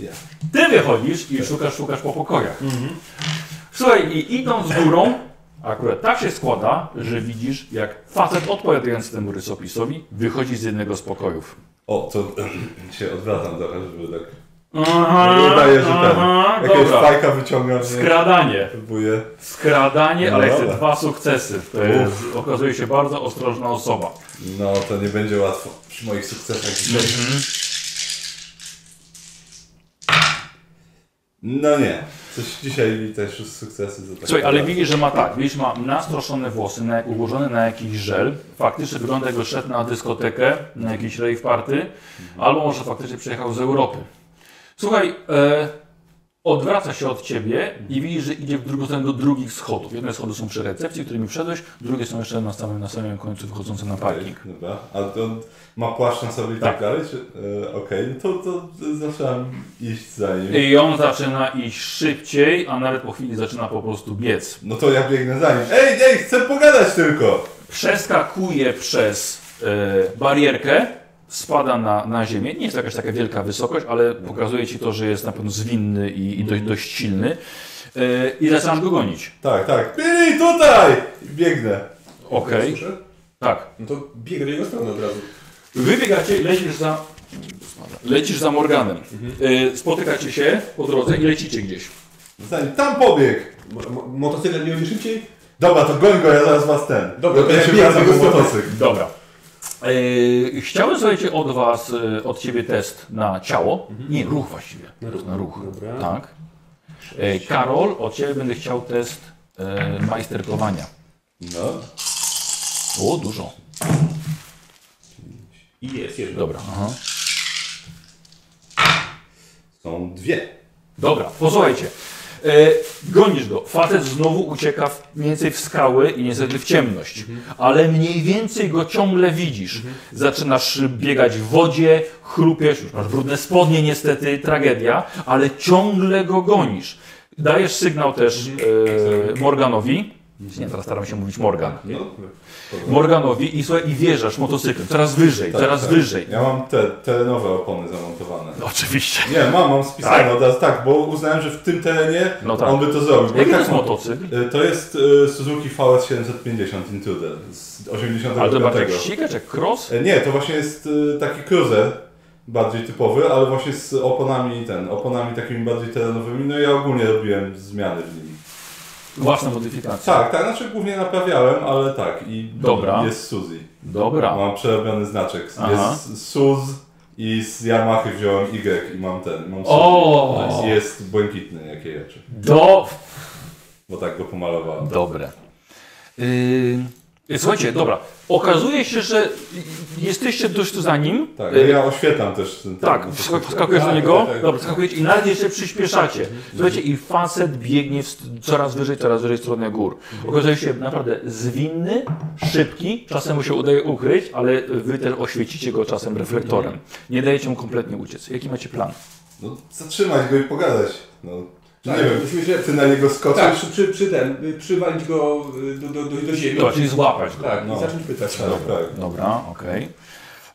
Speaker 2: Ja.
Speaker 1: Ty wychodzisz i szukasz, szukasz po pokojach. Słuchaj, i idąc górą, akurat tak się składa, że widzisz, jak facet odpowiadający temu rysopisowi wychodzi z jednego z pokojów.
Speaker 2: O, to [clears throat] się odwracam trochę, żeby tak...
Speaker 1: Aha,
Speaker 2: Nie udaje się ten. Jakiegoś
Speaker 1: dobra.
Speaker 2: fajka wyciągam, nie?
Speaker 1: Skradanie.
Speaker 2: Próbuję.
Speaker 1: Skradanie,
Speaker 2: No
Speaker 1: ale chcę
Speaker 2: dobra.
Speaker 1: dwa sukcesy. To jest, okazuje się bardzo ostrożna osoba. Mhm.
Speaker 2: No, to nie będzie łatwo przy moich sukcesach. dzisiaj. No nie. Coś dzisiaj też sukcesy za takie
Speaker 1: Słuchaj, ale
Speaker 2: lata.
Speaker 1: widzisz, że ma tak, widzisz, ma nastroszone włosy, na, ułożone na jakiś żel, faktycznie wygląda jakby szedł na dyskotekę, na jakiś rave party, albo może faktycznie przyjechał z Europy. Słuchaj, e, odwraca się od Ciebie i widzisz, że idzie w drugą stronę do drugich schodów. Jedne schody są przy recepcji, którymi wszedłeś, drugie są jeszcze na samym, na samym końcu wychodzące na parking.
Speaker 2: Dobra, a to ma płaszcz na sobie i tak,
Speaker 1: Tak.
Speaker 2: dalej? Czy, e, Okej, no to, to zacząłem iść za nim.
Speaker 1: I on zaczyna iść szybciej, a nawet po chwili zaczyna po prostu biec.
Speaker 2: No to ja biegnę za nim. Ej, ej, chcę pogadać tylko!
Speaker 1: przeskakuje przez e, barierkę, spada na, na ziemię. Nie jest to jakaś taka wielka wysokość, ale pokazuje ci to, że jest na pewno zwinny i, i dość, dość silny. E, I zaczynasz go gonić.
Speaker 2: Tak, tak. Billy, tutaj! I Biegnę.
Speaker 1: Okej.
Speaker 12: Słyszę?
Speaker 1: Tak.
Speaker 12: No to biegę do jego strony od razu.
Speaker 1: Wybiegacie, lecisz za. Lecisz za Morganem. E, spotykacie się po drodze i lecicie gdzieś.
Speaker 2: Za nim. Tam pobieg!
Speaker 12: Mo- mo- Motocyklem nie będzie szybciej?
Speaker 2: Dobra, to goń go, ja zaraz was ten.
Speaker 12: Dobra, to
Speaker 2: ja
Speaker 12: ja
Speaker 2: się
Speaker 12: biegam
Speaker 2: wracam
Speaker 12: do
Speaker 2: po
Speaker 12: strony.
Speaker 2: motocykl.
Speaker 1: Dobra. E, chciałem, słuchajcie, od was, e, od ciebie test na ciało. Nie, ruch właściwie. Na ruch. Na ruch.
Speaker 12: Mhm. Dobra.
Speaker 1: Tak. E, Karol, od Ciebie będę chciał test e, majsterkowania.
Speaker 2: No.
Speaker 1: O, dużo.
Speaker 12: I jest jedno.
Speaker 1: Dobra. Aha.
Speaker 2: Są dwie.
Speaker 1: Dobra, posłuchajcie. E, gonisz go. Facet znowu ucieka w, mniej więcej w skały i niestety w ciemność. Ale mniej więcej go ciągle widzisz. Zaczynasz biegać w wodzie, chrupiesz, już masz brudne spodnie niestety, tragedia, ale ciągle go gonisz. Dajesz sygnał też e, Morganowi. Nie, teraz staram się mówić Morgan.
Speaker 2: No.
Speaker 1: Morganowi i, słuchaj, i wjeżdżasz motocyklem. Coraz wyżej,
Speaker 2: Tak,
Speaker 1: coraz
Speaker 2: tak.
Speaker 1: wyżej.
Speaker 2: Ja mam te terenowe opony zamontowane.
Speaker 1: Oczywiście.
Speaker 2: Nie, mam, mam spisane od razu, tak, bo uznałem, że w tym terenie
Speaker 1: No tak.
Speaker 2: on by to zrobił. Bo
Speaker 1: Jaki
Speaker 2: i
Speaker 1: to
Speaker 2: tak
Speaker 1: jest
Speaker 2: mam-
Speaker 1: motocykl?
Speaker 2: E, To jest e, Suzuki VS 750 Intruder z 85.
Speaker 1: Ale to bardziej jak ścigacz, jak cross?
Speaker 2: E, Nie, to właśnie jest e, taki cruiser, bardziej typowy, ale właśnie z oponami ten, oponami takimi bardziej terenowymi, no i ja ogólnie robiłem zmiany w nim.
Speaker 1: Własna modyfikacja.
Speaker 2: Tak, tak, znaczy głównie naprawiałem, ale tak i
Speaker 1: Dobra.
Speaker 2: jest Suzy.
Speaker 1: Dobra.
Speaker 2: Mam przerobiony znaczek,
Speaker 1: Aha.
Speaker 2: jest Suz i z Yamaha wziąłem Y i mam ten, mam Suzy.
Speaker 1: O!
Speaker 2: I Jest błękitny jakie rzeczy,
Speaker 1: Do...
Speaker 2: bo tak go pomalowałem.
Speaker 1: Dobre. Yy, słuchajcie, dobra. Okazuje się, że jesteście dość tu za nim.
Speaker 2: Tak, no
Speaker 1: Yy,
Speaker 2: ja oświetlam też ten
Speaker 1: Tak,
Speaker 2: ten-
Speaker 1: wsk- wskakujesz do
Speaker 2: Tak,
Speaker 1: niego,
Speaker 2: tak, tak.
Speaker 1: dobra, wskakujecie i nawet jeszcze przyspieszacie. Słuchajcie, i facet biegnie w st- coraz wyżej, coraz wyżej w stronę gór. Okazuje się naprawdę zwinny, szybki, czasem mu się udaje ukryć, ale wy też oświecicie go czasem reflektorem. Nie dajecie mu kompletnie uciec. Jaki macie plan?
Speaker 2: No, zatrzymać go i pogadać. No,
Speaker 12: Tak,
Speaker 2: nie wiem,
Speaker 12: myślę, że
Speaker 2: ty na niego skoczysz.
Speaker 12: tak, przy, przy, przy ten, y, przywalić go y, do, do, do, do ziemi.
Speaker 1: Dobra, czyli złapać go.
Speaker 12: Tak,
Speaker 2: No.
Speaker 12: i zacząć pytać.
Speaker 2: Tak, tak.
Speaker 1: Dobra, okej.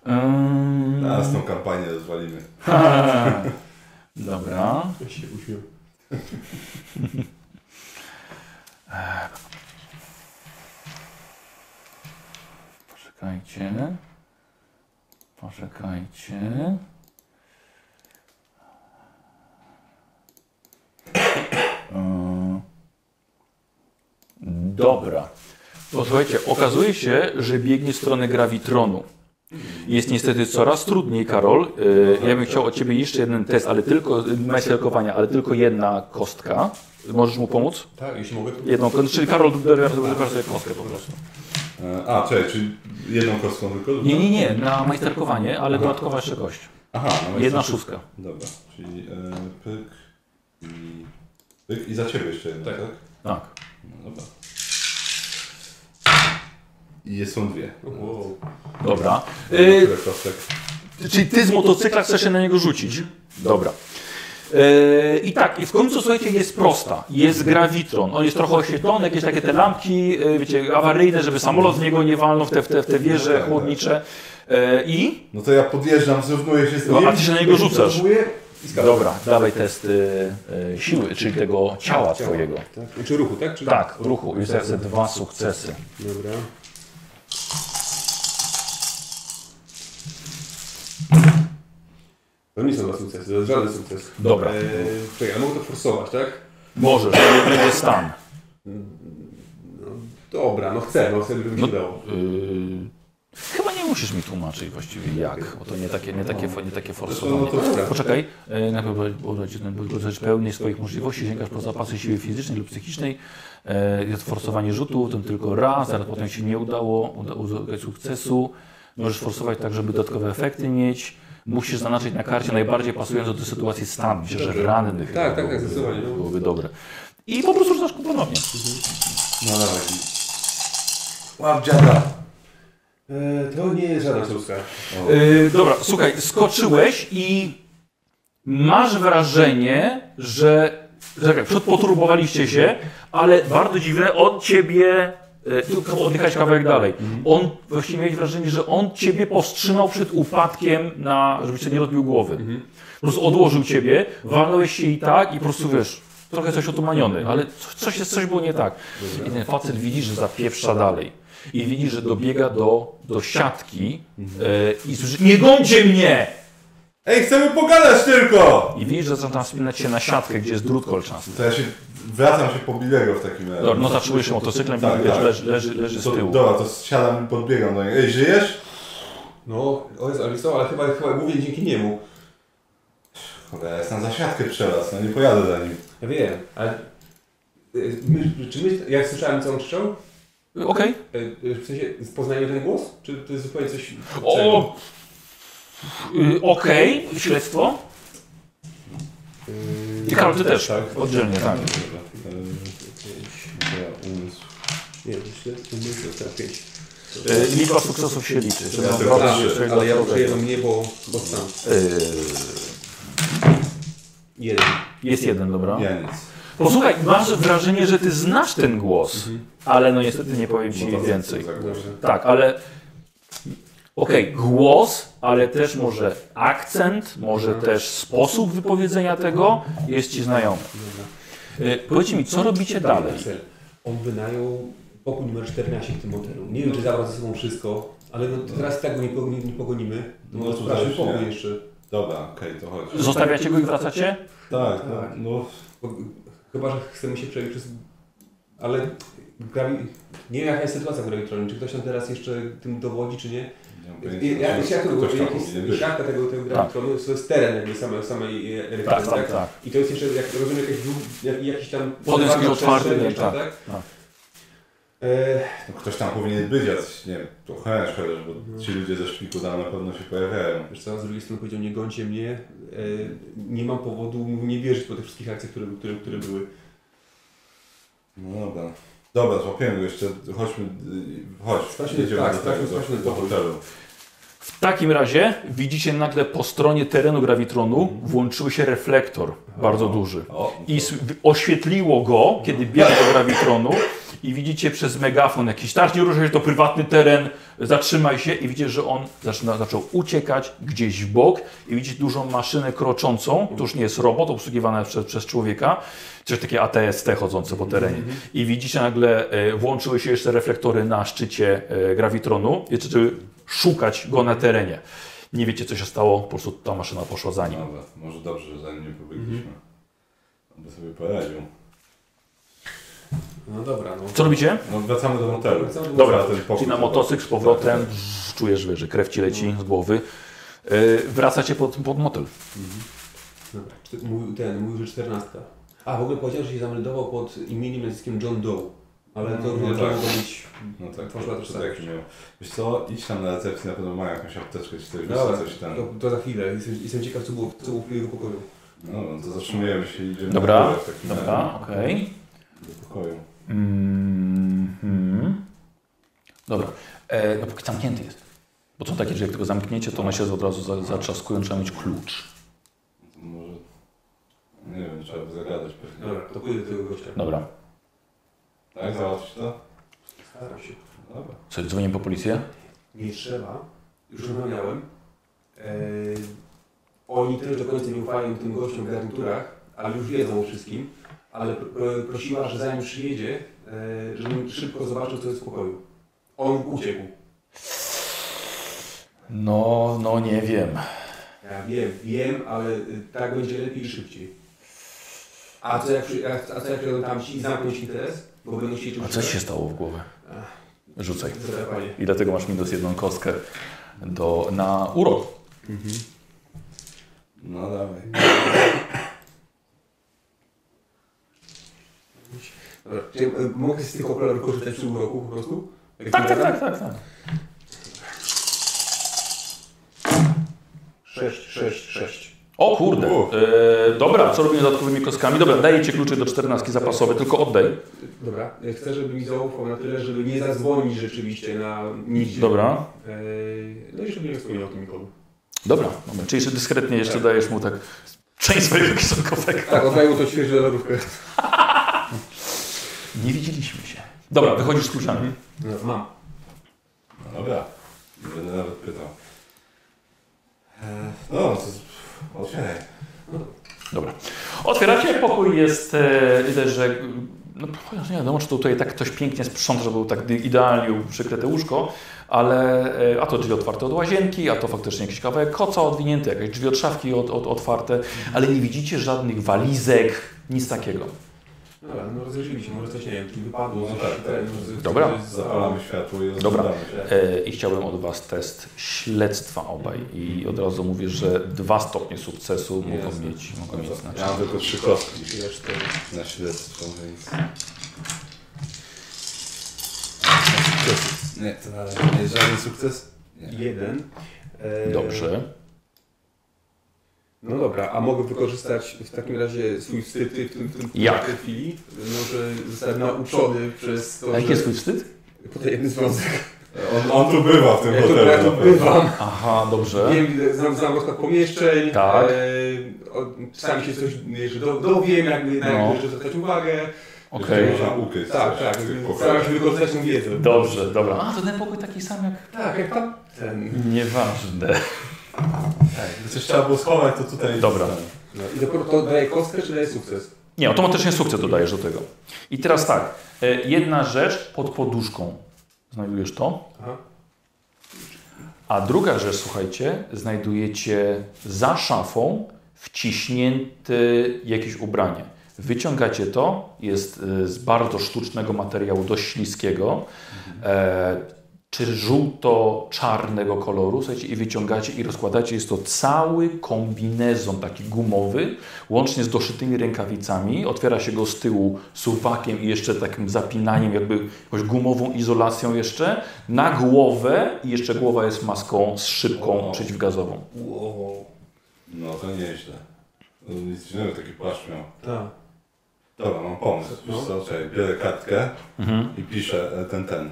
Speaker 1: Ym,
Speaker 2: Teraz tą kampanię rozwalimy.
Speaker 1: [laughs] Dobra.
Speaker 12: Ja się uśmiał.
Speaker 1: Poczekajcie. Poczekajcie. Mm. Dobra. Posłuchajcie, okazuje się, że biegnie w stronę grawitronu. Jest niestety coraz trudniej, Karol. E, Ja bym chciał od Ciebie jeszcze jeden test, ale tylko majsterkowania, ale tylko jedna kostka. Możesz mu pomóc?
Speaker 12: Tak, jeśli mogę. to-
Speaker 1: Jedną kostkę. Czyli Karol, dobierasz sobie kostkę po prostu.
Speaker 2: E, A, czekaj, czy jedną kostką tylko?
Speaker 1: Nie, nie, nie, na majsterkowanie, ale dodatkowa jeszcze kość.
Speaker 2: Aha, no
Speaker 1: Jedna
Speaker 2: jest-
Speaker 1: szóstka.
Speaker 2: Dobra, czyli e, pyk i pyk i za ciebie jeszcze jedno, tak?
Speaker 12: Tak.
Speaker 1: Tak.
Speaker 2: No dobra. I jest- są
Speaker 1: E,
Speaker 2: dwie.
Speaker 12: Wow.
Speaker 1: Dobra. Y,
Speaker 2: Tyle kostek.
Speaker 1: czyli ty z motocykla chcesz się na niego rzucić? Dobra. E, I tak, i w końcu słuchajcie, jest prosta. Jest grawitron. On jest trochę oświetlony, jakieś takie te lampki, e, wiecie, awaryjne, żeby samolot w niego nie walnął, w te, w te, w te wieże chłodnicze. E, I?
Speaker 2: No to ja podjeżdżam, zrównuję się z
Speaker 1: No,
Speaker 2: nim.
Speaker 1: a ty się na niego rzucasz.
Speaker 12: Próbuję i skakam.
Speaker 1: Dobra, dawaj test y, y, siły, czyli tego ciała twojego.
Speaker 12: Tak. Czy ruchu, tak? Czy...
Speaker 1: Tak, w ruchu. Już teraz te dwa sukcesy.
Speaker 12: Dobra. To nie są dwa sukcesy, to jest żaden sukces.
Speaker 1: Dobra.
Speaker 12: Eee, czekaj, a mogę to forsować, tak?
Speaker 1: Możesz, to będzie stan.
Speaker 12: Dobra, no chcę, no chcę, żeby mi się udało.
Speaker 1: Chyba nie musisz mi tłumaczyć właściwie jak, bo to nie takie, nie takie, nie takie
Speaker 2: no
Speaker 1: forsowanie.
Speaker 2: to dobra.
Speaker 1: Poczekaj, e, najpierw urodzić pełnej swoich możliwości, sięgasz po zapasy siły fizycznej lub psychicznej. E, Jest forsowanie rzutu, to tylko raz, zaraz potem się nie udało, uda- uzyskać sukcesu. Możesz forsować tak, żeby dodatkowe efekty mieć. Musisz zaznaczyć na karcie najbardziej pasującą do sytuacji stan. Myślę, że ranny chyba
Speaker 12: tak, tak,
Speaker 1: byłby-
Speaker 12: zdecydowanie, no.
Speaker 1: byłoby dobre. I po prostu rzucasz ponownie.
Speaker 2: No dawaj.
Speaker 12: Łap dziada. E, to nie jest żadna córka.
Speaker 1: Yy, dobra, słuchaj, skoczyłeś i masz wrażenie, że czekaj, przedpoturbowaliście się, ale bardzo dziwne, on ciebie, yy, tylko odjechać kawałek dalej, on właśnie miałeś wrażenie, że on ciebie powstrzymał przed upadkiem na, żebyś sobie nie odbił głowy. Po prostu odłożył ciebie, walnąłeś się i tak i po prostu wiesz, trochę coś otumaniony, ale co- coś, jest, coś było nie tak. I ten facet widzi, że zapieprza dalej. I widzi, że dobiega do, do siatki e, i słyszy, nie gącie mnie!
Speaker 2: Ej, chcemy pogadać tylko!
Speaker 1: I widzisz, że zaczyna wspinać się na siatkę, gdzie jest drut kolczasty.
Speaker 2: To ja się wracam się po Bilego w takim razie.
Speaker 1: Dobra, no zatrzymujesz się motocyklem,
Speaker 2: Tak,
Speaker 1: wiesz,
Speaker 2: tak.
Speaker 1: leży, leży, leży z
Speaker 2: to,
Speaker 1: tyłu.
Speaker 2: Dobra, to siadam i podbiegam do niego. Ej, żyjesz?
Speaker 12: No, o Jezu, ale, wiesz co, ale chyba, chyba głównie dzięki niemu.
Speaker 2: Cholera, ja jestem za siatkę przelaz, no nie pojadę za nim.
Speaker 12: Ja wiem, ale... e, My, czy my, jak słyszałem co on krzyczał?
Speaker 1: Okej.
Speaker 12: E, e, W sensie, poznajemy ten głos? Czy to jest zupełnie coś...
Speaker 1: O! Y, Okej, śledztwo. I Karol, ty też. Oddzielnie, tak.
Speaker 12: Nie, myślę, to myślę, to jest pięć.
Speaker 1: Y, Liczba sukcesów się liczy. żeby
Speaker 2: Ja
Speaker 1: on
Speaker 2: też.
Speaker 1: zrobił
Speaker 2: Tak,
Speaker 1: swojego
Speaker 12: Ale ja
Speaker 1: dobrego.
Speaker 12: użyję mnie, bo... bo sam.
Speaker 1: Y,
Speaker 12: Jeden.
Speaker 1: Jest jeden, dobra.
Speaker 2: Ja nic.
Speaker 1: Posłuchaj, masz wrażenie, że ty znasz ten głos, ale no niestety nie powiem ci
Speaker 2: Bo to
Speaker 1: więcej.
Speaker 2: za głośno.
Speaker 12: Dobrze.
Speaker 1: Tak, ale. Okej, głos, ale też może akcent, może też sposób wypowiedzenia tego jest ci znajomy. Y, Powiedzcie mi, co robicie dalej?
Speaker 12: Marcel, On wynajął pokój numer 14 w tym hotelu. Nie wiem, czy zabrał ze sobą wszystko, ale no, to teraz i tak go nie, pogoni, nie pogonimy.
Speaker 2: No,
Speaker 12: No,
Speaker 2: to
Speaker 12: no sprawdźmy
Speaker 2: zależy,
Speaker 12: pokój
Speaker 2: nie?
Speaker 12: jeszcze.
Speaker 2: Dobra, okej, to chodź.
Speaker 1: Zostawiacie go i wracacie?
Speaker 2: Tak, no, no
Speaker 12: Bo- Chyba, że chcemy się przebić przez... Ale grawi... nie wiem, jaka jest sytuacja w gravitronie. Czy ktoś tam teraz jeszcze tym dowodzi, czy nie?
Speaker 2: nie mam
Speaker 12: Jak,
Speaker 2: pojęcia,
Speaker 12: jak,
Speaker 2: może
Speaker 12: jak, jak to było?
Speaker 2: ktoś tam
Speaker 12: Jak
Speaker 2: powinien
Speaker 12: jest
Speaker 2: być.
Speaker 12: siatka tego, tego gravitronu? To jest teren jakby samej, samej
Speaker 1: Tak,
Speaker 12: elektrowni,
Speaker 1: tak, tak.
Speaker 12: I to jest jeszcze, jak rozumiem, jakaś, dłu- jak, jakiś tam...
Speaker 1: Potem jest jakiś otwarty,
Speaker 12: przestrzeń
Speaker 1: tak,
Speaker 12: jeszcze, tak?
Speaker 1: tak.
Speaker 12: E,
Speaker 2: No, ktoś tam powinien być, jacyś, nie wiem, to chęć chociaż, bo ci ludzie ze szpiku tam na pewno się pojawiają.
Speaker 12: Wiesz co, z drugiej strony powiedział, nie gońcie mnie, e, nie mam powodu mu nie wierzyć po tych wszystkich akcjach, które, które, które były.
Speaker 2: No dobra. Dobra, złapiemy go jeszcze, chodźmy, y, chodź,
Speaker 12: Sprawdźmy- tak, sprawdźmy-
Speaker 2: tego,
Speaker 12: sprawdźmy
Speaker 2: do
Speaker 12: dowód.
Speaker 2: hotelu.
Speaker 1: W takim razie widzicie nagle po stronie terenu grawitronu włączył się reflektor, bardzo duży.
Speaker 2: O,
Speaker 1: i s- w- oświetliło go, kiedy biegł do grawitronu i widzicie przez megafon jakiś tak, nie ruszaj się, to prywatny teren, zatrzymaj się i widzicie, że on zaczyna, zaczął uciekać gdzieś w bok i widzicie dużą maszynę kroczącą, to już nie jest robot obsługiwany przez, przez człowieka, coś takie ATST chodzące po terenie. I widzicie nagle, e, włączyły się jeszcze reflektory na szczycie e, grawitronu i zaczęły szukać go na terenie. Nie wiecie, co się stało, po prostu ta maszyna poszła za nim.
Speaker 2: Dobra, może dobrze, że za nim nie pobiegliśmy.
Speaker 12: Mhm.
Speaker 2: On by sobie poradził.
Speaker 12: No dobra, no.
Speaker 1: Co robicie?
Speaker 2: No wracamy do hotelu.
Speaker 12: Wracamy do
Speaker 1: Dobra,
Speaker 2: Za ten pokój.
Speaker 1: czyli na motocykl z powrotem brz, czujesz, wiesz, że krew ci leci z głowy. Yy, wracacie pod, pod motel.
Speaker 12: Dobra. Czty- Mój, ten, mówił, że 14. A, w ogóle powiedział, że się zameldował pod imieniem i nazwiskiem John Doe. Ale to
Speaker 2: No,
Speaker 12: nie
Speaker 2: no
Speaker 12: trzeba
Speaker 2: tak.
Speaker 12: go być...
Speaker 2: No tak,
Speaker 12: Poszła
Speaker 2: to
Speaker 12: też
Speaker 2: tak.
Speaker 12: tak.
Speaker 2: jak miał. Wiesz co, idź tam na recepcji, na pewno mają jakąś apteczkę, czy coś, wiesz,
Speaker 12: Dobra,
Speaker 2: coś tam.
Speaker 12: to, to za chwilę. Jestem, jestem ciekaw, co było, co było w jego pokoju.
Speaker 2: No, no to zatrzymujemy się i idziemy
Speaker 1: Dobra,
Speaker 2: na górę w takim razie,
Speaker 1: Dobra, okej.
Speaker 2: do pokoju.
Speaker 1: Mhm. Dobra, e, no póki zamknięty jest. Bo są takie, że jak tylko zamkniecie, to one się od razu za- zatrzaskują, trzeba mieć klucz.
Speaker 2: To Może, nie wiem, trzeba by zagadać pewnie.
Speaker 12: Dobra, to pójdę do tego gościa.
Speaker 1: Dobra,
Speaker 2: Tak, załatwisz to?
Speaker 12: Staram się.
Speaker 2: Dobra.
Speaker 1: co, dzwonię po policję?
Speaker 12: Nie trzeba. Już rozmawiałem. Eee, oni też do końca nie ufają tym gościom w garniturach, ale już wiedzą o wszystkim. Ale pr- pr- prosiła, że zanim przyjedzie, eee, żebym szybko zobaczył, co jest w pokoju. On uciekł.
Speaker 1: No, no nie wiem.
Speaker 12: Ja wiem, wiem, ale y, tak będzie lepiej i szybciej. A co jak, przy- a, a co jak przyjadą tamci i zamkną ci interes? Bo będą chcieli cię
Speaker 1: A co
Speaker 12: uszukać.
Speaker 1: się stało w głowę? Rzucaj.
Speaker 12: Zadawali.
Speaker 1: I dlatego masz minus jedną kostkę do, na urok.
Speaker 2: No dawaj.
Speaker 12: Dobra, Czy ja e, mogę z tych okularów korzystać przy uroku po prostu? Jak
Speaker 1: Tak, tak,
Speaker 12: wymagam?
Speaker 1: tak, tak. tak.
Speaker 12: Sześć, sześć, sześć.
Speaker 1: O kurde. E, dobra, co robimy z dodatkowymi kostkami? Dobra, daję ci klucze do czternastki zapasowe, tylko oddaj.
Speaker 12: Dobra, e, chcę, żeby mi zaufał na tyle, żeby nie zadzwonić rzeczywiście na nigdzie.
Speaker 1: Dobra.
Speaker 12: E, No i żeby nie wspomniał o tym nikomu.
Speaker 1: Dobra, dobra. czyli jeszcze dyskretnie jeszcze dajesz mu tak część swojego kieszonkowego.
Speaker 12: Tak, oddaję mu to świeżą dolarówkę.
Speaker 1: Nie widzieliśmy się. Mhm. Dobra, wychodzisz z kluczami.
Speaker 12: No, mam.
Speaker 2: No dobra. Nie będę nawet pytał. E, No, to z- otwieraj.
Speaker 1: Dobra. Otwieracie, pokój jest e, widać, że no, chociaż nie wiadomo, czy to tutaj tak ktoś pięknie sprząta, że był tak idealnie przykryte łóżko, ale e, a to drzwi otwarte od łazienki, a to faktycznie jakiś kawałek koca odwinięty, jakieś drzwi od szafki od, od, otwarte, ale nie widzicie żadnych walizek, nic takiego.
Speaker 12: Dobra, no rozejrzyjmy się, może coś, nie wiem, tu wypadło.
Speaker 2: No
Speaker 12: coś,
Speaker 2: tak,
Speaker 12: ten,
Speaker 2: tak.
Speaker 12: może-
Speaker 1: Dobra.
Speaker 12: coś
Speaker 2: Zapalamy
Speaker 12: zapalamy.
Speaker 2: światło i
Speaker 1: Dobra.
Speaker 2: rozglądamy się.
Speaker 1: E, I chciałbym od Was test śledztwa obaj i od razu mówię, że dwa stopnie sukcesu mogą
Speaker 12: Jasne.
Speaker 1: mieć, mogą mieć
Speaker 2: Ja
Speaker 1: znaczenie.
Speaker 2: mam tylko trzy kostki
Speaker 12: Ja cztery.
Speaker 2: na śledztwo, więc... Nie, to na razie nie jest żaden sukces. Nie.
Speaker 12: Jeden. E,
Speaker 1: Dobrze.
Speaker 12: No dobra, a mogę wykorzystać w takim razie swój wstyd w tym, w tym
Speaker 1: Jak?
Speaker 12: w tej chwili? No, że zostałem nauczony przez to,
Speaker 1: A jaki jest
Speaker 12: że...
Speaker 1: Twój wstyd?
Speaker 2: [laughs]
Speaker 12: Potajemny związek.
Speaker 2: On, on tu bywa w tym
Speaker 12: Ja tu,
Speaker 2: hotelu.
Speaker 12: ja
Speaker 2: na
Speaker 12: tu
Speaker 2: pewno.
Speaker 12: bywam.
Speaker 1: Aha, dobrze.
Speaker 12: Wiem, znam, znam rozkład pomieszczeń.
Speaker 1: Tak.
Speaker 12: E, o, czasami się coś że do, dowiem, jakby na
Speaker 1: No.
Speaker 12: no. jeszcze zwracać uwagę.
Speaker 1: Okej.
Speaker 2: Można ukryć
Speaker 12: Tak,
Speaker 2: coś w
Speaker 12: tak.
Speaker 2: tych
Speaker 12: jakby
Speaker 2: pokojach.
Speaker 12: Staram się wykorzystać tą wiedzę.
Speaker 1: Dobrze, dobra. A, to ten pokój taki sam jak...
Speaker 12: Tak, jak tam ten.
Speaker 1: Nieważne.
Speaker 2: Gdyby coś trzeba było schować, to tutaj...
Speaker 1: Dobra.
Speaker 12: No, I dopiero to daje kostkę, czy daje sukces?
Speaker 1: Nie, automatycznie sukces dodajesz do tego. I teraz tak, e, jedna rzecz pod poduszką. Znajdujesz to.
Speaker 12: Aha.
Speaker 1: A druga rzecz, słuchajcie, znajdujecie za szafą wciśnięte jakieś ubranie. Wyciągacie to, jest e, z bardzo sztucznego materiału, dość śliskiego, e, czy żółto-czarnego koloru, słuchajcie, i wyciągacie i rozkładacie. Jest to cały kombinezon taki gumowy, łącznie z doszytymi rękawicami. Otwiera się go z tyłu suwakiem i jeszcze takim zapinaniem, jakby jakąś gumową izolacją jeszcze, na głowę i jeszcze głowa jest maską z szybką
Speaker 2: O.
Speaker 1: przeciwgazową.
Speaker 2: Wow. No to nieźle. No, Nic dziwnego, taki płaszcz miał.
Speaker 12: Tak.
Speaker 2: Dobra, mam pomysł. Wiesz co, czekaj, biorę kartkę
Speaker 1: Mhm.
Speaker 2: i piszę e, ten, ten.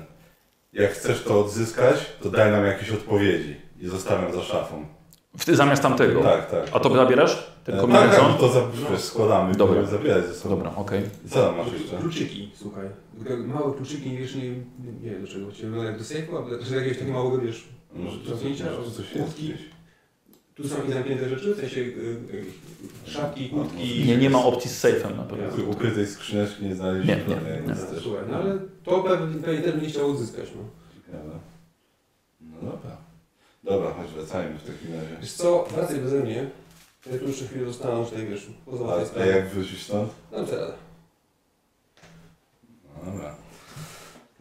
Speaker 2: Jak chcesz to odzyskać, to daj nam jakieś odpowiedzi. I zostawiam za szafą.
Speaker 1: W, zamiast tamtego.
Speaker 2: Tak, tak.
Speaker 1: A to zabierasz? Ten
Speaker 2: E,
Speaker 1: kombinezon?
Speaker 2: Tak, to za, wiesz, składamy,
Speaker 1: Dobra.
Speaker 2: Dobra. zabierać ze sobą.
Speaker 1: Dobra, okej.
Speaker 2: I Co tam masz jeszcze?
Speaker 12: Kluczyki, słuchaj. Tylko Małe kluczyki, wiesz, nie, nie wiem do czego. Czy no, jak do sejfu, albo do jakiegoś takiego małego, wiesz,
Speaker 2: Może coś-
Speaker 12: Rozwinięcia?
Speaker 2: może coś jest
Speaker 12: Kłódki?
Speaker 2: gdzieś.
Speaker 12: tu są jakieś zamknięte rzeczy, w sensie y, y, szafki, kłódki.
Speaker 1: Nie, nie ma opcji z sejfem na pewno.
Speaker 2: Tu ukrytej skrzyneczki nie
Speaker 1: Nie,
Speaker 2: znaleźliśmy.
Speaker 1: nie,
Speaker 2: ale
Speaker 1: nie.
Speaker 2: nic
Speaker 12: No,
Speaker 2: też.
Speaker 12: Słuchaj, no ale to pewnie, pewnie też będzie chciał odzyskać, no.
Speaker 2: Ciekawe. No dobra. Dobra, chodź wracajmy w takim razie.
Speaker 12: Wiesz co, wracaj beze mnie. Ja tu jeszcze chwilę zostanę tutaj, wiesz, pozałatwię
Speaker 2: A, a
Speaker 12: sprawę.
Speaker 2: jak wrócisz stąd?
Speaker 12: Dam sobie radę.
Speaker 2: No Dobra.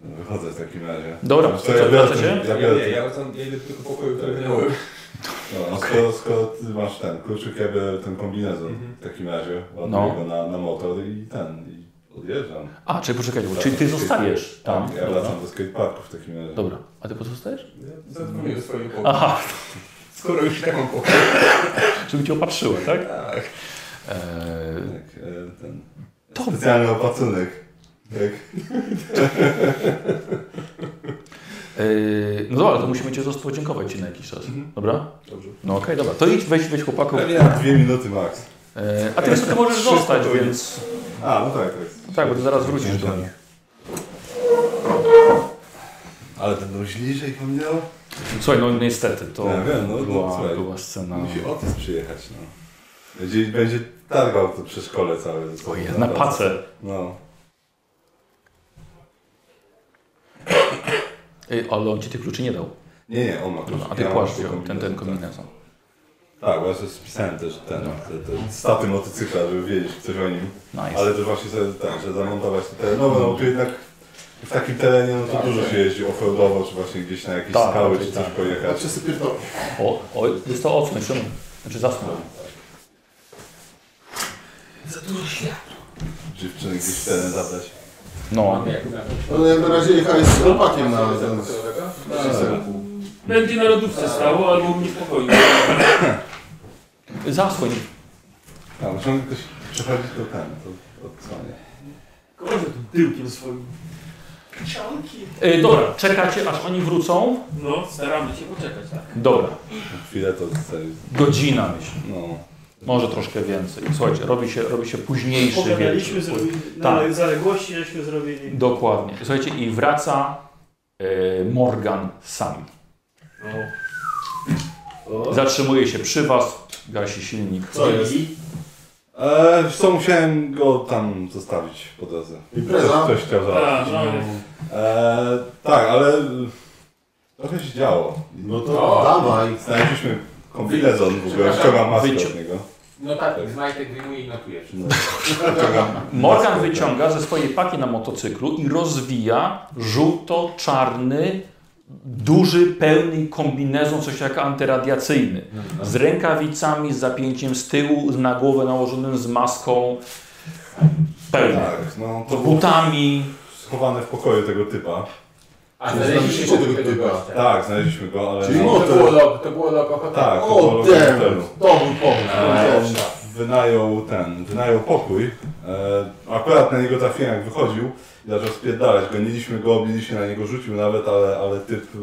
Speaker 2: No, Wychodzę w takim razie.
Speaker 1: Dobra,
Speaker 2: No,
Speaker 1: co,
Speaker 2: biorę
Speaker 1: wracacie?
Speaker 2: ten-
Speaker 12: Ja,
Speaker 2: ja
Speaker 12: nie,
Speaker 2: biorę
Speaker 12: nie,
Speaker 2: ten-
Speaker 12: ja wracam, ja idę do tego pokoju, który miałem.
Speaker 2: no, no, skoro, skoro ty masz ten kluczyk, ja biorę ten kombinezon
Speaker 12: Mhm.
Speaker 2: w takim razie.
Speaker 1: No.
Speaker 2: Ładuję go na, na motor i ten, i odjeżdżam.
Speaker 1: A, czyli poczekaj, bo-
Speaker 2: Tak,
Speaker 1: czyli ty
Speaker 2: tak.
Speaker 1: zostajesz tam.
Speaker 2: Ja wracam do skateparku w takim razie.
Speaker 1: Tak, Dobra, a ty pozostajesz?
Speaker 12: Ja Zadzwonię do swojego pokoju.
Speaker 1: Aha,
Speaker 12: Skoro już tak mam pokój.
Speaker 1: żeby cię opatrzyły, tak?
Speaker 12: Tak.
Speaker 1: Eee,
Speaker 2: Tak, e, ten
Speaker 1: to
Speaker 2: specjalny opatrunek. Tak.
Speaker 1: Yy, no dobra, to musimy Cię zostać podziękować Ci na jakiś czas.
Speaker 2: Mhm.
Speaker 1: Dobra?
Speaker 12: Dobrze.
Speaker 1: No okej, dobra. To idź, weź, weź chłopaku.
Speaker 2: Pewnie na dwie minuty max.
Speaker 1: Yy, a ty, ty możesz
Speaker 2: Wszystko
Speaker 1: zostać,
Speaker 2: to
Speaker 1: więc...
Speaker 2: A, no tak, tak.
Speaker 1: Tak, bo ty zaraz wrócisz do nich.
Speaker 2: Ale będą źli, że ich mam miał?
Speaker 1: Słuchaj, no niestety, to
Speaker 2: Ja wiem, no, no,
Speaker 1: była,
Speaker 2: słuchaj.
Speaker 1: była scena...
Speaker 2: Musi Otis przyjechać, no. Będzie, będzie targał to przy szkole całe ze sobą.
Speaker 1: Ojej, na pacę.
Speaker 2: No.
Speaker 1: Ej, ale on Ci tych kluczy nie dał.
Speaker 2: Nie, nie, on ma
Speaker 1: Dobra,
Speaker 2: kluczyki,
Speaker 1: a ty
Speaker 2: ja mam
Speaker 1: płaszcz
Speaker 2: tylko
Speaker 1: wziął, ten, ten kombinezon.
Speaker 2: Tak, bo ja sobie spisałem też ten, te, te staty motocykla, żeby wiedzieć coś o nim.
Speaker 1: Nice.
Speaker 2: Ale też właśnie sobie tak, że zamontować te terenowe, no bo tu jednak W takim terenie no to dużo się jeździ off-roadowo, czy właśnie gdzieś na jakieś
Speaker 1: Tak,
Speaker 2: skały,
Speaker 1: raczej
Speaker 2: czy coś
Speaker 1: tak.
Speaker 2: pojechać.
Speaker 5: Znaczy sobie pierdolę.
Speaker 1: O, o, został odsnął, czemu? Znaczy zasnął.
Speaker 2: Dziewczyny gdzieś w teren zabrać.
Speaker 1: No,
Speaker 5: No ja na razie jechałem z chłopakiem na Tak. ten...
Speaker 6: Będzie na lodówce stało, albo u mnie w pokoju.
Speaker 1: zasłoń.
Speaker 2: A, muszę ktoś przechodzić do ten, to odsłania.
Speaker 6: Kogoś tu tyłkiem swoim.
Speaker 1: Y, dobra, czekacie aż oni wrócą?
Speaker 6: No, staramy się poczekać, tak?
Speaker 1: Dobra,
Speaker 2: Chwilę to zostaje.
Speaker 1: godzina myślę.
Speaker 2: No.
Speaker 1: Może troszkę więcej. Słuchajcie, robi się, robi się późniejszy
Speaker 9: Pogadaliśmy,
Speaker 1: wieczór.
Speaker 9: zrobili,
Speaker 1: Tak.
Speaker 9: na zaległości żeśmy zrobili.
Speaker 1: Dokładnie. Słuchajcie, i wraca y, Morgan sam. Zatrzymuje się przy was, gasi silnik.
Speaker 5: Co jest?
Speaker 2: E, wiesz co, musiałem go tam zostawić po drodze.
Speaker 5: Impreza?
Speaker 2: Ktoś- Ktoś chciał
Speaker 6: A,
Speaker 2: załatwić.
Speaker 6: no,
Speaker 2: E, tak, ale y, trochę się działo.
Speaker 5: No to dawaj.
Speaker 2: Znaleźliśmy kombinezon w ogóle, ściągam maskę
Speaker 1: Wycią-
Speaker 2: od niego.
Speaker 4: No tak, z majtek wyjmuję i notuję wszystko.
Speaker 2: Ściągam
Speaker 1: Morgan
Speaker 2: maskę,
Speaker 1: wyciąga ze swojej paki na motocyklu i rozwija żółto-czarny, duży, pełny kombinezon, coś jak antyradiacyjny. Z rękawicami, z zapięciem z tyłu, na głowę nałożonym, z maską. Pełny.
Speaker 2: Tak, no
Speaker 1: Z
Speaker 2: to było
Speaker 1: butami.
Speaker 2: schowane w pokoju tego typa.
Speaker 4: A
Speaker 5: Czyli
Speaker 4: znaleźliście
Speaker 5: znaleźliście
Speaker 4: tego tego
Speaker 5: tego typa.
Speaker 4: gościa.
Speaker 2: Tak, znaleźliśmy go, ale...
Speaker 5: Czyli
Speaker 4: To
Speaker 5: mo-
Speaker 4: było logo, to było logo hotelu.
Speaker 2: Tak, to było
Speaker 5: O,
Speaker 2: logo
Speaker 5: damn.
Speaker 2: hotelu.
Speaker 5: To był pomysł. No,
Speaker 2: E,
Speaker 5: Dobrze.
Speaker 2: wynajął ten, wynajął pokój. E, akurat na niego trafiłem jak wychodził i zaczął spierdalać. Goniliśmy go, obiliśmy na niego, rzucił nawet, ale, ale typ y,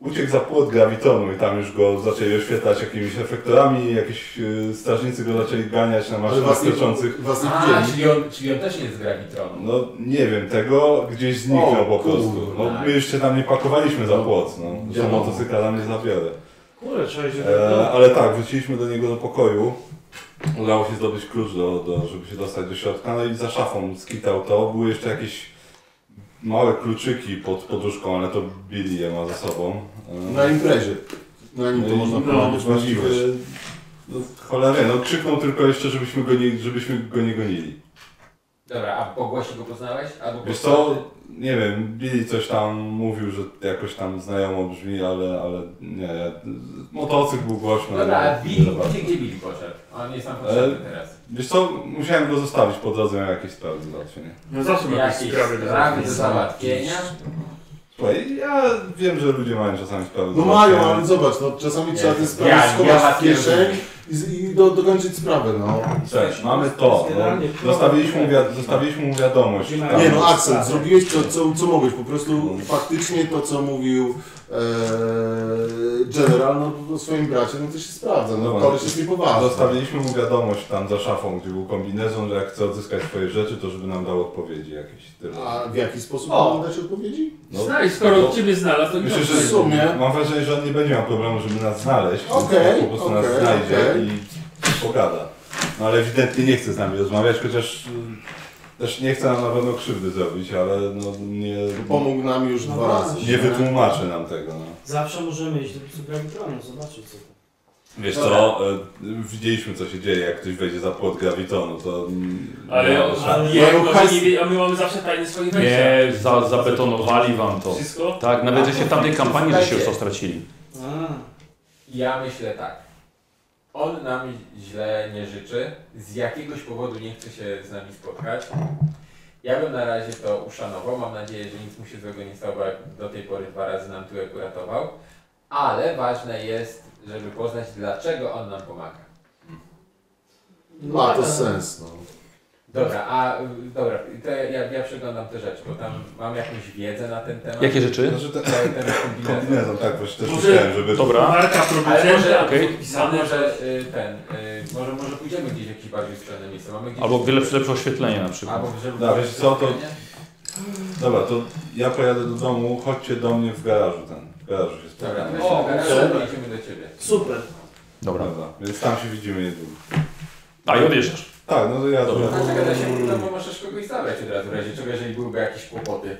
Speaker 2: uciekł za płot grawitonu i tam już go zaczęli oświetlać jakimiś efektorami, jakieś y, strażnicy go zaczęli ganiać na
Speaker 5: Ale
Speaker 2: maszynach
Speaker 5: was nie,
Speaker 2: kroczących.
Speaker 5: was nie
Speaker 4: A,
Speaker 5: widzieli.
Speaker 4: czyli on, czyli on też nie jest z Gravitronu.
Speaker 2: No nie wiem, tego gdzieś zniknął
Speaker 5: O,
Speaker 2: po prostu.
Speaker 5: kurwa.
Speaker 2: No, my jeszcze tam nie pakowaliśmy za
Speaker 5: No.
Speaker 2: płot, no. że
Speaker 5: Ja mam.
Speaker 2: motocykla tam nie zabiorę.
Speaker 9: Kurde, trzeba się
Speaker 2: E, ale tak, wróciliśmy do niego do pokoju. Udało się zdobyć klucz, do, do, żeby się dostać do środka. No i za szafą skitał to. Były jeszcze jakieś małe kluczyki pod poduszką, ale to Billy je ma ze sobą. E,
Speaker 5: Na imprezie. Na nim to
Speaker 2: i-
Speaker 5: można
Speaker 2: no,
Speaker 5: powiedzieć
Speaker 2: właściwie.
Speaker 5: możliwość.
Speaker 2: No, cholernie, no krzyknął tylko jeszcze, żebyśmy go nie, żebyśmy go nie gonili.
Speaker 4: Dobra, a po głosie go poznałeś? Albo po
Speaker 2: Wiesz
Speaker 4: prostu-
Speaker 2: co, nie wiem, Billy coś tam mówił, że jakoś tam znajomo brzmi, ale, ale nie, ja, motocykl był głośny.
Speaker 4: Dobra,
Speaker 2: ale-
Speaker 4: a Billy, gdzie, gdzie Billy poszedł? On jest tam potrzebny teraz.
Speaker 2: Wiesz co, musiałem go zostawić po drodze, miał jakieś sprawy załatwienie.
Speaker 6: no zawsze ma jakieś
Speaker 4: Jakieś
Speaker 6: sprawy do
Speaker 4: sprawy do
Speaker 6: załatwienia.
Speaker 4: załatwienia.
Speaker 2: Słuchaj, ja wiem, że ludzie mają czasami sprawy
Speaker 5: No
Speaker 2: do
Speaker 5: mają,
Speaker 2: załatwienia.
Speaker 5: ale zobacz, no czasami trzeba te sprawy
Speaker 4: Ja- ja
Speaker 5: schować
Speaker 4: was
Speaker 5: w
Speaker 4: nie
Speaker 5: kieszeń
Speaker 4: rozumiem.
Speaker 5: i, z- i do, dokończyć sprawę, no.
Speaker 2: Cześć, mamy to.
Speaker 9: Generalnie
Speaker 2: No, zostawiliśmy, mu wiad- zostawiliśmy mu wiadomość. Tam.
Speaker 5: Nie no, akcent, zrobiłeś co, co, co mogłeś, po prostu faktycznie to, co mówił e, General no, o swoim bracie, no to się sprawdza, no
Speaker 2: Dobra.
Speaker 5: koleś jest niepoważny.
Speaker 2: Zostawiliśmy mu wiadomość tam za szafą, gdzie był kombinezon, że jak chce odzyskać swoje rzeczy, to żeby nam dał odpowiedzi jakieś. Tyle.
Speaker 5: A w jaki sposób
Speaker 2: O.
Speaker 5: mam dać odpowiedzi?
Speaker 2: No,
Speaker 6: Znajdź, skoro
Speaker 2: no,
Speaker 6: od ciebie znalazł, to nie
Speaker 2: Myślę, że
Speaker 5: W sumie.
Speaker 2: Mam wrażenie, że on nie będzie miał problemu, żeby nas znaleźć.
Speaker 5: Okej,
Speaker 2: po prostu nas
Speaker 5: okej,
Speaker 2: znajdzie
Speaker 5: okej.
Speaker 2: i pogada. No ale ewidentnie nie chce z nami rozmawiać, chociaż y, też nie chce nam na pewno krzywdy zrobić, ale no, nie,
Speaker 5: Pomógł nam już
Speaker 9: No
Speaker 5: dwa razy.
Speaker 9: właśnie.
Speaker 2: nie wytłumaczy nam tego. No.
Speaker 9: Zawsze możemy iść do Supergravitronu, zobaczyć co to.
Speaker 2: Wiesz co, y, widzieliśmy co się dzieje, jak ktoś wejdzie za płot grawitonu, to... mm,
Speaker 6: Ale on
Speaker 2: no,
Speaker 9: ale-
Speaker 6: wie,
Speaker 5: ale-
Speaker 6: może nie wie, a my mamy zawsze tajne swoje wejścia.
Speaker 1: Nie, za, zabetonowali wam to.
Speaker 6: Wszystko?
Speaker 1: Tak, nawet że się w tamtej kampanii że się już to stracili.
Speaker 9: A,
Speaker 4: Ja myślę tak. On nam źle nie życzy, z jakiegoś powodu nie chce się z nami spotkać. Ja bym na razie to uszanował, mam nadzieję, że nic mu się złego nie stało, bo jak do tej pory dwa razy nam tyłek uratował. Ale ważne jest, żeby poznać dlaczego on nam pomaga.
Speaker 5: Ma to sens, no.
Speaker 4: Dobra, a y, dobra, to ja, ja, ja przeglądam te rzeczy, bo tam mam jakąś wiedzę na ten temat.
Speaker 1: Jakie
Speaker 5: No,
Speaker 1: rzeczy?
Speaker 2: Znaczy ten
Speaker 4: Ten- ten kombinezon.
Speaker 2: kombinezon, tak, właśnie też
Speaker 6: Może-
Speaker 2: myślałem, żeby...
Speaker 1: Dobra.
Speaker 6: Marka
Speaker 4: Ale
Speaker 6: producenta,
Speaker 4: może,
Speaker 1: Okej.
Speaker 4: a
Speaker 6: podpisane, że...
Speaker 4: może y, ten, y, może, może pójdziemy gdzieś w jakieś bardziej stronne miejsce. Mamy gdzieś
Speaker 1: Albo lepsze, lepsze oświetlenie na przykład.
Speaker 4: Albo żeby...
Speaker 2: Dobra, wiesz co, to- Dobra, to ja pojadę do domu, chodźcie do mnie w garażu ten. W garażu
Speaker 5: Tak,
Speaker 2: się
Speaker 4: Dobra,
Speaker 2: spotkamy.
Speaker 4: to o, garażu, idziemy do ciebie.
Speaker 9: super.
Speaker 1: Dobra.
Speaker 2: Dobra, więc tam się widzimy niedługo.
Speaker 1: A i odjeżdżasz.
Speaker 2: Tak, no to ja
Speaker 1: Dobra.
Speaker 2: dobra.
Speaker 4: Dlaczego da się no, bo możesz kogoś zabrać od razu w razie czego, jeżeli byłyby jakieś kłopoty.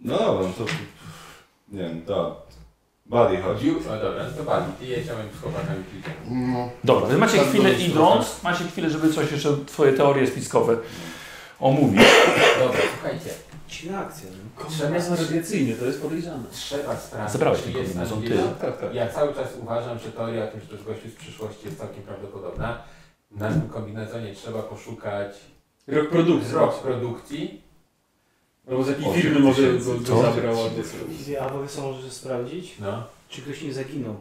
Speaker 2: No dobra, no to. Nie wiem, da. Buddy chodzi.
Speaker 4: Chodził? O dobra, no to Bali, ty jedziemy z chłopakami kilka.
Speaker 5: no.
Speaker 1: Dobra, więc macie chwilę
Speaker 5: dobrze.
Speaker 1: idąc, macie chwilę, żeby coś jeszcze, twoje teorie spiskowe omówić.
Speaker 4: Dobra, słuchajcie.
Speaker 9: Silna akcja. No.
Speaker 4: Trzeba,
Speaker 9: radiacyjny, to jest podejrzane.
Speaker 4: trzeba sprawdzić.
Speaker 1: Zabrałeś
Speaker 4: czy
Speaker 1: mi
Speaker 4: jest
Speaker 1: kombinezon,
Speaker 4: nadzieja. No.
Speaker 2: Tak,
Speaker 4: Ja cały czas uważam, że teoria o tym, że to jest gościu z przyszłości jest całkiem prawdopodobna. Na tym kombinezonie trzeba poszukać
Speaker 6: Rok produkcji.
Speaker 4: wzrok produkcji.
Speaker 6: Albo No z jakiej
Speaker 2: Osiem
Speaker 6: firmy może go,
Speaker 2: tysięcy.
Speaker 6: go zabrał. albo-
Speaker 9: Wizja, a mogę sobie może sprawdzić,
Speaker 4: No.
Speaker 9: czy ktoś nie zaginął.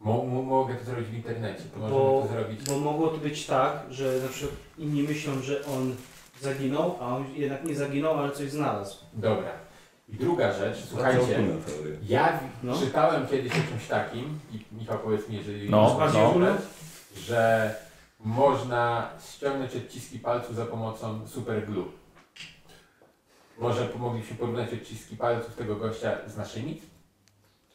Speaker 4: Mo, mo, mogę to zrobić w internecie. To możemy
Speaker 9: Bo-
Speaker 4: to zrobić.
Speaker 9: Bo mogło to być tak, że na przykład inni myślą, że on zaginął, a on jednak nie zaginął, ale coś znalazł.
Speaker 4: Dobra. I druga rzecz, słuchajcie.
Speaker 2: Całkowita teoria.
Speaker 4: Ja
Speaker 9: No.
Speaker 4: czytałem kiedyś o czymś takim, i Michał powiedz mi, jeżeli
Speaker 1: No,
Speaker 4: masz
Speaker 1: no.
Speaker 4: akurat, że można ściągnąć odciski palców za pomocą superglue. Może pomogliśmy porównać odciski palców tego gościa z naszymi?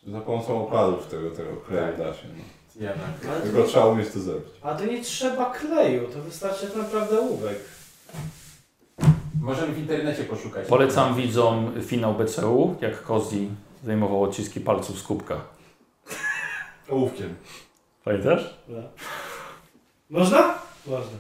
Speaker 2: Za pomocą opadów tego, tego kleju da się. No.
Speaker 4: Ja tak. mam.
Speaker 9: Ale to,
Speaker 2: Tylko trzeba umieć to zrobić.
Speaker 9: a to nie trzeba kleju, to wystarczy tak naprawdę łówek.
Speaker 4: Możemy w internecie poszukać.
Speaker 1: Polecam widzom finał BCU, jak Kozi zajmował odciski palców z kubka.
Speaker 5: Ołówkiem.
Speaker 1: Pamiętasz?
Speaker 9: Dobra. Można? Można.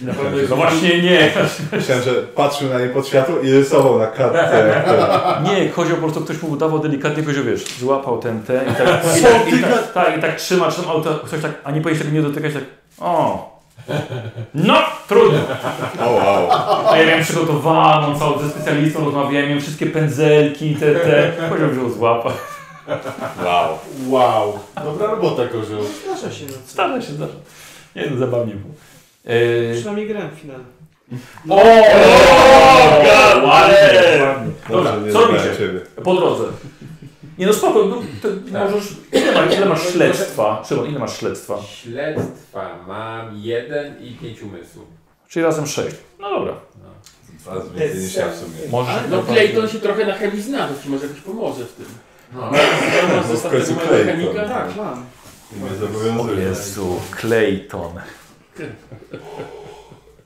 Speaker 6: Na pewno jest
Speaker 1: No właśnie nie.
Speaker 2: Myślałem, że patrzył na nie pod światło i rysował na kartce. jak
Speaker 1: Tak.
Speaker 2: to-
Speaker 1: [laughs] Nie, kozioł po prostu ktoś mu udawał delikatnie, kozioł wiesz, złapał ten, ten i tak, i tak, i tak, tak, i tak trzyma, trzyma, ale to ktoś tak, a nie powinien tego nie dotykać, tak, o. No, trudno.
Speaker 2: O wow.
Speaker 1: A ja miałem przygotowaną, całą ze specjalistą rozmawiałem, miałem wszystkie pędzelki, te, te. Kozioł wziął złapa.
Speaker 2: Wow.
Speaker 5: Wow. Dobra robota, Kozioł.
Speaker 9: Zdarza się na co.
Speaker 1: Stara się zdarza. Nie no, zabawnie było. Yy,
Speaker 9: Przynajmniej grałem w finale.
Speaker 1: o, o, ładnie, ładnie. Dobra,
Speaker 2: Dobrze, nie
Speaker 1: co
Speaker 2: zabrałem
Speaker 1: robicie?
Speaker 2: ciebie.
Speaker 1: Po drodze. Nie no spoko, no, to możesz... Ile, ma, ile masz śledztwa? Szymon, ile masz śledztwa?
Speaker 4: Śledztwa mam jeden i pięć umysłów.
Speaker 1: Czyli razem 6. No dobra.
Speaker 2: Dwa razy więcej niż ja w sumie.
Speaker 1: Możesz.
Speaker 6: No Clayton się trochę na chemii zna, to ci może jakoś pomoże w tym.
Speaker 4: No.
Speaker 6: Masz
Speaker 2: No w
Speaker 6: zostaw
Speaker 2: końcu
Speaker 6: tego
Speaker 2: Clayton.
Speaker 6: mechanika?
Speaker 2: Tak.
Speaker 9: Tak, mam.
Speaker 2: Nie
Speaker 1: O
Speaker 2: zobowiązuję.
Speaker 1: Jezu, Clayton.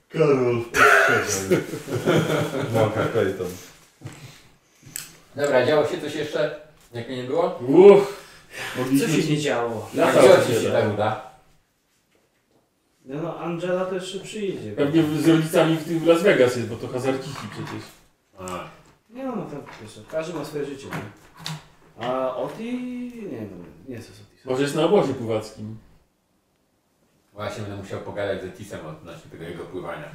Speaker 5: Karol.
Speaker 2: Mąka Clayton.
Speaker 4: Dobra, działo się coś jeszcze? Jak mnie nie było?
Speaker 6: Uff,
Speaker 9: Co się nie działo?
Speaker 4: Jak
Speaker 6: Lata
Speaker 4: działo
Speaker 6: się
Speaker 4: ci się
Speaker 6: da.
Speaker 4: tak uda?
Speaker 9: No, no Angela to jeszcze przyjdzie.
Speaker 6: pewnie z rodzicami w tym Las Vegas jest, bo to hazardziki przecież.
Speaker 9: Nie no, tam wiesz, każdy ma swoje życie. nie? A Oti... nie wiem, nie co z Otisem.
Speaker 6: Może jest na obozie pływackim.
Speaker 4: Właśnie będę musiał pogadać z Etisem odnośnie tego jego pływania.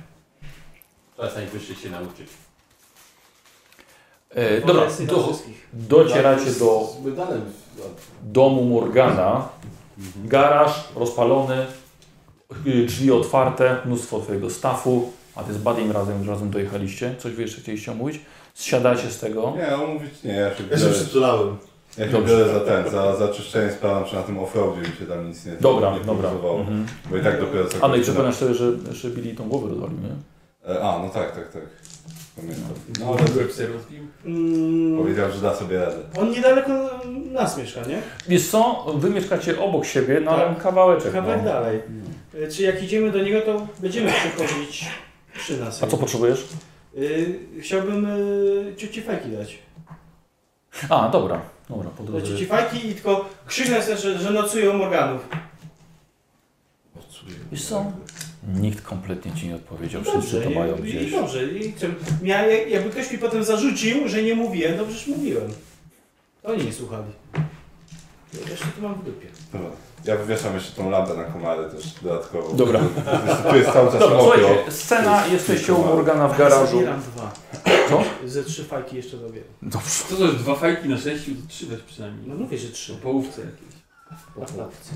Speaker 4: Czas najwyższy się nauczyć.
Speaker 1: E, dobra,
Speaker 9: Obecny dla
Speaker 1: do,
Speaker 9: wszystkich.
Speaker 1: docieracie do
Speaker 5: My dalej.
Speaker 1: domu Morgana. Garaż rozpalony, y, drzwi otwarte, mnóstwo twojego stafu. A ty z Badim razem, razem dojechaliście. Coś wy jeszcze chcieliście omówić? Zsiadacie z tego.
Speaker 2: Nie, on mówić nie, ja się
Speaker 5: Ja się
Speaker 2: biorę,
Speaker 5: przytulałem.
Speaker 2: ja się
Speaker 1: Dobrze.
Speaker 2: biorę za ten, za, za czyszczenie sprawam, czy na tym offroadzie mi się tam nic nie
Speaker 1: Dobra,
Speaker 2: nie
Speaker 1: dobra.
Speaker 2: poluzowało.
Speaker 1: Mhm.
Speaker 2: Bo i tak dopiero co
Speaker 1: A no i
Speaker 2: godzina.
Speaker 1: przypominasz sobie, że, że Billy tą głowę rozwalił, nie?
Speaker 2: E, A, no tak, tak, tak. Pamiętam.
Speaker 6: No, ale Webster rozbił.
Speaker 9: Mm,
Speaker 2: Powiedział, że da sobie radę.
Speaker 9: on niedaleko nas mieszka, nie?
Speaker 1: Wiesz co, wy mieszkacie obok siebie, no ale
Speaker 9: Tak.
Speaker 1: kawałeczek.
Speaker 9: Kawałek
Speaker 1: No.
Speaker 9: dalej. Y, Czy jak idziemy do niego, to będziemy przychodzić przy nas.
Speaker 1: A co potrzebujesz?
Speaker 9: Y, Chciałbym y, cioci fajki dać.
Speaker 1: A, dobra, dobra, po
Speaker 9: Do
Speaker 1: drodze.
Speaker 9: cioci fajki i tylko krzyknę też, że, że nocują Morganów.
Speaker 1: Wiesz co? Nikt kompletnie ci nie odpowiedział, wszyscy
Speaker 9: No Dobrze,
Speaker 1: to mają
Speaker 9: i, i
Speaker 1: gdzieś.
Speaker 9: dobrze. I chcę- ja, jakby ktoś mi potem zarzucił, że nie mówiłem, to przecież mówiłem. To oni nie słuchali. Ja też to mam w dupie.
Speaker 2: Dobra. Ja wywieszam jeszcze tą lampę na komary też dodatkowo.
Speaker 1: Dobra.
Speaker 2: Tu jest cały czas
Speaker 1: Dobra,
Speaker 2: mokro.
Speaker 1: słuchajcie, scena,
Speaker 2: Jest
Speaker 1: jesteście u
Speaker 2: kilka
Speaker 1: Morgana w garażu.
Speaker 9: Zabieram dwa.
Speaker 1: Co?
Speaker 9: Ze trzy fajki jeszcze dobieram.
Speaker 1: Dobrze.
Speaker 6: Co to jest, dwa fajki na sześciu? To trzy weź
Speaker 9: No
Speaker 6: przynajmniej.
Speaker 9: mówię, że trzy.
Speaker 6: Po połówce jakieś.
Speaker 9: Na klatce.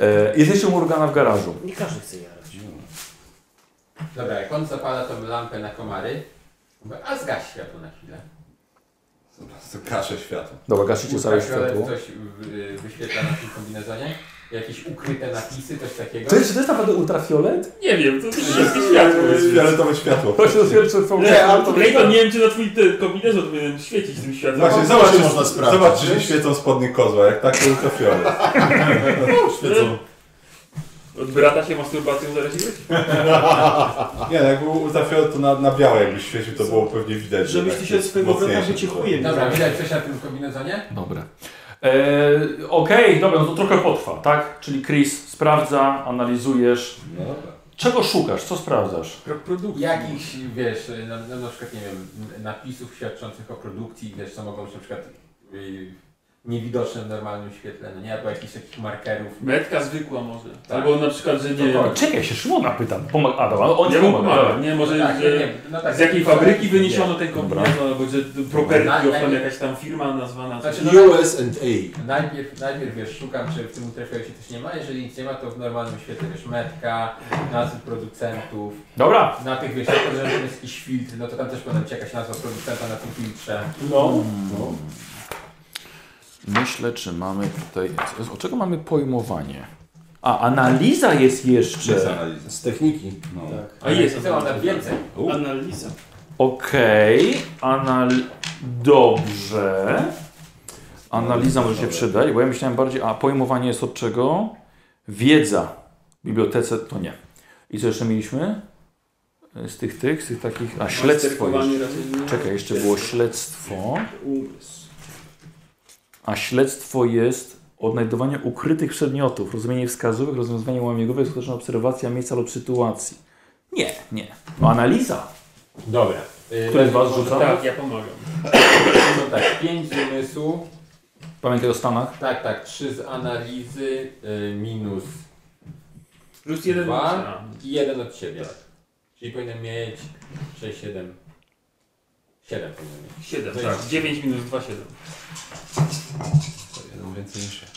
Speaker 1: E, jesteście u Morgana w garażu.
Speaker 9: Nie każdy chce jarać.
Speaker 4: Dobra, jak on zapala tą lampę na komary, mówię, a zgaś światło na chwilę.
Speaker 2: Kaszę światło.
Speaker 1: Dobra, gasicie całe światło.
Speaker 4: Coś y, wyświetla na tym kombinezonie? Jakieś ukryte napisy, coś takiego?
Speaker 1: To jest, to jest naprawdę ultrafiolet?
Speaker 6: Nie wiem, to jest wszystkie światło.
Speaker 2: To jest fioletowe światło.
Speaker 1: To się dopiero są...
Speaker 6: Nie, ale to Clayton, nie wiem czy na twój ten kombinezon powinien świecić tym światłem.
Speaker 2: Właśnie,
Speaker 5: No,
Speaker 2: zobacz,
Speaker 5: to
Speaker 2: czy,
Speaker 5: się można sprawdzić,
Speaker 2: zobacz, czy się
Speaker 5: wiesz?
Speaker 2: świecą spodnie kozła. Jak tak, to już to fiolet.
Speaker 5: Świecą.
Speaker 6: Od brata się masturbacją zaraziłeś?
Speaker 2: Nie, no, jak był ultrafiolet, to na, na białe jakbyś świecił, to było pewnie widać. że
Speaker 9: Żebyś
Speaker 2: tak
Speaker 9: ty się
Speaker 2: jest
Speaker 9: swojego brata
Speaker 2: mocniejsze.
Speaker 9: wycichuje.
Speaker 4: Dobra, widać coś na tym kombinezonie?
Speaker 1: Dobra. E, Okej, dobra, no to trochę potrwa, tak? Czyli Chris sprawdza, analizujesz.
Speaker 2: No dobra.
Speaker 1: Czego szukasz? Co sprawdzasz?
Speaker 6: Produkcji.
Speaker 4: Jakichś, wiesz, na, na, na przykład, nie wiem, napisów świadczących o produkcji, wiesz, co mogą być na przykład y, niewidoczne w normalnym świetle, no nie? Albo jakichś takich markerów.
Speaker 6: Metka zwykła może.
Speaker 4: Tak.
Speaker 6: Albo na przykład, że nie.
Speaker 4: Dokładnie.
Speaker 1: Czekaj, się Szymona pytam. Pomag... A, dobra, on
Speaker 6: nie
Speaker 1: ci
Speaker 6: mu
Speaker 1: pomaga.
Speaker 6: pomaga.
Speaker 1: tak. dobra.
Speaker 6: Nie, może
Speaker 4: No tak,
Speaker 6: że
Speaker 4: nie, nie, no tak,
Speaker 6: z jakiej
Speaker 4: tak,
Speaker 6: fabryki
Speaker 4: tak,
Speaker 6: wyniesiono ten kombinezon, albo że property,
Speaker 4: Na-
Speaker 6: of tam
Speaker 4: najpierw-
Speaker 6: jakaś tam firma nazwana.
Speaker 4: Znaczy,
Speaker 6: coś.
Speaker 4: no,
Speaker 7: US&A.
Speaker 4: najpierw, najpierw, wiesz, szukam, czy w tym trafiło się coś nie ma. Jeżeli nic nie ma, to w normalnym świetle, wiesz, metka, nazwy producentów.
Speaker 1: Dobra.
Speaker 4: Na tych, wiesz, jak to, że jest jakiś filtr, no to tam też powinna być jakaś nazwa producenta na tym filtrze.
Speaker 9: No.
Speaker 1: Myślę, czy mamy tutaj... O czego mamy pojmowanie? A, analiza jest
Speaker 2: Jest
Speaker 1: jeszcze.
Speaker 2: analiza.
Speaker 5: Z techniki.
Speaker 2: No.
Speaker 5: Tak.
Speaker 6: A jest.
Speaker 4: Co mam na więcej?
Speaker 1: U.
Speaker 9: Analiza.
Speaker 1: Okej, anal... Dobrze. Analiza może się przydać, bo ja myślałem bardziej... A pojmowanie jest od czego? Wiedza. W bibliotece to nie. I co jeszcze mieliśmy? E, Z tych, tych, z tych takich... A, śledztwo jeszcze.
Speaker 6: Masterkowanie raczej nie.
Speaker 1: Czekaj, jeszcze było śledztwo. A śledztwo jest odnajdowanie ukrytych przedmiotów, rozumienie wskazówek, rozwiązywanie łamiegowych, skuteczna obserwacja miejsca lub sytuacji. Nie, nie. No analiza.
Speaker 4: Dobra.
Speaker 1: Który z Was rzuca?
Speaker 6: Tak, ja pomagam.
Speaker 4: Yy, No tak, 5 z umysłu,
Speaker 1: Pamiętaj o Stanach.
Speaker 4: tak, tak, 3 z analizy, y, minus
Speaker 6: Plus jeden
Speaker 4: Dwa.
Speaker 6: mocna.
Speaker 4: i 1 od siebie. Czyli powinien mieć 6, 7, 7 powinien mieć.
Speaker 6: Siedem.
Speaker 4: To
Speaker 6: tak.
Speaker 4: jest-
Speaker 6: 9 minus 2, 7.
Speaker 4: Jeden więcej niż ja.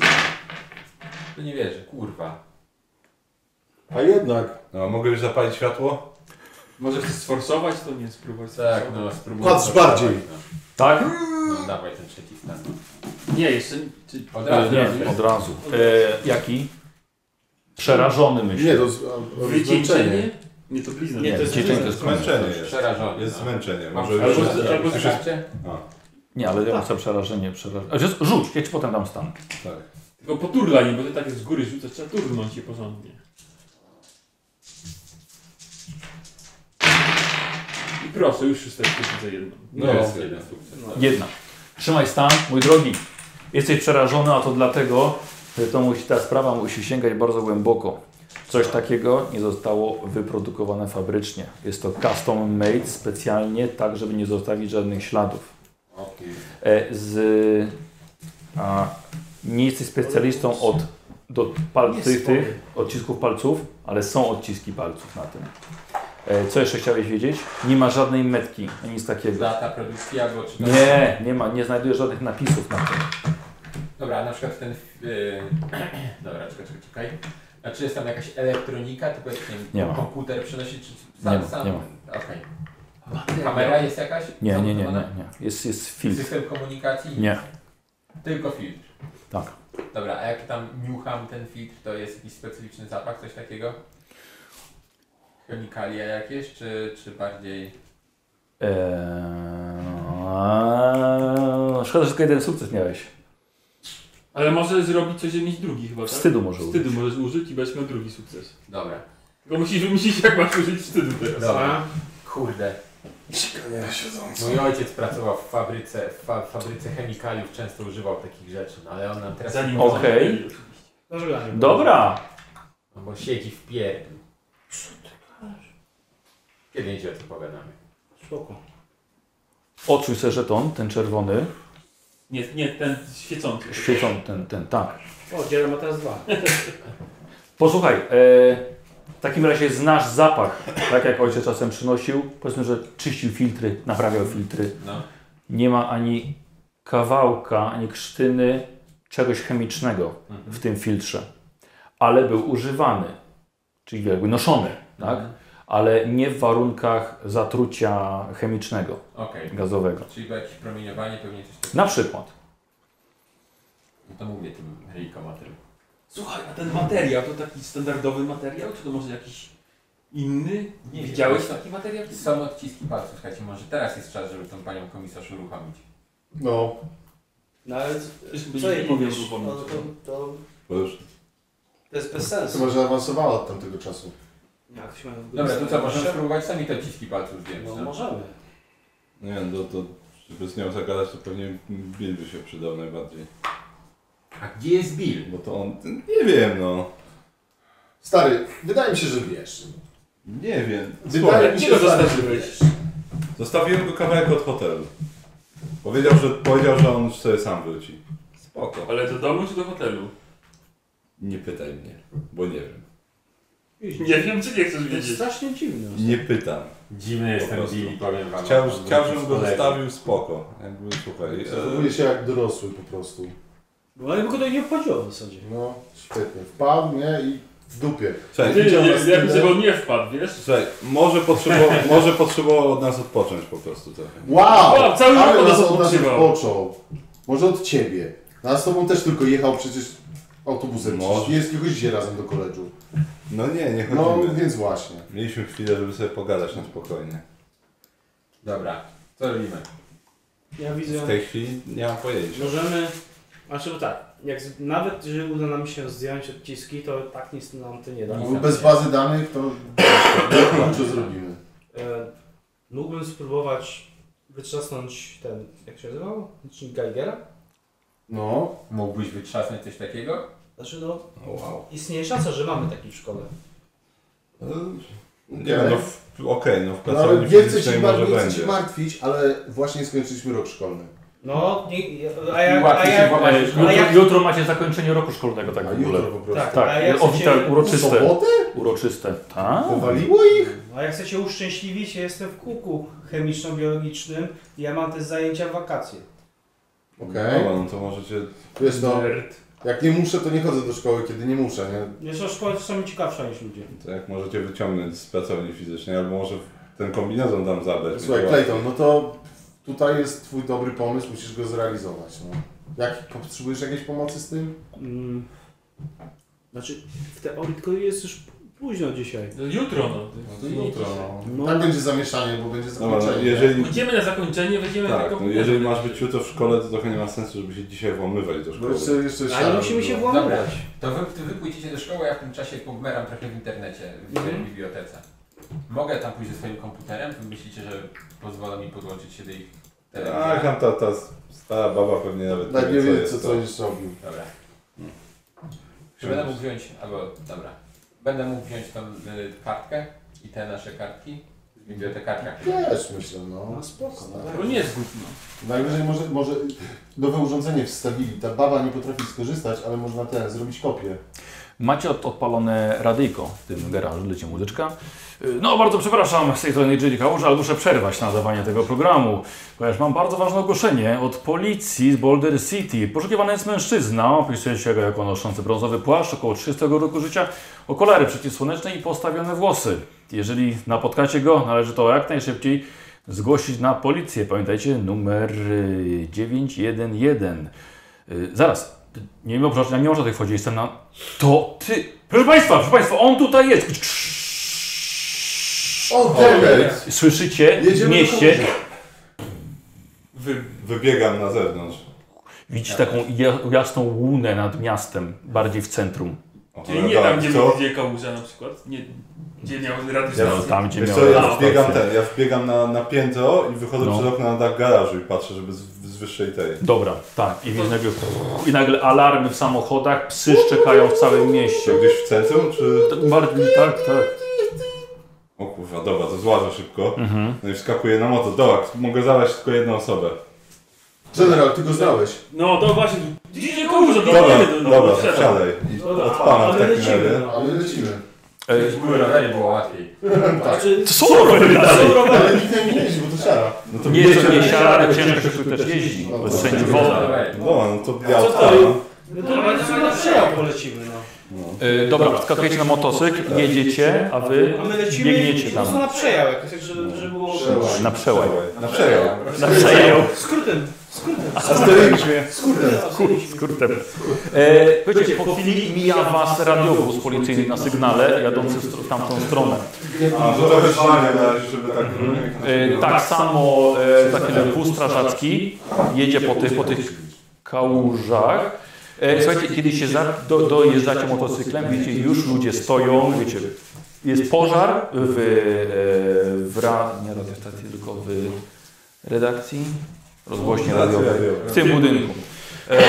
Speaker 4: To No nie wierzę, kurwa.
Speaker 5: A jednak.
Speaker 2: No, mogę już zapalić światło?
Speaker 6: Może chcesz sforsować, to nie spróbować.
Speaker 4: Tak,
Speaker 6: sforsować.
Speaker 4: no spróbuję.
Speaker 5: Patrz
Speaker 4: to
Speaker 5: bardziej.
Speaker 4: przeprowadzić,
Speaker 1: Tak?
Speaker 4: No, no dawaj ten trzeci stan.
Speaker 6: Nie, jeszcze. Czy...
Speaker 4: Od razu.
Speaker 1: Nie, od razu. E, jaki? Przerażony myślę.
Speaker 5: Nie, to z- a-
Speaker 6: Wycieńczenie? Nie, to blizna.
Speaker 9: Nie, to jest
Speaker 1: Dziecięta jest
Speaker 2: Zmęczenie jest.
Speaker 4: Przerażony.
Speaker 2: Jest
Speaker 4: no.
Speaker 2: zmęczenie.
Speaker 4: Masz
Speaker 2: Może już...
Speaker 6: Albo-
Speaker 4: przerażenie.
Speaker 6: albo-
Speaker 4: Przerażcie?
Speaker 1: Nie, ale ja chcę przerażenie. przerażenie. Rzuć, ja ci potem dam stan.
Speaker 2: Tak.
Speaker 6: Tylko poturlanie, bo to tak z góry rzucasz, trzeba turnąć się porządnie. I proszę, już szósteczkę widzę jedną.
Speaker 4: No,
Speaker 2: No.
Speaker 4: jest jeden sukces.
Speaker 1: Jedna. Trzymaj stan, mój drogi. Jesteś przerażony, a to dlatego, że to musi, ta sprawa musi sięgać bardzo głęboko. Coś takiego nie zostało wyprodukowane fabrycznie. Jest to custom made specjalnie, tak żeby nie zostawić żadnych śladów. E, z, a, nie jesteś specjalistą od do palcy, tych odcisków palców, ale są odciski palców na tym. E, co jeszcze chciałeś wiedzieć? Nie ma żadnej metki, ani nic takiego.
Speaker 4: Data produkcji albo czy tam-
Speaker 1: Nie, nie ma, nie znajdujesz żadnych napisów na tym.
Speaker 4: Dobra, a na przykład ten. Yy, [clears throat] dobra, czekaj, czekaj, czekaj. A czy jest tam jakaś elektronika, typu jak nie wiem,
Speaker 1: Nie ma.
Speaker 4: komputer przenosi, czy
Speaker 1: Nie
Speaker 4: sam
Speaker 1: ma,
Speaker 4: sam?
Speaker 1: nie ma.
Speaker 4: Okej. Kamera jest jakaś?
Speaker 1: Nie, nie, nie, nie,
Speaker 4: zamontowana?
Speaker 1: nie. Jest, jest filtr.
Speaker 4: System komunikacji?
Speaker 1: Nie,
Speaker 4: Tylko filtr.
Speaker 1: tak.
Speaker 4: Dobra, a jak tam niucham ten filtr, to jest jakiś specyficzny zapach, coś takiego? Chemikalia jakieś, czy, czy bardziej...
Speaker 1: Eee... Szkoda, że tylko jeden sukces miałeś.
Speaker 6: Ale może zrobić coś, żeby mieć drugi chyba, tak?
Speaker 1: Wstydu może użyć.
Speaker 6: Wstydu możesz użyć i będziesz miał drugi sukces.
Speaker 4: Dobra.
Speaker 6: Tylko musisz wymyślić, jak masz użyć wstydu teraz.
Speaker 4: Dobra. Kurde. Mój ojciec pracował w fabryce, w fa fabryce chemikaliów, często używał takich rzeczy, no ale on nam teraz...
Speaker 6: Zanim
Speaker 1: Okej.
Speaker 9: Zażeganie.
Speaker 1: Dobra,
Speaker 4: No bo siedzi w pierdlu. Kiedy idzie o tym pogadamy?
Speaker 9: Spoko.
Speaker 1: odczuj sobie żeton, ten czerwony.
Speaker 6: Nie, nie, ten świecący.
Speaker 1: Świecą ten, ten, tak.
Speaker 9: O, dzielę ma teraz dwa.
Speaker 1: Posłuchaj, e, w takim razie znasz zapach, tak jak ojciec czasem przynosił. Powiedzmy, że czyścił filtry, naprawiał filtry.
Speaker 4: No.
Speaker 1: Nie ma ani kawałka, ani krztyny czegoś chemicznego
Speaker 6: Mhm.
Speaker 1: w tym filtrze. Ale był używany, czyli jakby noszony, tak?
Speaker 4: Mhm.
Speaker 1: Ale nie w warunkach zatrucia chemicznego,
Speaker 4: Okej.
Speaker 1: gazowego.
Speaker 4: Czyli było jakieś promieniowanie, pewnie coś takiego.
Speaker 1: Na przykład.
Speaker 4: No to mówię tym ryjkom o tym.
Speaker 6: Słuchaj, a ten materiał to taki standardowy materiał, czy to może jakiś inny?
Speaker 4: Nie
Speaker 6: Widziałeś
Speaker 4: wiem.
Speaker 6: taki materiał?
Speaker 4: Są odciski palców, słuchajcie, może teraz jest czas, żeby tą panią komisarz uruchomić.
Speaker 5: No.
Speaker 9: No ale
Speaker 6: Też
Speaker 9: co,
Speaker 6: byś
Speaker 9: co
Speaker 6: nie
Speaker 9: jej
Speaker 6: powiem
Speaker 9: powiesz?
Speaker 6: uruchomić.
Speaker 9: No, to, to,
Speaker 2: Bo już
Speaker 9: to jest bez sensu.
Speaker 5: Chyba, że awansowała od tamtego czasu.
Speaker 9: Jak się
Speaker 6: No
Speaker 9: mają-
Speaker 4: Dobra, to co, możemy spróbować sami te odciski palców zdjąć,
Speaker 9: No
Speaker 4: no?
Speaker 9: możemy.
Speaker 2: Nie wiem, to, to żeby z nią zagadać, to pewnie Bill by się przydał najbardziej.
Speaker 4: A gdzie jest Bill?
Speaker 2: Bo to on, nie wiem no.
Speaker 5: Stary, wydaje mi się, że wiesz.
Speaker 2: Nie no, wiem.
Speaker 5: Wydaje mi
Speaker 6: gdzie
Speaker 5: się,
Speaker 6: go
Speaker 5: stary, że
Speaker 6: zostawiłeś?
Speaker 5: wiesz.
Speaker 2: Zostawiłem go kawałek od hotelu. Powiedział, że, powiedział, że on sobie sam wróci. Spoko.
Speaker 6: Ale do domu czy do hotelu?
Speaker 2: Nie pytaj mnie, bo nie wiem.
Speaker 6: Nie wiem, czy nie chcesz
Speaker 3: To jest
Speaker 6: wiedzieć.
Speaker 3: strasznie dziwne.
Speaker 2: Nie pytam.
Speaker 4: Dziwny jestem,
Speaker 2: prostu.
Speaker 4: Billy, powiem wam.
Speaker 2: Chciał, chciał żebym go
Speaker 4: Kolego.
Speaker 2: zostawił spoko. Jakby, słuchaj, e,
Speaker 5: Zachowuje się jak dorosły po prostu.
Speaker 9: No ale go to nie obchodziło w zasadzie.
Speaker 5: No, świetnie. Wpadł, nie? I w dupie.
Speaker 2: słuchaj,
Speaker 6: Ty,
Speaker 5: Widział nas
Speaker 6: nie- jakby
Speaker 5: tyle.
Speaker 6: cię on nie wpadł, wiesz?
Speaker 2: Słuchaj, może
Speaker 5: [laughs]
Speaker 2: potrzebował, może potrzebował od nas odpocząć po prostu trochę.
Speaker 5: Wow!
Speaker 6: Wow, cały
Speaker 5: Ale
Speaker 6: rok od
Speaker 5: nas
Speaker 6: nas
Speaker 5: od nas
Speaker 6: odpoczywał.
Speaker 5: odpoczął. Może od ciebie. A z tobą też tylko jechał przecież autobusem.
Speaker 2: Może.
Speaker 5: Przecież Nie jest jakiegoś dzisiaj razem do koledżu.
Speaker 2: No nie, nie
Speaker 5: No,
Speaker 2: chodzimy.
Speaker 5: więc właśnie.
Speaker 2: Mieliśmy chwilę, żeby sobie pogadać na spokojnie.
Speaker 4: Dobra, co robimy?
Speaker 9: Ja widzę.
Speaker 2: W tej chwili nie mam pojęcia.
Speaker 9: Możemy. Znaczy bo tak, jak z, nawet jeżeli uda nam się zdjąć odciski, to tak nic nam to nie da.
Speaker 5: No, bez bazy danych to dużo zrobimy.
Speaker 9: E, mógłbym spróbować wytrzasnąć ten. jak się nazywał? Licznik Geigera?
Speaker 5: No,
Speaker 4: Mógłbyś wytrzasnąć coś takiego?
Speaker 9: Znaczy no,
Speaker 2: O, wow.
Speaker 9: istnieje szansa, że mamy taki w szkole.
Speaker 2: E, Nie wiem,
Speaker 5: Okej.
Speaker 2: no w- okej, no w
Speaker 5: no ale
Speaker 2: pracowni
Speaker 5: nie chcę ci
Speaker 2: fizycznej
Speaker 5: mar-
Speaker 2: może
Speaker 5: nie chcę
Speaker 2: będzie.
Speaker 5: ci martwić, ale właśnie skończyliśmy rok szkolny.
Speaker 9: No, nie, a jak. A
Speaker 4: łatwiej się
Speaker 9: jak
Speaker 4: włamać do
Speaker 1: E,
Speaker 4: szkoły.
Speaker 9: ale
Speaker 1: jutro,
Speaker 9: jak-
Speaker 1: jutro macie zakończenie roku szkolnego, tak
Speaker 5: A
Speaker 1: w ogóle.
Speaker 5: jutro po prostu.
Speaker 9: tak, a
Speaker 1: Tak,
Speaker 9: jak
Speaker 1: o
Speaker 9: chcecie,
Speaker 1: witaj,
Speaker 5: W
Speaker 1: uroczyste.
Speaker 5: sobotę?
Speaker 1: Uroczyste. Tak.
Speaker 5: Powaliło ich?
Speaker 9: a jak chcecie uszczęśliwić, ja jestem w kuku chemiczno-biologicznym i ja mam też zajęcia w wakacje.
Speaker 5: Okej.
Speaker 2: Dobra, no to możecie...
Speaker 5: Wiesz no, jak nie muszę, to nie chodzę do szkoły, kiedy nie muszę, nie?
Speaker 9: Zresztą szkoły są ciekawsze niż ludzie.
Speaker 2: To jak możecie wyciągnąć z pracowni fizycznej, albo może ten kombinezon tam zabrać.
Speaker 5: Słuchaj,
Speaker 2: Będzie
Speaker 5: Clayton, no to tutaj jest twój dobry pomysł, musisz go zrealizować, no. Jak potrzebujesz jakiejś pomocy z tym?
Speaker 9: Mm. Znaczy, w teorii tylko jest już późno dzisiaj.
Speaker 6: No jutro, no.
Speaker 5: No to jutro, no.
Speaker 9: No.
Speaker 5: Tak będzie zamieszanie, bo będzie
Speaker 2: Dobra, no,
Speaker 5: zakończenie.
Speaker 2: jeżeli,
Speaker 6: Pójdziemy na zakończenie, weźmiemy
Speaker 2: tak,
Speaker 6: tylko...
Speaker 2: no, jeżeli masz być jutro w szkole, to trochę nie ma sensu, żeby się dzisiaj włamywać do
Speaker 5: Bo
Speaker 2: szkoły.
Speaker 5: jeszcze, jeszcze no.
Speaker 9: Ale
Speaker 5: siara
Speaker 9: musimy
Speaker 5: by
Speaker 9: się
Speaker 5: była.
Speaker 9: włamywać.
Speaker 4: To wy, ty wy pójdziecie do szkoły, ja w tym czasie pogmeram trochę w internecie, w
Speaker 9: Mhm.
Speaker 4: bibliotece. Mogę tam pójść ze swoim komputerem? Wy myślicie, że pozwolą mi podłączyć się do ich
Speaker 2: Ach,
Speaker 4: telewizora?
Speaker 2: tam ta, ta stara baba pewnie nawet
Speaker 5: Nawet nie wiem,
Speaker 2: jest
Speaker 5: co,
Speaker 2: to.
Speaker 5: co będziesz robił.
Speaker 4: Dobra. Mm. Czy będę mógł wziąć, albo dobra, będę mógł wziąć tą y, kartkę i te nasze kartki z bibliotekarka.
Speaker 5: Też myślę, no.
Speaker 9: No spoko, no
Speaker 6: To nie jest gówno.
Speaker 5: Najwyżej może, może nowe urządzenie wstawili. Ta baba nie potrafi skorzystać, ale można ten, zrobić kopię.
Speaker 1: Macie od, odpalone radyjko w tym garażu, leci muzyczka. Y, No bardzo przepraszam z tej strony Jerry Kałuża, ale muszę przerwać nadawanie tego programu, ponieważ mam bardzo ważne ogłoszenie od policji z Boulder City. Poszukiwany jest mężczyzna, opisuje się go jako noszący brązowy płaszcz, około 30 roku życia, okulary przeciwsłoneczne i postawione włosy. Jeżeli napotkacie go, należy to jak najszybciej zgłosić na policję. Pamiętajcie, numer y, 911. Y, zaraz. Nie wiem, przepraszam, ja nie można tych wchodzić, jestem na... To ty... Proszę Państwa, proszę Państwa, on tutaj jest!
Speaker 5: O,
Speaker 4: tak.
Speaker 5: demet!
Speaker 1: Słyszycie w
Speaker 5: Jedziemy do
Speaker 1: mieście,
Speaker 2: Wy... Wybiegam na zewnątrz.
Speaker 1: widzicie taką ja- jasną łunę nad miastem, bardziej w centrum.
Speaker 2: O,
Speaker 6: Czyli
Speaker 2: ale
Speaker 6: nie tam,
Speaker 2: tak,
Speaker 6: gdzie
Speaker 2: co?
Speaker 6: był gdzie kałuża na przykład. Nie, gdzie miał radę
Speaker 2: Ja
Speaker 1: No, tam, gdzie
Speaker 2: Wiesz
Speaker 1: miał...
Speaker 2: co, ja
Speaker 6: A,
Speaker 2: wbiegam ten, ja wbiegam na, na piętro i wychodzę
Speaker 1: No.
Speaker 2: przez okno na dach garażu i patrzę, żeby z, z wyższej tej.
Speaker 1: Dobra, tak. I nagle, I nagle alarmy w samochodach, psy szczekają w całym mieście.
Speaker 2: To gdzieś w centrum, czy...
Speaker 1: To Bardziej, tak, tak.
Speaker 2: O kurwa, dobra, to złażę szybko.
Speaker 1: Mhm.
Speaker 2: No i wskakuję na moto. Dobra, mogę zalać tylko jedną osobę.
Speaker 5: General, ty go znałeś.
Speaker 6: No to właśnie, gdzie kałuża, to
Speaker 2: Dobra,
Speaker 6: No, do- do-
Speaker 2: dobra,
Speaker 6: do- do-
Speaker 2: wsiadaj.
Speaker 6: No
Speaker 2: I odpalam w takim
Speaker 9: ale No lecimy.
Speaker 2: razie.
Speaker 9: No.
Speaker 5: Ale lecimy.
Speaker 4: Gdzieś były rowery, było łatwiej.
Speaker 2: tak.
Speaker 9: Znaczy,
Speaker 1: Co robią dalej?
Speaker 5: Ale nikt tam nie jeździ, bo to siara.
Speaker 2: No to
Speaker 1: Nie,
Speaker 2: bierzemy-
Speaker 1: to nie siara, ale ciężko się tu też jeździ. Bo jest wszędzie
Speaker 4: Tak.
Speaker 1: woda.
Speaker 2: Dobra, no to ja
Speaker 9: to
Speaker 2: odpalam.
Speaker 9: no to na- na przejaw polecimy, no.
Speaker 1: E, Dobra, skakujecie na motocykl, jedziecie, a wy
Speaker 9: A my lecimy
Speaker 1: biegniecie
Speaker 9: i po prostu
Speaker 1: tam.
Speaker 9: na przejaw jakoś, tak, żeby, żeby
Speaker 2: No.
Speaker 9: było...
Speaker 5: Przełaj.
Speaker 1: Na przełaj.
Speaker 2: Na przejął.
Speaker 1: Na przejął.
Speaker 9: Skrótem, skrótem.
Speaker 1: Skrótem. E, Wiecie, po chwili mija was radiowóz policyjny na sygnale jadący w stro- w tamtą stronę.
Speaker 2: A, to trochę szmania na razie, żeby tak...
Speaker 1: E, tak samo e, taki wóz strażacki jedzie po tych, po tych kałużach. E, słuchajcie, kiedy się za, do, dojeżdżacie motocyklem, widzicie, już ludzie stoją, wiecie, jest pożar w, e, w ra, nie radiostacji, tylko w redakcji, rozgłośni radiowej, w tym budynku. E,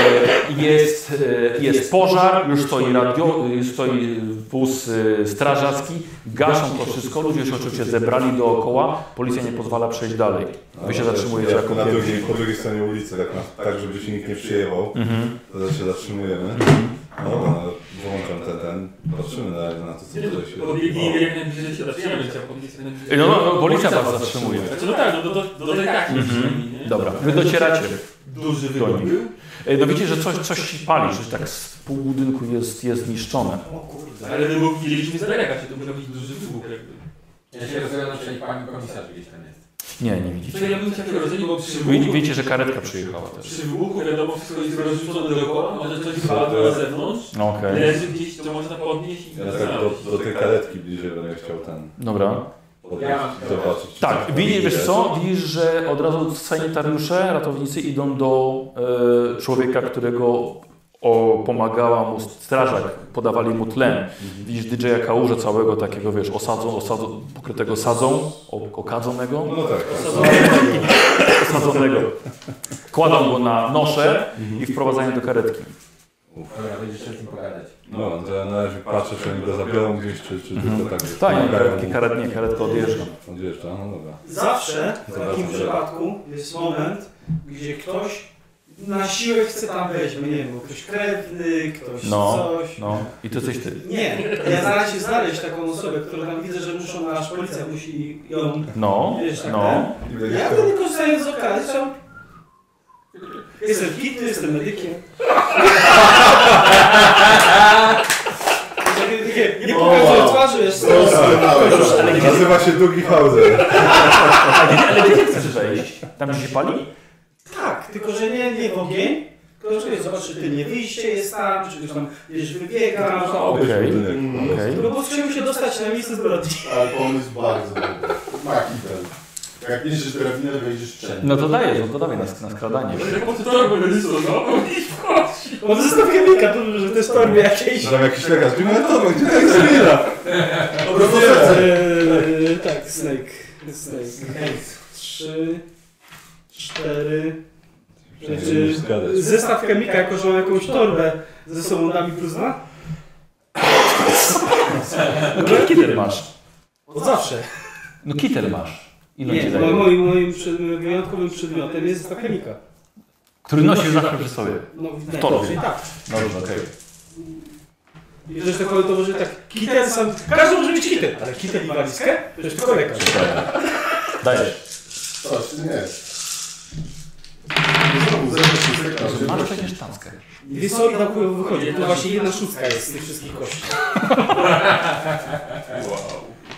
Speaker 1: jest, e, jest pożar, już stoi, radio, stoi wóz e, strażacki, gaszą to wszystko, ludzie się oczywiście zebrali dookoła, policja nie pozwala przejść dalej. Wy się zatrzymujecie
Speaker 2: Jak
Speaker 1: jako
Speaker 2: na drugiej,
Speaker 1: pierwsi.
Speaker 2: po drugiej stronie ulicy, tak, na, tak żeby się nikt nie przyjechał,
Speaker 1: Mhm.
Speaker 2: to się zatrzymujemy. Dobra, no, włączam ten, ten, patrzymy na, na to, co tutaj się
Speaker 6: Podbiegnijmy jak najbliżej się zaczniemy, chciał podnieść jak najbliżej.
Speaker 1: No, no, no, policja was zatrzymuje.
Speaker 6: Znaczy, no tak, no do, do, do tej kachni przynajmniej, nie?
Speaker 1: Mhm. Dobra, wy docieracie.
Speaker 6: Duży
Speaker 1: Do
Speaker 6: wybór.
Speaker 1: nich. E, No widzicie, że coś, coś się pali, że tak z pół budynku jest, jest niszczone.
Speaker 6: Ale wybuch widzieliśmy z daleka, czy to musiał być duży wybuch jakby.
Speaker 4: Ja się rozglądam, czy pani komisarz gdzieś tam jest.
Speaker 1: Nie, nie
Speaker 6: To
Speaker 1: widzicie.
Speaker 6: ja bym się rozdzielił, bo przy
Speaker 1: Wi-
Speaker 6: wybuchu,
Speaker 1: Widzicie, że karetka przyjechała też.
Speaker 6: przy wybuchu wiadomo wszystko jest rozrzucone dookoła, może coś wypadło na zewnątrz,
Speaker 1: No, Okej.
Speaker 6: leży gdzieś, to można podnieść i
Speaker 2: Ja tak do, do tej karetki bliżej będę chciał ten
Speaker 1: Dobra.
Speaker 2: podejść, zobaczyć. czy coś
Speaker 1: Tak,
Speaker 2: tam
Speaker 1: widzisz wiesz
Speaker 2: jest.
Speaker 1: co? Widzisz, że od razu sanitariusze, ratownicy idą do e, człowieka, którego o, pomagała mu strażak, podawali mu tlen. Widzisz DJ-a kałuże całego takiego, wiesz, osadzą, osadzą, pokrytego sadzą, o- okadzonego,
Speaker 2: No tak,
Speaker 1: No, osadzonego. [laughs] Kładą go na nosze i wprowadzają do karetki.
Speaker 4: Dobra, będziesz chciał z nim pogadać.
Speaker 2: no to ja na razie patrzę, czy oni go zabiorą gdzieś, czy, czy tylko tak wiesz,
Speaker 1: Tak, nie,
Speaker 2: pomagają
Speaker 1: karetki,
Speaker 2: mu.
Speaker 1: karet, nie, karetka odjeżdża.
Speaker 2: Odjeżdża, no dobra.
Speaker 9: Zawsze w takim
Speaker 2: Zobaczmy.
Speaker 9: przypadku jest moment, gdzie ktoś na siłę chce tam wejść, bo nie wiem, bo ktoś krewny, ktoś
Speaker 1: No.
Speaker 9: coś.
Speaker 1: No i to coś ty.
Speaker 9: Nie, ja staram się znaleźć taką osobę, która tam widzę, że muszą, aż policja musi ją,
Speaker 1: No,
Speaker 9: wiesz, tak
Speaker 1: no.
Speaker 2: I
Speaker 9: ten.
Speaker 2: będzie
Speaker 9: Ja
Speaker 2: chciał-
Speaker 9: wtedy korzystając z okazji, chciałem- jestem kitny, jestem medykiem. Nie, nie pokazuję twarzy, wiesz,
Speaker 2: Nazywa się Dugi Hauser.
Speaker 1: A gdzie, ale gdzie chcesz wejść? Tam gdzie się pali?
Speaker 9: Tak, tylko że nie, nie w ogień, tylko że wiesz, zobacz, czy ty nie wyjście jest tam, czy ktoś tam, wiesz, wybiega, no,
Speaker 1: Okej.
Speaker 2: Budynek.
Speaker 1: Okej.
Speaker 9: no bo chciałem się dostać na miejsce zbrodni.
Speaker 12: Ale on jest bardzo dobry. Ma kitel. Jak bierzesz drabinę, wejdziesz wszędzie.
Speaker 1: No to dajesz, to dawaj na, na skradanie.
Speaker 6: Jak po to torbę będziesz no? i wchodzi.
Speaker 9: Mam zestaw chemika, to że to jest torby jakieś.
Speaker 2: Tam jakiś lekarz, no to będzie tak zmienia.
Speaker 9: Po prostu eee, Tak, snake, snake. Trzy, cztery. Czy zestaw chemika, jako że mam jakąś torbę ze sobą dami plus dwa?
Speaker 1: No ki- kitel masz.
Speaker 9: Od zawsze.
Speaker 1: No kitel masz. Ile
Speaker 9: Nie,
Speaker 1: ci
Speaker 9: bo
Speaker 1: daje?
Speaker 9: moim, moim przed, wyjątkowym przedmiotem jest zestaw chemika.
Speaker 1: Który nosisz zawsze przy sobie.
Speaker 9: No, w
Speaker 1: torbie.
Speaker 9: torbie. tak.
Speaker 1: Dobrze, okej.
Speaker 9: I też to kolej to może tak, kitel sam, każdy może mieć kitel, ale kitel i walizkę? To jest tylko lekarz.
Speaker 1: Dajesz.
Speaker 12: Coś, nie.
Speaker 5: No
Speaker 12: Znowu, zero szóstek, a
Speaker 1: Masz
Speaker 12: żeby-
Speaker 1: przecież tanskę.
Speaker 9: Wiesz co, i na chujowo wychodzi, to właśnie jedna szóstka jest z tych wszystkich kości.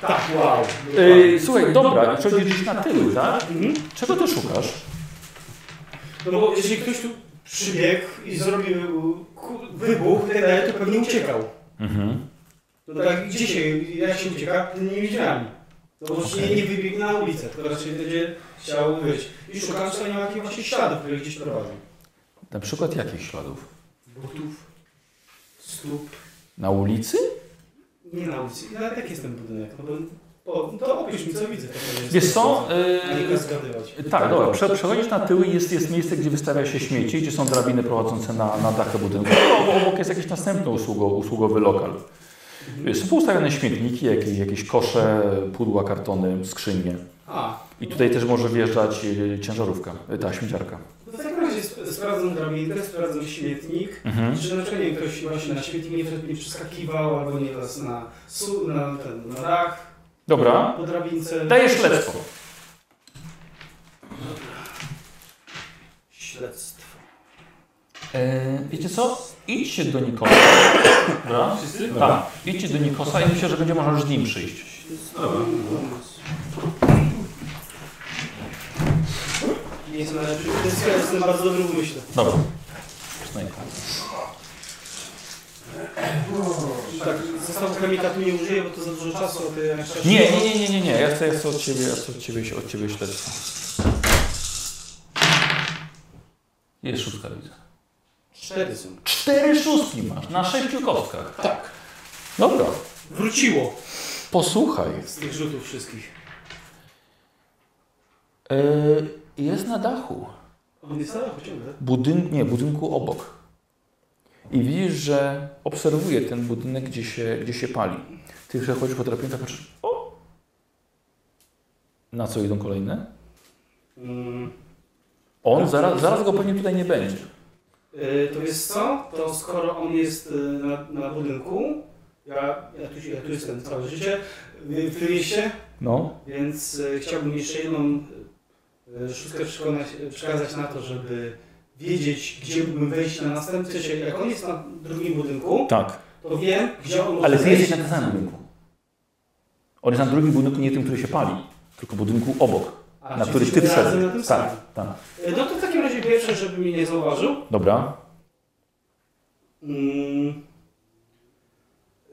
Speaker 9: Tak, wow.
Speaker 1: Yy, słuchaj, dobra, i przechodzisz gdzieś na tyły, tak?
Speaker 9: Mhm.
Speaker 1: Czego ty szukasz?
Speaker 9: No bo jeżeli ktoś tu przybiegł i zrobił ku- wybuch i tak dalej, to pewnie uciekał.
Speaker 1: Mhm.
Speaker 9: No tak, gdzie się, jak się ucieka? Tylnymi drzwiami. No bo okay. nie, nie wybiegł na ulicę, tylko raczej będzie chciał wyjść. I szukam w stanie jakichś właśnie śladów, które gdzieś prowadzą.
Speaker 1: Na przykład jakich śladów?
Speaker 9: Butów, stóp,
Speaker 1: Na ulicy?
Speaker 9: nie na ulicy. Nawet jak jest ten budynek? No bo, bo, to opisz mi, co widzę.
Speaker 1: Wiesz co?
Speaker 9: A nie
Speaker 1: Yy,
Speaker 9: go zgadywać.
Speaker 1: tak, dobra, prze, przechodzisz na tyły i jest, jest miejsce, gdzie wystawia się śmieci, gdzie są drabiny prowadzące na, na dachy budynku. No, obok jest jakiś następny usługo, usługowy lokal. Yy, Są poustawione śmietniki, jakieś, jakieś kosze, pudła, kartony, skrzynie.
Speaker 9: A,
Speaker 1: I tutaj też może wjeżdżać y, ciężarówka, y, ta śmieciarka.
Speaker 9: no w takim razie sp- sprawdzam drabinkę, sprawdzam śmietnik.
Speaker 1: Mhm.
Speaker 9: Czy na przykład nie wiem, ktoś właśnie na śmietnik nie, wszedł, nie przeskakiwał, albo nie las na, su- na, ten, na dach,
Speaker 1: Dobra.
Speaker 9: po drabince.
Speaker 1: Dajesz śledztwo.
Speaker 9: Śledztwo.
Speaker 1: E, wiecie co? Idźcie do Nikosa. Dobra?
Speaker 6: Wszyscy?
Speaker 1: Tak. Idźcie do Nikosa i myślę, że będzie można już z nim przyjść.
Speaker 9: Nie jestem najlepszy. To jest- ja Jestem bardzo dobry w myśle.
Speaker 1: Dobra. Snajka.
Speaker 9: Tak, zestawu chemika tu nie użyję, bo to za dużo czasu, a ty jak szczerze-
Speaker 1: Nie, nie, nie, nie, nie, nie. Ja chcę, ja chcę od ciebie, ja chcę od ciebie, od ciebie śledztwo. Jest szóstka widzę.
Speaker 9: Cztery są.
Speaker 1: Cztery szóstki masz na sześciu kostkach. Tak. Dobra.
Speaker 9: Wróciło
Speaker 1: Posłuchaj.
Speaker 9: z tych rzutów wszystkich.
Speaker 1: E, jest na dachu.
Speaker 9: On jest tak? na dachu ciągle.
Speaker 1: budyn, nie, budynku obok. I widzisz, że obserwuje ten budynek, gdzie się, gdzie się pali. Ty przechodzisz po drapiętach, patrzysz, o! Na co idą kolejne?
Speaker 9: Mm.
Speaker 1: On zaraz, zaraz go pewnie tutaj nie będzie.
Speaker 9: Yy, to jest co? To skoro on jest y, na, na budynku, ja, ja, tu, ja tu jestem całe życie, y, w, w mieście,
Speaker 1: No,
Speaker 9: więc y, chciałbym jeszcze jedną y, szóstkę przekonać, przekazać na to, żeby wiedzieć, gdzie mógłbym wejść na następny. Czyli jak on jest na drugim budynku,
Speaker 1: tak.
Speaker 9: to wiem, gdzie on może
Speaker 1: Ale ty
Speaker 9: wejść.
Speaker 1: jesteś na tym samym budynku. On jest na drugim budynku, nie tym, który się pali, tylko budynku obok,
Speaker 9: A,
Speaker 1: na
Speaker 9: czyli
Speaker 1: który ty
Speaker 9: jesteśmy razem
Speaker 1: wszedłeś.
Speaker 9: na tym
Speaker 1: Tak,
Speaker 9: samym.
Speaker 1: tak.
Speaker 9: Y, No to w takim razie pierwsze, żeby mnie nie zauważył.
Speaker 1: Dobra.
Speaker 9: Mm.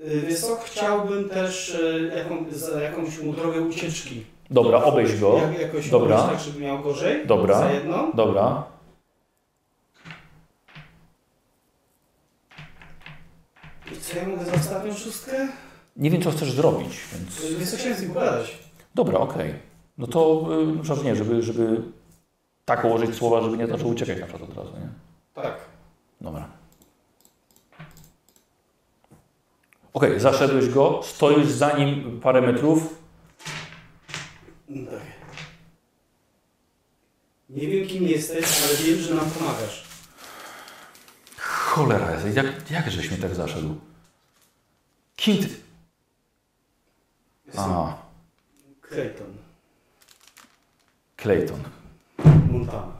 Speaker 9: Y, Wiesz co, chciałbym też y, jaką, za jakąś mu drogę ucieczki.
Speaker 1: Dobra, obejść go.
Speaker 9: Jak, jakoś
Speaker 1: Dobra.
Speaker 9: obejść tak, żeby miał gorzej.
Speaker 1: Dobra.
Speaker 9: Za jedną.
Speaker 1: Dobra.
Speaker 9: I co ja mogę za ostatnią szóstkę?
Speaker 1: Nie wiem, co chcesz zrobić, więc...
Speaker 9: Y, Wiesz co, chciałem z nim pogadać.
Speaker 1: Dobra, okej. No to y, na przykład nie, żeby, żeby tak ułożyć słowa, żeby nie zaczął uciekać na przykład od razu, nie?
Speaker 9: Tak.
Speaker 1: Dobra. Okej, zaszedłeś go, stoisz za nim parę metrów.
Speaker 9: No tak. Nie wiem kim jesteś, ale wiem, że nam pomagasz.
Speaker 1: Cholera, jest, jak, jak żeś mi tak zaszedł? Kim ty? A,
Speaker 9: Clayton,
Speaker 1: Clayton.
Speaker 9: Montana.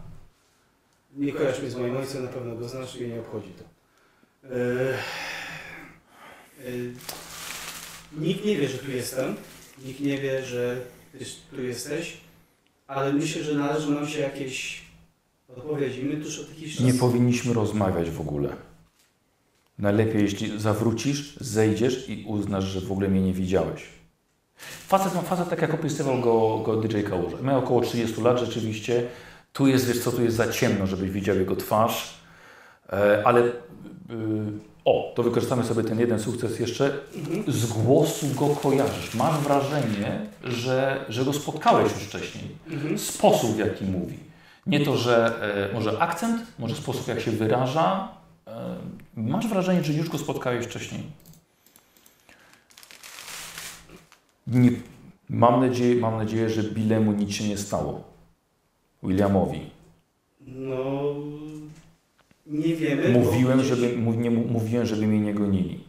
Speaker 9: Nie kojarz mnie z moim ojcem, na pewno go znasz i mnie nie obchodzi to. E, e, Nikt nie wie, że tu jestem. Nikt nie wie, że ty tu jesteś. Ale myślę, że należą nam się jakieś odpowiedzi. My tuż od jakiś czas...
Speaker 1: Nie powinniśmy rozmawiać w ogóle. Najlepiej, jeśli zawrócisz, zejdziesz i uznasz, że w ogóle mnie nie widziałeś. Facet ma facet, tak jak opisywał go, go DJ Kałuża. Miał około 30 lat rzeczywiście. Tu jest, wiesz co, tu jest za ciemno, żebyś widział jego twarz. E, ale y, o, to wykorzystamy sobie ten jeden sukces jeszcze.
Speaker 9: Mhm.
Speaker 1: Z głosu go kojarzysz. Masz wrażenie, że, że go spotkałeś już wcześniej.
Speaker 9: Mhm.
Speaker 1: Sposób, w jaki mówi. Nie to, że e, może akcent, może sposób, jak się wyraża. E, masz wrażenie, że już go spotkałeś wcześniej. Nie, mam, nadzieję, mam nadzieję, że Billemu nic się nie stało. Williamowi.
Speaker 9: No... Nie wiemy. bo
Speaker 1: Mówiłem,
Speaker 9: gdzieś-
Speaker 1: żeby, mu- nie, mu- mówiłem, żeby mnie nie gonili.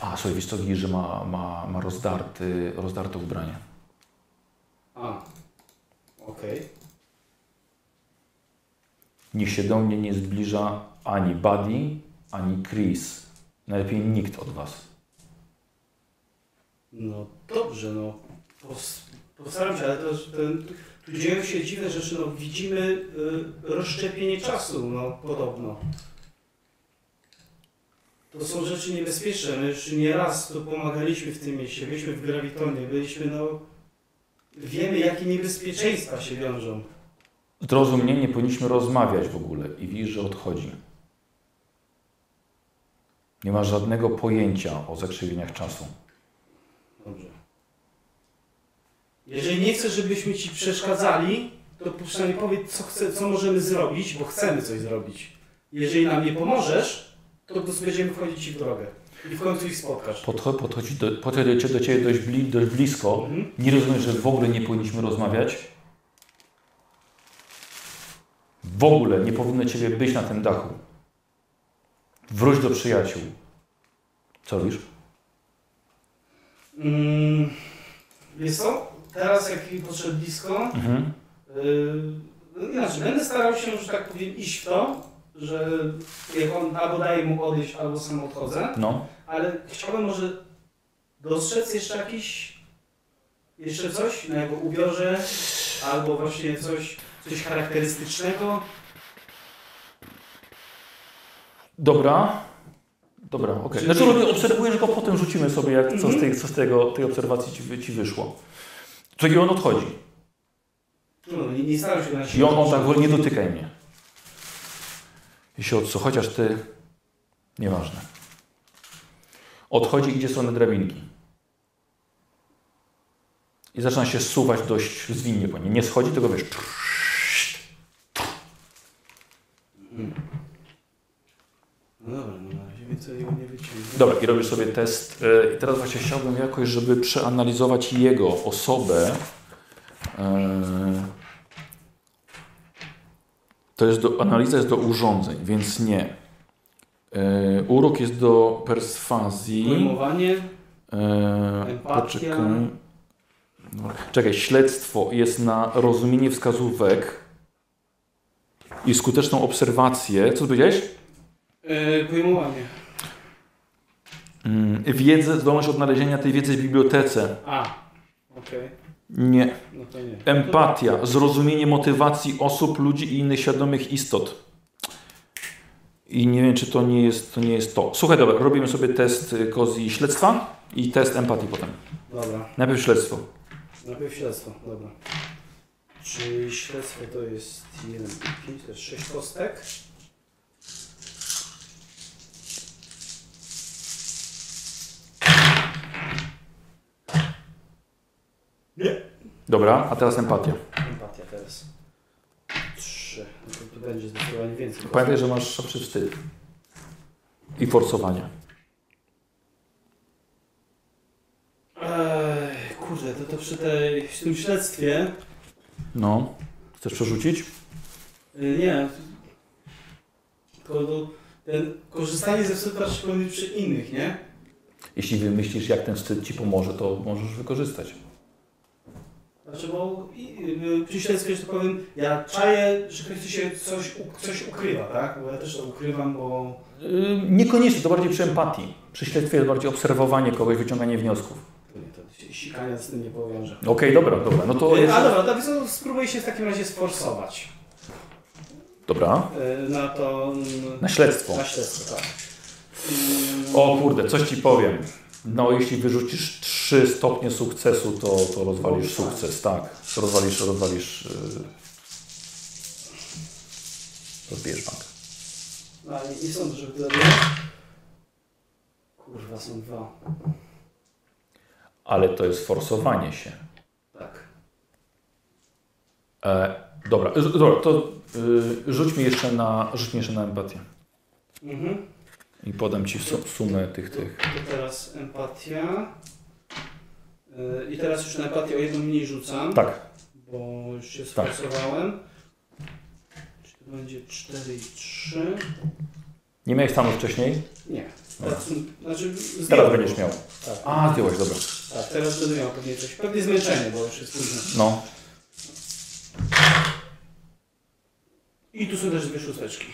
Speaker 1: A, słuchaj, wiesz co, widzisz, że ma, ma, ma rozdarty, rozdarte ubranie.
Speaker 9: A, okej.
Speaker 1: Niech się do mnie nie zbliża ani Buddy, ani Chris. Najlepiej nikt od was.
Speaker 9: No dobrze, no. Pos- Postaram się, ale to, ten, tu dzieją się dziwne rzeczy, no widzimy y, rozszczepienie czasu, no podobno. To są rzeczy niebezpieczne, my już nieraz tu pomagaliśmy w tym mieście, byliśmy w Gravitonie, byliśmy no... Wiemy jakie niebezpieczeństwa się wiążą.
Speaker 1: Zrozum mnie, nie powinniśmy rozmawiać w ogóle i widzisz, że odchodzi. Nie masz żadnego pojęcia o zakrzywieniach czasu.
Speaker 9: Dobrze. Jeżeli nie chcesz, żebyśmy ci przeszkadzali, to przynajmniej powiedz, co, chce, co możemy zrobić, bo chcemy coś zrobić. Jeżeli nam nie pomożesz, to po prostu będziemy wchodzić ci w drogę. I w końcu ich spotkasz.
Speaker 1: Podcho- Podchodzi do, podchodzi do ciebie dość, bli, dość blisko.
Speaker 9: Mhm.
Speaker 1: Nie rozumiesz, że w ogóle nie powinniśmy rozmawiać. W ogóle nie powinno ciebie być na tym dachu. Wróć do przyjaciół. Co robisz?
Speaker 9: Mm, wiesz co? Teraz jak mi podszedł blisko,
Speaker 1: Mhm.
Speaker 9: yy, inaczej, będę starał się, że tak powiem, iść w to, że jak on albo daje mu odejść, albo sam odchodzę.
Speaker 1: No.
Speaker 9: Ale chciałbym może dostrzec jeszcze jakiś, jeszcze coś na jego ubiorze, albo właśnie coś, coś charakterystycznego.
Speaker 1: Dobra. Dobra, okej.
Speaker 9: Czyli-
Speaker 1: Znaczy robię, obserwujesz go, potem rzucimy sobie, jak, co z,
Speaker 9: Mhm.
Speaker 1: tej, co z tego, tej obserwacji ci, wy- ci wyszło. Co i on odchodzi.
Speaker 9: No, nie, nie staram się na
Speaker 1: I
Speaker 9: siebie.
Speaker 1: on, on tak mówi, nie dotykaj mnie. I się odsu, chociaż ty, nieważne. Odchodzi, idzie w stronę drabinki. I zaczyna się suwać dość zwinnie po niej. Nie schodzi, tylko wiesz.
Speaker 9: No dobra, no na razie więcej nie wyciągnę.
Speaker 1: Dobra, i robisz sobie test. E, I teraz właśnie chciałbym jakoś, żeby przeanalizować jego osobę. E, To jest do, analiza jest do urządzeń, więc nie. E, Urok jest do perswazji.
Speaker 9: Pojmowanie,
Speaker 1: E,
Speaker 9: Empatia.
Speaker 1: Poczekaj. Dobra. Czekaj, śledztwo jest na rozumienie wskazówek i skuteczną obserwację. Co powiedziałeś?
Speaker 9: yy, pojmowanie.
Speaker 1: Mm, Wiedzę, zdolność odnalezienia tej wiedzy w bibliotece.
Speaker 9: A, okej,
Speaker 1: Nie.
Speaker 9: no to nie.
Speaker 1: Empatia, zrozumienie motywacji osób, ludzi i innych świadomych istot. I nie wiem, czy to nie jest to. Nie jest to. Słuchaj, dobra, robimy sobie test y, kozji śledztwa i test empatii potem.
Speaker 9: Dobra,
Speaker 1: Najpierw śledztwo.
Speaker 9: najpierw śledztwo, dobra. Czyli śledztwo to jest 1, 5, to jest 6 kostek.
Speaker 1: Dobra, a teraz empatia.
Speaker 9: Empatia teraz. 3, no to tu będzie zdecydowanie więcej. kostek.
Speaker 1: Pamiętaj, że masz szybszy wstyd. I forsowanie.
Speaker 9: Ej, kurde, to, to przy tej, przy tym śledztwie,
Speaker 1: No. Chcesz przerzucić?
Speaker 9: y, nie, tylko to, ten, korzystanie ze wstydu trzeba powinien przy innych, nie?
Speaker 1: Jeśli wymyślisz, jak ten wstyd ci pomoże, to możesz wykorzystać.
Speaker 9: Znaczy, bo i, y, przy śledztwie, że tak powiem, ja czaję, że ktoś się coś, u, coś ukrywa, tak? Bo ja też to ukrywam, bo
Speaker 1: Yy, Niekoniecznie, to bardziej przy empatii. Przy śledztwie jest bardziej obserwowanie kogoś, wyciąganie wniosków.
Speaker 9: to nie, to się sikania z tym nie powiąże.
Speaker 1: Okej, dobra, dobra. No to
Speaker 9: Y,
Speaker 1: jest...
Speaker 9: A dobra, to wiesz co, spróbuję się w takim razie sforsować
Speaker 1: Dobra.
Speaker 9: y, na to... mm,
Speaker 1: Na śledztwo.
Speaker 9: Na śledztwo, tak. Mm,
Speaker 1: O kurde, coś ci powiem. No, jeśli wyrzucisz 3 stopnie sukcesu, to, to rozwalisz sukces, tak. Rozwalisz, rozwalisz... Yy... Rozbijesz bank.
Speaker 9: No, ale nie, nie sądzę, żeby to zabiło. Kurwa, są dwa.
Speaker 1: Ale to jest forsowanie się.
Speaker 9: Tak.
Speaker 1: E, dobra, z- dobra, to yy, rzuć mi jeszcze na, rzuć mi jeszcze na empatię.
Speaker 9: Mhm.
Speaker 1: I podam ci su- sumę tych, tych.
Speaker 9: To teraz empatia. Yy, I teraz już na empatię o jedną mniej rzucam,
Speaker 1: Tak,
Speaker 9: bo już się
Speaker 1: Tak.
Speaker 9: sforsowałem. Czy to będzie 4 i 3?
Speaker 1: nie miałeś tam wcześniej?
Speaker 9: Nie. Teraz, znaczy,
Speaker 1: Teraz
Speaker 9: zdjąłem.
Speaker 1: będziesz miał.
Speaker 9: Tak.
Speaker 1: A, zdjąłeś, dobra.
Speaker 9: Tak, teraz będę miał pewnie coś. Pewnie zmęczenie, bo już jest późno.
Speaker 1: No.
Speaker 9: I tu są też dwie szósteczki.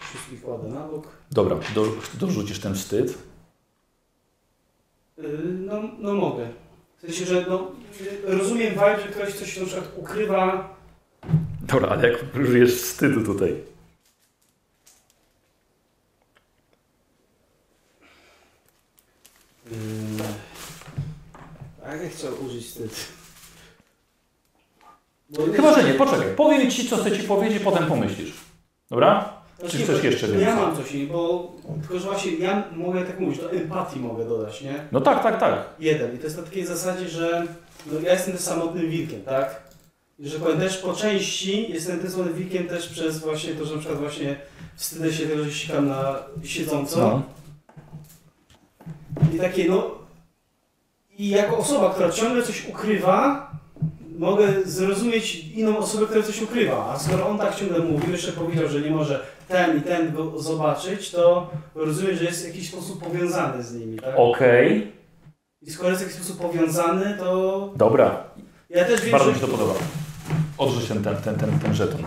Speaker 9: Wszystkich kładę na bok.
Speaker 1: Dobra, do, dorzucisz ten wstyd.
Speaker 9: Yy, No, no mogę. W sensie, że no, yy, rozumiem vibe, że ktoś coś na przykład ukrywa.
Speaker 1: Dobra, ale jak użyjesz wstydu tutaj?
Speaker 9: Yy, A ja chciał użyć wstyd. Bo-
Speaker 1: Chyba, że nie, poczekaj. Powiem ci, co chcę ci powiedzieć, potem pomyślisz. Dobra?
Speaker 9: Znaczy
Speaker 1: Czy
Speaker 9: nie,
Speaker 1: chcesz jeszcze
Speaker 9: Ja
Speaker 1: więcej?
Speaker 9: mam coś, nie, bo tylko, że właśnie ja mogę tak mówić, to empatii mogę dodać, nie?
Speaker 1: No tak, tak, tak.
Speaker 9: Jeden. I to jest na takiej zasadzie, że no, ja jestem też samotnym wilkiem, tak? I że powiem też po części jestem tym samotnym wilkiem też przez właśnie to, że na przykład właśnie wstydzę się tego, że sikam na siedząco.
Speaker 1: No.
Speaker 9: I takie no... I jako osoba, która ciągle coś ukrywa, mogę zrozumieć inną osobę, która coś ukrywa. A skoro on tak ciągle mówił, jeszcze powiedział, że nie może ten i ten go zobaczyć, to rozumiem, że jest w jakiś sposób powiązany z nimi, tak?
Speaker 1: Okej,
Speaker 9: I skoro jest w jakiś sposób powiązany, to
Speaker 1: dobra.
Speaker 9: ja też wiem,
Speaker 1: Bardzo mi
Speaker 9: że
Speaker 1: się to podoba. Odrzuć ten, ten, ten, ten, ten żeton.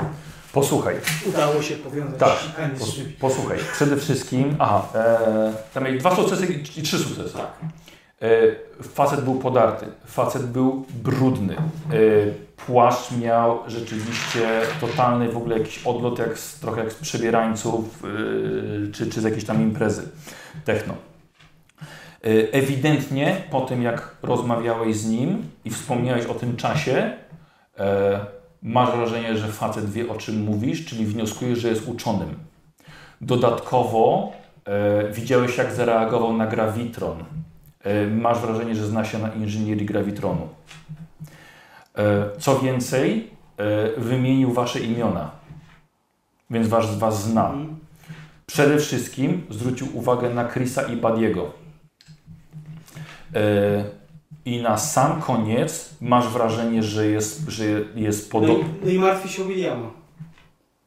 Speaker 1: Posłuchaj,
Speaker 9: udało się powiązać
Speaker 1: Tak.
Speaker 9: sikanie z
Speaker 1: pos,
Speaker 9: czymś.
Speaker 1: posłuchaj. Przede wszystkim, aha, e, tam mieli dwa sukcesy i i trzy sukcesy. Tak. E, facet był podarty, facet był brudny. E, płaszcz miał rzeczywiście totalny w ogóle jakiś odlot, jak z, trochę jak z przebierańców, e, czy, czy z jakiejś tam imprezy techno. E, ewidentnie po tym, jak rozmawiałeś z nim i wspomniałeś o tym czasie, e, masz wrażenie, że facet wie o czym mówisz, czyli wnioskujesz, że jest uczonym. Dodatkowo e, widziałeś, jak zareagował na grawitron. E, masz wrażenie, że zna się na inżynierii grawitronu. E, Co więcej, e, wymienił wasze imiona, więc was, was zna.
Speaker 9: No
Speaker 1: Przede wszystkim zwrócił uwagę na Chrisa i Badiego. E, I na sam koniec masz wrażenie, że jest, że jest
Speaker 9: No
Speaker 1: podobny.
Speaker 9: i, no i martwi się o Williama.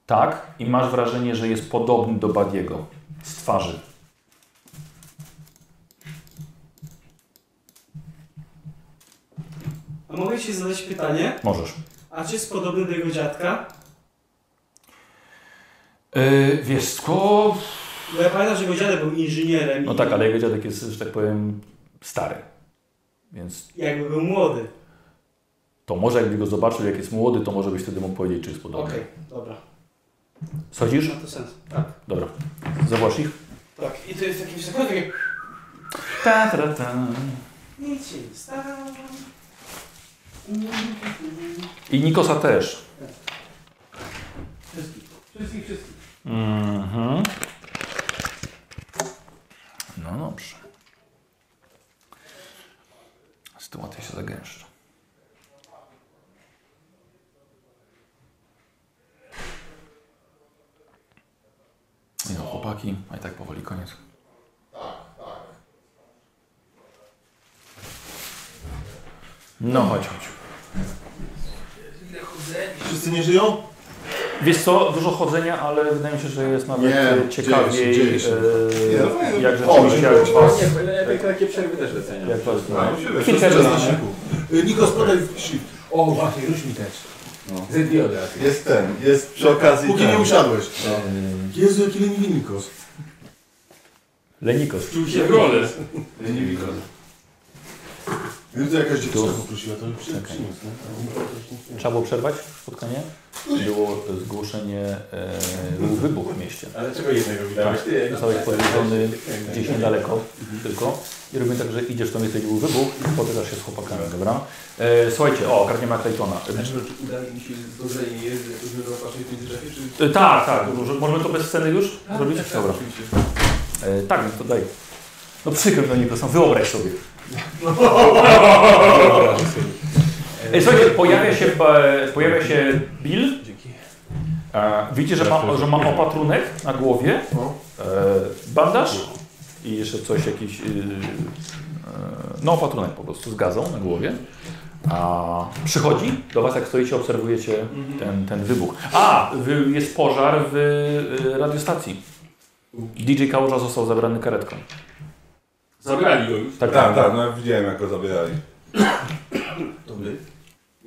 Speaker 1: Tak, i masz wrażenie, że jest podobny do Badiego z twarzy.
Speaker 9: A mogę ci zadać pytanie,
Speaker 1: Możesz.
Speaker 9: a czy jest podobny do jego dziadka?
Speaker 1: Yy, wiesz, sko...
Speaker 9: Bo ja pamiętam, że jego dziadek był inżynierem
Speaker 1: No
Speaker 9: i
Speaker 1: tak, ale jego dziadek jest, że tak powiem, stary. Więc
Speaker 9: jakby był młody.
Speaker 1: to może jakby go zobaczył, jak jest młody, to może byś wtedy mógł powiedzieć, czy jest podobny.
Speaker 9: Okej, dobra.
Speaker 1: Schodzisz?
Speaker 9: Ma to sens. Tak.
Speaker 1: Dobra. Zobacz ich.
Speaker 9: Tak. I to jest jakieś sekundy takie...
Speaker 1: Ta, ta, ta.
Speaker 9: Nic się nie stało.
Speaker 1: I Nikosa też.
Speaker 6: Wszystkich, wszystkich.
Speaker 1: Mhm. No dobrze. Sytuacja się zagęszcza. I no, chłopaki, a i tak powoli koniec. No, chodź, chodź.
Speaker 7: Wszyscy nie żyją?
Speaker 1: Wiesz co, dużo chodzenia, ale wydaje mi się, że jest nawet
Speaker 5: Nie,
Speaker 1: e, ciekawiej,
Speaker 5: dzieje się, dzieje się.
Speaker 1: e,
Speaker 2: Nie, no fajnie,
Speaker 1: jak
Speaker 2: no,
Speaker 1: rzeczywiście, jak was,
Speaker 4: Nie, bo ja tak- takie przerwy też doceniam.
Speaker 1: jak was
Speaker 2: No,
Speaker 1: no.
Speaker 2: siłę,
Speaker 1: Chwilkę
Speaker 2: wszystko
Speaker 1: czasu.
Speaker 2: znamy.
Speaker 7: Y, Niko, sprzedaj shift.
Speaker 4: O, właśnie, rusz mi też.
Speaker 2: No.
Speaker 4: Ze dwie od razu.
Speaker 2: Jest ten, jest przy okazji
Speaker 7: Póki
Speaker 2: ten.
Speaker 7: nie usiadłeś. Jezu, jaki leniwy Nikos.
Speaker 1: Lenikos.
Speaker 6: Czuł się w rolę.
Speaker 7: Gdyby to jakaś dziewczyna poprosiła, to by przy- przyniósł. nie?
Speaker 1: Trzeba było przerwać spotkanie? Było zgłoszenie, e, był wybuch w mieście. Tak,
Speaker 4: Ale czego jednego widziałeś? Ty,
Speaker 1: Zostałeś podwiedzony gdzieś niedaleko tylko. I robimy tak, że idziesz tam, gdzie był wybuch i spotykasz się z chłopakami, dobra? E, słuchajcie, o, kradniemy Claytona. Znaczy,
Speaker 12: czy udaje mi się zdążenie jedy, żeby opatrzyć w międzyczasie, czy...
Speaker 1: E, tak, tak, może, możemy to bez sceny już zrobić? Dobra.
Speaker 12: Oczywiście.
Speaker 1: E, tak, no to daj. No przykro mi, no Nikolas, no wyobraź sobie. Ej, słuchajcie, pojawia się, e, pojawia się Bill. E, widzicie, że ma, że ma opatrunek na głowie, e, bandaż i jeszcze coś, jakiś, y, y, no opatrunek po prostu z gazą na głowie. A przychodzi do Was, jak stoicie, obserwujecie ten, ten wybuch. A, wy- jest pożar w y, radiostacji. DJ Kałuża został zabrany karetką.
Speaker 6: Zabrali go już.
Speaker 1: Tak,
Speaker 2: Tak, tak, no ja widziałem jak go zabierali.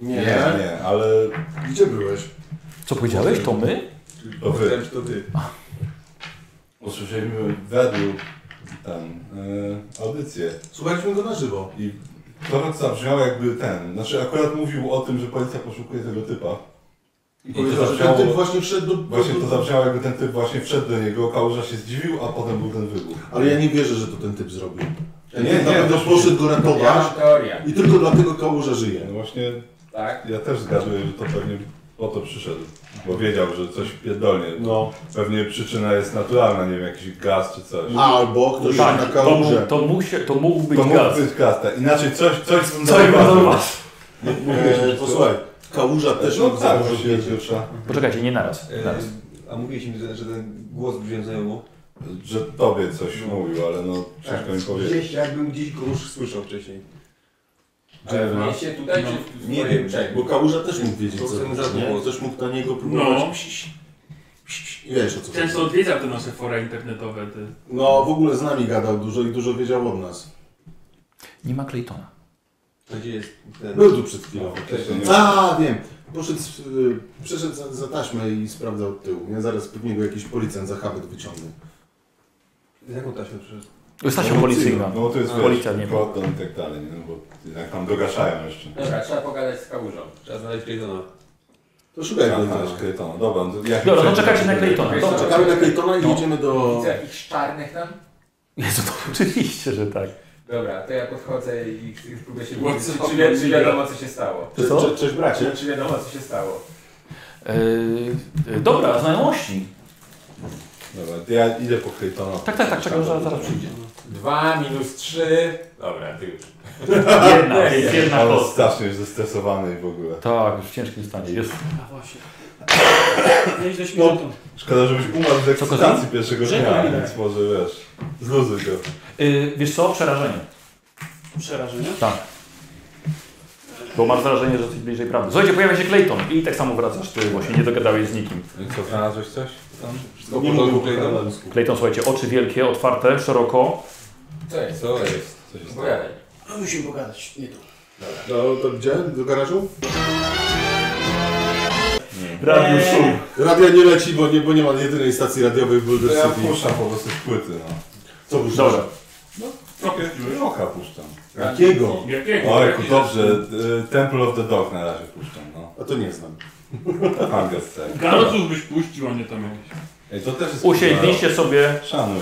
Speaker 7: Nie.
Speaker 2: Nie, nie, ale
Speaker 7: Gdzie byłeś?
Speaker 1: Co powiedziałeś? To my?
Speaker 2: to wy.
Speaker 12: Myślałem, że to ty.
Speaker 2: Usłyszeliśmy w radiu ten, y, audycję
Speaker 7: Słuchaliśmy go na żywo.
Speaker 2: i trochę to tak zabrzmiało jakby ten, znaczy akurat mówił o tym, że policja poszukuje tego typa.
Speaker 7: I
Speaker 2: to
Speaker 7: powiedział, że ten
Speaker 2: zabrzmiało-
Speaker 7: typ właśnie wszedł do...
Speaker 2: Właśnie to zabrzmiało jakby ten typ właśnie wszedł do niego, kałuża się zdziwił, a potem był ten wybuch.
Speaker 7: Ale ja nie wierzę, że to ten typ zrobił. Ten
Speaker 2: Nie,
Speaker 7: typ
Speaker 2: nie,
Speaker 7: naprawdę
Speaker 2: to
Speaker 7: poszedł go
Speaker 4: Ja mam
Speaker 7: ratować
Speaker 4: teorię.
Speaker 7: i tylko dlatego kałuża żyje.
Speaker 2: No właśnie
Speaker 4: Tak?
Speaker 2: ja też zgaduję, że to pewnie po to przyszedł, bo wiedział, że coś pierdolnie.
Speaker 7: No.
Speaker 2: Pewnie przyczyna jest naturalna, nie wiem, jakiś gaz czy coś.
Speaker 7: Albo ktoś na
Speaker 1: Tak, to,
Speaker 7: kałużę.
Speaker 1: mógł, to, mógł się, to mógł być
Speaker 2: To
Speaker 1: gaz.
Speaker 2: mógł być gaz, tak. Inaczej coś, coś z tym
Speaker 7: E, Posłuchaj, kałuża też
Speaker 2: No
Speaker 7: mógł
Speaker 2: tak,
Speaker 7: założyć
Speaker 2: że się pierwsza.
Speaker 1: Poczekajcie, nie naraz. naraz.
Speaker 12: A mówiłeś mi, że, że ten głos brzmiał znajomo?
Speaker 2: Że tobie coś mówił, ale no ciężko mi powiedzieć.
Speaker 12: Gdzieś, Tak, jakbym gdzieś go już słyszał wcześniej.
Speaker 4: Ale w mieście
Speaker 2: No.
Speaker 4: tutaj, czy w
Speaker 12: Nie
Speaker 4: twoim
Speaker 12: wiem,
Speaker 4: brzegu?
Speaker 7: Bo kałuża też mógł wiedzieć,
Speaker 12: To
Speaker 7: co
Speaker 12: chcemy
Speaker 7: robić,
Speaker 12: zadumać.
Speaker 7: nie? Też mógł na niego próbować.
Speaker 6: No.
Speaker 7: Psz, psz, psz. I wiesz o co chodzi.
Speaker 6: Często odwiedza te nasze fora internetowe. Te.
Speaker 7: No, w ogóle z nami gadał dużo i dużo wiedział od nas.
Speaker 1: Nie ma Claytona.
Speaker 12: Gdzie jest ten...
Speaker 7: Był tu przed chwilą.
Speaker 2: Też nie wiem.
Speaker 7: A, wiem. Poszedł, y, przeszedł za, za taśmę i sprawdzał od tyłu. Nie, zaraz pewnie go jakiś policjant za habet wyciągnął.
Speaker 12: Z jaką taśmą przyszedł?
Speaker 1: Stacja policyjna.
Speaker 2: No bo to jest
Speaker 1: Policja
Speaker 2: policja,
Speaker 1: nie ma.
Speaker 2: nie i tak dalej, nie? no bo jednak tam dogaszają jeszcze.
Speaker 4: Dobra, trzeba pogadać z kałużą.
Speaker 12: Trzeba znaleźć Claytona.
Speaker 7: To szukaj Claytona.
Speaker 2: Aha, Claytona. Dobra, no to ja
Speaker 1: Dobra, no czekajcie na Claytona.
Speaker 4: Wiesz
Speaker 1: Dobra.
Speaker 4: co?
Speaker 7: Czekamy na Claytona i
Speaker 4: No.
Speaker 7: jedziemy do...
Speaker 4: Widzę jakichś czarnych tam?
Speaker 1: Jezu, to oczywiście, że tak.
Speaker 4: Dobra, to ja podchodzę i i próbuję się
Speaker 6: What's
Speaker 4: dowiedzieć,
Speaker 6: up,
Speaker 4: czy, wie, czy
Speaker 6: Julia?
Speaker 4: wiadomo co się stało.
Speaker 1: To co?
Speaker 7: Cze- Cześć bracie.
Speaker 4: Czy wiadomo co się stało.
Speaker 1: Yy, yy, dobra, znajomości.
Speaker 2: Dobra, to ja idę po Claytona.
Speaker 1: Tak, tak, tak, czekam, że zaraz przyjdzie.
Speaker 4: Dwa minus trzy. Dobra, ty już.
Speaker 1: Jedna, jedna
Speaker 2: Ale
Speaker 1: kostka.
Speaker 2: strasznie już zestresowany i w ogóle.
Speaker 1: Tak, już w ciężkim stanie jest.
Speaker 9: A właśnie. Nieźle śmiertą.
Speaker 2: Szkoda, żebyś umarł z ekscytacji
Speaker 1: kozioł?
Speaker 2: pierwszego dnia,
Speaker 9: Żegnaj.
Speaker 2: więc może wiesz, zluzuj go.
Speaker 1: Y, wiesz co? Przerażenie.
Speaker 9: Przerażenie.
Speaker 1: Tak. Bo masz wrażenie, że jesteś bliżej prawdy. Słuchajcie, pojawia się Clayton i tak samo wracasz. Ty właśnie nie dogadałeś z nikim.
Speaker 2: I co, znalazłeś coś? Tam? Wszystko
Speaker 7: Nie mówił po kanaluńsku.
Speaker 1: Clayton, słuchajcie, oczy wielkie, otwarte, szeroko.
Speaker 4: Co jest?
Speaker 2: Co jest? Co się stało?
Speaker 4: Pogadaj.
Speaker 9: No, musimy pogadać. Nie tu.
Speaker 5: To, to gdzie? Do garażu?
Speaker 1: Radio
Speaker 9: Eee.
Speaker 1: szum.
Speaker 5: Radio nie leci, bo nie, bo nie ma jedynej stacji radiowej w
Speaker 2: To
Speaker 5: Boulder
Speaker 2: ja
Speaker 5: City.
Speaker 2: puszczam po prostu z płyty, no.
Speaker 5: Co puszczasz?
Speaker 1: Dobra.
Speaker 2: Trochę Roka puszczam.
Speaker 5: Jakiego?
Speaker 6: Jakiego?
Speaker 2: Ojku, dobrze, e, Temple of the Dog na razie puszczam, no.
Speaker 5: A to nie znam.
Speaker 2: Angus, tak.
Speaker 6: Garoców byś puścił, a nie tam jakiś.
Speaker 2: Ej, to też jest...
Speaker 1: Usiedliście sobie
Speaker 2: Szanuj.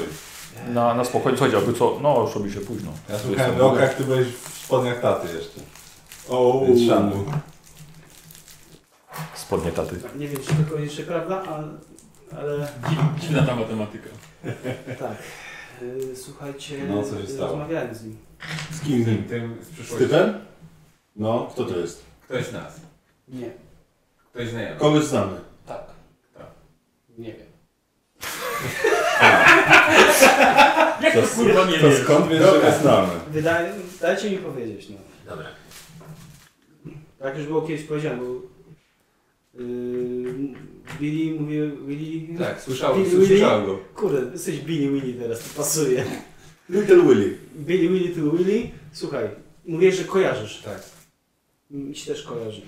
Speaker 1: na, na spokojnie. Słuchajcie, aby co? No, już robi się późno.
Speaker 2: Ja słuchałem Roka, jak ty byłeś w spodniach taty jeszcze.
Speaker 5: O,
Speaker 2: Więc szanuj.
Speaker 1: Spodnie taty.
Speaker 9: Tak, nie wiem, czy to koniecznie prawda, ale... ale
Speaker 6: Dziw- Dziwna ta matematyka.
Speaker 9: tak. Yy, słuchajcie,
Speaker 2: No, co się stało?
Speaker 9: rozmawiałem z nim.
Speaker 5: z kim?
Speaker 4: Tym z
Speaker 5: Z
Speaker 4: przyszłości.
Speaker 5: typem? No, kto to jest?
Speaker 4: Ktoś z nas.
Speaker 9: Nie.
Speaker 4: Ktoś znajomy.
Speaker 5: Kogoś znamy.
Speaker 9: Tak. Tak. Nie wiem.
Speaker 6: Jak to kurwa nie
Speaker 2: To
Speaker 6: wiesz?
Speaker 2: skąd wiesz, że go znamy?
Speaker 9: Wydaje, dajcie mi powiedzieć, no.
Speaker 4: Dobra.
Speaker 9: Tak już było kiedyś powiedziane, bo... Yy, Billy mówił... Billy...
Speaker 4: Tak, słyszałem,
Speaker 9: Willy?
Speaker 4: słyszałem go.
Speaker 9: Kurde, jesteś Billy Willy teraz, to pasuje.
Speaker 5: Little Willy.
Speaker 9: Billy Willy to Willy. Słuchaj, mówię, że kojarzysz.
Speaker 12: Tak.
Speaker 9: Mi się też kojarzy.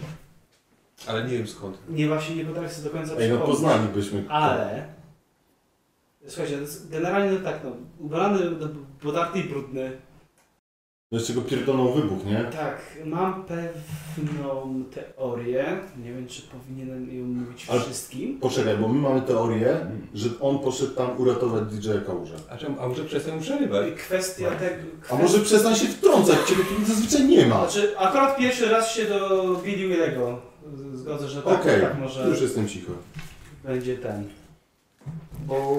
Speaker 12: Ale nie wiem skąd.
Speaker 9: Nie właśnie nie potrafię sobie do końca
Speaker 5: Ej, no
Speaker 9: przypomnieć.
Speaker 5: poznalibyśmy.
Speaker 9: Ale... Słuchajcie, to jest generalnie no tak, no, ubrany, no, podarty i brudny.
Speaker 5: No Jeszcze go pierdolą wybuch, nie?
Speaker 9: Tak, mam pewną teorię. Nie wiem, czy powinienem ją mówić
Speaker 5: Ale-
Speaker 9: wszystkim.
Speaker 5: Poczekaj, bo my mamy teorię, że on poszedł tam uratować DJ-a Kałuża.
Speaker 12: A czemu? A może przestań mu przerywać?
Speaker 9: Kwestia tego...
Speaker 5: A może przestań się wtrącać, ciebie tu zazwyczaj nie ma.
Speaker 9: Znaczy, akurat pierwszy raz się do Billy Willego z- zgodzę, że tak,
Speaker 5: Okej,
Speaker 9: tak może...
Speaker 5: już jestem cicho.
Speaker 9: będzie ten. Bo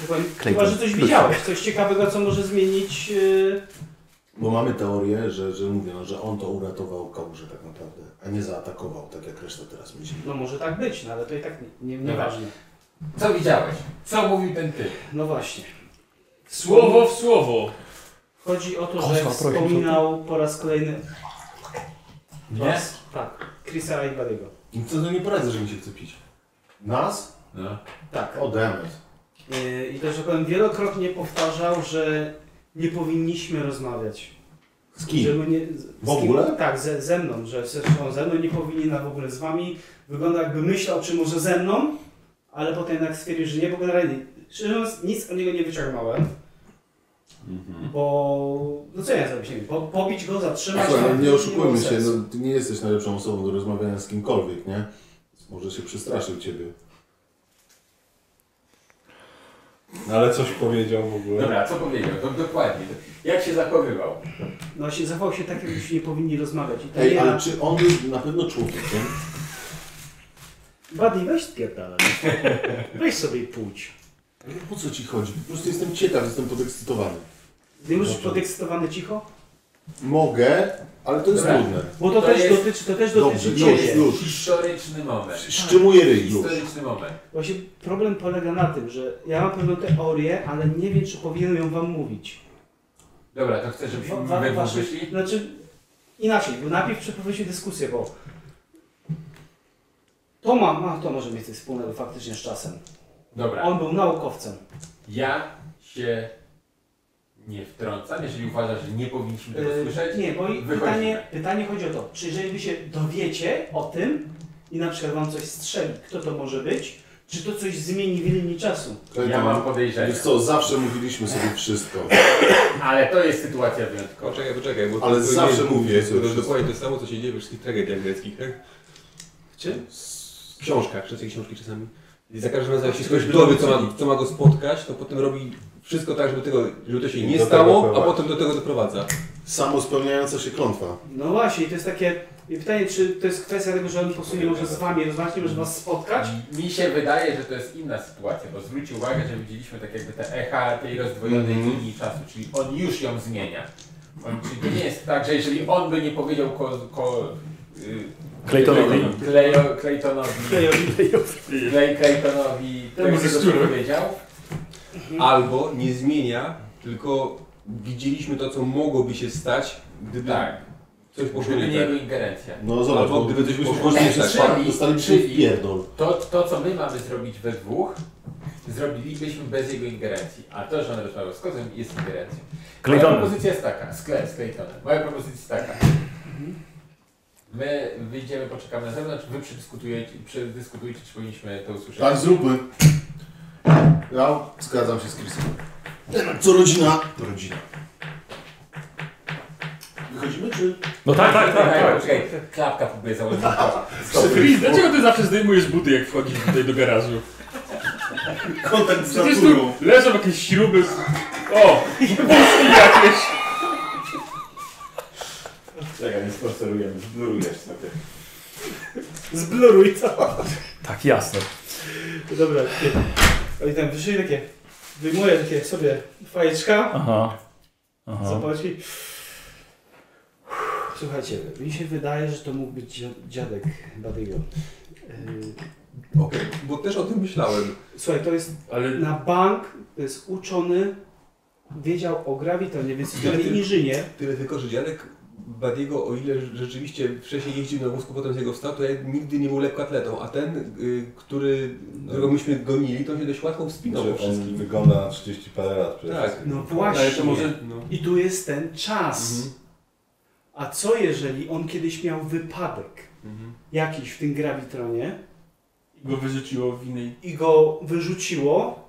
Speaker 9: chyba,
Speaker 1: Clayton.
Speaker 9: chyba że coś widziałeś, coś ciekawego, co może zmienić. Yy...
Speaker 5: Bo mamy teorię, że, że mówią, że on to uratował Kałużę tak naprawdę, a nie zaatakował, tak jak reszta teraz myśli.
Speaker 9: No może tak być, no ale to i tak nie, nie,
Speaker 4: No
Speaker 9: nieważne.
Speaker 4: Co widziałeś? Co mówił ten ty?
Speaker 9: No właśnie.
Speaker 6: Słowo w słowo.
Speaker 9: Chodzi o to, że
Speaker 1: Kosma, prosi,
Speaker 9: wspominał po raz kolejny.
Speaker 4: Nie?
Speaker 9: Was, tak. Chrisa Rajbariego.
Speaker 5: I co to nie poradzę, że mi się chce pić? Nas?
Speaker 4: No.
Speaker 9: Tak.
Speaker 5: O demet.
Speaker 9: Yy, I też powiem, wielokrotnie powtarzał, że nie powinniśmy rozmawiać.
Speaker 5: Z kim?
Speaker 9: Żeby nie, z,
Speaker 5: W
Speaker 9: z kim-
Speaker 5: ogóle?
Speaker 9: Tak, ze, ze mną, że zresztą ze mną nie powinien, a w ogóle z wami. Wygląda jakby myślał, czy może ze mną, ale potem jednak stwierdził, że nie, bo generalnie, szczerze mówiąc, nic od niego nie wyciągnąłem,
Speaker 5: Mhm.
Speaker 9: bo, no co ja zrobić, nie wiem, po, pobić go, zatrzymać.
Speaker 5: Słuchaj,
Speaker 9: tak,
Speaker 5: no nie oszukujmy
Speaker 9: było
Speaker 5: się,
Speaker 9: sensu.
Speaker 5: no, ty nie jesteś najlepszą osobą do rozmawiania z kimkolwiek, nie? Może się przestraszył ciebie.
Speaker 2: No ale coś powiedział w ogóle.
Speaker 4: Dobra, co powiedział? To dokładnie. Jak się zachowywał?
Speaker 9: No właśnie, zachował się tak, jakbyśmy nie powinni rozmawiać. I tak to
Speaker 5: Ej,
Speaker 9: nie
Speaker 5: ale
Speaker 9: na-
Speaker 5: czy on jest na pewno człowiekiem?
Speaker 9: Buddy, weź spierdalaj. Weź sobie i pójdź.
Speaker 5: Ale po co ci chodzi? Po prostu jestem ciekaw, jestem podekscytowany.
Speaker 9: Ty już
Speaker 5: Dobrze.
Speaker 9: podekscytowany cicho?
Speaker 5: Mogę, ale to jest
Speaker 4: Dobra.
Speaker 5: trudne.
Speaker 9: Bo to,
Speaker 4: To
Speaker 9: też
Speaker 4: jest-
Speaker 9: dotyczy, to też
Speaker 5: Dobrze,
Speaker 9: dotyczy
Speaker 5: już,
Speaker 9: ciebie.
Speaker 5: już.
Speaker 4: Historyczny moment.
Speaker 5: Szczymuję ryj już.
Speaker 4: Historyczny moment.
Speaker 9: Właśnie problem polega na tym, że ja mam pewną teorię, ale nie wiem, czy powinienem ją wam mówić.
Speaker 4: Dobra, to chcesz, żebyśmy
Speaker 9: Wa-
Speaker 4: we
Speaker 9: wa-
Speaker 4: dwóch
Speaker 9: wasze-
Speaker 4: wyszli?
Speaker 9: Znaczy, inaczej, bo najpierw przeprowadzić dyskusję, bo to ma, ma, to może mieć coś wspólnego faktycznie z czasem.
Speaker 4: Dobra.
Speaker 9: On był naukowcem.
Speaker 4: Ja się nie wtrącam, jeżeli uważasz, że nie powinniśmy tego
Speaker 9: Yy,
Speaker 4: słyszeć.
Speaker 9: nie, bo i
Speaker 4: wychodzimy.
Speaker 9: pytanie, pytanie chodzi o to, czy jeżeli wy się dowiecie o tym i na przykład wam coś strzeli, kto to może być, czy to coś zmieni w linii czasu?
Speaker 4: Ja
Speaker 5: Clayton,
Speaker 4: mam podejrzenie.
Speaker 5: Wiesz co, zawsze mówiliśmy sobie wszystko.
Speaker 4: Ale to jest sytuacja wyjątkowa.
Speaker 12: Poczekaj, poczekaj, bo
Speaker 5: Ale
Speaker 12: to
Speaker 5: zawsze
Speaker 12: nie-
Speaker 5: mówię,
Speaker 12: To jest
Speaker 5: że-
Speaker 12: dokładnie to samo, co się dzieje we wszystkich tragediach greckich, tak?
Speaker 9: Czy?
Speaker 12: W książkach, czytaj książki czasami. I za każdym razem, jak się ktoś dowie, co ma, co ma go spotkać, to potem robi wszystko tak, żeby, tego, żeby to się nie
Speaker 2: Do tego
Speaker 12: stało, a
Speaker 2: prowadzi.
Speaker 12: potem do tego doprowadza.
Speaker 5: Samo spełniająca się klątwa.
Speaker 9: No właśnie, i to jest takie i pytanie, czy to jest kwestia tego, że on po prostu nie może z wami rozmawiać, nie może was spotkać?
Speaker 4: Mi się wydaje, że to jest inna sytuacja, bo zwróć
Speaker 12: Mhm.
Speaker 4: uwagę, że widzieliśmy tak jakby te echa tej rozdwojonej linii czasu, czyli on już ją zmienia. Czyli to nie jest tak, że jeżeli on by nie powiedział ko, ko, y,
Speaker 1: Claytonowi.
Speaker 4: Clejo, Claytonowi, Clay, Claytonowi tego,
Speaker 6: ze
Speaker 4: co
Speaker 6: szczurem.
Speaker 4: powiedział,
Speaker 12: Albo nie zmienia, tylko widzieliśmy to, co mogłoby się stać, gdyby
Speaker 4: tak,
Speaker 12: coś poszło
Speaker 4: gdyby nie
Speaker 12: nie tak.
Speaker 4: jego ingerencja.
Speaker 7: No zobacz,
Speaker 12: Albo
Speaker 7: bo
Speaker 12: gdyby coś
Speaker 7: bo
Speaker 12: było
Speaker 7: wchodzi
Speaker 12: wcześniej,
Speaker 7: przez
Speaker 4: tak.
Speaker 7: park, dostali przy
Speaker 4: Czyli-
Speaker 7: pierdol.
Speaker 4: To, to, co my mamy zrobić we dwóch, zrobilibyśmy bez jego ingerencji, a to, że on rozmawiał z kozem, jest ingerencją. Moja
Speaker 1: Clayton.
Speaker 4: propozycja jest taka, sklep z Claytonem. Moja propozycja jest taka. My wyjdziemy, poczekamy na zewnątrz, wy przedyskutujecie, przedyskutujcie czy powinniśmy to usłyszeć.
Speaker 5: Tak, zróbmy. Ja zgadzam się z Chrisem. Co rodzina? To rodzina. Wychodzimy czy?
Speaker 1: No tak, tak, tak.
Speaker 4: Czekaj,
Speaker 1: tak.
Speaker 4: Czekaj, klapka próbuję założyć.
Speaker 6: Chris, dlaczego ty zawsze zdejmujesz buty, jak wchodzisz tutaj do garażu?
Speaker 5: Kontakt z
Speaker 6: Przecież tu leżą jakieś śruby. z- O! Wózki jakieś!
Speaker 24: Czekaj, nie sponsorujemy, zblurujesz sobie.
Speaker 9: Zbluruj to.
Speaker 1: Tak, jasne.
Speaker 9: Dobra, ty. Oni tam wyszli takie, wyjmuję takie sobie fajeczka,
Speaker 1: Aha. Aha.
Speaker 9: zapłaci. Słuchajcie, mi się wydaje, że to mógł być dzia- dziadek Badiego.
Speaker 12: Okej, bo też o tym myślałem.
Speaker 9: Słuchaj, to jest
Speaker 6: Ale
Speaker 9: na bank, to jest uczony, wiedział o grawitonie, więc jest to nie inżynier.
Speaker 12: Tyle tylko, że dziadek Badiego, o ile rzeczywiście wcześniej jeździł na wózku, potem z jego wstał, to ja nigdy nie był lekkoatletą, a ten, y, który, którego myśmy gonili, to on się dość łatwo wspinał po
Speaker 2: Że on
Speaker 12: wszystkim.
Speaker 2: wygląda na 30 parę lat przede
Speaker 12: Tak.
Speaker 2: wszystkim.
Speaker 9: No
Speaker 12: Ale
Speaker 9: właśnie.
Speaker 12: to może... No.
Speaker 9: I tu jest ten czas.
Speaker 12: Mhm.
Speaker 9: A co jeżeli on kiedyś miał wypadek
Speaker 12: Mhm.
Speaker 9: jakiś w tym grawitronie
Speaker 6: go wyrzuciło w innej...
Speaker 9: i go wyrzuciło,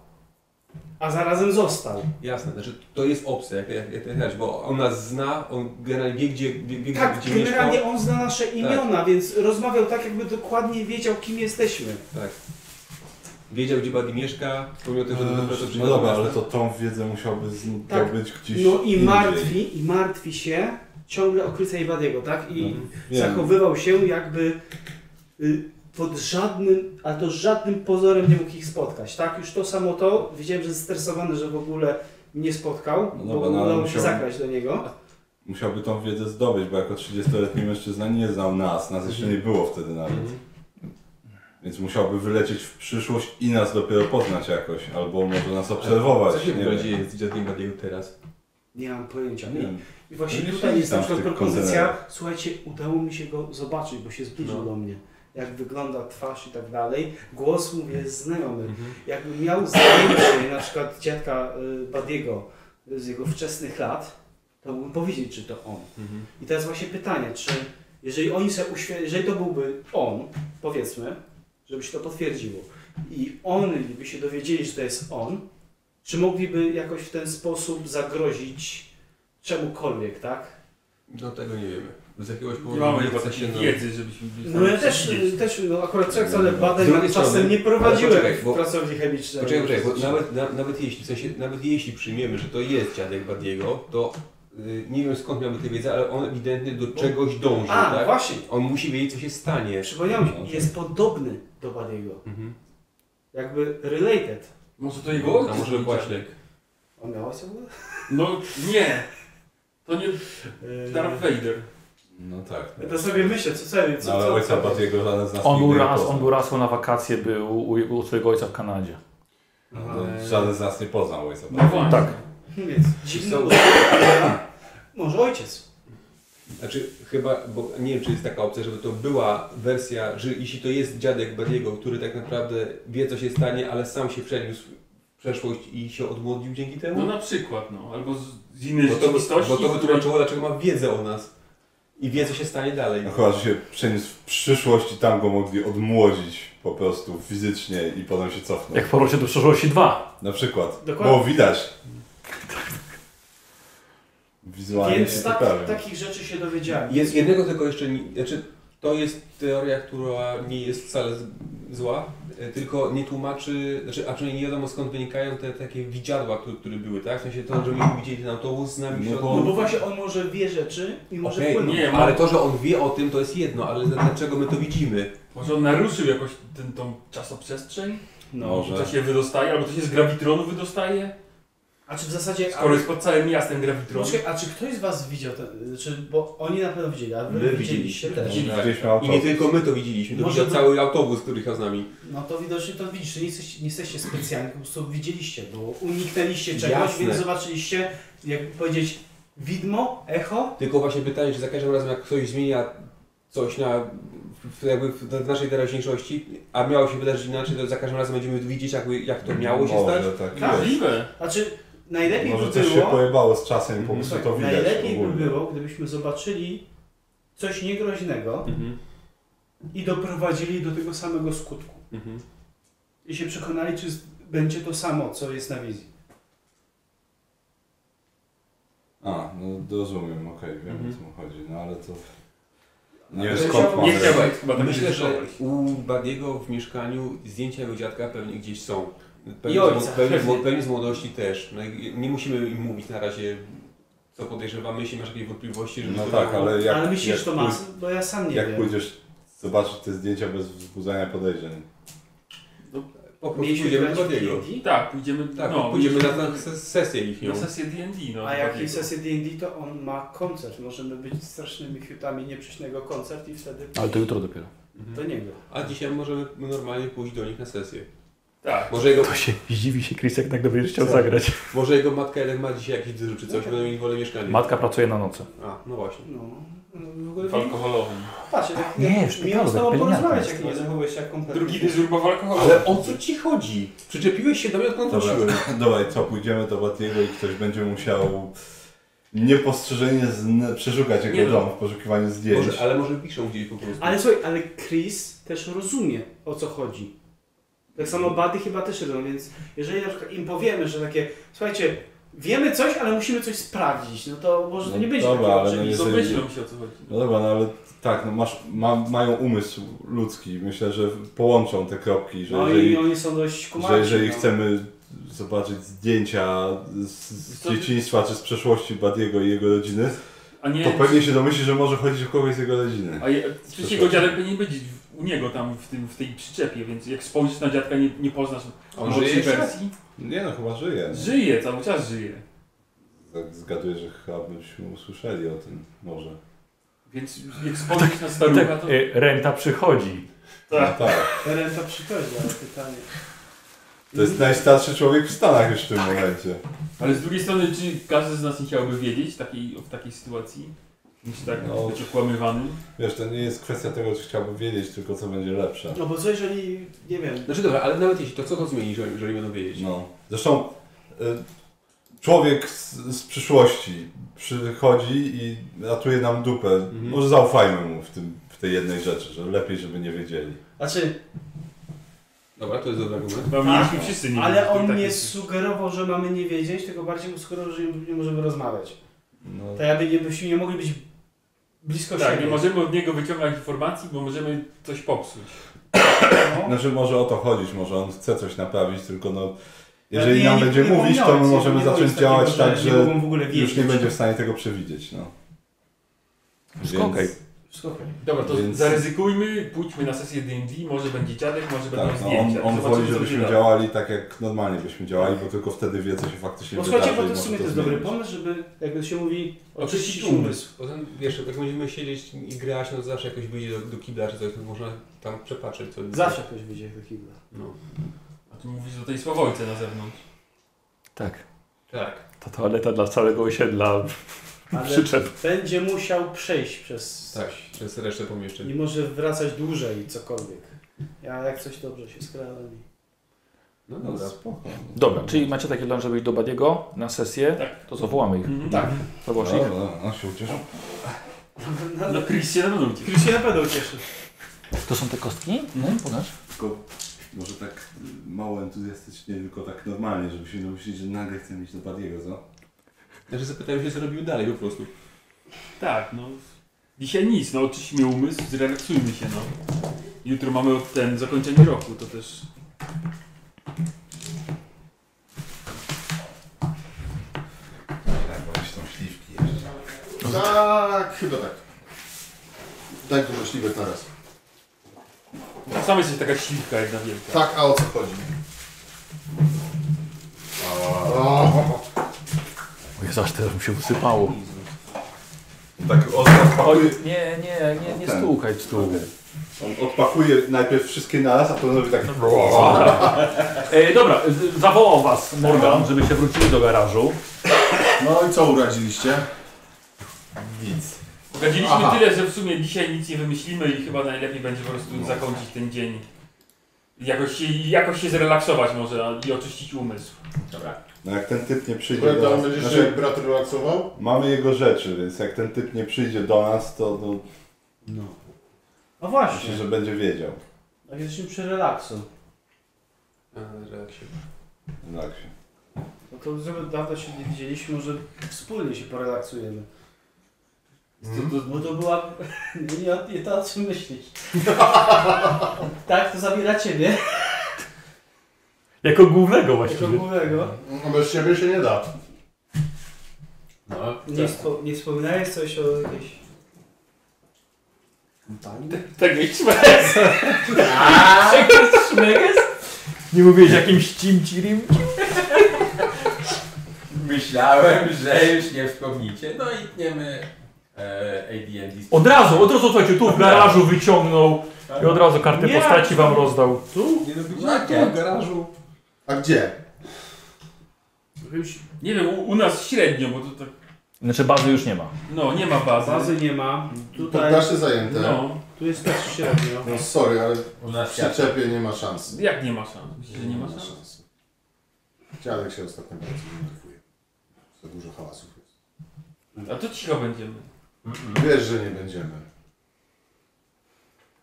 Speaker 9: a zarazem został?
Speaker 12: Jasne, znaczy to jest opcja, jak, jak, jak, jak bo on nas zna, on generalnie wie, gdzie, wie, wie
Speaker 9: Tak,
Speaker 12: gdzie mieszkał. Tak.
Speaker 9: generalnie on zna nasze imiona, więc rozmawiał tak, jakby dokładnie wiedział, kim jesteśmy.
Speaker 12: Tak. Wiedział, gdzie Buddy mieszka, pomimo tego, że
Speaker 2: Eee,
Speaker 12: dobrze to
Speaker 2: No
Speaker 12: przyjechał.
Speaker 2: dobra, ale to tą wiedzę musiałby
Speaker 9: Tak.
Speaker 2: zdobyć gdzieś
Speaker 9: No i
Speaker 2: indziej.
Speaker 9: martwi, i martwi się ciągle o Krysa i Badiego, tak? I
Speaker 2: No, Wiem.
Speaker 9: zachowywał się jakby y, pod żadnym, a to żadnym pozorem nie mógł ich spotkać, tak? Już to samo to, widziałem, że jest stresowany, że w ogóle mnie spotkał,
Speaker 2: No
Speaker 9: bo
Speaker 2: dobra, no ale
Speaker 9: udało mi się
Speaker 2: musiał-
Speaker 9: zagrać do niego.
Speaker 2: Musiałby tą wiedzę zdobyć, bo jako 30-letni mężczyzna nie znał nas, nas jeszcze nie było wtedy nawet. Więc musiałby wylecieć w przyszłość i nas dopiero poznać jakoś, albo może nas obserwować.
Speaker 12: Co się
Speaker 2: nie
Speaker 12: w
Speaker 2: wiem.
Speaker 12: rodzinie z dziadkiem Buddy'ego teraz?
Speaker 9: Nie mam pojęcia.
Speaker 2: Nie wiem.
Speaker 9: I właśnie
Speaker 2: No nie
Speaker 9: tutaj jest na
Speaker 2: siedzę tam w
Speaker 9: przykład
Speaker 2: tych
Speaker 9: propozycja,
Speaker 2: kontenerach.
Speaker 9: słuchajcie, udało mi się go zobaczyć, bo się zbliżył
Speaker 12: No.
Speaker 9: do mnie. Jak wygląda twarz i tak dalej. Głos mówię jest znajomy.
Speaker 2: Mhm.
Speaker 9: Jakbym miał zdjęcie [clears throat] na przykład dziadka y, Badiego y, z jego wczesnych lat, to mógłbym powiedzieć, czy to on.
Speaker 12: Mhm.
Speaker 9: I teraz właśnie pytanie, czy jeżeli oni se uświe... jeżeli to byłby on, powiedzmy, żeby się to potwierdziło, i oni by się dowiedzieli, że to jest on, czy mogliby jakoś w ten sposób zagrozić czemukolwiek, tak?
Speaker 12: No tego nie wiemy. Z jakiegoś
Speaker 6: Nie
Speaker 12: powodu
Speaker 6: mamy chyba
Speaker 12: chce
Speaker 6: takiej
Speaker 12: nam-
Speaker 6: wiedzy, żebyśmy byli
Speaker 9: No ja
Speaker 6: tam
Speaker 9: też,
Speaker 6: widzieć.
Speaker 9: też no akurat co
Speaker 2: No.
Speaker 9: ale badań
Speaker 12: Z drugiej
Speaker 9: nad czasem
Speaker 12: strony-
Speaker 9: nie prowadziłem
Speaker 12: ale poczekaj, bo-
Speaker 9: w pracowni chemicznej.
Speaker 12: Poczekaj, poczekaj, bo nawet, na, nawet, jeśli, w sensie, nawet jeśli przyjmiemy, że to jest dziadek Badiego, to y, nie wiem skąd miałby tę wiedzę, ale on ewidentnie do czegoś dąży,
Speaker 9: A,
Speaker 12: tak? No,
Speaker 9: właśnie,
Speaker 12: On musi wiedzieć, co się stanie.
Speaker 9: przypomniałem się, jest podobny do Badiego.
Speaker 12: Mhm.
Speaker 9: Jakby related.
Speaker 6: Może No, to jego
Speaker 12: A
Speaker 6: ojciec
Speaker 12: może
Speaker 6: był
Speaker 12: właśnie.
Speaker 9: On miał ojca w ogóle?
Speaker 6: No nie! To nie Darth Vader.
Speaker 2: No tak.
Speaker 9: Yy, Ja to sobie myślę, co sobie,
Speaker 2: No
Speaker 9: co,
Speaker 2: ale
Speaker 9: co,
Speaker 2: ojca
Speaker 9: co,
Speaker 2: Batiego żaden z nas
Speaker 1: On był
Speaker 2: nigdy nie
Speaker 1: raz,
Speaker 2: poznał.
Speaker 1: on był raz na wakacje, był u, u swojego ojca w Kanadzie.
Speaker 9: yy,
Speaker 2: No, Żaden z nas nie poznał ojca
Speaker 6: No
Speaker 2: Batiego.
Speaker 6: właśnie.
Speaker 1: Tak.
Speaker 9: Więc dziwny
Speaker 12: Są-
Speaker 9: Może ojciec.
Speaker 12: Znaczy chyba, bo nie wiem czy jest taka opcja, żeby to była wersja, że jeśli to jest dziadek Badiego, który tak naprawdę wie co się stanie, ale sam się przeniósł w przeszłość i się odmłodził dzięki temu?
Speaker 6: No na przykład, no. Albo z, z innej
Speaker 12: bo, to,
Speaker 6: rzeczywistości.
Speaker 12: bo to
Speaker 6: której-
Speaker 12: wytłumaczyło dlaczego ma wiedzę o nas i wie co się stanie dalej.
Speaker 2: No chyba, że się przeniósł w przyszłość i tam go mogli odmłodzić po prostu fizycznie i potem się cofnął.
Speaker 1: Jak porwał się do przeszłości 2.
Speaker 2: Na przykład.
Speaker 9: Dokładnie. Tak.
Speaker 2: Było widać.
Speaker 12: No,
Speaker 2: Wizualnie
Speaker 9: Więc
Speaker 2: się
Speaker 9: tak,
Speaker 2: poprawił.
Speaker 9: takich rzeczy się dowiedziałem.
Speaker 12: Jest jednego tylko jeszcze, nie- znaczy to jest teoria, która nie jest wcale z- zła, e, tylko nie tłumaczy, znaczy a przynajmniej nie wiadomo skąd wynikają te takie widziadła, które, które były, tak? W sensie to, że myśmy widzieli ten autobus z nami w
Speaker 2: No
Speaker 12: środku.
Speaker 9: No bo właśnie on może wie rzeczy i może
Speaker 12: Okej,
Speaker 9: wpłynąć.
Speaker 6: nie,
Speaker 12: Ale to, że on wie o tym, to jest jedno, ale za- dlaczego my to widzimy?
Speaker 6: Może on naruszył jakoś ten, tą czasoprzestrzeń?
Speaker 2: Może.
Speaker 6: To się wydostaje, albo to się z grawitronu wydostaje?
Speaker 9: A czy w zasadzie...
Speaker 6: Skoro jest pod całym miastem Gravitron.
Speaker 9: Poczekaj, a czy ktoś z was widział ten, czy, bo oni na pewno widzieli, a wy
Speaker 12: My
Speaker 9: widzieliście
Speaker 12: widzieliśmy.
Speaker 9: też.
Speaker 2: Gdzieś
Speaker 12: I nie tylko my to widzieliśmy, to
Speaker 9: Może
Speaker 12: widział
Speaker 9: by-
Speaker 12: cały autobus, który jechał z nami.
Speaker 9: No to widocznie to widzisz, nie jesteście, nie jesteście specjalni, po prostu widzieliście, bo uniknęliście czegoś,
Speaker 12: Jasne.
Speaker 9: więc zobaczyliście, jak powiedzieć, widmo, echo.
Speaker 12: Tylko właśnie pytanie, czy za każdym razem jak ktoś zmienia coś na, w, jakby w, w naszej teraźniejszości, a miało się wydarzyć inaczej, to za każdym razem będziemy widzieć jakby, jak to miało się stać.
Speaker 2: Może tak jest.
Speaker 6: Możliwe.
Speaker 9: Znaczy, najlepiej
Speaker 2: Może
Speaker 9: by
Speaker 2: coś się
Speaker 9: było,
Speaker 2: pojebało z czasem i po prostu
Speaker 9: słuchaj,
Speaker 2: to widać.
Speaker 9: najlepiej by
Speaker 2: ogólnie.
Speaker 9: było, gdybyśmy zobaczyli coś niegroźnego
Speaker 6: Mhm.
Speaker 9: i doprowadzili do tego samego skutku.
Speaker 6: Mhm.
Speaker 9: I się przekonali, czy z- będzie to samo, co jest na wizji.
Speaker 2: A, no rozumiem, okej, wiem o co mu chodzi, no ale to... Nie wiem
Speaker 12: Ale
Speaker 2: skąd
Speaker 12: chciałbym-
Speaker 2: mamy...
Speaker 6: Nie chciałbym chyba tak
Speaker 12: Myślę,
Speaker 6: powiedzieć.
Speaker 12: że u Badiego w mieszkaniu zdjęcia jego dziadka pewnie gdzieś są. Pewnie,
Speaker 4: I
Speaker 12: z,
Speaker 4: ojca.
Speaker 12: mło- pewnie, z, mło- pewnie z młodości też. No, i nie musimy im mówić na razie, co podejrzewamy, jeśli masz jakieś wątpliwości, żeby
Speaker 2: No
Speaker 12: to
Speaker 2: tak,
Speaker 12: było-
Speaker 2: ale jak,
Speaker 9: Ale myślisz,
Speaker 2: jak,
Speaker 9: że to ma,
Speaker 2: pój-
Speaker 9: sens? bo ja sam nie
Speaker 2: jak
Speaker 9: wiem.
Speaker 2: pójdziesz zobaczyć te zdjęcia bez wzbudzania podejrzeń?
Speaker 12: Po prostu
Speaker 9: Mieliśmy
Speaker 12: pójdziemy
Speaker 9: grać
Speaker 12: do
Speaker 9: w
Speaker 12: Badiego.
Speaker 9: D&D?
Speaker 6: Tak, pójdziemy,
Speaker 12: Tak,
Speaker 6: no,
Speaker 12: pójdziemy na, na ses- sesję ich nią.
Speaker 6: na sesję D&D. No,
Speaker 9: A jak jest
Speaker 6: takiego.
Speaker 9: sesja D&D, to on ma koncert. Możemy być strasznymi fiutami, nie przyjść na jego koncert i wtedy
Speaker 1: Ale to jutro dopiero.
Speaker 2: Mhm.
Speaker 9: do niego.
Speaker 12: A dzisiaj możemy normalnie pójść do nich na sesję.
Speaker 6: Tak.
Speaker 12: Może jego,
Speaker 1: To się zdziwi się Chris, jak tak będziesz chciał
Speaker 12: Co?
Speaker 1: zagrać.
Speaker 12: może jego matka Ellen ma dzisiaj jakiś dyżur czy coś, będą mieli wolne mieszkanie.
Speaker 1: Matka pracuje na nocy.
Speaker 12: A, no właśnie.
Speaker 9: No, no w ogóle
Speaker 6: W alkoholowym.
Speaker 9: patrz, jak,
Speaker 1: Nie,
Speaker 9: jak,
Speaker 1: szpitalu,
Speaker 9: miło z tobą
Speaker 1: pielęgniarka
Speaker 9: porozmawiać,
Speaker 1: jest,
Speaker 9: jak nie zachowujesz się jak kompletnie.
Speaker 6: Drugi dyżur po alkoholu.
Speaker 12: Ale o co ci chodzi? Przyczepiłeś się do mnie,
Speaker 9: No
Speaker 12: odkąd
Speaker 2: Dobra, [laughs]
Speaker 12: wróciłem.
Speaker 2: dobra i co, pójdziemy do Batiego i ktoś będzie musiał niepostrzeżenie zn- przeszukać jego
Speaker 6: Nie no.
Speaker 2: dom w poszukiwaniu zdjęć.
Speaker 12: Może, ale może piszą gdzieś po prostu.
Speaker 9: Ale słuchaj, ale Chris też rozumie, o co chodzi. Tak samo Buddy chyba też robią, więc jeżeli na przykład im powiemy, że takie, słuchajcie, wiemy coś, ale musimy coś sprawdzić, no to może to
Speaker 2: No
Speaker 9: nie będzie
Speaker 2: dobra,
Speaker 9: takie
Speaker 2: ale no
Speaker 9: oczywiste.
Speaker 2: jeżeli-
Speaker 6: Domyślą się o co chodzi.
Speaker 2: No dobra, no ale tak, no masz, ma, mają umysł ludzki. Myślę, że połączą te kropki, że
Speaker 9: No i
Speaker 2: jeżeli,
Speaker 9: oni są dość kumaci.
Speaker 2: że jeżeli
Speaker 9: no.
Speaker 2: chcemy zobaczyć zdjęcia z, z
Speaker 6: Co-
Speaker 2: dzieciństwa czy z przeszłości Badiego i jego rodziny,
Speaker 6: A nie...
Speaker 2: to pewnie się domyśli, że może chodzić o kogoś z jego rodziny.
Speaker 6: A je, przecież jego dziadek powinien być w- u niego tam w, tym, w tej przyczepie, więc jak spojrzysz na dziadka, nie, nie poznasz
Speaker 12: On
Speaker 6: młodszej
Speaker 12: żyje jeszcze?
Speaker 6: wersji.
Speaker 2: Nie no, chyba żyje. no.
Speaker 6: Żyje, cały czas żyje.
Speaker 2: Tak zgaduję, że chyba byśmy usłyszeli o tym może.
Speaker 6: Więc jak spojrzysz na
Speaker 1: Tak,
Speaker 6: starucha, to...
Speaker 1: y, renta przychodzi.
Speaker 6: Tak.
Speaker 2: No tak.
Speaker 9: Renta przychodzi, ale pytanie.
Speaker 2: To jest najstarszy człowiek w Stanach już w tym momencie.
Speaker 6: Ale z drugiej strony, czy każdy z nas nie chciałby wiedzieć takiej, w takiej sytuacji? Czy tak
Speaker 2: No.
Speaker 6: być okłamywany?
Speaker 2: Wiesz, to nie jest kwestia tego, czy chciałbym wiedzieć, tylko co będzie lepsze.
Speaker 9: No bo co jeżeli, nie wiem,
Speaker 12: Znaczy dobra, ale nawet jeśli to co to zmieni, jeżeli, jeżeli będą wiedzieć?
Speaker 2: No. Zresztą y, człowiek z, z przyszłości przychodzi i ratuje nam dupę.
Speaker 9: Mhm.
Speaker 2: Może zaufajmy mu w, tym, w tej jednej rzeczy, że lepiej, żeby nie wiedzieli.
Speaker 9: znaczy,
Speaker 12: Dobra, to jest dobry argument.
Speaker 6: Bo
Speaker 9: Tak.
Speaker 6: mieliśmy wszyscy nie
Speaker 9: ale
Speaker 6: wiedzieć,
Speaker 9: on
Speaker 6: tak
Speaker 9: nie
Speaker 6: jest.
Speaker 9: sugerował, że mamy nie wiedzieć, tylko bardziej mu sugerował, że nie, nie możemy rozmawiać.
Speaker 2: No,
Speaker 9: To jakby nie, byśmy nie mogli być blisko
Speaker 6: Tak,
Speaker 9: siebie.
Speaker 6: nie możemy od niego wyciągać informacji, bo możemy coś popsuć.
Speaker 9: No.
Speaker 2: Znaczy może o to chodzić, może on chce coś naprawić, tylko no...
Speaker 9: Ale
Speaker 2: Jeżeli
Speaker 9: nie,
Speaker 2: nam
Speaker 9: nie-
Speaker 2: będzie
Speaker 9: nie
Speaker 2: mówić, to my
Speaker 9: pomniałeś,
Speaker 2: możemy
Speaker 9: nie było
Speaker 2: zacząć
Speaker 9: nic takiego,
Speaker 2: działać tak,
Speaker 9: Nie
Speaker 2: że
Speaker 9: mogą w ogóle wiedzieć.
Speaker 2: już nie będzie w stanie tego przewidzieć, no.
Speaker 1: Wszystko okej.
Speaker 9: Słuchaj,
Speaker 6: Dobra, to
Speaker 2: Więc-
Speaker 6: zaryzykujmy, pójdźmy na sesję D&D, może będzie dziadek, może będą
Speaker 2: Tak, no
Speaker 6: zdjęcia.
Speaker 2: on, on
Speaker 6: Zobaczymy,
Speaker 2: woli,
Speaker 6: co
Speaker 2: żebyśmy
Speaker 6: się da.
Speaker 2: działali tak, jak normalnie byśmy działali, bo tylko wtedy wie, co się faktycznie
Speaker 9: Bo
Speaker 2: wydarzy.
Speaker 9: słuchajcie, bo
Speaker 2: i tak, może
Speaker 9: to w sumie to jest dobry
Speaker 2: zmienić.
Speaker 9: pomysł, żeby, jakby się mówi, oczyścić
Speaker 12: Oczyścić
Speaker 9: umysł.
Speaker 12: Potem wiesz, jak będziemy siedzieć i grać, no to zawsze jakoś wyjdzie do, do kibla czy coś, to można tam przepatrzeć. Co...
Speaker 9: Zawsze ktoś wyjdzie do kibla.
Speaker 12: No.
Speaker 6: A ty mówisz o tej Słowojce na zewnątrz.
Speaker 1: Tak.
Speaker 12: Tak.
Speaker 1: Ta toaleta dla całego osiedla
Speaker 2: No,
Speaker 9: Ale
Speaker 1: przyczep.
Speaker 9: będzie musiał przejść przez
Speaker 12: Tak, przez resztę pomieszczeń.
Speaker 9: Nie może wracać dłużej cokolwiek. Ja jak coś dobrze się skradam.
Speaker 12: No
Speaker 2: No
Speaker 12: dobra.
Speaker 2: spoko.
Speaker 1: Dobra, czyli macie taki plan, żeby iść do Badiego na sesję?
Speaker 6: Tak.
Speaker 1: To co, wołamy ich.
Speaker 6: Mhm.
Speaker 9: Tak.
Speaker 1: Zawołasz
Speaker 2: No,
Speaker 1: ich?
Speaker 2: no, no się ucieszą.
Speaker 9: No,
Speaker 6: No
Speaker 9: no,
Speaker 6: Chris się na pewno uciekł.
Speaker 9: Chris się na pewno ucieszy.
Speaker 1: To są te kostki? No, pokaż.
Speaker 2: Tylko może tak y, mało entuzjastycznie, tylko tak normalnie, żeby się nie myśleć, że nagle chcę mieć do Badiego, co?
Speaker 12: Znaczy zapytałem się, co robił dalej po prostu.
Speaker 6: Tak, no. Dzisiaj nic, no oczyśćmy umysł, zrelaksujmy się, no. Jutro mamy ten zakończenie roku, to też...
Speaker 2: Tak, bo jeszcze są śliwki jeszcze.
Speaker 5: Tak, chyba tak.
Speaker 2: Tak
Speaker 5: Daj tu myśliwych na raz.
Speaker 6: Sam jesteś taka śliwka
Speaker 2: Tak,
Speaker 6: jedna wielka.
Speaker 5: Tak, a o co chodzi? O,
Speaker 1: Jezu, aż teraz mi się usypało.
Speaker 2: Tak ostro Tak. wpakuje,
Speaker 1: Nie, nie, nie, nie stukaj w stół.
Speaker 2: on odpakuje najpierw wszystkie naraz, a potem robi tak...
Speaker 1: E, dobra, z- zawołał was Morgan, żeby się wrócili do garażu.
Speaker 5: No i co uradziliście?
Speaker 6: Gadziliśmy
Speaker 5: Aha.
Speaker 6: tyle, że w sumie dzisiaj nic nie wymyślimy i chyba najlepiej będzie po prostu zakończyć ten dzień. Jakoś się, jakoś się zrelaksować może a- i oczyścić umysł.
Speaker 2: No jak ten typ nie przyjdzie
Speaker 5: Słuchaj,
Speaker 2: do
Speaker 5: to
Speaker 2: nas...
Speaker 5: będziesz się
Speaker 2: Znaczy,
Speaker 5: brat relaksował?
Speaker 2: mamy jego rzeczy, więc jak ten typ nie przyjdzie do nas, to no,
Speaker 9: No
Speaker 2: myślę,
Speaker 9: właśnie,
Speaker 2: że będzie wiedział.
Speaker 9: tak jesteśmy przy relaksu.
Speaker 2: Tak się.
Speaker 9: No to żeby dawno się nie widzieliśmy, może wspólnie się porelaksujemy. To, to, bo to była... Nie, nie, nie to, o czym myślisz. tak, to zabiera ciebie,
Speaker 1: Jako głównego
Speaker 9: jako
Speaker 1: właściwie.
Speaker 9: głównego.
Speaker 5: No bez ciebie się nie da.
Speaker 4: No,
Speaker 9: Nie, spo, nie wspominałeś coś o jakiejś...
Speaker 6: Tak jak śmierć.
Speaker 1: Tak. Nie mówiłeś jakimś cimcirim?
Speaker 4: Myślałem, że już nie wspomnicie. No i tniemy e, AD&D.
Speaker 1: Od razu, od razu Tak. słuchajcie, tu w garażu wyciągnął i od razu kartę
Speaker 9: Nie.
Speaker 1: postaci wam rozdał.
Speaker 8: Nie no, gdzie
Speaker 4: No,
Speaker 8: tu w garażu?
Speaker 5: A gdzie?
Speaker 6: Nie wiem, u, u nas średnio, bo to tak...
Speaker 1: Znaczy bazy już nie ma.
Speaker 6: No, nie ma bazy.
Speaker 9: Bazy nie ma. Tutaj,
Speaker 5: Poddasze zajęte. No.
Speaker 6: No,
Speaker 9: tu jest też średnio.
Speaker 5: sorry, ale
Speaker 4: U nas
Speaker 5: w przyczepie nie ma szans.
Speaker 6: jak nie ma szans? Myślisz, że nie ma szans?
Speaker 5: szans. Dziadek się ostatnio bardzo denerwuje. Za dużo hałasu jest.
Speaker 6: A to cicho będziemy.
Speaker 5: Wiesz, że nie będziemy.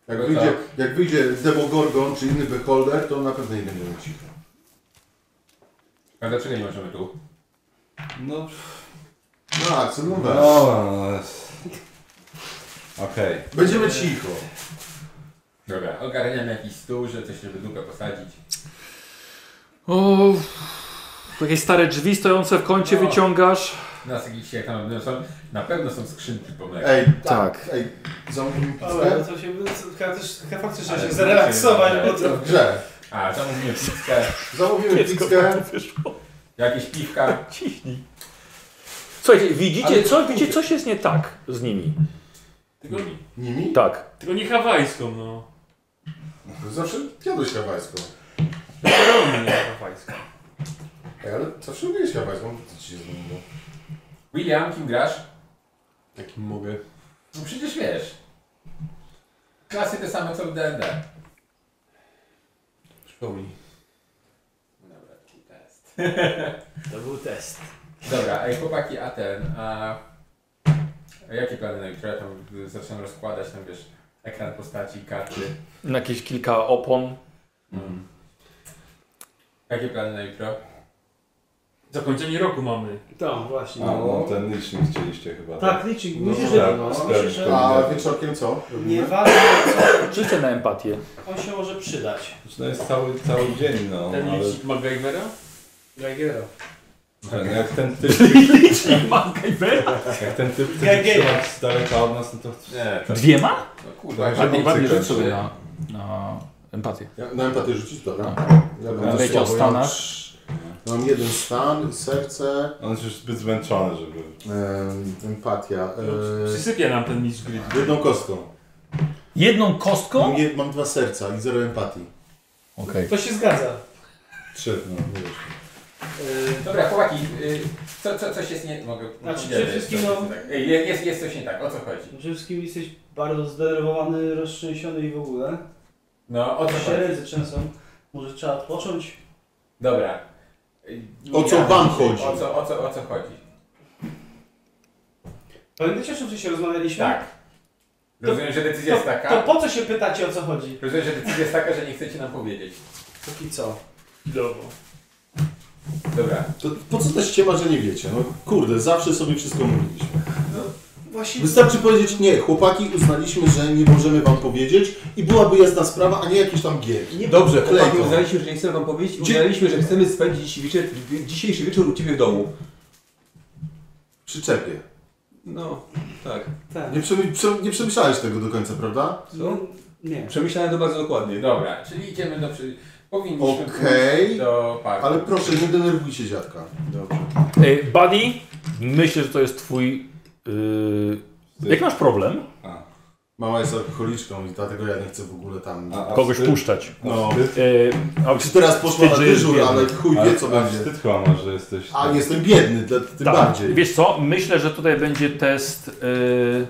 Speaker 5: Jak wyjdzie, jak wyjdzie Demogorgon czy inny Beholder, to na pewno nie będziemy cicho.
Speaker 4: A dlaczego nie możemy tu?
Speaker 2: No,
Speaker 5: No, a co mówię?
Speaker 2: no, no jest. Okej.
Speaker 5: Będziemy cicho.
Speaker 4: Dobra, ogarniamy jakiś stół, że coś żeby długo posadzić.
Speaker 1: O, takie stare drzwi stojące w kącie
Speaker 4: No.
Speaker 1: wyciągasz.
Speaker 4: Nas jakieś jak tam odniosą, na pewno są skrzynki po mleku.
Speaker 5: Ej,
Speaker 1: Tak.
Speaker 5: Ej, zamówimy
Speaker 9: Ale no
Speaker 5: pizzę?
Speaker 9: to się... Chyba też... Chyba faktycznie trzeba
Speaker 4: Ale
Speaker 9: się
Speaker 4: to
Speaker 9: zrelaksować,
Speaker 4: się-
Speaker 9: bo to...
Speaker 5: W grze.
Speaker 4: A, tam mówimy pizzkę,
Speaker 5: Zamówimy pizzę.
Speaker 4: jakieś piwka.
Speaker 1: Słuchajcie, widzicie, co, widzicie, coś jest nie tak z nimi.
Speaker 6: Tylko,
Speaker 5: Nimi?
Speaker 1: Tak.
Speaker 6: tylko nie hawajską, no.
Speaker 5: Zawsze jadłeś hawajską.
Speaker 6: Peperoni nie hawajską.
Speaker 5: Ej, ale zawsze lubiłeś hawajską. Co ci się zmieniło?
Speaker 4: William, kim grasz?
Speaker 12: Jakim mogę?
Speaker 4: No przecież wiesz. Klasy te same co w D&D.
Speaker 12: Przypomnij.
Speaker 4: Dobra, taki test.
Speaker 9: To był test.
Speaker 4: Dobra, ej chłopaki, a ten, a... a jakie plany na jutro? Ja tam y, zaczynam rozkładać, tam wiesz, ekran postaci, karty.
Speaker 1: Na jakieś kilka opon.
Speaker 12: Mm.
Speaker 4: Jakie plany na jutro?
Speaker 6: Zakończenie roku mamy.
Speaker 9: To,
Speaker 2: A,
Speaker 9: właśnie.
Speaker 2: no, ten licznik chcieliście chyba.
Speaker 9: Tak, liczyk.
Speaker 2: No,
Speaker 9: Myślę,
Speaker 2: tak,
Speaker 9: że... Myślę,
Speaker 2: sprawdź
Speaker 9: że...
Speaker 2: to.
Speaker 5: A wieczorkiem co?
Speaker 9: Nie
Speaker 5: Robimy?
Speaker 9: warto,
Speaker 1: Życie na empatię.
Speaker 9: on się może przydać.
Speaker 2: Znaczy, No jest cały, cały dzień, no,
Speaker 6: Ten
Speaker 2: ale
Speaker 6: licznik MacGyvera?
Speaker 9: Gregero.
Speaker 2: ten, no jak ten typ, jak ten typ chce
Speaker 9: Ja geja.
Speaker 2: trzymać z daleka od nas, no to...
Speaker 4: Nie,
Speaker 1: Dwiema?
Speaker 4: no kurde.
Speaker 5: Że
Speaker 1: Ładnie, ładnie
Speaker 5: obcy
Speaker 1: rzuć sobie
Speaker 5: kończy.
Speaker 4: no.
Speaker 1: na, na empatię.
Speaker 5: Ja, na empatię rzucić? Dobra. Ja mam
Speaker 1: A
Speaker 5: to
Speaker 1: wiecie
Speaker 5: słabo,
Speaker 1: o
Speaker 5: ja
Speaker 1: stanach?
Speaker 5: mam trz- Mam jeden stan, serce,
Speaker 2: On jest już zbyt zmęczony, żeby...
Speaker 5: em, empatia. e, em,
Speaker 6: Przysypia nam ten mistrz gry.
Speaker 5: jedną kostką.
Speaker 1: Jedną kostką?
Speaker 5: Mam, jed, mam dwa serca i zero empatii.
Speaker 4: Tak.
Speaker 1: Okej.
Speaker 9: To się zgadza.
Speaker 2: Trzy, no, wiesz.
Speaker 9: Yy,
Speaker 4: Dobra, chłopaki, y, co, co, coś jest nie... Mogę...
Speaker 9: Znaczy,
Speaker 4: nie,
Speaker 9: przede
Speaker 4: nie,
Speaker 9: wszystkim,
Speaker 4: coś jest
Speaker 9: no-
Speaker 4: nie tak. Ej, jest, jest, jest coś nie tak, o co chodzi?
Speaker 9: Przede wszystkim jesteś bardzo zdenerwowany, roztrzęsiony i w ogóle.
Speaker 4: No, o co chodzi?
Speaker 9: Siedzę często. Może trzeba odpocząć?
Speaker 4: Dobra. Ej,
Speaker 5: O co
Speaker 4: ja-
Speaker 5: wam chodzi?
Speaker 4: O co, o co, o co chodzi?
Speaker 9: Pamiętacie o czym się rozmawialiśmy?
Speaker 4: Tak. Rozumiem, że decyzja jest
Speaker 9: To, to
Speaker 4: taka.
Speaker 9: po co się pytacie o co chodzi?
Speaker 4: Rozumiem, że decyzja jest taka, że nie chcecie nam powiedzieć.
Speaker 9: Póki co.
Speaker 6: Chwilowo.
Speaker 4: Dobra.
Speaker 5: To po co ta ściema, że nie wiecie? No kurde, zawsze sobie wszystko mówiliśmy.
Speaker 9: Właśnie
Speaker 5: Wystarczy powiedzieć nie, chłopaki uznaliśmy, że nie możemy wam powiedzieć i byłaby jasna sprawa, a nie jakieś tam gier.
Speaker 12: Dobrze,
Speaker 5: Klejko.
Speaker 12: chłopaki, uznaliśmy, że nie chcemy wam powiedzieć, uznaliśmy, że chcemy spędzić wieczór, dzisiejszy wieczór u Ciebie w domu.
Speaker 5: Przyczepie.
Speaker 12: No, tak.
Speaker 9: tak.
Speaker 5: Nie, przemy, prze, nie przemyślałeś tego do końca, prawda?
Speaker 12: Co?
Speaker 9: Nie.
Speaker 12: Przemyślałem to bardzo dokładnie. No.
Speaker 4: Dobra, czyli idziemy do przy... Powinniśmy
Speaker 5: Okej,
Speaker 4: pójść do parku.
Speaker 5: ale proszę, nie denerwujcie dziadka.
Speaker 12: Dobrze.
Speaker 1: Okay. Y, Buddy, Myślę, że to jest twój... Yy... Jak masz problem,
Speaker 5: Mała jest alkoholiczką i dlatego ja nie chcę w ogóle tam...
Speaker 2: A- a
Speaker 1: kogoś
Speaker 2: wstyd-
Speaker 1: puszczać.
Speaker 5: No,
Speaker 1: Yy, a
Speaker 5: czy teraz poszła
Speaker 1: wstyd,
Speaker 5: na
Speaker 1: że jest
Speaker 5: dyżur,
Speaker 1: biedny.
Speaker 5: ale chuj
Speaker 2: Ale-
Speaker 5: wie co
Speaker 2: ale
Speaker 5: będzie.
Speaker 2: Wstyd chyba masz, że jesteś...
Speaker 5: A, jestem biedny, dla, tym
Speaker 1: Tak.
Speaker 5: bardziej.
Speaker 1: Wiesz co, myślę, że tutaj będzie test... Yy...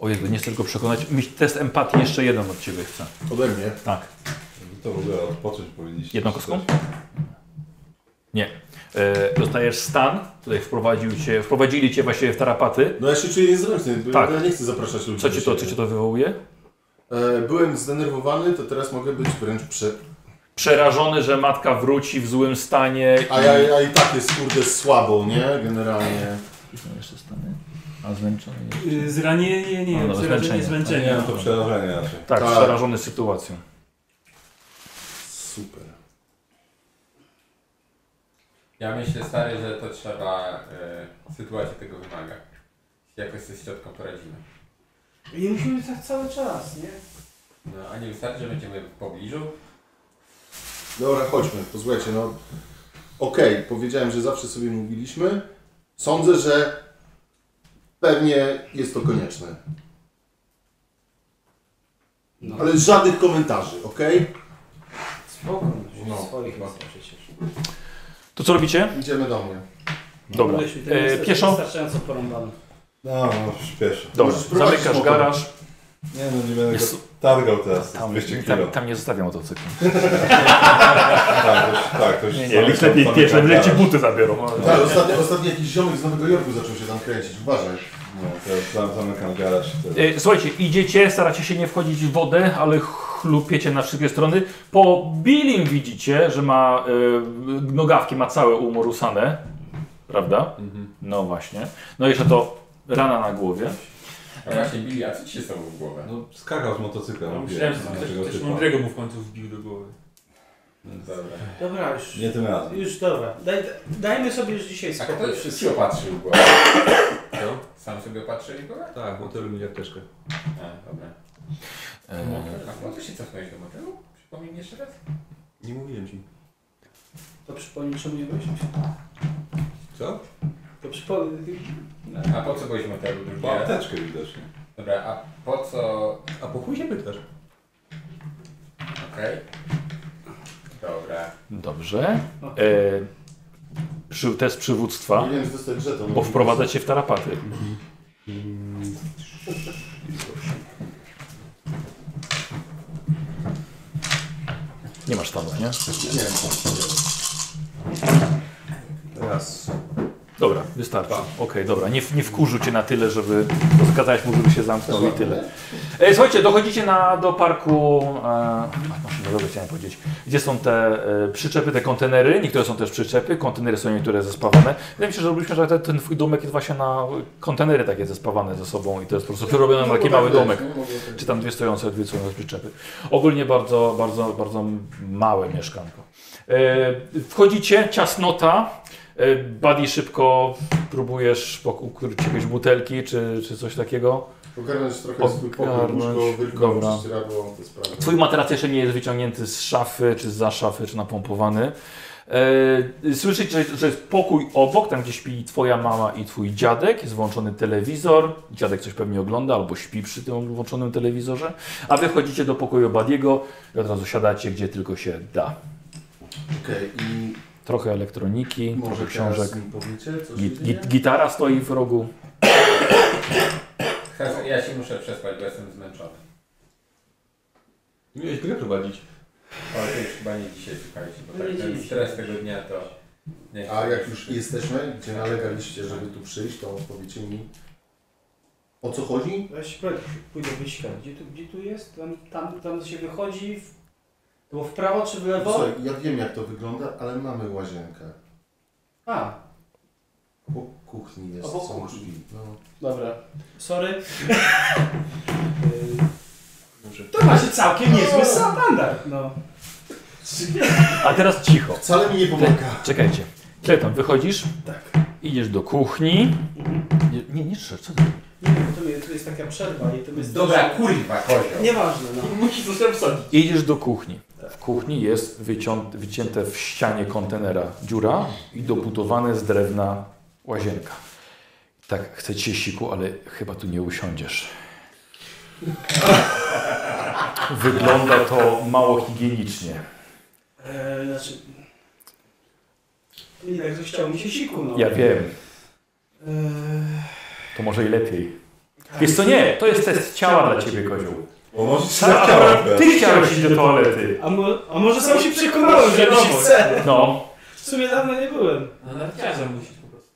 Speaker 1: O Jezu, nie chcę tylko przekonać. Myśl- Test empatii jeszcze jeden od Ciebie chcę.
Speaker 5: Ode mnie.
Speaker 1: Tak.
Speaker 2: To w ogóle odpocząć powinniście.
Speaker 1: Jedną
Speaker 2: czy
Speaker 1: kostką?
Speaker 2: coś.
Speaker 1: Yy, dostajesz stan. Tutaj wprowadził cię, wprowadzili Cię właściwie w tarapaty.
Speaker 5: No ja się czuję niezręczny, bo
Speaker 1: Tak.
Speaker 5: ja nie chcę zapraszać ludzi
Speaker 1: Co
Speaker 5: do
Speaker 1: ci to,
Speaker 5: siebie.
Speaker 1: co ci to wywołuje?
Speaker 5: E, Byłem zdenerwowany, to teraz mogę być wręcz prze...
Speaker 1: Przerażony, że matka wróci w złym stanie.
Speaker 5: A ja, ja i tak jest kurde słabo, nie? Generalnie.
Speaker 1: Jeszcze stany. A zmęczony jest.
Speaker 6: Yy, Zranienie, nie,
Speaker 1: No, no,
Speaker 6: przerażenie,
Speaker 1: zmęczenie.
Speaker 6: zmęczenie.
Speaker 2: Nie, no to przerażenie raczej.
Speaker 1: Tak,
Speaker 5: Tak.
Speaker 1: przerażony sytuacją.
Speaker 5: Super.
Speaker 4: Ja myślę, stary, że to trzeba... Y, sytuacja tego wymaga. Jakoś sobie z środką poradzimy.
Speaker 9: I musimy tak cały czas, nie?
Speaker 4: No, a nie wystarczy, że będziemy w pobliżu?
Speaker 5: Dobra, chodźmy, posłuchajcie, no. Okej, powiedziałem, że zawsze sobie mówiliśmy. Sądzę, że pewnie jest to konieczne.
Speaker 9: No.
Speaker 5: Ale żadnych komentarzy, okej?
Speaker 9: Spoko,
Speaker 5: No,
Speaker 9: no, swoich
Speaker 5: chyba.
Speaker 9: jest przecież.
Speaker 1: To co robicie?
Speaker 5: Idziemy do mnie.
Speaker 1: Dobra.
Speaker 9: Byliśmy tym
Speaker 1: E,
Speaker 9: wystar-
Speaker 1: pieszo?
Speaker 9: Wystarczająco porąbane.
Speaker 2: No, no, śpieszę.
Speaker 1: Dobra.
Speaker 5: Możesz prowadzić
Speaker 1: Zamykasz
Speaker 5: samochodem.
Speaker 1: garaż.
Speaker 2: Nie no, nie będę
Speaker 1: Jest-
Speaker 2: go targał teraz
Speaker 1: Tam,
Speaker 2: 200 kilo.
Speaker 1: tam, tam nie zostawiam motocyklu.
Speaker 2: Tak, to już- tak, to już zamykam- zamykam garaż.
Speaker 1: buty zabiorą.
Speaker 5: Tak, ostatnio, ostatnio jakiś ziomek z Nowego Jorku zaczął się tam kręcić, uważaj.
Speaker 2: No, teraz zam- zamykam garaż. i tyle.
Speaker 1: E, Słuchajcie, idziecie, staracie się nie wchodzić w wodę, ale chlupiecie na wszystkie strony. Po Bilim widzicie, że ma e, nogawki, ma całe umorusane, prawda? No właśnie. No jeszcze to rana na głowie.
Speaker 4: A właśnie, Billy, a co ci się stało w głowę?
Speaker 2: No, skakał z motocykla.
Speaker 6: No,
Speaker 2: mówię,
Speaker 6: myślałem, że
Speaker 2: na
Speaker 6: ktoś,
Speaker 2: tego
Speaker 6: ktoś
Speaker 2: typa.
Speaker 6: mądrego mu w końcu wbił do głowy.
Speaker 4: No Dobra.
Speaker 9: Dobra, już.
Speaker 2: Nie tym razem.
Speaker 9: Już dobra. Daj, dajmy sobie już dzisiaj
Speaker 4: A kto
Speaker 9: spokój.
Speaker 4: się opatrzył głowę?
Speaker 12: No.
Speaker 4: Sam sobie opatrzył głowę?
Speaker 12: Tak, motelu mi apteczkę.
Speaker 4: A, dobra.
Speaker 1: No. E,
Speaker 4: A po co się cofnąłeś do motelu? Przypomnij mi jeszcze raz.
Speaker 12: Nie mówiłem ci.
Speaker 9: To przypomnij, czemu nie byliśmy.
Speaker 12: Co?
Speaker 9: To przypomnij.
Speaker 4: A po co byłeś w motelu drugi
Speaker 2: Po
Speaker 4: raz?
Speaker 2: apteczkę widocznie.
Speaker 4: Dobra, a po co...
Speaker 12: A po chuj się pytasz?
Speaker 4: Okej. Dobra.
Speaker 1: Dobrze. E, przy, test przywództwa,
Speaker 5: Powinienem dostać żeton.
Speaker 1: bo wprowadza cię w tarapaty. Nie masz stanów, nie?
Speaker 5: Nie wiem.
Speaker 12: Raz.
Speaker 1: Dobra, wystarczy. Okej, dobra. Nie, nie wkurzył cię na tyle, żeby rozkazałeś mu, żeby się zamknął i tyle. E, słuchajcie, dochodzicie na, do parku. E, a, no dobra, chciałem powiedzieć. Gdzie są te e, przyczepy, te kontenery? Niektóre są też przyczepy, kontenery są niektóre zespawane. Wydaje mi się, że robiliśmy, że ten, ten twój domek jest właśnie na kontenery takie zespawane ze sobą i to jest po prostu przerobione na taki mały domek. Czy tam dwie stojące, dwie stojące przyczepy. Ogólnie bardzo, bardzo, bardzo małe mieszkanko. E, wchodzicie, ciasnota. E, Buddy szybko próbujesz pok- ukryć jakieś butelki czy, czy coś takiego.
Speaker 5: Ogarnąć trochę swój pokój,
Speaker 1: Ogarnąć.
Speaker 5: łóżko,
Speaker 1: Dobra.
Speaker 5: wylką, ścieradło, te sprawy.
Speaker 1: Twój materac jeszcze nie jest wyciągnięty z szafy, czy za szafy, czy napompowany. E, Słyszycie, że- że jest pokój obok, tam gdzie śpi twoja mama i twój dziadek, jest włączony telewizor, dziadek coś pewnie ogląda albo śpi przy tym włączonym telewizorze, a wy wchodzicie do pokoju Badiego i od razu siadacie gdzie tylko się da.
Speaker 5: Okej,
Speaker 1: Trochę elektroniki,
Speaker 5: i może
Speaker 1: trochę
Speaker 5: książek.
Speaker 1: książek,
Speaker 5: mi powiecie, co się
Speaker 1: Git,
Speaker 5: dzieje?
Speaker 1: git, gitara stoi w rogu.
Speaker 4: Haz- Ja się muszę przespać, bo jestem zmęczony.
Speaker 12: Miałeś grę prowadzić.
Speaker 4: Ale to już chyba nie dzisiaj, słuchajcie, bo tak
Speaker 9: Nie
Speaker 4: ten
Speaker 9: dziś.
Speaker 4: stres tego dnia to... Nie
Speaker 5: A jak już jesteśmy, gdzie nalegaliście, żeby tu przyjść, to powiecie mi o co chodzi?
Speaker 9: Weź powiedz, pójdę wyśka. Gdzie tu, gdzie tu jest? Tam, tam, tam się wychodzi. W... To było w prawo czy w lewo?
Speaker 5: Słuchaj, ja wiem jak to wygląda, ale mamy łazienkę.
Speaker 9: A,
Speaker 5: Obok kuchni jest,
Speaker 9: Obok
Speaker 5: są
Speaker 9: kuchni.
Speaker 5: drzwi. No.
Speaker 9: dobra. Sorry. Yy, to macie całkiem niezły standard. No.
Speaker 1: A teraz cicho.
Speaker 5: Wcale mi nie pomaga.
Speaker 1: Czekajcie. Ty tam wychodzisz, idziesz do kuchni. Tak. Mhm. Nie, nie, nie strzel, co ty?
Speaker 9: Nie wiem, to, mi- tu jest taka przerwa i to jest...
Speaker 4: Dobra, kurwa, kozioł.
Speaker 9: Nieważne, no.
Speaker 6: Musisz coś tam wsadzić.
Speaker 1: Idziesz do kuchni. W kuchni jest wycią- wycięte w ścianie kontenera dziura i dobudowane z drewna Łazienka. Tak, chcę cię siku, ale chyba tu nie usiądziesz. Wygląda to mało higienicznie.
Speaker 9: Eee, znaczy... I tak chciał mi się siku, no.
Speaker 1: Ja wiem,
Speaker 9: Eee,
Speaker 1: to może i lepiej. Wiesz co, nie, to jest test ciała dla ciebie, kozioł.
Speaker 2: Bo może
Speaker 1: Sam
Speaker 2: trzeba chciałem.
Speaker 1: akurat Ty chciałeś iść do toalety.
Speaker 9: a, mo- a może sam się przekonałem, że mi się chce.
Speaker 1: No,
Speaker 9: W sumie dawno nie byłem.
Speaker 6: Na narciarza musisz po prostu.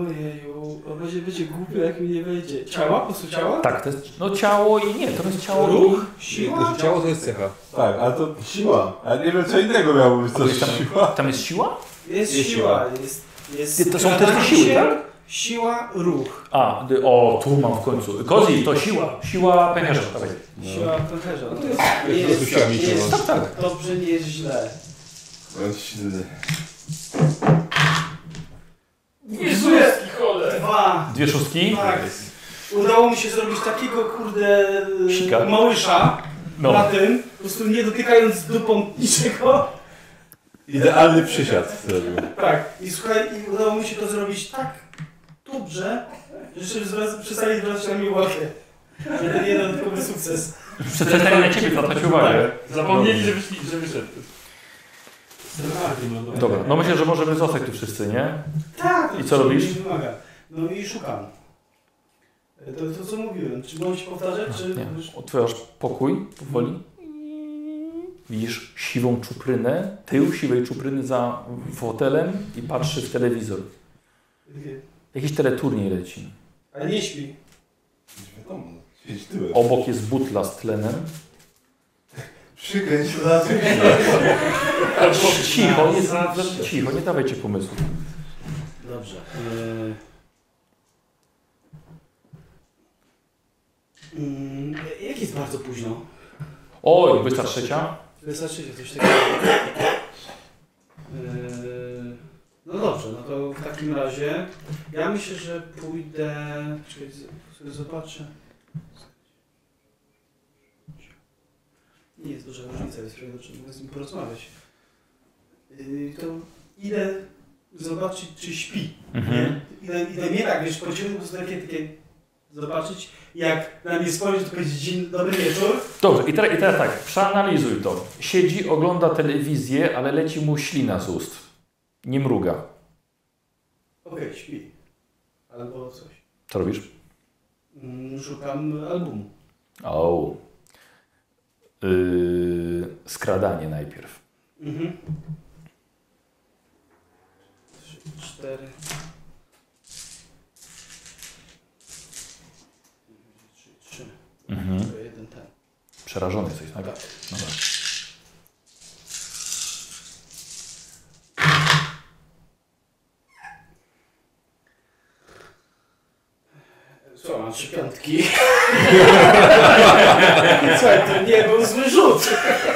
Speaker 9: Ojeju, a będzie, będzie głupio, jak mi nie wejdzie. Ciała? Po prostu ciała?
Speaker 1: tak, to jest, no ciało i nie, to jest ciało.
Speaker 9: Ruch? Siła?
Speaker 8: Ciało to jest cecha.
Speaker 2: Tak, ale to
Speaker 5: Siła.
Speaker 2: a nie wiem co innego miało być, co siła.
Speaker 1: Tam jest siła?
Speaker 9: Jest
Speaker 2: Jest
Speaker 9: siła. Jest, jest
Speaker 1: To są testy
Speaker 9: gadanie
Speaker 1: siły,
Speaker 9: się,
Speaker 1: tak?
Speaker 9: Siła, ruch.
Speaker 1: A, dy- o, tu mam w końcu. Kozi, to siła. Siła pęcherza. dawaj.
Speaker 9: Siła pęcherza. No to
Speaker 8: jest
Speaker 9: jest,
Speaker 8: siła
Speaker 9: jest,
Speaker 8: mięśniowa.
Speaker 1: Tak,
Speaker 9: jest dobrze, nie jest źle.
Speaker 2: Bądź silny.
Speaker 6: Jezuski cholera!
Speaker 9: Dwa.
Speaker 1: Dwie szóstki.
Speaker 9: Tak. Udało mi się zrobić takiego, kurde,
Speaker 1: Sika.
Speaker 9: małysza
Speaker 1: No.
Speaker 9: na tym, po prostu nie dotykając dupą niczego.
Speaker 2: Idealny przysiad zrobił.
Speaker 9: Tak. I słuchaj, i udało mi się to zrobić tak dobrze, że się zwrac- przestali zwracać na mnie uwagę. Że ten jeden dodatkowy sukces.
Speaker 1: Przestań na ciebie zwracać uwagę.
Speaker 6: Zapomnieli, że, wyszli, że wyszedł.
Speaker 1: Dobra, no myślę, że możemy zostać tu wszyscy, nie?
Speaker 9: Tak.
Speaker 1: I co robisz?
Speaker 9: Nie wymaga. No i szukam. E, To, to co mówiłem, czy mam się powtarzać, czy...
Speaker 1: Nie. Otwierasz pokój powoli. Widzisz siwą czuprynę, tył siwej czupryny za fotelem i patrzy w telewizor. Jakiś teleturniej leci.
Speaker 9: A nie śpi.
Speaker 2: Wiadomo, siedź tyłem.
Speaker 1: Obok jest butla z tlenem.
Speaker 2: Przykręć to na tym.
Speaker 1: Cicho, nie, za- za- cicho, nie dawajcie pomysłów.
Speaker 9: Dobrze. Eee. Mm, jak jest bardzo późno?
Speaker 1: Oj, wysta trzecia.
Speaker 9: Wystarczy się znaczy, coś takiego. Eee, No dobrze, no to w takim razie ja myślę, że pójdę. Czekaj, z- sobie zobaczę. Nie jest duża różnica, więc pewnie dobrze mogę z nim porozmawiać. Eee, To idę zobaczyć, czy śpi.
Speaker 1: Mhm.
Speaker 9: Idę, idę nie tak, wiesz, podzielę po prostu takie, takie zobaczyć, jak na mnie spojrzy, to powiedzieć dzień, dobry wieczór.
Speaker 1: Dobrze, i teraz, i teraz tak, przeanalizuj to. Siedzi, ogląda telewizję, ale leci mu ślina z ust. Nie mruga.
Speaker 9: Okej, śpi. Albo coś.
Speaker 1: Co robisz?
Speaker 9: Mm, Szukam albumu.
Speaker 1: O. Yy, skradanie najpierw.
Speaker 9: Mhm. Trzy, cztery. Trzy, trzy.
Speaker 1: Mhm.
Speaker 9: To jeden tak. ten.
Speaker 1: Przerażony jesteś, tak? Dobra.
Speaker 9: Co, mam trzy piątki? [laughs] Słuchaj, to nie był zły rzut.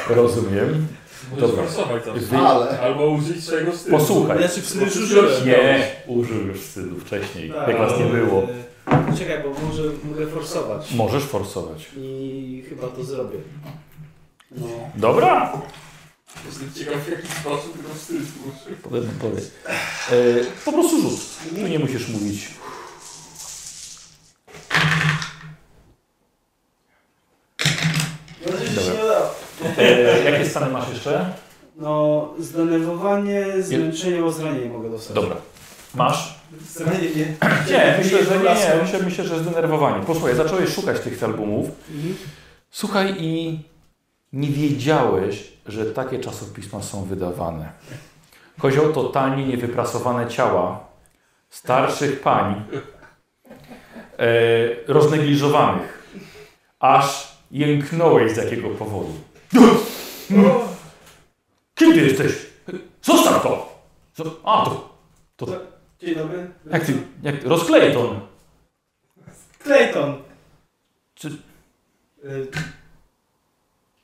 Speaker 1: Rozumiem.
Speaker 6: Możesz
Speaker 1: Dobra.
Speaker 6: forsować to.
Speaker 1: Wy...
Speaker 5: Ale.
Speaker 6: Albo użyć swojego stylu.
Speaker 1: Posłuchaj.
Speaker 9: Znaczy w sumie
Speaker 6: Bo
Speaker 9: rzut
Speaker 6: przyszedłem.
Speaker 1: Nie, użył już stylu wcześniej,
Speaker 9: Tak,
Speaker 1: jak was nie
Speaker 9: ale,
Speaker 1: było.
Speaker 9: e, Czekaj, bo może mogę forsować.
Speaker 1: Możesz forsować.
Speaker 9: I chyba to zrobię. No.
Speaker 1: Dobra.
Speaker 6: Jestem ciekaw w jaki sposób tego stylu użył.
Speaker 1: Powiem, powiem. Yy, po prostu rzut. Tu nie musisz mówić.
Speaker 9: No, to się
Speaker 1: Dobra.
Speaker 9: nie udało.
Speaker 1: E, jakie stany masz jeszcze?
Speaker 9: No, zdenerwowanie, zmęczenie, bo zranienie mogę dostać.
Speaker 1: Dobra. Masz?
Speaker 9: Zranienie. Nie,
Speaker 1: Nie, myślę, że nie, nie. Myślę, myślę, że zdenerwowanie. Posłuchaj, zacząłeś szukać tych albumów.
Speaker 9: Mhm.
Speaker 1: Słuchaj i nie wiedziałeś, że takie czasopisma są wydawane. Kozioł to tanie, niewyprasowane ciała starszych pań, e, roznegliżowanych. Aż jęknąłeś z jakiego powodu. Mm. Kim ty jesteś? Zostaw to! Co- A, to
Speaker 9: Dzień dobry.
Speaker 1: jak ty, jak ty, rozklej to.
Speaker 9: Clayton.
Speaker 1: Czy-
Speaker 9: Y,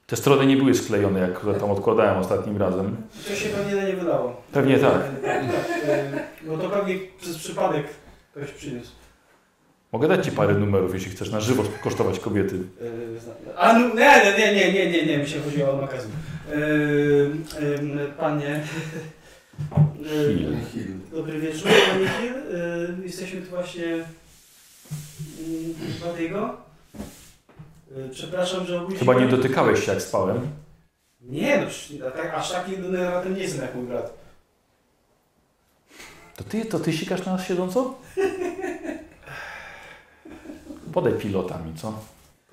Speaker 1: Te strony nie były sklejone, jak tam odkładałem ostatnim razem.
Speaker 9: To się pewnie na nie wydało.
Speaker 1: Pewnie tak.
Speaker 9: Y, y, Bo to pewnie przez przypadek ktoś przyniósł.
Speaker 1: Mogę dać Ci parę numerów, jeśli chcesz na żywo kosztować kobiety.
Speaker 9: Y, zna- A no, nie, nie, nie, nie, nie, nie, nie, mi się chodziło o magazyn. Y, y, E, Panie,
Speaker 1: Hill.
Speaker 5: Hill.
Speaker 9: Dobry wieczór, panie Hill. Y, Jesteśmy tu właśnie dla tego. E, Przepraszam, że obudziłem.
Speaker 1: Chyba nie dotykałeś się jak spałem.
Speaker 9: Nie, no, przecież a tak, aż taki denerwatem nie jestem jak mój brat.
Speaker 1: To ty, to ty sikasz na nas siedząco? Podaj pilotami, co?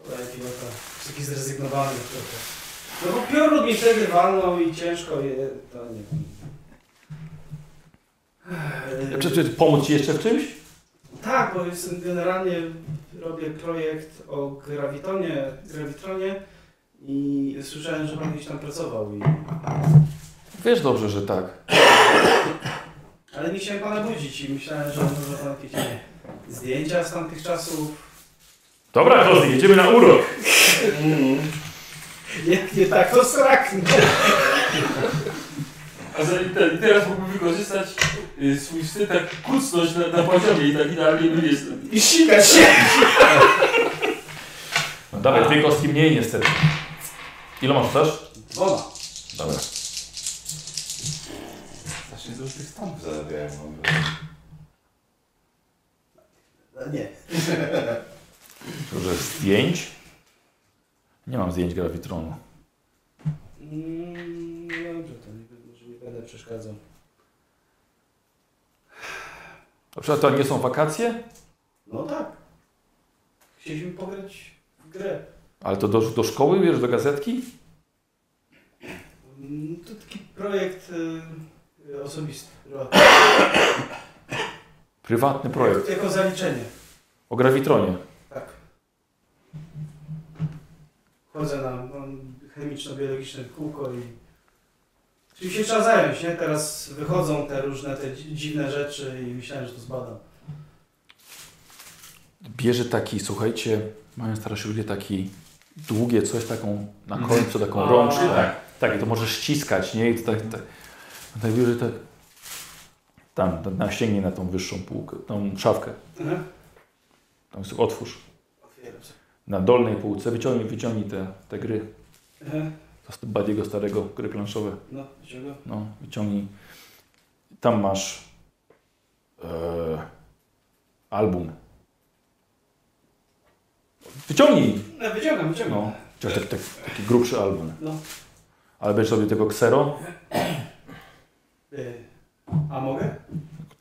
Speaker 9: Kolej pilota. Jest taki zrezygnowany trochę. No bo piorun mi wtedy walnął i ciężko je... To nie wiem.
Speaker 1: Czy, czy pomóc ci jeszcze w czymś?
Speaker 9: Tak, bo jestem generalnie robię projekt o grawitonie, grawitronie i słyszałem, że pan gdzieś tam pracował. I...
Speaker 1: Wiesz dobrze, że tak.
Speaker 9: Ale nie chciałem pana budzić i myślałem, że może pan jakieś nie, zdjęcia z tamtych czasów. [laughs]
Speaker 1: Dobra, Kozy, jedziemy na urok.
Speaker 9: Jak nie tak, to straknie.
Speaker 6: A za, i te, i teraz mógłbym wykorzystać y, swój wstyd, tak kucnąć na, na poziomie i tak idealnie by jest.
Speaker 9: I sikać się.
Speaker 1: No dawaj, dwie kostki mniej niestety. Ile masz też?
Speaker 9: Dwoma.
Speaker 1: Dobra.
Speaker 2: Znacznie dużo tych stanów zarabiałem. mam
Speaker 9: No Nie.
Speaker 1: Dużo zdjęć. Nie mam zdjęć grawitronu.
Speaker 9: Mm, no Dobrze, to nie, może nie będę przeszkadzał.
Speaker 1: A przykład to nie są wakacje?
Speaker 9: No tak. Chcieliśmy pograć w grę.
Speaker 1: Ale to do, do szkoły, wiesz, do gazetki?
Speaker 9: Mm, To taki projekt y, y, osobisty.
Speaker 1: Prywatny projekt.
Speaker 9: Jako zaliczenie.
Speaker 1: O grawitronie.
Speaker 9: Tak. Chodzę na mam chemiczno-biologiczne kółko i... Czyli się trzeba zająć, nie? Teraz wychodzą te różne, te dzi- dziwne rzeczy i myślałem, że to zbadam.
Speaker 1: Bierze taki, słuchajcie, mają starsi ludzie taki długie coś, taką na końcu, taką rączkę. Tak. i to możesz ściskać, nie? I to tak, tak, tak bierze tak. Tam, tam, tam sięgnie na tą wyższą półkę, tą szafkę.
Speaker 9: Mhm.
Speaker 1: Tam jest otwórz.
Speaker 9: Otwieram sobie.
Speaker 1: Na dolnej półce wyciągnij, wyciągnij te, te gry.
Speaker 9: Mhm.
Speaker 1: To z Badiego starego, gry planszowe.
Speaker 9: No, czego?
Speaker 1: No, wyciągnij. Tam masz e, album. Wyciągnij!
Speaker 9: No, wyciągam, wyciągam.
Speaker 1: No, chociaż tak, tak, taki grubszy album.
Speaker 9: No.
Speaker 1: Ale będziesz sobie tego ksero.
Speaker 9: Y, a mogę?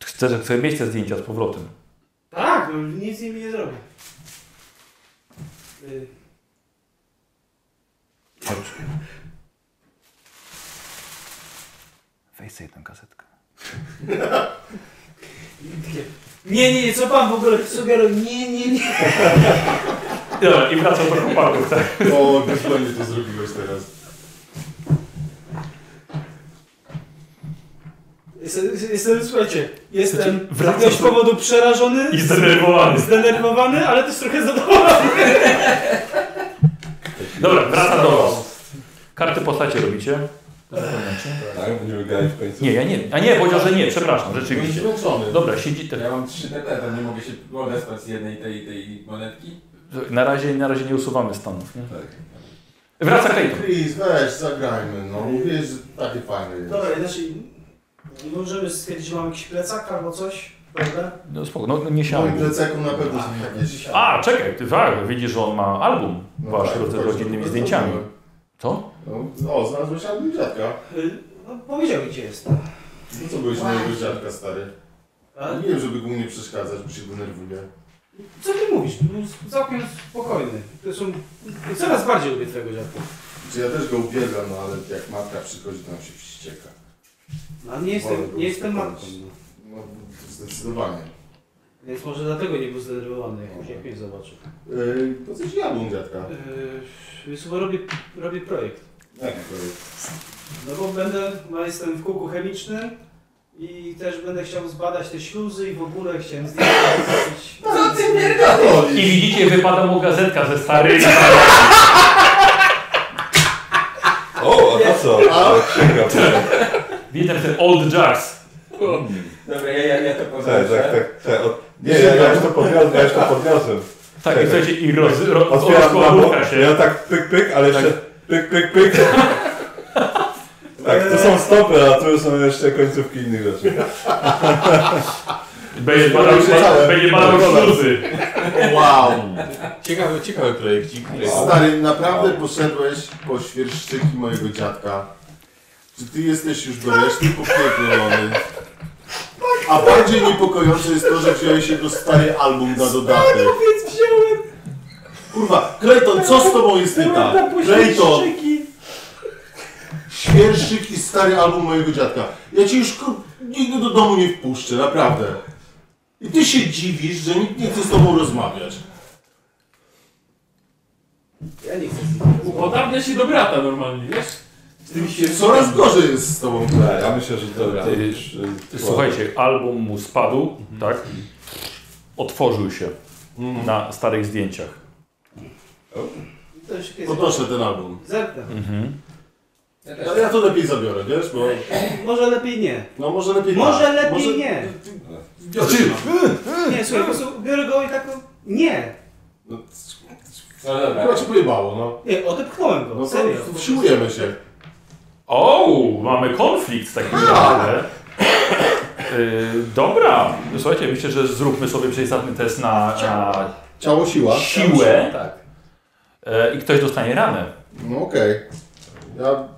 Speaker 1: Chcesz, chcesz mieć te zdjęcia z powrotem.
Speaker 9: Tak, no, nic z nimi nie zrobię. Y,
Speaker 1: Weź sobie tę kasetkę.
Speaker 9: takie, nie, nie, nie, co pan w ogóle sugeruje? Nie, nie, nie.
Speaker 1: Dobra, i wracam do chłopaków, tak?
Speaker 5: O, dosłownie to zrobiłeś teraz.
Speaker 9: Jestem, jestem słuchajcie, jestem z
Speaker 1: wracam
Speaker 9: jakiegoś
Speaker 1: do-
Speaker 9: powodu przerażony.
Speaker 1: I zdenerwowany.
Speaker 9: Zdenerwowany, ale też trochę zadowolony.
Speaker 1: Dobra, wracam do was. Karty postacie robicie?
Speaker 2: Tak, będziemy grali w końcu.
Speaker 1: Nie, ja nie. A nie, powiedział, że nie, przepraszam,
Speaker 24: Byłem
Speaker 1: rzeczywiście.
Speaker 24: zmęczony.
Speaker 1: Dobra, siedzi te
Speaker 24: Ja mam 3 TT, to nie mogę się odespać z jednej tej, tej monetki.
Speaker 1: tak, Na razie, na razie nie usuwamy stanów. Nie?
Speaker 2: Tak.
Speaker 1: Wraca Clayton.
Speaker 5: Chris, weź, zagrajmy, no. Mówiłeś, że takie fajne jest.
Speaker 9: Dobra, inaczej możemy stwierdzić, że mam jakiś plecak albo coś, prawda?
Speaker 1: No spoko, no nie
Speaker 5: W moim
Speaker 1: siadł.
Speaker 5: plecaku na pewno są jakieś...
Speaker 1: A, czekaj, ty tak, widzisz, że on ma album
Speaker 5: No
Speaker 1: wasz
Speaker 5: tak,
Speaker 1: z
Speaker 5: tak,
Speaker 1: rodzinnymi
Speaker 5: to
Speaker 1: zdjęciami.
Speaker 5: zrobiłem.
Speaker 1: Co?
Speaker 5: No, o, znalazłeś album dziadka.
Speaker 9: Y, No, powiedział gdzie jest.
Speaker 5: No co byłeś na jego dziadka, stary?
Speaker 9: A
Speaker 5: Nie wiem, żeby mu nie przeszkadzać, bo się denerwuje.
Speaker 9: co ty mówisz? Był całkiem spokojny. To są... Coraz bardziej lubię twojego dziadka.
Speaker 5: Czy ja też go uwielbiam, no ale jak matka przychodzi, to nam się wścieka.
Speaker 9: No, nie
Speaker 5: Wolę
Speaker 9: jestem,
Speaker 5: go
Speaker 9: nie jestem
Speaker 5: uspokoić.
Speaker 9: matką. no.
Speaker 5: No, zdecydowanie.
Speaker 9: Więc może dlatego nie był zdenerwowany, jak jak mnie zobaczył.
Speaker 5: Yy, po co ci jadł dziadka?
Speaker 9: Yy, słuchaj, robię, robię projekt.
Speaker 5: Jak to jest?
Speaker 9: No bo będę, no jestem w kółku chemicznym i też będę chciał zbadać te śluzy i w ogóle chciałem zdjęcia zrobić.
Speaker 24: Co ty pierdolisz?
Speaker 1: I widzicie, wypada mu gazetka ze starymi.
Speaker 2: O, a to co? A? Księga.
Speaker 1: Widzę ten old jazz.
Speaker 24: Dobra, ja, ja, ja to
Speaker 2: Tak, tak,
Speaker 24: poznaczę.
Speaker 2: tak. tak. Od... Nie, ja, ja już to podniosłem, ja już to podniosłem.
Speaker 1: Tak, i słuchajcie, i roz, roz,
Speaker 2: Otwieram
Speaker 1: rozkładówka
Speaker 2: na
Speaker 1: się.
Speaker 2: ja tak pyk, pyk, ale jeszcze pyk, pyk, pyk. Tak, tu są stopy, a tu są jeszcze końcówki innych rzeczy.
Speaker 6: Będzie badał, będzie badał
Speaker 5: [laughs]
Speaker 6: śluzy.
Speaker 5: Wow!
Speaker 12: tak.
Speaker 24: Ciekawy, ciekawy projekcik.
Speaker 5: Stary, naprawdę poszedłeś po świerszczyki mojego dziadka. Czy ty jesteś już do reszty popierdolony? A bardziej niepokojące jest to, że wziąłeś jego stary album na dodatek.
Speaker 3: Więc wziąłem
Speaker 5: Kurwa, Clayton, co z tobą jest nie tak?
Speaker 3: na
Speaker 5: Clayton,
Speaker 3: pośredniki.
Speaker 5: świerszyk i stary album mojego dziadka. Ja cię już kur... nigdy do domu nie wpuszczę, naprawdę. I ty się dziwisz, że nikt nie chce z tobą rozmawiać.
Speaker 12: Ja nie chcę z nim rozmawiać.
Speaker 6: Podobnie się do brata normalnie, wiesz?
Speaker 5: Z tym się coraz gorzej jest z tobą.
Speaker 2: Ja Tak, myślę, że to...
Speaker 1: Dobra.
Speaker 2: to już, y,
Speaker 1: Słuchajcie, album mu spadł, tak? Otworzył się na starych zdjęciach.
Speaker 9: To już jest-
Speaker 5: Poproszę No ten album.
Speaker 9: Zerknę.
Speaker 24: Ja też.
Speaker 5: Ale ja to lepiej zabiorę, wiesz, bo...
Speaker 9: Może lepiej nie.
Speaker 5: No może lepiej
Speaker 9: Może
Speaker 5: tak.
Speaker 9: lepiej nie.
Speaker 5: Znaczy,
Speaker 9: Nie, słuchaj, po prostu biorę go i tak... no, Nie.
Speaker 5: no,
Speaker 24: No dobra.
Speaker 5: chyba cię pojebało, no.
Speaker 9: Nie, odepchnąłem go,
Speaker 5: No
Speaker 9: serio.
Speaker 5: to wsiłujemy się.
Speaker 1: O, mamy konflikt w takim razie. Yy, dobra, słuchajcie, myślę, że zróbmy sobie przeciwstawny test na, na
Speaker 5: Ciało siła.
Speaker 1: siłę
Speaker 24: Tak.
Speaker 1: e, i ktoś dostanie ranę.
Speaker 5: No okej. Ja...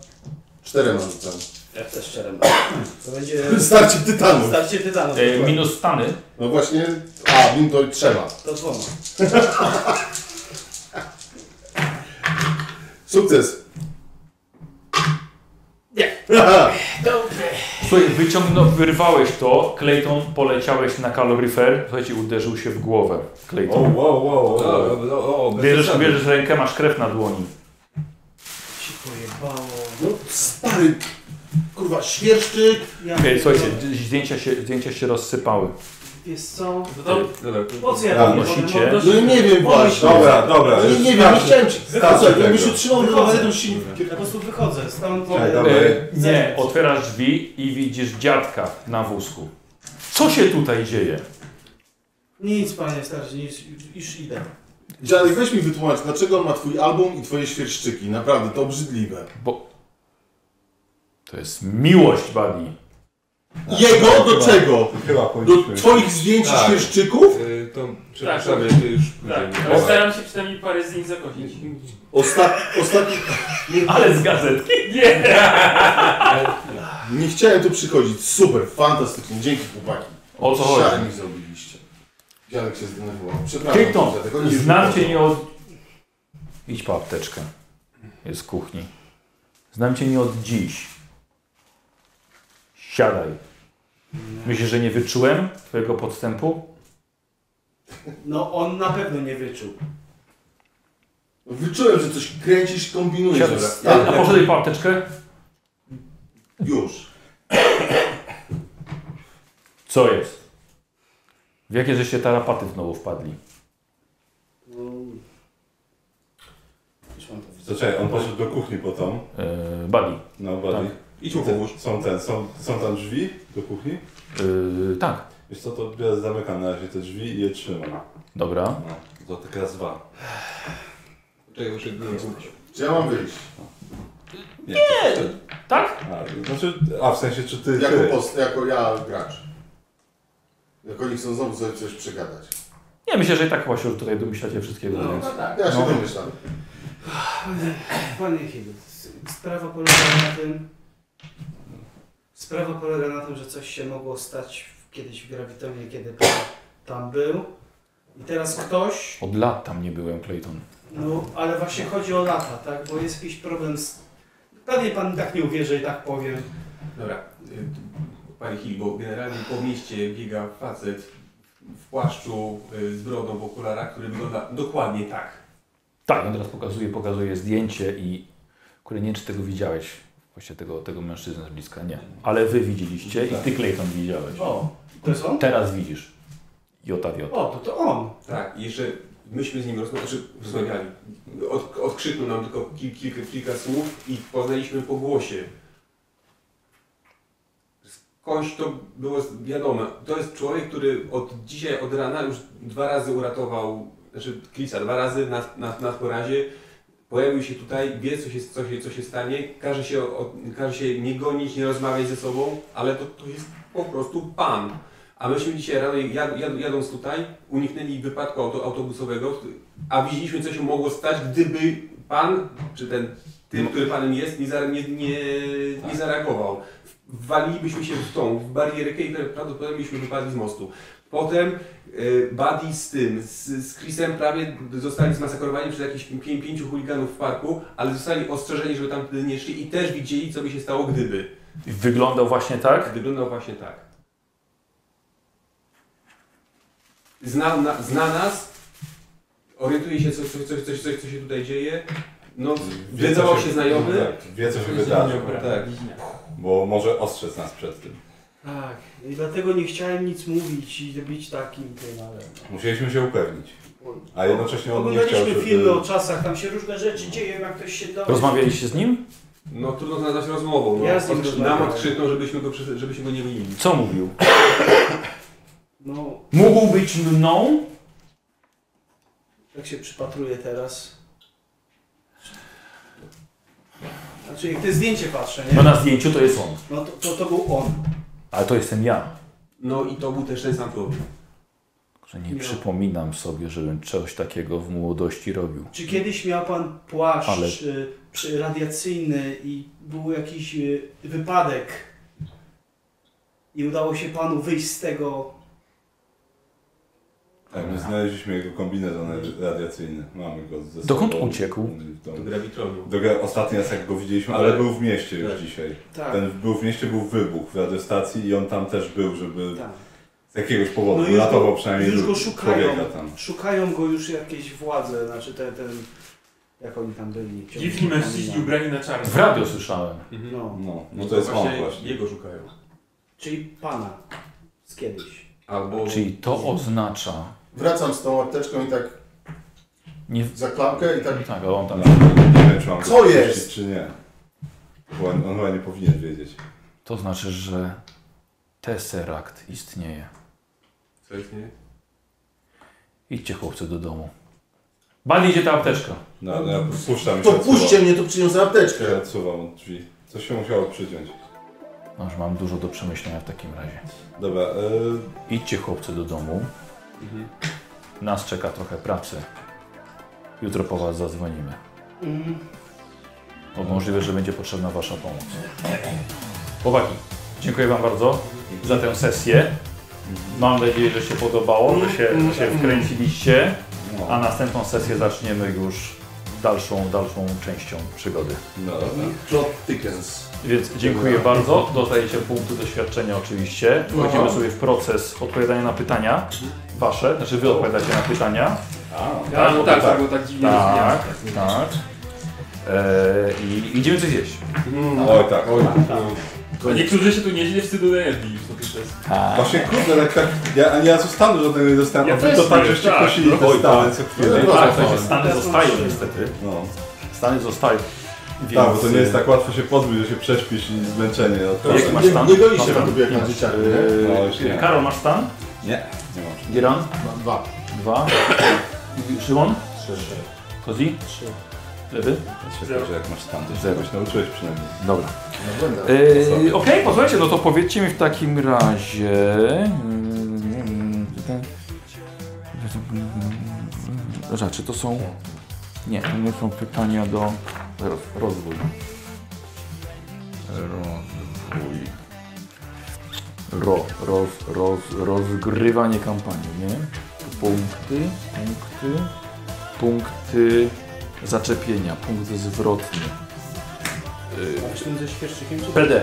Speaker 5: Cztery mam tam.
Speaker 9: Ja też szczerem. To będzie
Speaker 5: Starcie tytanów.
Speaker 9: starcie tytanów.
Speaker 1: E, minus stany.
Speaker 5: No właśnie, a, win to trzeba.
Speaker 9: To dwoma.
Speaker 5: Sukces.
Speaker 9: Nie.
Speaker 1: Słuchaj, wyciągnął, wyrwałeś to, Clayton, poleciałeś na kaloryfer, słuchajcie, uderzył się w głowę,
Speaker 2: O,
Speaker 1: Clayton.
Speaker 2: wow, wow,
Speaker 12: O,
Speaker 2: wow.
Speaker 12: o, o, o, bez
Speaker 1: Bierzesz,
Speaker 12: przesady.
Speaker 1: bierzesz rękę, masz krew na dłoni.
Speaker 9: Się pojebało.
Speaker 5: No stary, kurwa, świerszczyk.
Speaker 9: Ja
Speaker 1: E, Słuchajcie, zdjęcia się, zdjęcia się rozsypały.
Speaker 9: Wiesz co?
Speaker 6: To tam
Speaker 12: Dobra,
Speaker 9: Po co ja
Speaker 2: Ja
Speaker 9: tam
Speaker 1: nosicie.
Speaker 9: potem-
Speaker 5: No i nie wiem właśnie. No
Speaker 2: Dobra, dobra,
Speaker 5: Nie,
Speaker 2: już
Speaker 5: nie wiem, nie
Speaker 2: starczy.
Speaker 5: chciałem ci.
Speaker 2: Starczy
Speaker 5: Słuchaj, jakbyś
Speaker 2: tego.
Speaker 5: utrzymał
Speaker 9: Wychodzę.
Speaker 5: wychodzę, to już się nie
Speaker 9: Ja po prostu wychodzę stąd.
Speaker 2: Ej, dobra.
Speaker 1: E, nie,
Speaker 9: Zajęć.
Speaker 1: otwierasz drzwi i widzisz dziadka na wózku. Co się tutaj dzieje?
Speaker 9: Nic, panie starszy, nic, już- już idę.
Speaker 5: Dziadek, weź mi wytłumacz, dlaczego on ma twój album i twoje świerszczyki. Naprawdę, to obrzydliwe.
Speaker 1: To jest miłość, Buddy. Tak,
Speaker 5: Jego? Do czego?
Speaker 2: Chyba
Speaker 5: Do
Speaker 2: powinniśmy...
Speaker 5: twoich zdjęć i
Speaker 12: Tak.
Speaker 5: świerszczyków?
Speaker 12: y, to przepraszamy, ty już
Speaker 6: tak,
Speaker 12: będziemy-
Speaker 6: ale staram się przynajmniej parę z nich zakochać.
Speaker 5: Osta ostatni...
Speaker 1: Ale z gazetki.
Speaker 6: Nie!
Speaker 5: Nie chciałem tu przychodzić. Super, fantastycznie. Dzięki, chłopaki.
Speaker 1: O co chodzi?
Speaker 5: Szarni zrobiliście. Dziadek się zdenerwował. Przepraszam,
Speaker 1: Kryton,
Speaker 5: dziadek, oni już
Speaker 1: znam
Speaker 5: wychodzą.
Speaker 1: cię nie od... Idź po apteczkę. Jest w kuchni. Znam cię nie od dziś. Siadaj. Myślisz, że nie wyczułem twojego podstępu?
Speaker 9: No on na pewno nie wyczuł.
Speaker 5: Wyczułem, że coś kręcisz, kombinujesz.
Speaker 1: Siadaj.
Speaker 5: Ja-
Speaker 1: A poszedłeś po apteczkę?
Speaker 5: Już.
Speaker 1: Co jest? W jakie żeście tarapaty znowu wpadli?
Speaker 9: Już mam to w-
Speaker 2: To czekaj, on poszedł do kuchni po tą.
Speaker 1: Yy, Buddy.
Speaker 2: No, buddy.
Speaker 12: Idź mu pomóż.
Speaker 2: Są ten, są, są tam drzwi do kuchni.
Speaker 1: Yy, tak.
Speaker 2: Wiesz co, to ja zamykam na razie te drzwi i je trzymam.
Speaker 1: Dobra.
Speaker 2: No, to tak raz, dwa.
Speaker 12: Czekaj, muszę wyjść.
Speaker 5: Czy ja mam wyjść?
Speaker 2: Nie! to-
Speaker 1: Tak?
Speaker 2: A, to znaczy, a w sensie, czy ty...
Speaker 5: Jako,
Speaker 2: ty.
Speaker 5: post, jako ja gracz. Jak oni chcą znowu sobie coś przegadać.
Speaker 1: Nie, myślę, że i tak chyba się już tutaj domyślacie wszystkiego.
Speaker 9: No,
Speaker 1: więc...
Speaker 9: no tak.
Speaker 5: Ja się
Speaker 1: No.
Speaker 5: domyślam.
Speaker 9: Panie- Panie Hill, s- sprawa polega na tym... Sprawa polega na tym, że coś się mogło stać w- kiedyś w Grawitonie, kiedy pan tam był. I teraz ktoś...
Speaker 1: Od lat tam nie byłem, Clayton.
Speaker 9: No, ale właśnie chodzi o lata, tak? Bo jest jakiś problem z... Pewnie pan tak nie uwierzy i tak powiem.
Speaker 12: Dobra, y, panie Hill, bo generalnie po mieście biega facet w płaszczu y, z brodą w okularach, który wygląda dokładnie tak.
Speaker 1: Tak, on teraz pokazuje, pokazuje zdjęcie i... Kurde, nie wiem, czy tego widziałeś. Właśnie tego, tego mężczyznę z bliska. Nie. Ale wy widzieliście i ty, Clayton, widziałeś.
Speaker 9: O, to jest on?
Speaker 1: Teraz widzisz. Jota, jota.
Speaker 9: O, to to on.
Speaker 12: Tak, i jeszcze myśmy z nim rozmawiali, znaczy, rozmawiali. Od, odkrzyknął nam tylko kil, kilka, kilka słów i poznaliśmy po głosie. Skądś to było z- wiadome. To jest człowiek, który od dzisiaj, od rana już dwa razy uratował, znaczy Krisa, dwa razy nas, nas, nas po razie Pojawił się tutaj, wie co się, co się, co się stanie, każe się, o- każe się nie gonić, nie rozmawiać ze sobą, ale to, to jest po prostu pan. A myśmy dzisiaj rano, jad, jad, jadąc tutaj, uniknęli wypadku auto, autobusowego, a widzieliśmy, co się mogło stać, gdyby pan, czy ten tym, który panem jest, nie, za, nie, nie, nie zareagował. Walilibyśmy się w tą, w barierkę i prawdopodobnie byśmy wypadli z mostu. Potem e, Buddy z tym, z, z Chrisem prawie zostali zmasakrowani przez jakichś pię, pięciu chuliganów w parku, ale zostali ostrzeżeni, żeby tam wtedy nie szli i też widzieli, co by się stało gdyby.
Speaker 1: Wyglądał właśnie tak?
Speaker 12: Wyglądał właśnie tak. Zna, na, zna nas, orientuje się, co, co, co, co, co, co się tutaj dzieje. No, wydawał się znajomy.
Speaker 2: Tak, wie co się wydarzy.
Speaker 12: Tak.
Speaker 2: Bo może ostrzec nas przed tym.
Speaker 9: Tak, i dlatego nie chciałem nic mówić i być takim tym, ale...
Speaker 2: Musieliśmy się upewnić. A jednocześnie on nie chciał,
Speaker 9: Oglądaliśmy
Speaker 2: żeby...
Speaker 9: filmy o czasach, tam się różne rzeczy dzieją, jak ktoś się dowie.
Speaker 1: Rozmawialiście z nim?
Speaker 12: No trudno to nazwać rozmową. No.
Speaker 9: Ja z nim
Speaker 12: Odkrzy-
Speaker 9: rozmawiałem.
Speaker 12: nam odkrzyknął, żebyśmy go, przy- żebyśmy go nie winili.
Speaker 1: Co mówił?
Speaker 9: No,
Speaker 1: Mógł być mną?
Speaker 9: jak się przypatruję teraz... Znaczy, jak te zdjęcie patrzę,
Speaker 1: No
Speaker 9: nie?
Speaker 1: na zdjęciu to jest on.
Speaker 9: No to, to, to był on.
Speaker 1: Ale to jestem ja.
Speaker 12: No i to był też ten sam człowiek.
Speaker 1: Że nie przypominam sobie, żebym czegoś takiego w młodości robił.
Speaker 9: Czy kiedyś miał pan płaszcz
Speaker 1: Ale-
Speaker 9: y, przy- radiacyjny i był jakiś y, wypadek i udało się panu wyjść z tego?
Speaker 2: Tak, my znaleźliśmy jego kombinezon radiacyjny. Mamy go ze sobą.
Speaker 1: Dokąd uciekł?
Speaker 2: W domu.
Speaker 12: Do gravitronu.
Speaker 2: Do gra- Ostatni raz jak go widzieliśmy, ale był w mieście już
Speaker 12: Tak.
Speaker 2: dzisiaj.
Speaker 9: Tak,
Speaker 2: Ten był w mieście, był wybuch w radiostacji i on tam też był, żeby
Speaker 9: tak.
Speaker 2: z jakiegoś
Speaker 9: No
Speaker 2: powodu
Speaker 9: już go-
Speaker 2: ratował przynajmniej
Speaker 9: już go
Speaker 2: człowieka
Speaker 9: szukają.
Speaker 2: tam.
Speaker 9: Szukają go już jakieś władze, znaczy ten, ten jak oni tam byli. ciągle
Speaker 6: Dziwni mężczyźni
Speaker 9: pamiętam.
Speaker 6: ubrani na czarno.
Speaker 1: W radio słyszałem.
Speaker 9: No,
Speaker 2: No, no to jest on właśnie.
Speaker 12: Jego szukają.
Speaker 9: czyli pana z kiedyś.
Speaker 12: Albo...
Speaker 1: Czyli to oznacza...
Speaker 5: Wracam z tą apteczką i tak
Speaker 1: Nie...
Speaker 5: za klamkę i tak
Speaker 1: Tak, ale on tam...
Speaker 2: No, nie wiem, czy mam
Speaker 5: Co
Speaker 2: go puścić,
Speaker 5: jest?
Speaker 2: czy nie. Bo on, on chyba nie powinien wiedzieć.
Speaker 1: To znaczy, że Tesseract istnieje.
Speaker 12: Co jest nie?
Speaker 1: Idźcie chłopcy do domu. Bali idzie ta apteczka.
Speaker 2: No, no ja puszczam i
Speaker 5: To
Speaker 2: się odsuwam.
Speaker 5: puśćcie mnie, to przyniosę apteczkę.
Speaker 2: Ja odsuwam od drzwi. Coś się musiało przyciąć.
Speaker 1: Aż No, mam dużo do przemyślenia w takim razie.
Speaker 2: Dobra, yy,
Speaker 1: Idźcie chłopcy do domu. Nas czeka trochę pracy. Jutro po was zadzwonimy.
Speaker 9: Mm,
Speaker 1: Bo No, możliwe, że będzie potrzebna wasza pomoc. Chłopaki, dziękuję wam bardzo za tę sesję. Mam nadzieję, że się podobało, że się, że się wkręciliście.
Speaker 2: no,
Speaker 1: A następną sesję zaczniemy już dalszą, dalszą częścią przygody.
Speaker 2: no dobra.
Speaker 5: Plot Dickens.
Speaker 1: Więc dziękuję bardzo. Dostajecie punkty doświadczenia oczywiście. Wchodzimy sobie w proces odpowiadania na pytania wasze. Znaczy wy odpowiadacie na pytania.
Speaker 2: A,
Speaker 6: A no tak,
Speaker 2: tak.
Speaker 6: tak, bo tak dziwnie
Speaker 1: Tak,
Speaker 6: rozwijamy.
Speaker 1: tak. E, I idziemy coś jeść.
Speaker 2: Oj tak.
Speaker 5: Oj,
Speaker 6: A niektórzy się tu nieźle wstydu dojedli już na ten czas.
Speaker 2: Właśnie kurde, tak, tak, ja ani razu stanu żadnego nie dostałem,
Speaker 6: Ja
Speaker 2: a wy
Speaker 6: też
Speaker 2: to tak
Speaker 6: nie,
Speaker 2: żeście
Speaker 6: tak.
Speaker 2: prosili te
Speaker 1: Oj,
Speaker 2: stany co chwilę.
Speaker 5: No,
Speaker 1: Tak, to
Speaker 5: tak.
Speaker 1: się Stany zostają niestety.
Speaker 2: No,
Speaker 1: Stany zostają.
Speaker 2: tak, bo to nie jest tak łatwo się pozbyć, że się prześpisz i zmęczenie. od tego.
Speaker 1: y, Jak masz
Speaker 5: nie,
Speaker 1: stan?
Speaker 5: nie goni się
Speaker 1: Masz
Speaker 5: na
Speaker 1: stan?
Speaker 5: tobie jak
Speaker 1: Nie
Speaker 5: na
Speaker 1: masz.
Speaker 5: dzieciaku, nie?
Speaker 2: No, już nie.
Speaker 1: y, Karol, masz stan?
Speaker 2: Nie, nie mam.
Speaker 1: Giran?
Speaker 5: Mam Dwa.
Speaker 1: Dwa. Szymon?
Speaker 5: Trzy.
Speaker 1: Kozi?
Speaker 9: Trzy.
Speaker 1: Lewy?
Speaker 2: Czekaj, że jak masz stan, to się
Speaker 1: Zero.
Speaker 2: czegoś nauczyłeś przynajmniej.
Speaker 1: Dobra.
Speaker 5: Na błędach.
Speaker 1: Yy, Okej, posłuchajcie, no to powiedzcie mi w takim razie. Yy, Rzeczy to są. Nie, to nie są pytania do. Roz, rozwój. Rozwój. Ro, roz, roz, rozgrywanie kampanii, nie? Punkty, punkty, punkty zaczepienia, punkt zwrotny. Yy,
Speaker 9: Zaczniemy ze świerszczykiem, czy
Speaker 1: PD.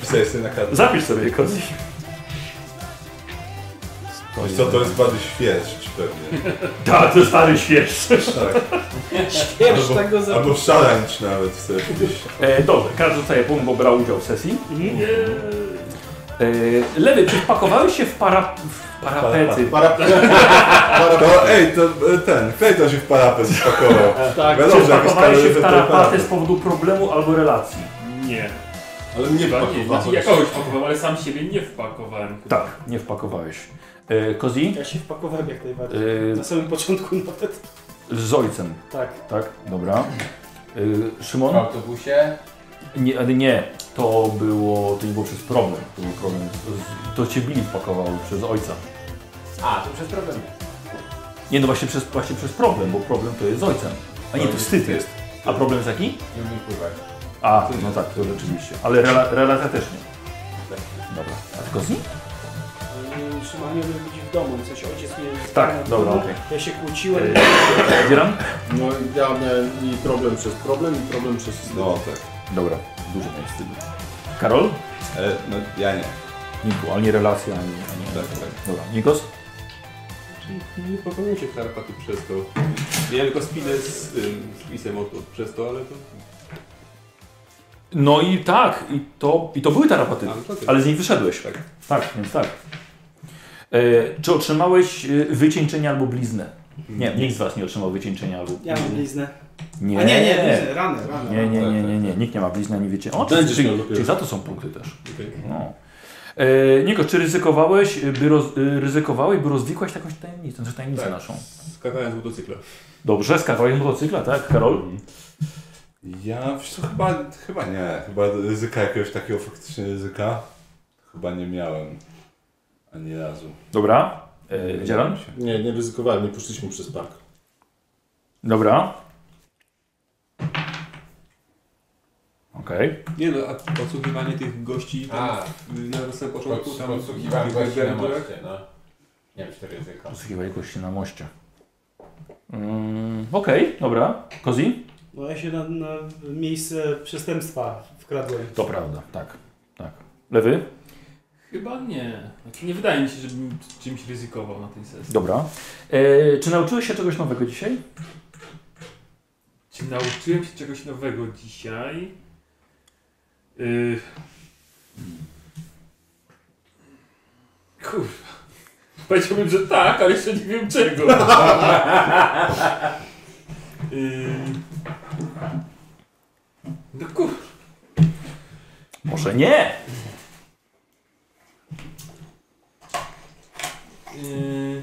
Speaker 2: Pisałeś sobie na kartę.
Speaker 1: Zapisz sobie kozi.
Speaker 2: Wiesz co, to jest bardziej świeżdż pewnie.
Speaker 1: Tak, to stary śwież.
Speaker 2: Tak.
Speaker 9: Wiesz, tak go za...
Speaker 2: Albo szarańcz nawet sobie gdzieś.
Speaker 1: E, dobrze, każdy dostaje punkt, bo brał udział w sesji.
Speaker 9: Mhm.
Speaker 1: E, lewy, czy wpakowałeś się w, para, w parapety?
Speaker 5: Para...
Speaker 2: To, ej, to e, ten, Clayton się w parapet spakował.
Speaker 1: [laughs] Tak,
Speaker 2: Wiadomo,
Speaker 1: czy
Speaker 2: że jakieś
Speaker 1: wpakowałeś się
Speaker 2: kaloryfer
Speaker 1: w
Speaker 2: to
Speaker 1: tarapaty
Speaker 2: parapet.
Speaker 1: z powodu problemu albo relacji?
Speaker 6: Nie.
Speaker 2: Ale mnie
Speaker 6: Chyba nie. Znaczy, ja kogoś pakowałem, ale sam siebie nie wpakowałem.
Speaker 1: Tak, nie wpakowałeś. E, Kozi?
Speaker 9: Ja się wpakowałem jak najbardziej.
Speaker 1: E,
Speaker 9: Na samym początku nawet.
Speaker 1: Z ojcem,
Speaker 9: Tak.
Speaker 1: tak? Dobra. Y, Szymon?
Speaker 24: W autobusie.
Speaker 1: Nie, ale nie, to było, to nie było przez problem. To był problem. z- To cię Billy wpakował przez ojca.
Speaker 4: A, to przez problem.
Speaker 1: Nie, no właśnie przez, właśnie przez problem, bo problem to jest z ojcem. A nie, to wstyd jest. A problem jest jaki?
Speaker 24: Nie umiem pływać.
Speaker 1: A, no tak, to rzeczywiście. Ale rela, relacja też nie. Dobra. A tylko z nim?
Speaker 9: Trzymanie ludzi w domu, coś ojciec mnie...
Speaker 1: Tak, dobra, okej.
Speaker 9: Ja się kłóciłem.
Speaker 1: Yy, Dzieram?
Speaker 5: No ja miałem i problem przez problem i problem przez wstyd.
Speaker 2: No tak.
Speaker 1: Dobra, dużo miałem wstydu. Karol?
Speaker 2: E, no ja nie.
Speaker 1: Niku, ale nie relacja, ani... ani...
Speaker 2: Tak, tak.
Speaker 1: Dobra, Nikos?
Speaker 12: Nie pokonuję się tarapaty przez to. Miałem tylko spinę z tym, z pisem od, od, przez to, ale to...
Speaker 1: No i tak, i to, i to były tarapaty,
Speaker 12: A, to ty.
Speaker 1: ale z nich wyszedłeś.
Speaker 12: Tak.
Speaker 1: tak więc tak. E, czy otrzymałeś e, wycieńczenie albo bliznę? Nie, nikt z Was nie otrzymał wycieńczenia albo
Speaker 9: Ja mam bliznę.
Speaker 1: Nie,
Speaker 9: A nie, nie, bliznę, rany, rany.
Speaker 1: nie, nie, nie, nie, nie, nikt nie ma blizny ani wiecie. O, czy,
Speaker 5: Będziesz miał
Speaker 1: czy,
Speaker 5: dopiero.
Speaker 1: czy za to są punkty też. No. E, Niko, czy ryzykowałeś, by roz, e, ryzykowałeś, by rozwikłaś jakąś tajemnicę, znaczy tajemnicę
Speaker 12: Tak.
Speaker 1: naszą?
Speaker 12: Skakałem z motocykla.
Speaker 1: Dobrze, z kawałkiem motocykla, tak, Karol?
Speaker 2: Ja wiesz co, chyba, chyba nie. Chyba ryzyka jakiegoś takiego faktycznie ryzyka chyba nie miałem. Ani razu.
Speaker 1: Dobra, e, Dzieran?
Speaker 5: Nie, nie ryzykowałem, nie poszliśmy przez park.
Speaker 1: Dobra. Okej.
Speaker 12: Nie no, a odsłuchiwanie tych gości tam,
Speaker 4: A,
Speaker 12: y, na samym początku tam...
Speaker 4: podsłuchiwałem
Speaker 12: w
Speaker 4: gości na
Speaker 12: garniturach.
Speaker 4: moście, no. Nie wiem, czy to ryzyko.
Speaker 1: Posłuchiwaj gości na moście. Mm, Okej, dobra. Kozi?
Speaker 9: No ja się na, na miejsce przestępstwa wkradłem.
Speaker 1: To prawda, tak. tak. Lewy?
Speaker 6: Chyba nie. Znaczy nie wydaje mi się, żebym czymś ryzykował na tej sesji.
Speaker 1: Dobra. E, czy nauczyłeś się czegoś nowego dzisiaj?
Speaker 6: Czy Znaczy, nauczyłem się czegoś nowego dzisiaj? Yy... Kurwa. Powiedziałbym, że tak, ale jeszcze nie wiem czego. yy... No kurwa.
Speaker 1: Może nie!
Speaker 6: Yy...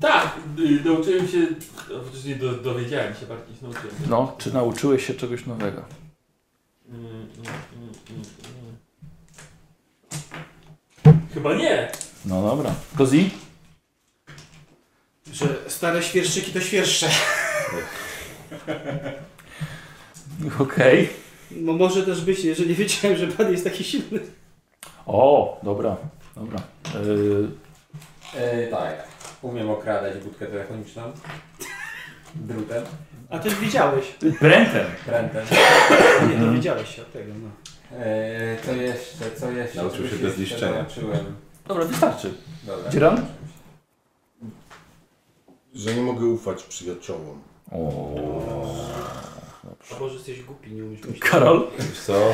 Speaker 6: Tak, yy, nauczyłem się, a chociaż nie do, dowiedziałem się bardziej, się nauczyłem.
Speaker 1: No, czy nauczyłeś się czegoś nowego?
Speaker 6: Mm, mm, mm, mm, mm. Chyba nie.
Speaker 1: No dobra. Kozi?
Speaker 9: Że stare świerszczyki to świerszcze.
Speaker 1: [laughs] Okej.
Speaker 9: No może też być, że nie wiedziałem, że pan jest taki silny.
Speaker 1: O, dobra, dobra. E,
Speaker 4: E, tak. Umiem okradać budkę telefoniczną. Drutem.
Speaker 9: A ty widziałeś.
Speaker 1: E, Brętem.
Speaker 4: Prętem.
Speaker 9: Nie
Speaker 1: Mhm.
Speaker 9: dowiedziałeś się od tego, no.
Speaker 4: E, co jeszcze, co jeszcze?
Speaker 2: Nauczył
Speaker 4: Czegoś
Speaker 2: się bez
Speaker 4: jeszcze
Speaker 2: niszczenia.
Speaker 4: Nauczyłem.
Speaker 1: Dobra, wystarczy.
Speaker 4: Dobra.
Speaker 1: Dzieran?
Speaker 5: Że nie mogę ufać przyjaciołom.
Speaker 1: O.
Speaker 9: A może jesteś głupi, nie umiesz myśleć.
Speaker 1: Karol?
Speaker 2: Wiesz co?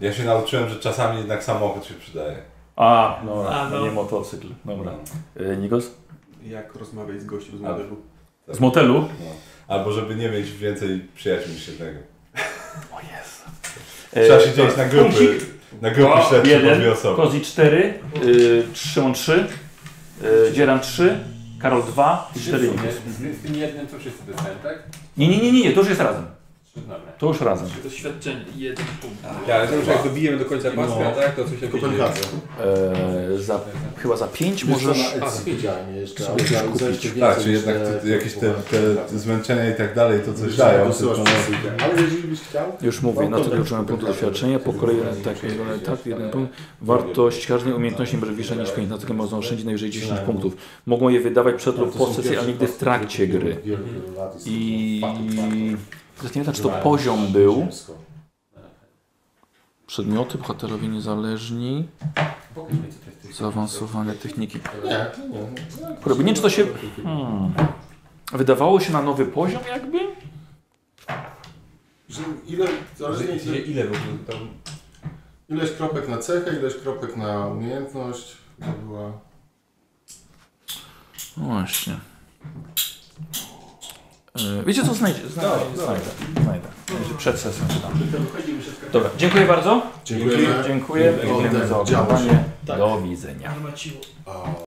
Speaker 2: Ja się nauczyłem, że czasami jednak samochód się przydaje.
Speaker 1: A, no,
Speaker 9: A, no.
Speaker 1: nie motocykl. Dobra. E, Nikos?
Speaker 12: Jak rozmawiać z gościem z modelu?
Speaker 1: Z motelu?
Speaker 2: Albo żeby nie mieć więcej przyjaciół niż jednego.
Speaker 1: O Jezu. E,
Speaker 2: Trzeba się dzielić na grupy. Na grupy
Speaker 1: O,
Speaker 2: śledcze po
Speaker 1: jeden.
Speaker 2: dwie osoby.
Speaker 1: Kozi 4, y, Szymon 3, y, Dzieran 3, Karol 2 i 4
Speaker 4: Wszyscy, z, z tym jednym to wszyscy dostają, tak?
Speaker 1: nie, nie, nie, nie, nie, to już jest razem.
Speaker 4: Trzy, Dobra.
Speaker 1: To już razem.
Speaker 6: Doświadczenie, jeden punkt.
Speaker 12: Ja, ale to już jak dobijemy do końca paska, tak, to coś takiego...
Speaker 5: Kopenhadze.
Speaker 1: E, za, chyba za 5 możesz.
Speaker 5: A, widziałem jeszcze,
Speaker 1: sobie coś
Speaker 5: ale zajście więcej
Speaker 2: Tak, czy
Speaker 5: niż e, tak,
Speaker 2: jednak te,
Speaker 5: te-
Speaker 2: jakieś te, te zmęczenia i tak dalej, to coś
Speaker 5: Myślałem,
Speaker 2: dają.
Speaker 5: że wysyłasz
Speaker 2: tylko no-
Speaker 5: przesyłkę. Ale jeżeli byś chciał...
Speaker 1: Już mówię, na tyle uczyłem punktu doświadczenia, po kolei tak, tak, jeden punkt. Wartość każdej umiejętności może wyższa niż 5, dlatego można oszczędzić najwyżej 10 punktów. Mogą je wydawać przed lub po sesji, a nigdy w trakcie gry.
Speaker 5: Wielu, wielu lat jest
Speaker 1: I...
Speaker 5: to fakt, fakt.
Speaker 1: Nie wiem, czy to poziom był.
Speaker 5: Ziemsko.
Speaker 1: Przedmioty, bohaterowie niezależni,
Speaker 4: Pokaż mi, co to jest. ty-
Speaker 1: zaawansowane techniki.
Speaker 5: Nie, nie.
Speaker 1: Kurde, nie wiem, czy to się... Hmm. Wydawało się na nowy poziom jakby?
Speaker 5: Że Ile, zależnie
Speaker 12: Że-
Speaker 5: ile,
Speaker 12: że Ile w ogóle tam...
Speaker 5: ileś kropek na cechę, ileś kropek na umiejętność. To była...
Speaker 1: No właśnie. E, Wiecie co, znajdzie, znajdę, znajdę, znajdę. Będzie Przed sesją czy tam. Dobra, dziękuję bardzo.
Speaker 5: Dziękujemy.
Speaker 1: Dziękuję.
Speaker 5: Oddech,
Speaker 1: Dziękujemy za
Speaker 5: działo się.
Speaker 1: oglądanie.
Speaker 9: Tak.
Speaker 1: Do widzenia.
Speaker 9: Armaciło.
Speaker 5: O.